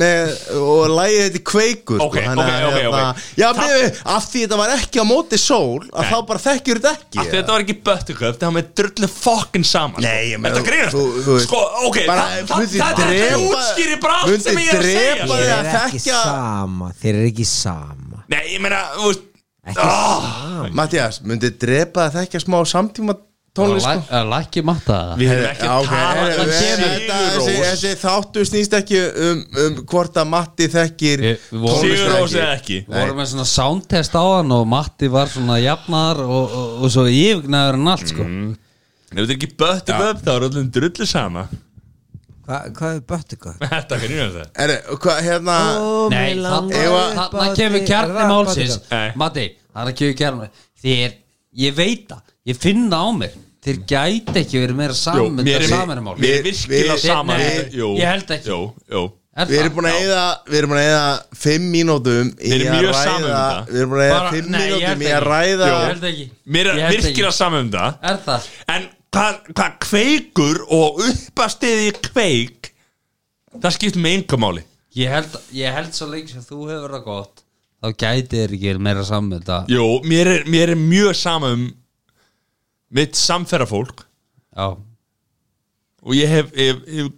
S3: með, og lægi þetta kveikur
S2: Ok,
S3: sko, þannig að,
S2: ok, ok, ok.
S3: hérna, Já, Þa... af því þetta var ekki á móti sól að
S2: Nei.
S3: þá bara þekkjur þetta ekki
S2: Af því þetta var ekki buttercup það með drullu fokkin saman sko.
S3: Nei, ég meina,
S2: Þetta grínast
S3: þú- þú veist,
S2: Sko, ok,
S3: bara,
S2: það- það
S3: myndi
S2: það-
S3: drepa-
S2: þetta útskýri bara allt
S3: myndi
S2: sem ég er að segja
S3: drepa
S2: sko.
S3: þig.
S5: Þeir
S3: að
S5: eru ekki
S3: þekkja-
S5: sama Þeir eru ekki sama
S2: Nei, ég meina, þú veist
S5: Ekki
S2: Ah.
S5: sama
S3: Mattias, myndi drepa að þekkja smá samtíma tónlist sko?
S4: Læ- Lækki matta það
S2: Við erum ekki
S3: Já,
S2: að
S3: ok,
S2: tala
S3: heyrðu,
S2: um
S3: þessi-
S2: Sigurós.
S3: þessi- Þessi þáttu snýst ekki um, um hvort að Matti þekkir
S4: Ég- við vorum-
S3: tónlist eða
S2: Sigurós eða ekki
S4: Við vorum með svona soundtest á hann og Matti var svona jafnar og, og, og svo yfgnaður en allt sko
S3: Mhm.
S2: Ef þetta er ekki buttercup þá er öllum drullu sama
S5: Hva- Hvað er böttuköp?
S2: Þetta grínast það
S3: Eru, hvað, hérna
S4: Nei,
S3: Ewa-
S4: þarna þarna kemur kjarni málsins
S2: Nei.
S4: Matti, þarna kemur kjarni Þér, ég veit það, ég finn það á mér Þér gæti ekki verið meira saman
S2: mér er-
S4: saman um mál
S2: Mér er virkilega
S3: Við-
S2: sama
S4: Nei,
S2: þetta. Jú,
S4: ég held ekki.
S2: Jú, jú
S4: Er
S3: Við erum búin að eyða Við erum búin að eyða Fimm mínútum í
S2: Við erum
S3: að
S2: mjög saman um
S3: ræða-
S2: þetta.
S3: Við erum búin að eyða
S4: Bara-
S3: Fimm
S4: nei, ég
S3: mínútum
S4: held
S3: í að
S4: ekki.
S3: ræða
S4: Ég held ekki
S2: Mér
S4: Ég
S2: er
S4: held ekki.
S2: virkilega sama um það
S4: Er það?
S2: En hvað hva kveikur og uppastiði kveik Það skipt með engamáli
S4: Ég held, ég held svo lengi sem þú hefur það gott Þá gæti þér ekki verið meira saman með þetta
S2: Jú, mér er, mér er mjög sama um mitt samferðafólk
S4: Já,
S2: og ég hef ég, ég,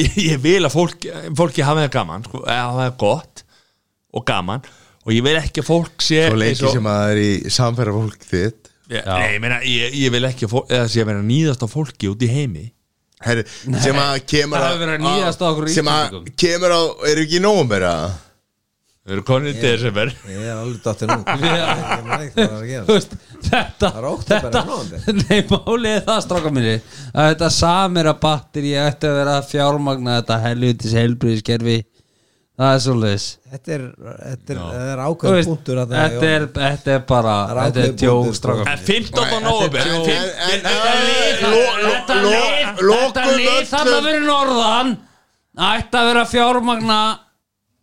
S2: ég, ég vil að fólk, fólki hafa það gaman sko, eða hafa það gott og gaman og ég vil ekki að fólk sé
S3: Svo
S2: eins og-
S3: lengi sem að það er í samferða fólk þitt
S2: Ég- Nei, ég, meina, ég, ég vil ekki að fólk, eða sé að vera nýðast á fólki út í heimi
S3: Herri, sem að kemur
S4: það
S3: á-
S4: hefur verið að níðast á okkur
S3: Sem að
S4: Íslendingum.
S3: kemur á Eru ekki nóg meira
S2: Við erum konin í desember
S5: Ég er alveg dottir nú Ég man ekki hvað var að gera.
S4: Þú veist, þetta
S5: Það er óttabæri
S4: þetta,
S5: nóvember.
S4: nei, málið er það stráka minni að þetta samera batteri ætti að vera að fjármagna þetta helvitis helbriðiskerfi það er svolítið
S5: Þetta er, þetta er, þetta er
S4: Þú
S5: ákveðin
S4: veist,
S5: punktur þarna,
S4: þetta
S5: já.
S4: er, þetta er bara
S5: Það er
S4: þetta er
S5: ákveðin
S4: djók
S5: punktur, sko.
S4: stráka
S2: En 15. nóvember
S3: En-
S2: fimm-
S3: en- en-
S2: þetta lið-
S3: en-
S2: lo- lo-
S4: þetta
S2: lo-
S4: lið þetta
S3: lokum
S4: lið þarna
S3: öllum.
S4: verið norðan ætti að vera að fjármagna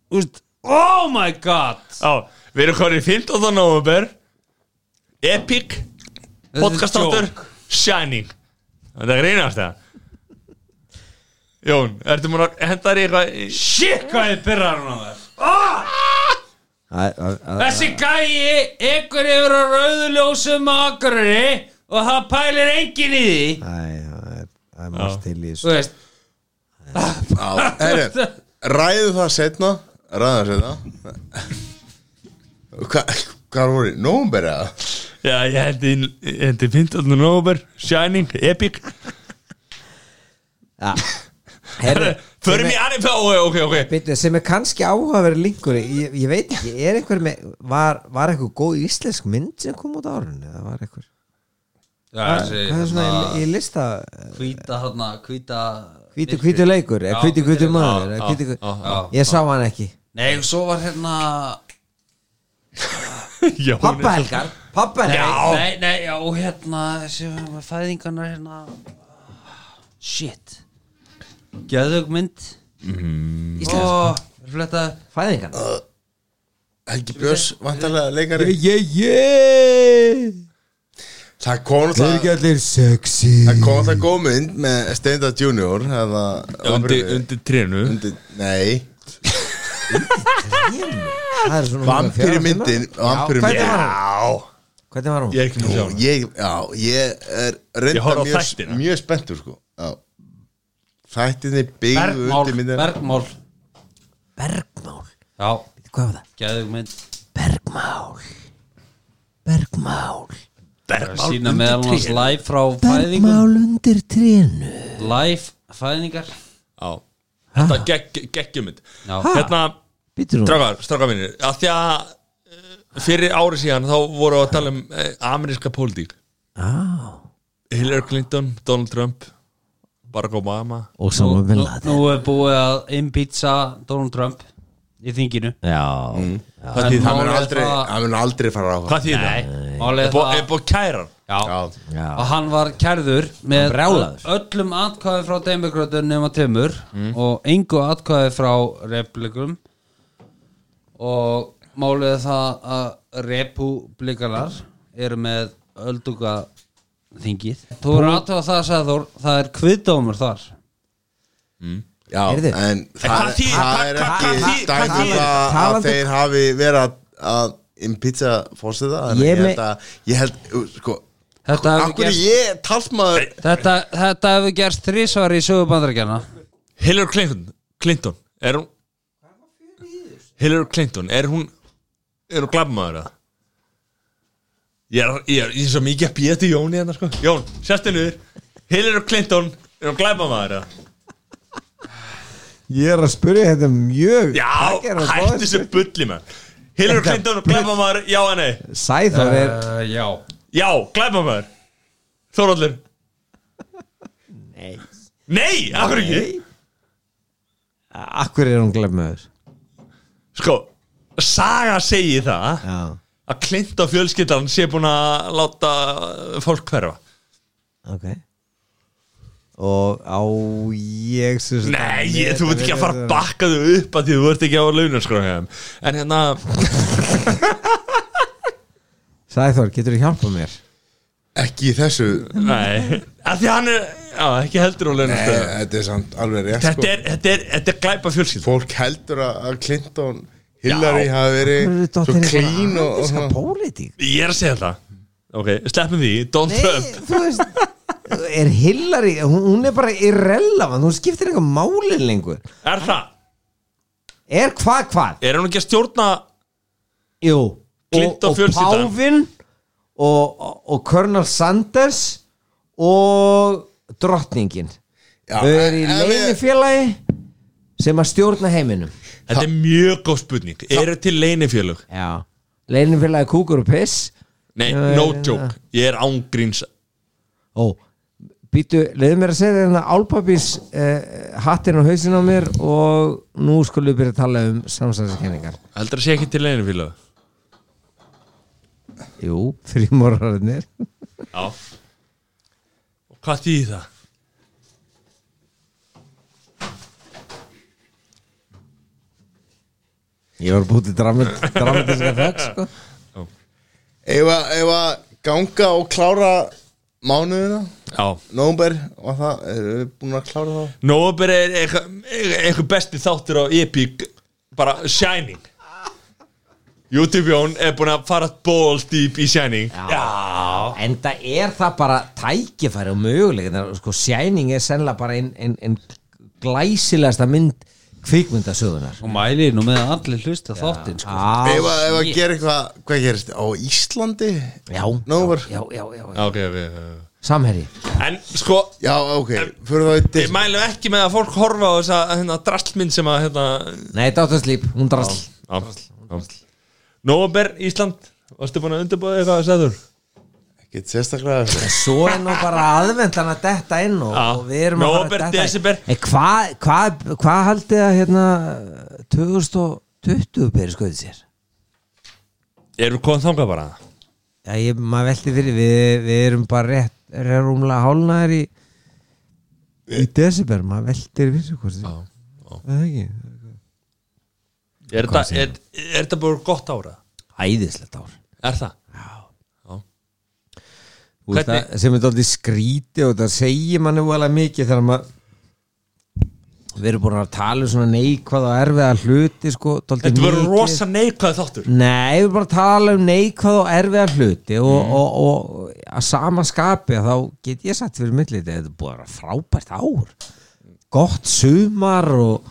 S4: þú veist, oh my god
S2: Já, Við erum konin í 15. nóvember Epic
S4: Þetta er
S2: Podcastáttur
S4: djók.
S2: Shining Þetta er reynast það Jón, ertu múin að henda þér í eitthvað í-
S4: shit hvað þið byrjar hún á þér Ah!
S5: Æ, æ, æ, æ.
S4: Þessi gæi ykkur yfir á rauðu ljósum á akkurinni og það pælir engin í því
S5: Æ, það er- það er margt til í
S4: Þú
S5: þessu
S4: veist
S3: Já, herri, ræðu það setna Ræðu það setna Hvað Hvað voru? Nómber eða?
S2: Já, ég hendi, ég hendi 15. november Shining, Epic
S5: Já. Herru,
S2: Förum í aðeins Ok, ok, ok
S5: Bittu, sem er kannski áhugaverið lingur ég, ég veit ekki, er einhver með var, var eitthvað góð íslensk mynd sem kom út á árunni eða var eitthvað hvað er svona í, í lista
S4: Hvíta þarna, hvíta
S5: hvítu hvítu leikur, eða
S4: Já,
S5: hvítu hvítu
S4: hvítur-
S5: maður
S4: já,
S5: eða
S4: já,
S5: hvítu,
S2: já,
S4: já.
S5: ég sá hann ekki
S4: Nei, og svo var hérna
S2: Já, hún er-
S5: pappa Helgar, pappa Helgar
S2: Já.
S4: Nei, nei, já, og hérna þessi með fæðingarnar hérna Shit Gjöðug mynd Íslensk Fletta
S5: fæðingan
S3: Helgi Björns, vantarlega leikari
S5: yeah, yeah.
S3: Það kom
S5: þeir eru
S3: það
S5: ekki allir sexy
S3: Það kom það góð mynd með Steinda Junior eða
S2: Undir, undir trénu
S3: undir Nei,
S5: Það er svona
S3: vampýri myndin Vampýri
S5: Já, hvernig var
S2: Já
S3: myndin
S5: hún? hvernig var hún?
S2: Ég er ekki með sjá
S3: Nú,
S2: hana.
S3: ég, já, ég er
S2: Ég horfði á
S3: reynda mjög,
S2: þættina.
S3: mjög spenntur sko já. Þættinni byggðu
S4: Bergmál,
S3: undir myndin
S4: Bergmál
S5: Bergmál,
S4: Já,
S5: hvað var það?
S4: gjöðug mynd
S5: Bergmál Bergmál
S4: Bergmál Sýna meðal hans live frá fæðingum
S5: Bergmál undir trénu
S4: Live fæðingar
S2: Já Þetta gegg, geggjumund
S4: Já.
S2: Hérna,
S5: Býtur hún?
S2: strákar, strákar mínir að Því að eh, fyrir ári síðan þá voru að tala um eh, ameríska pólitík
S5: Já
S2: Hillary Clinton, Donald Trump Barack Obama
S5: Og Osama Bin Laden
S4: Nú er búið að impeacha Donald Trump í þinginu
S9: Já
S3: Það þýðir það mun
S4: málið er
S3: aldrei,
S4: það-
S3: það mun aldrei fara á
S2: Hvað þýðir það?
S4: Nei,
S2: Er
S4: málið
S2: búið-
S4: það
S2: Er búið kæran?
S4: Já,
S3: Já,
S9: Já.
S4: og hann var kærður með
S9: brjálaður.
S4: öllum atkvæði frá demokrötum nema tömur og engu atkvæði frá republikum og málið er það að republikanar eru með ölduga þingið þú eru aðtöða það að segja þú það er kviðdómur þar
S3: já
S10: Heyrðu.
S3: en það,
S2: hvað þýðir-
S3: það
S2: hvað-
S3: er
S2: hvað- hvað
S3: ekki
S2: þýðir- hvað
S3: dæmi um
S2: þýðir-
S3: það að
S10: talandi-
S3: þeir hafi verið að- að impizza fórseta þannig
S10: Ég
S3: að ég
S10: me-
S3: held að ég held, uh, sko
S4: Þetta hefur
S3: Akkur
S4: gerst-
S3: ég talsmaður
S4: þetta, þetta hefur gerst þrísvar í sögu bandarækjana
S2: Hillary Clinton, Clinton er hún Hillary Clinton, er hún er hún glabmaður eða? Ég er, ég er, ég er svo mikið að býja til Jóni hérna sko Jón, sérstu niður Hillary Clinton, er hún glabmaður eða?
S5: Ég er að spyrja þetta mjög
S2: Já, hættu þessu bulli menn Hillary Clinton, glabmaður, já en nei
S5: Sæþór er
S4: uh, já
S2: Já, glabmaður Þóróldur Nei Nei, af hverju ekki?
S5: Akkur er hún glemmaður
S2: Sko, saga segir það
S5: Já
S2: að Klinta fjölskyldan sé búin að láta fólk hverfa
S5: Ok Og á ég sem sagt-
S2: Nei, ég, þú veit ekki að fara að bakka þau upp að því þú ert ekki á launarskráðum En hérna,
S5: Sæþór, getur þú hjálpað mér?
S3: ekki í þessu
S2: nei að Því að hann er, já, ekki heldur á
S3: Nei,
S2: launarskráðum
S3: þetta er samt alveg rétt
S2: Þetta
S3: sko.
S2: er, þetta er, þetta er glæpa fjölskyldan
S3: Fólk heldur að að Clinton Hillary hafi verið
S5: Svo
S3: svo clean og, og
S5: Skal
S3: svona.
S5: pólitík
S2: Ég er að segja það Ok, sleppum því, Donald Trump
S5: Þú veist Er Hillary, hún, hún er bara irrelevant Hún skiptir eitthvað máli lengur
S2: Er það?
S5: Er hvað hvað?
S2: Er hann ekki að stjórna
S5: Jú
S2: Clinton
S5: Og, og
S2: fjölskyldan.
S5: Pávin og, og, og Colonel Sanders Og drottningin
S3: Já,
S5: Þau eru í
S3: en- en við-
S5: leinifélagi sem að stjórna heiminum
S2: Þetta er mjög góð spurning Eru til leinifjölug?
S5: Já Leinifélagi kúkur og piss
S2: Nei,
S5: Já,
S2: no
S5: er-
S2: joke Ég er ángríns
S5: Ó, býtu, leiðu mér að segja þérna álpapís eh, hattinn á hausin á mér og nú skulum við byrja að tala um samsæðiskenningar
S2: Heldur að sé ekki til leinifjölug?
S5: Jú, frímorararnir
S2: Já Og hvað þýði það?
S5: Ég var búið til dramat, dramatíska þögg sko.
S3: Ef að- ef að ganga og klára mánuðina
S2: Já
S3: Nómber og það, erum við búin að klára það?
S2: Nóber er eitthvað eitthvað besti þáttur á Epic bara Shining YouTube Jón er búin að fara balls deep í Shining Já,
S5: En það er það bara tækifæri og möguleikar sko, Sæning er sennilega bara einn ein, ein glæsilegasta mynd kvikmyndasögunar
S4: og mæli nú með að allir hlusta á þáttinn sko.
S5: ah,
S3: Ef að, ef að gera eitthvað, hvað gerist? Á Íslandi?
S5: Já,
S3: Nómber?
S5: já, já, já, já.
S2: ok, ok, ok
S5: Samherji
S2: En sko,
S3: Já, ok, fyrir það í
S2: ég
S3: disk
S2: mælu ekki með að fólk horfa á þessa hérna, drastlmynd sem að hérna,
S5: Nei, dátaslíp, hún drasl
S2: á, á. Nóber Ísland Varstu búin að undirbúða eitthvað að segður?
S3: Ekkert sérstaklega þessu.
S5: Svo er nú bara aðvendan að detta inn og,
S2: Já.
S5: og við erum að
S2: Nóvember,
S5: að detta
S2: desember.
S5: inn En Hvað hva, hva haldið að hérna 2020 beri skoðið sér?
S2: Erum við komið þangað bara?
S5: Já, ég, maður velti fyrir, við, við erum bara rétt, rétt rúmlega hálnaðar í í desember, maður veltir fyrir sér hvort
S2: Já,
S5: Það er ekki
S2: Er þetta- er- er þetta búin gott ára?
S5: Æðislegt ár
S2: Er það?
S5: Þú veist
S2: Hvernig-
S5: það- sem er dálítið skríti og það segir manni úalega mikið þegar maður við erum búin að tala um svona neikvað og erfiða hluti sko, dálítið
S2: Þetta verður
S5: mikið.
S2: rosa neikvæð þáttur
S5: Nei, við erum bara að tala um neikvað og erfiða hluti og, og, og, að sama skapi að þá get ég satt fyrir millið þetta er búið að vera frábært ár gott sumar og,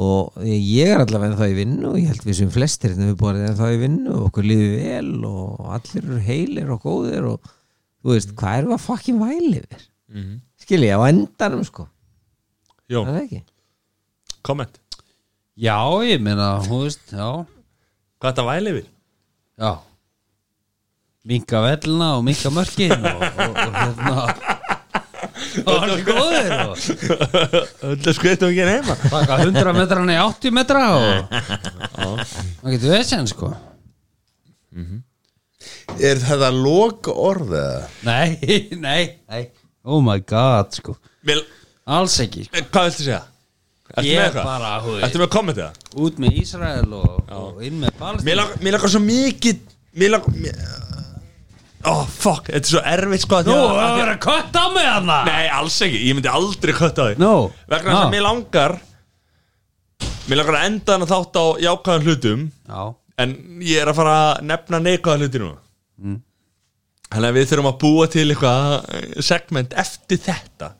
S5: og ég er allavega þá í vinnu og ég held við sem flestir en við búið að þá í vinnu og okkur líður vel og allir eru heilir og góðir og þú veist, hvað erum við að fucking væli yfir mm -hmm. skil ég á endanum sko,
S2: Jón,
S5: það er það ekki
S2: komment
S4: já, ég meina, þú veist, já
S2: Hvað þetta væli við?
S4: Já Minka vellina og minka mörkin og, og, og hérna og hann er góður og
S2: Þetta skveitum ekki heima
S4: taka 100 metran í 80 metra og Það getur við sér sko
S3: Er þetta loka orðið?
S4: Nei, nei, nei Oh my god, sko
S2: Vil,
S4: Alls ekki, sko
S2: eh, Hvað viltu segja? Ertu
S4: Ég
S2: með eitthvað?
S4: bara, þú
S2: Ertu með að koma þetta?
S4: Út með Ísrael og, og inn með
S2: Mér
S4: Palestín
S2: langar, mér langar svo mikið Mér langar mér... Oh fuck, þetta er svo erfitt sko að
S4: Nú,
S2: því
S4: það
S2: að- að
S4: verður
S2: því
S4: að kötta á mig hana
S2: að- Nei, alls ekki, ég myndi aldrei kötta á því
S4: Nú.
S2: Vegna þess
S4: Ah.
S2: að mér langar Mér langar að enda hann að þátt á jákvæðan hlutum
S4: Já,
S2: En ég er að fara að nefna neikvæða hluti núna Þannig að við þurfum að búa til eitthvað eh, segment eftir þetta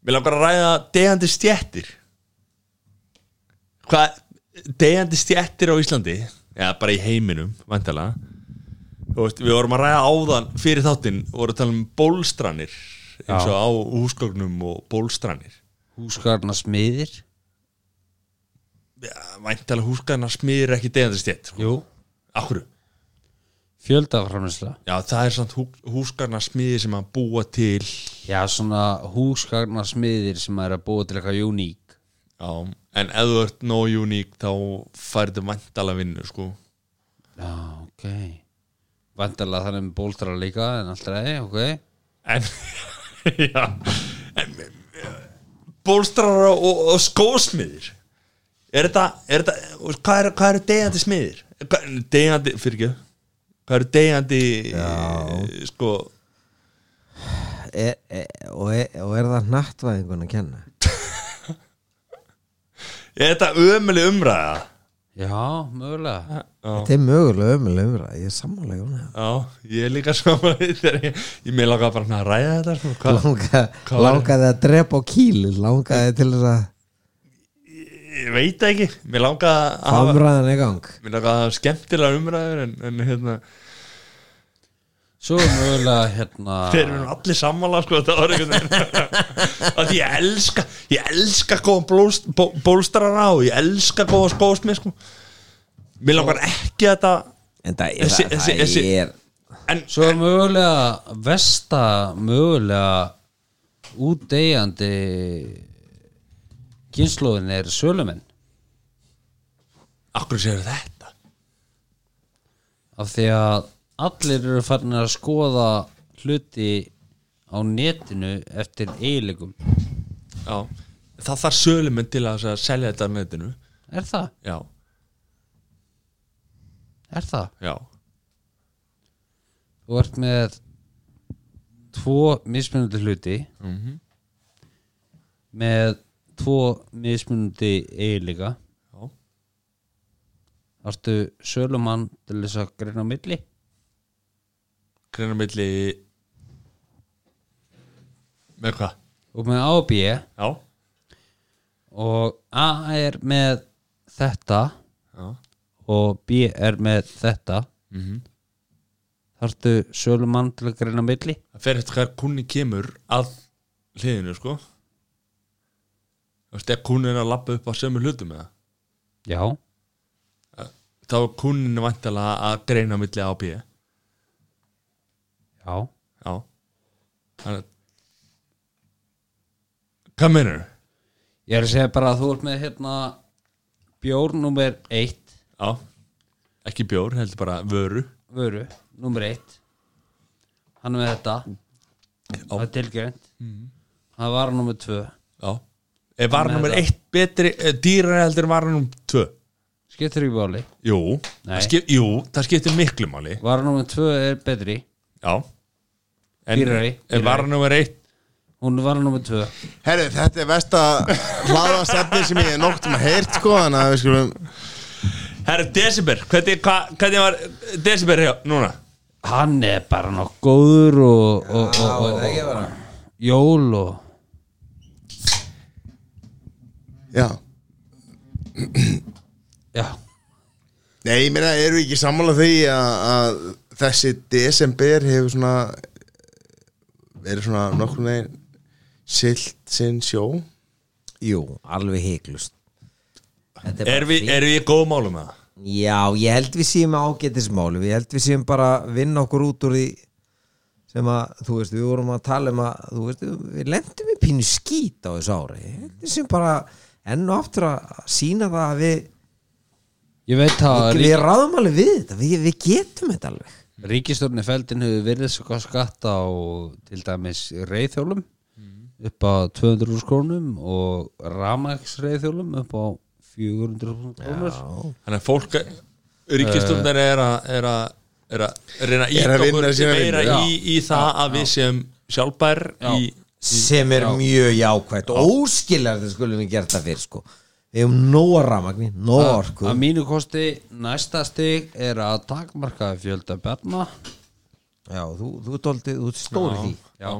S2: Mér langar að ræða deyjandi stjettir Hvað, deyjandi stjettir á Íslandi Já, bara í heiminum, vantala Þú veist, við vorum að ræða áðan fyrir þáttinn voru að tala um bólstranir eins og á húsgögnum og bólstranir
S4: húsgarna smiðir
S2: Væntalega húsgagnar smýr ekki deyjandi sko. stjett
S4: Jú
S2: Akkurru?
S4: Fjöldaframlisla
S2: Já, það er samt hú, húsgarnarsmiði sem að búa til
S4: Já, svona húsgarna smiðir sem er að búa til eitthvað uník
S2: Já, en ef þú ert no unique þá færðu vantala vinnu, sko
S4: Já, ok Vandalega þannig með bóltara líka en alltaf eða, ok
S2: En, já en, Bólstrar og, og skósmiðir Er þetta, er þetta og hvað, er, hvað eru deyjandi smiðir? Hvað- Deyjandi, fyrir ekki Hvað eru deyjandi já. sko
S5: er, er, E, og, er, og er það hnattvæðingun að kenna
S2: Er þetta ömuleg umræða?
S4: Já, mögulega
S5: þetta er mögulega ömulega umræð ég er sammálega um það
S2: Já, ég er líka saman þegar ég, ég með langa bara að ræða þetta sko, hvað-
S5: Langa,
S2: Hvað var-
S5: langaði að drepa á kýli langaði til þess að
S2: Ég veit það ekki, mér langa að hafa
S5: framræðan í gang
S2: Mér langa að hafa skemmtilega umræður en, en hérna,
S4: Svo er mögulega hérna
S2: þeir eru allir sammála sko, þetta var einhvern veginn að ég elska, ég elska góðan blóst, bó, bólstarana og ég elska góðan skóðsmið sko. Mér langar ekki að þetta
S5: en það er,
S2: Þessi-
S5: það,
S2: þessi-
S5: það
S2: þessi-
S5: er
S2: en,
S4: Svo er mögulega Vesta mögulega Útdegjandi Kynnslóðin er sölumenn
S2: akkur séu þetta
S4: Af því að allir eru farin að skoða Hluti á netinu Eftir eiginleikum
S2: Já, það þarf söluminn til að selja þetta á netinu
S4: Er það?
S2: Já,
S4: Er það?
S2: já,
S4: Þú ert með Tvo mismunandi hluti Með Tvo mismunandi eiginleika
S2: já.
S4: Ertu sölumann til þess að greina á milli?
S2: Greina milli Með hvað?
S4: Og með A og B
S2: Já,
S4: og A er með þetta
S2: já, Mhm.
S4: og B er með þetta mm Þartu sölumann til að greina á milli?
S2: það fer eftir hvað kunni kemur að hliðinu sko þú veist ef kunni er að lappa upp á sömu hlutum með
S4: Já
S2: þá er kunnin vantilega að greina á milli á B já,
S4: Já
S2: þannig að- hvað meinar
S4: Ég er að segja bara að þú ert með hérna bjór númer 1
S2: já, ekki bjór, heldur bara vöru
S4: vöru, númer 1 Hann er með þetta Það er tilgjönd mm. Það var númer 2
S2: já, er varan
S4: Með
S2: nummer
S4: það.
S2: eitt betri, eh, dýrari heldur en varan nummer tvö
S4: Skiptir ekki báli
S2: jú,
S4: Nei.
S2: það skip, jú, það skiptir miklu máli
S4: Var númer 2 er betri
S2: já en,
S4: Dýrari,
S2: en
S4: dýrari.
S2: varan nummer eitt
S4: Hún var númer 2
S3: Herru, þetta er vest að hlaða stefni sem ég er nokt um að heyrt sko Þannig að við skulum
S2: Herra, December, hvernig, hva, hvernig var December hjá, núna?
S4: hann er bara nokk góður og, og, og, og, og, jól og
S3: Já
S4: já,
S3: Nei, ég meina, eru ekki sammála því að, að þessi desember hefur svona verið svona nokkur neginn silt sinn sjó
S5: jú, alveg heiklust Þetta bara
S2: Erum við,
S5: fínt.
S2: er við í góðum málum með það?
S5: já, ég held við séum ágætismáli ég held við séum bara að vinna okkur út úr því sem að, þú veist, við vorum að tala um að, þú veist, við lendum í pínu skít á þessu ári, ég held við séum bara enn og aftur að sína það að við
S4: Ég veit að
S5: Við ráðum alveg við þetta, við, við getum þetta alveg
S4: Ríkistörni feldin hefur verið sko skatt á til dæmis reyðhjólum upp á 200 krónum og ramax reyðhjólum upp á 400 krónur
S2: Þannig að fólk ríkistundar er að er að er að reyna að
S3: Er
S2: íta
S3: að
S2: okkur
S3: vinna sína
S2: meira
S3: vinnu.
S2: í, í það að við séum sjálfbær í
S5: sem er mjög jákvætt og óskiljar þetta skulum við gert það fyrir sko við hefum nóa rafmagni, nóa orku
S4: Að mínu kosti næsta stig er að takmarka fjölda bjarna
S5: já, þú, þú tóldi, þú stóri því
S4: Já,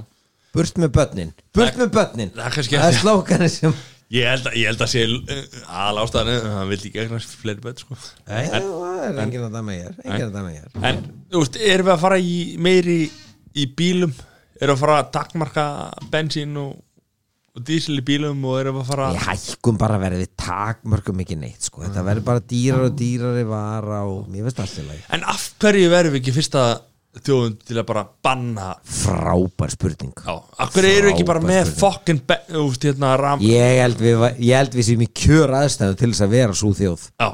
S5: burt með börnin, burt með börnin
S2: það er kannski
S5: það er
S2: ekki-
S5: slókanir sem
S2: ég held að, ég held að sé uh, aðal ástæðan hann vil ekki eignast fleiri börn sko.
S5: Nei, það er enginn að dæma ég er enginn að dæma ég er
S2: en þú veist, erum við að fara í meiri í bílum erum við að fara að takmarka bensín og, og dísil í bílum og erum við að fara
S5: við hækkum bara að vera við takmörkum ekki neitt sko.
S2: Mm.
S5: þetta verður bara dýrar og dýrari vara og mér veist allt í lagi
S2: en af hverju verðum við ekki fyrsta þjóðum til að bara banna
S5: frábær spurning
S2: Já, af hverju eru við ekki bara
S5: Frábær
S2: með
S5: spurning.
S2: fokkin úst, hérna, ram
S5: ég held við, va- ég held við séum í kjör aðstæðu til þess að vera svo þjóð
S2: Já,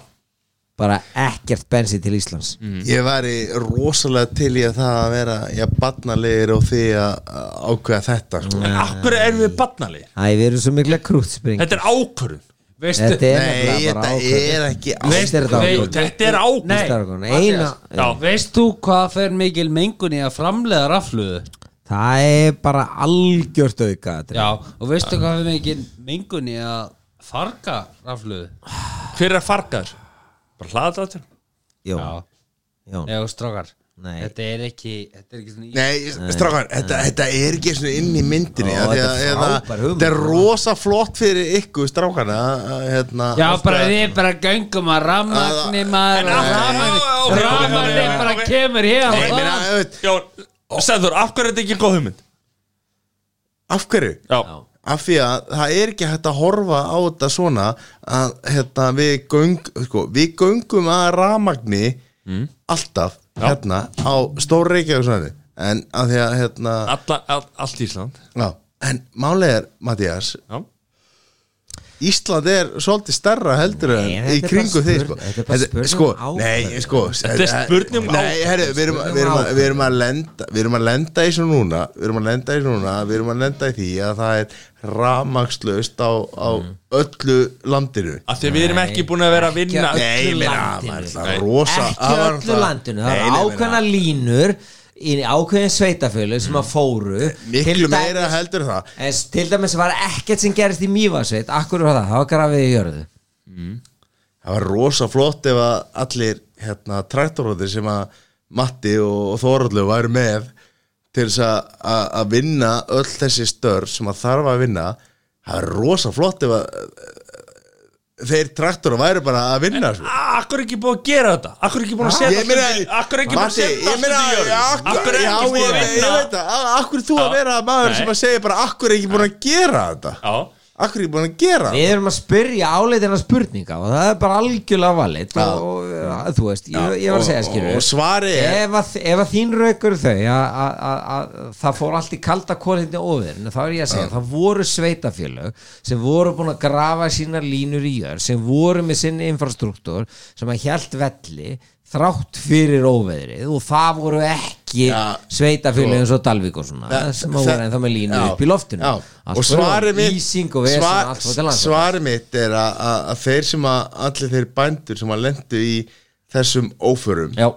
S5: bara ekkert bensin til Íslands
S3: Ég væri rosalega til í að það að vera já, barnalegir og því að að ákveða þetta sko.
S2: en af hverju erum við barnalegir?
S5: Æ, við erum svo mikla krútspring
S2: Þetta er ákvörðun
S4: veistu
S5: Þetta er
S3: Nei,
S5: nefnilega bara
S3: þetta
S5: ákvörðun.
S3: er ekki
S5: Veist-
S3: ákveð
S5: er þetta ákvörðun.
S2: Þetta er
S5: Þetta er
S2: ákvörðun
S5: ákvörðun. Eina,
S2: Já,
S4: Veist þú hvað fer mikil mengun í að framleiða rafluðu?
S5: það er bara algjört auka
S4: Já, og veistu hvað fer mikil mengun í að farga rafluðu?
S2: hver er að farga þessu? Bara hlaða þetta
S5: Jón,
S4: Já,
S5: Jón.
S4: eða strákar
S5: Nei.
S4: Þetta er ekki, þetta er ekki svona í-
S3: Nei, strákar, þetta, þetta er ekki svona inn í myndinni
S5: Ó,
S3: af því
S5: þetta
S3: að-
S5: er
S3: eða-
S5: frábær hugmynd.
S3: Þetta er rosa flott fyrir ykkur strákarna að, hérna,
S4: Já,
S3: alltaf-
S4: bara við bara göngum að rafmagni maður
S2: af- Já, Ah, ok, ok,
S4: Rafmagni rafmagni
S2: ok, ok.
S4: bara kemur hér
S3: Nei,
S4: og
S3: meina,
S4: það.
S3: auðvitað,
S2: Jón, Sæður, af hverju er þetta ekki góð hugmynd?
S3: Af hverju?
S2: Já,
S3: af því að það er ekki hægt að horfa á þetta svona að hérna, við, göng, sko, við göngum að ramagni alltaf hérna á stór reykjavíksvæði en að því að hérna,
S2: Alla, all, allt Ísland
S3: já, en málega er Mattias,
S2: Já,
S3: Ísland er svolítið stærra heldur
S5: Nei,
S3: en í
S5: þetta er bara
S3: kringu þeir sko,
S5: spurn- þetta er bara spurning
S3: sko
S5: um
S3: nei,
S5: ákvörðun.
S3: sko eh,
S2: Þetta er spurning um
S3: nei,
S2: ákvörðun.
S3: herri, við erum, að- við, erum
S5: um
S3: að, við erum að lenda við erum að lenda í svo núna við erum að lenda í svo núna, við erum að lenda í því að það er ramagslaust á, á
S5: Mm.
S3: öllu landinu
S2: af því að við erum ekki búin að vera að vinna
S5: Ekki
S3: nei,
S5: öllu
S3: meina,
S5: landinu.
S3: maður er það
S2: Nei.
S3: rosa
S5: ekki
S3: það var
S5: öllu
S3: það-
S5: landinu
S3: Nei,
S5: það
S3: nei,
S5: eru
S3: meina,
S5: ákveðna línur í ákveðin sveitafjölu sem að fóru
S3: Eh, miklu
S5: Til dæmis-
S3: meira heldur en það
S5: en s- til dæmis var ekkert sem gerist í mývasveit akkur var það, það var grafið í jörðu
S3: það var rosa flott ef að allir hérna, traktoróðir sem að Matti og Þorallu væri með til þess að- að að vinna öll þessi störf sem að þarf að vinna það var rosa flott ef að þeir traktorar væri bara að vinna sko.
S2: Akkur Ah, ekki búin að gera þetta Akkur ekki búin að setja
S3: Ég meina,
S2: Akkur ekki búin að
S3: Matti,
S2: setja
S3: ég meina,
S2: Akkur
S3: akkur,
S2: ekki
S3: já,
S2: búin
S3: ég,
S2: að
S3: ég
S2: vinna
S3: veit það, a- akkur þú að
S2: Já.
S3: vera maður
S2: Nei.
S3: sem að segja bara, akkur er ekki búin að gera þetta,
S2: Já
S3: akkur er ekki búin að gera þetta.
S5: við erum að spyrja áleitina spurninga og það er bara algjörlega valit og, og ja, þú veist, ég, ég var að segja
S3: Og-
S5: skilur
S3: og svari er,
S5: ef að, ef að þín raukur þau að- að að- að það fór allt í kalda kólhindi ofir, en þá er ég að segja það voru sveitafjölög sem voru búin að grafa sínar línur í jörð sem voru með sinni infrastruktúr sem að hjælt velli þrátt fyrir óveðrið og það voru ekki
S3: Já,
S5: ja, sveitafjölög eins og Dalvík og svona
S3: Þa-
S5: sem að voru
S3: þa-
S5: en það með línu
S3: Já,
S5: upp í loftinu
S3: já.
S5: Allt
S3: og
S5: voru
S3: svarið mitt
S5: ísing og vesen
S3: svar-
S5: allt fór til landsins.
S3: svarið mitt er að, að, að þeir sem að allir þeir bændur sem að lendu í þessum óförum
S5: já,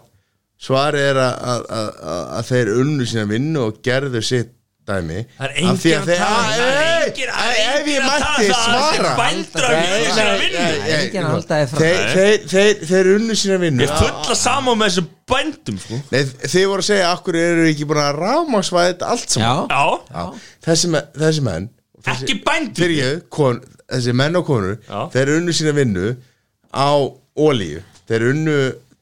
S3: svarið er að, að, að, að, að þeir unnu sína vinnu og gerðu sitt dæmi
S2: Það er enginn
S3: Af því
S2: að
S3: þeir-
S2: tala um það, það er
S3: Nei,
S2: enginn-
S3: nei,
S2: það er
S3: ef ég
S2: enginn að tala
S3: mætti
S2: um það, það er
S3: svara
S2: bændur að
S3: Nei,
S2: vinna sína
S3: nei,
S2: vinnu.
S3: nei,
S5: Það er enginn að halda þér fram.
S3: þeir, þeir, þeir, þeir unnu sína vinnu
S2: Ég fulla saman með þessum bændum sko.
S3: Nei, þið voru að segja akkur eru ekki búin að rámasvæða þetta allt
S5: já,
S3: saman
S2: Já,
S3: Já. þessi, me- þessi menn þessi,
S2: ekki bændur
S3: fyrir ég, kon, þessi menn og konur
S2: Já.
S3: þeir unnu sína vinnu á olíu, þeir unnu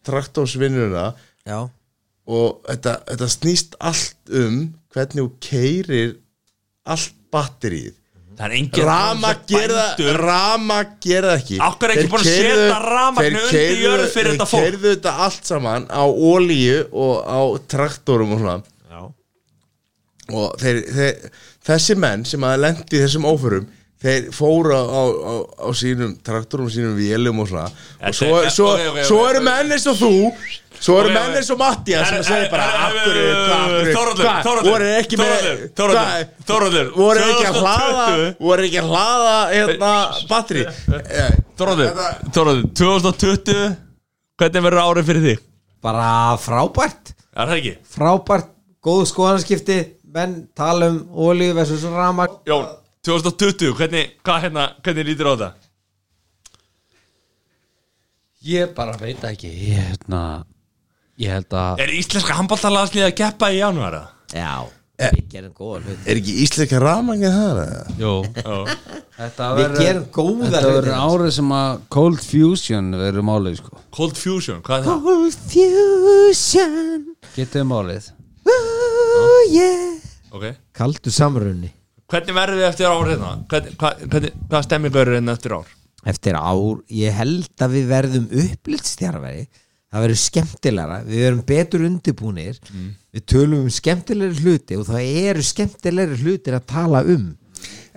S3: traktósvinnuna
S5: já,
S3: og þetta, þetta snýst allt um hvernig þú keirir allt batterið
S2: Það er engin
S3: Rama gerða, rama gerða ekki
S2: Af hverju ekki
S3: Þeir
S2: búin að
S3: keyrðu-
S2: setja rafmagni
S3: þeir
S2: undir
S3: keyrðu-
S2: jörð fyrir þetta fólk?
S3: Þeir keirðu þetta allt saman á olíu og á traktorum og svona
S5: já.
S3: og þeir, þeir, þessi menn sem að lendi í þessum óförum þeir fóra á, á, á sínum traktorum, sínum vélum og svona
S2: Þetta
S3: og svo,
S2: er-
S3: svo,
S2: ok, ok, ok.
S3: svo eru menn eins og þú svo eru
S2: Ok,
S3: menn
S2: ok.
S3: eins og Mattias sem
S2: Er-
S3: segir bara
S2: er- er-
S3: af hverju,
S2: er- er-
S3: hvað, af hverju,
S2: Þórhallur,
S3: hvað,
S2: Þórhallur,
S3: voru ekki með
S2: Þórhallur, Þórhallur,
S3: hvað,
S2: Þórhallur,
S3: voru ekki
S2: 2020.
S3: að hlaða voru ekki að hlaða hérna batteri Eh,
S2: Þorður,
S3: Þetta-
S2: Þorður, 2020 Hvernig verður árið fyrir þig?
S6: bara frábært
S2: Er það ekki?
S6: frábært, góð skoðanskipti menn tala um olíu versus rama
S2: Jón, 2020, hvernig, hvað hérna, hvernig lítur á þetta?
S4: Ég bara veit ekki Ég, hérna, ég held að
S2: Er íslenska handbóltalaðslið að keppa í janúara?
S5: Já,
S3: Eh.
S5: við gerum góða hlut
S3: er ekki íslenska rafmangið það eða?
S4: Jó, þetta verður
S6: gerum góða
S4: Þetta verður
S6: hluti.
S4: árið sem að Cold Fusion verður málið sko
S2: Cold Fusion, hvað er það?
S5: Fusion
S4: Getið málið
S5: oh, yeah.
S2: Ok
S6: kaldu samrunni
S2: Hvernig verður þið eftir ár hérna? Hvernig, hvað, hvernig, hvað stemmingu eru hérna eftir ár?
S5: Eftir ár, ég held að við verðum upplýstjarveri Það verður skemmtilegra, við verðum betur undirbúnir Við tölum um skemmtilegri hluti og það eru skemmtilegri hlutir að tala um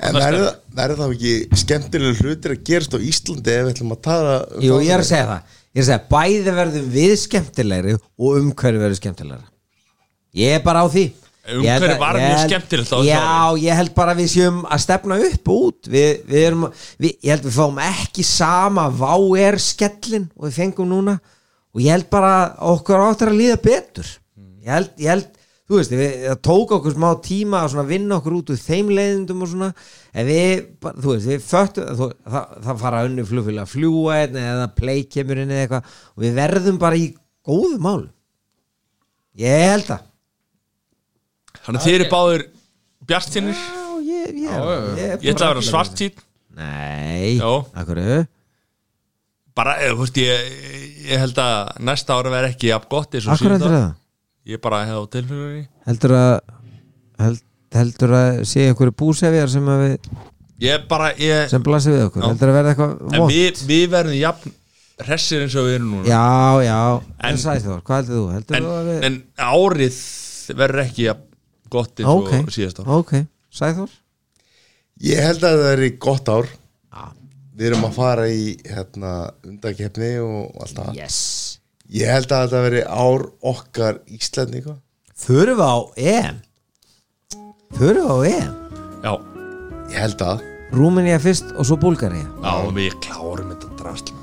S3: En verður verður þá ekki skemmtilega hlutir að gerast á Íslandi ef við ætlum að tala um
S5: Jú,
S3: það?
S5: ég er að segja það Ég er að segja, bæði verðum við skemmtilegri og umhverfi verður skemmtilegra Ég er bara á því Ég held
S2: Umhverfi
S5: að-
S2: var
S5: ég
S2: mjög
S5: held-
S2: skemmtilegt á þessu
S5: Já, ég held bara að við séum að stefna upp og út við, við erum, við, Ég held við fáum ekki sama Vá er skellin og við fengum núna Og ég held bara að okkur áttur að líða betur Ég held, ég held Þú veist, við, það tók okkur smá tíma að svona vinna okkur út úr þeim leiðindum og svona en við, bara, þú veist, við föttum þú, það, það fara önnu flugfélag að fljúa einn eða play kemur inn eða eitthvað og við verðum bara í góðu mál ég held það
S2: Þannig að þið eru báðir bjartinir
S5: Já, ég, ég, ég,
S2: Ég ætla að vera svartín
S5: Nei,
S2: Jó.
S5: akkur
S2: Bara, eða, þú veist, ég, ég held að næsta ára verð ekki jafn gott eins og
S5: Akkur
S2: síðasta.
S5: heldur það?
S2: Ég bara hefði á tilfélagri
S5: Heldur að held, heldur að sé einhverju búsefjar sem, að við,
S2: Ég bara, ég
S5: sem blasir við okkur
S2: Já.
S5: heldur að verða eitthvað
S2: En
S5: vont
S2: við, við verðum jafn hressir eins og við erum núna
S5: Já, já, en,
S2: En-
S5: en sæði hvað heldur þú? Heldur
S2: en,
S5: þú að við
S2: en árið verður ekki jafn gott eins og
S5: Ok,
S2: síðast ára
S5: ok, Sæþór
S3: Ég held að það er í gott ár Við erum að fara í hérna, undakefni og allt það
S5: Yes
S3: Ég held að það veri ár okkar Íslandinga
S5: Förum við á EM Förum við á EM
S2: Já,
S3: Ég held að
S5: Rúmenía fyrst og svo Búlgaría
S2: já, við klárum þetta drastl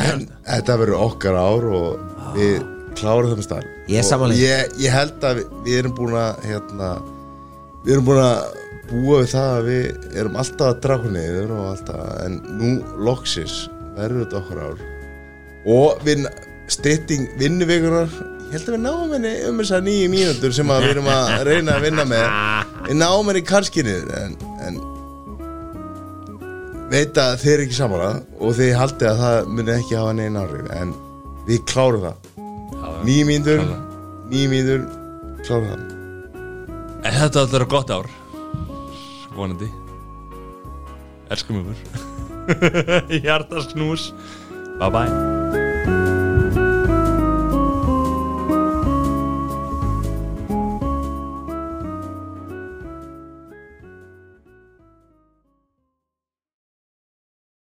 S3: En þetta veri okkar ár og við klárum það með stað
S5: Ah. Ég er
S3: Og
S5: sammála.
S3: ég, ég held að við, við erum búin að hérna, Við erum búin að búa við það að við erum alltaf að draga niður og alltaf En nú loksis verður þetta okkar ár Og við stytting vinnuvikunar Ég held að við náum henni um þess að nýju mínútur sem að við erum að reyna að vinna með Við náum henni kannski niður en, en veit að þeir eru ekki samála og þeir haldið að það muni ekki hafa negin áhrif en við klárum það nýjum mínútur nýjum mínútur klárum það
S2: En þetta ætlar að vera gott ár Vonandi Elskum ykkur Hjartasknús Bye bye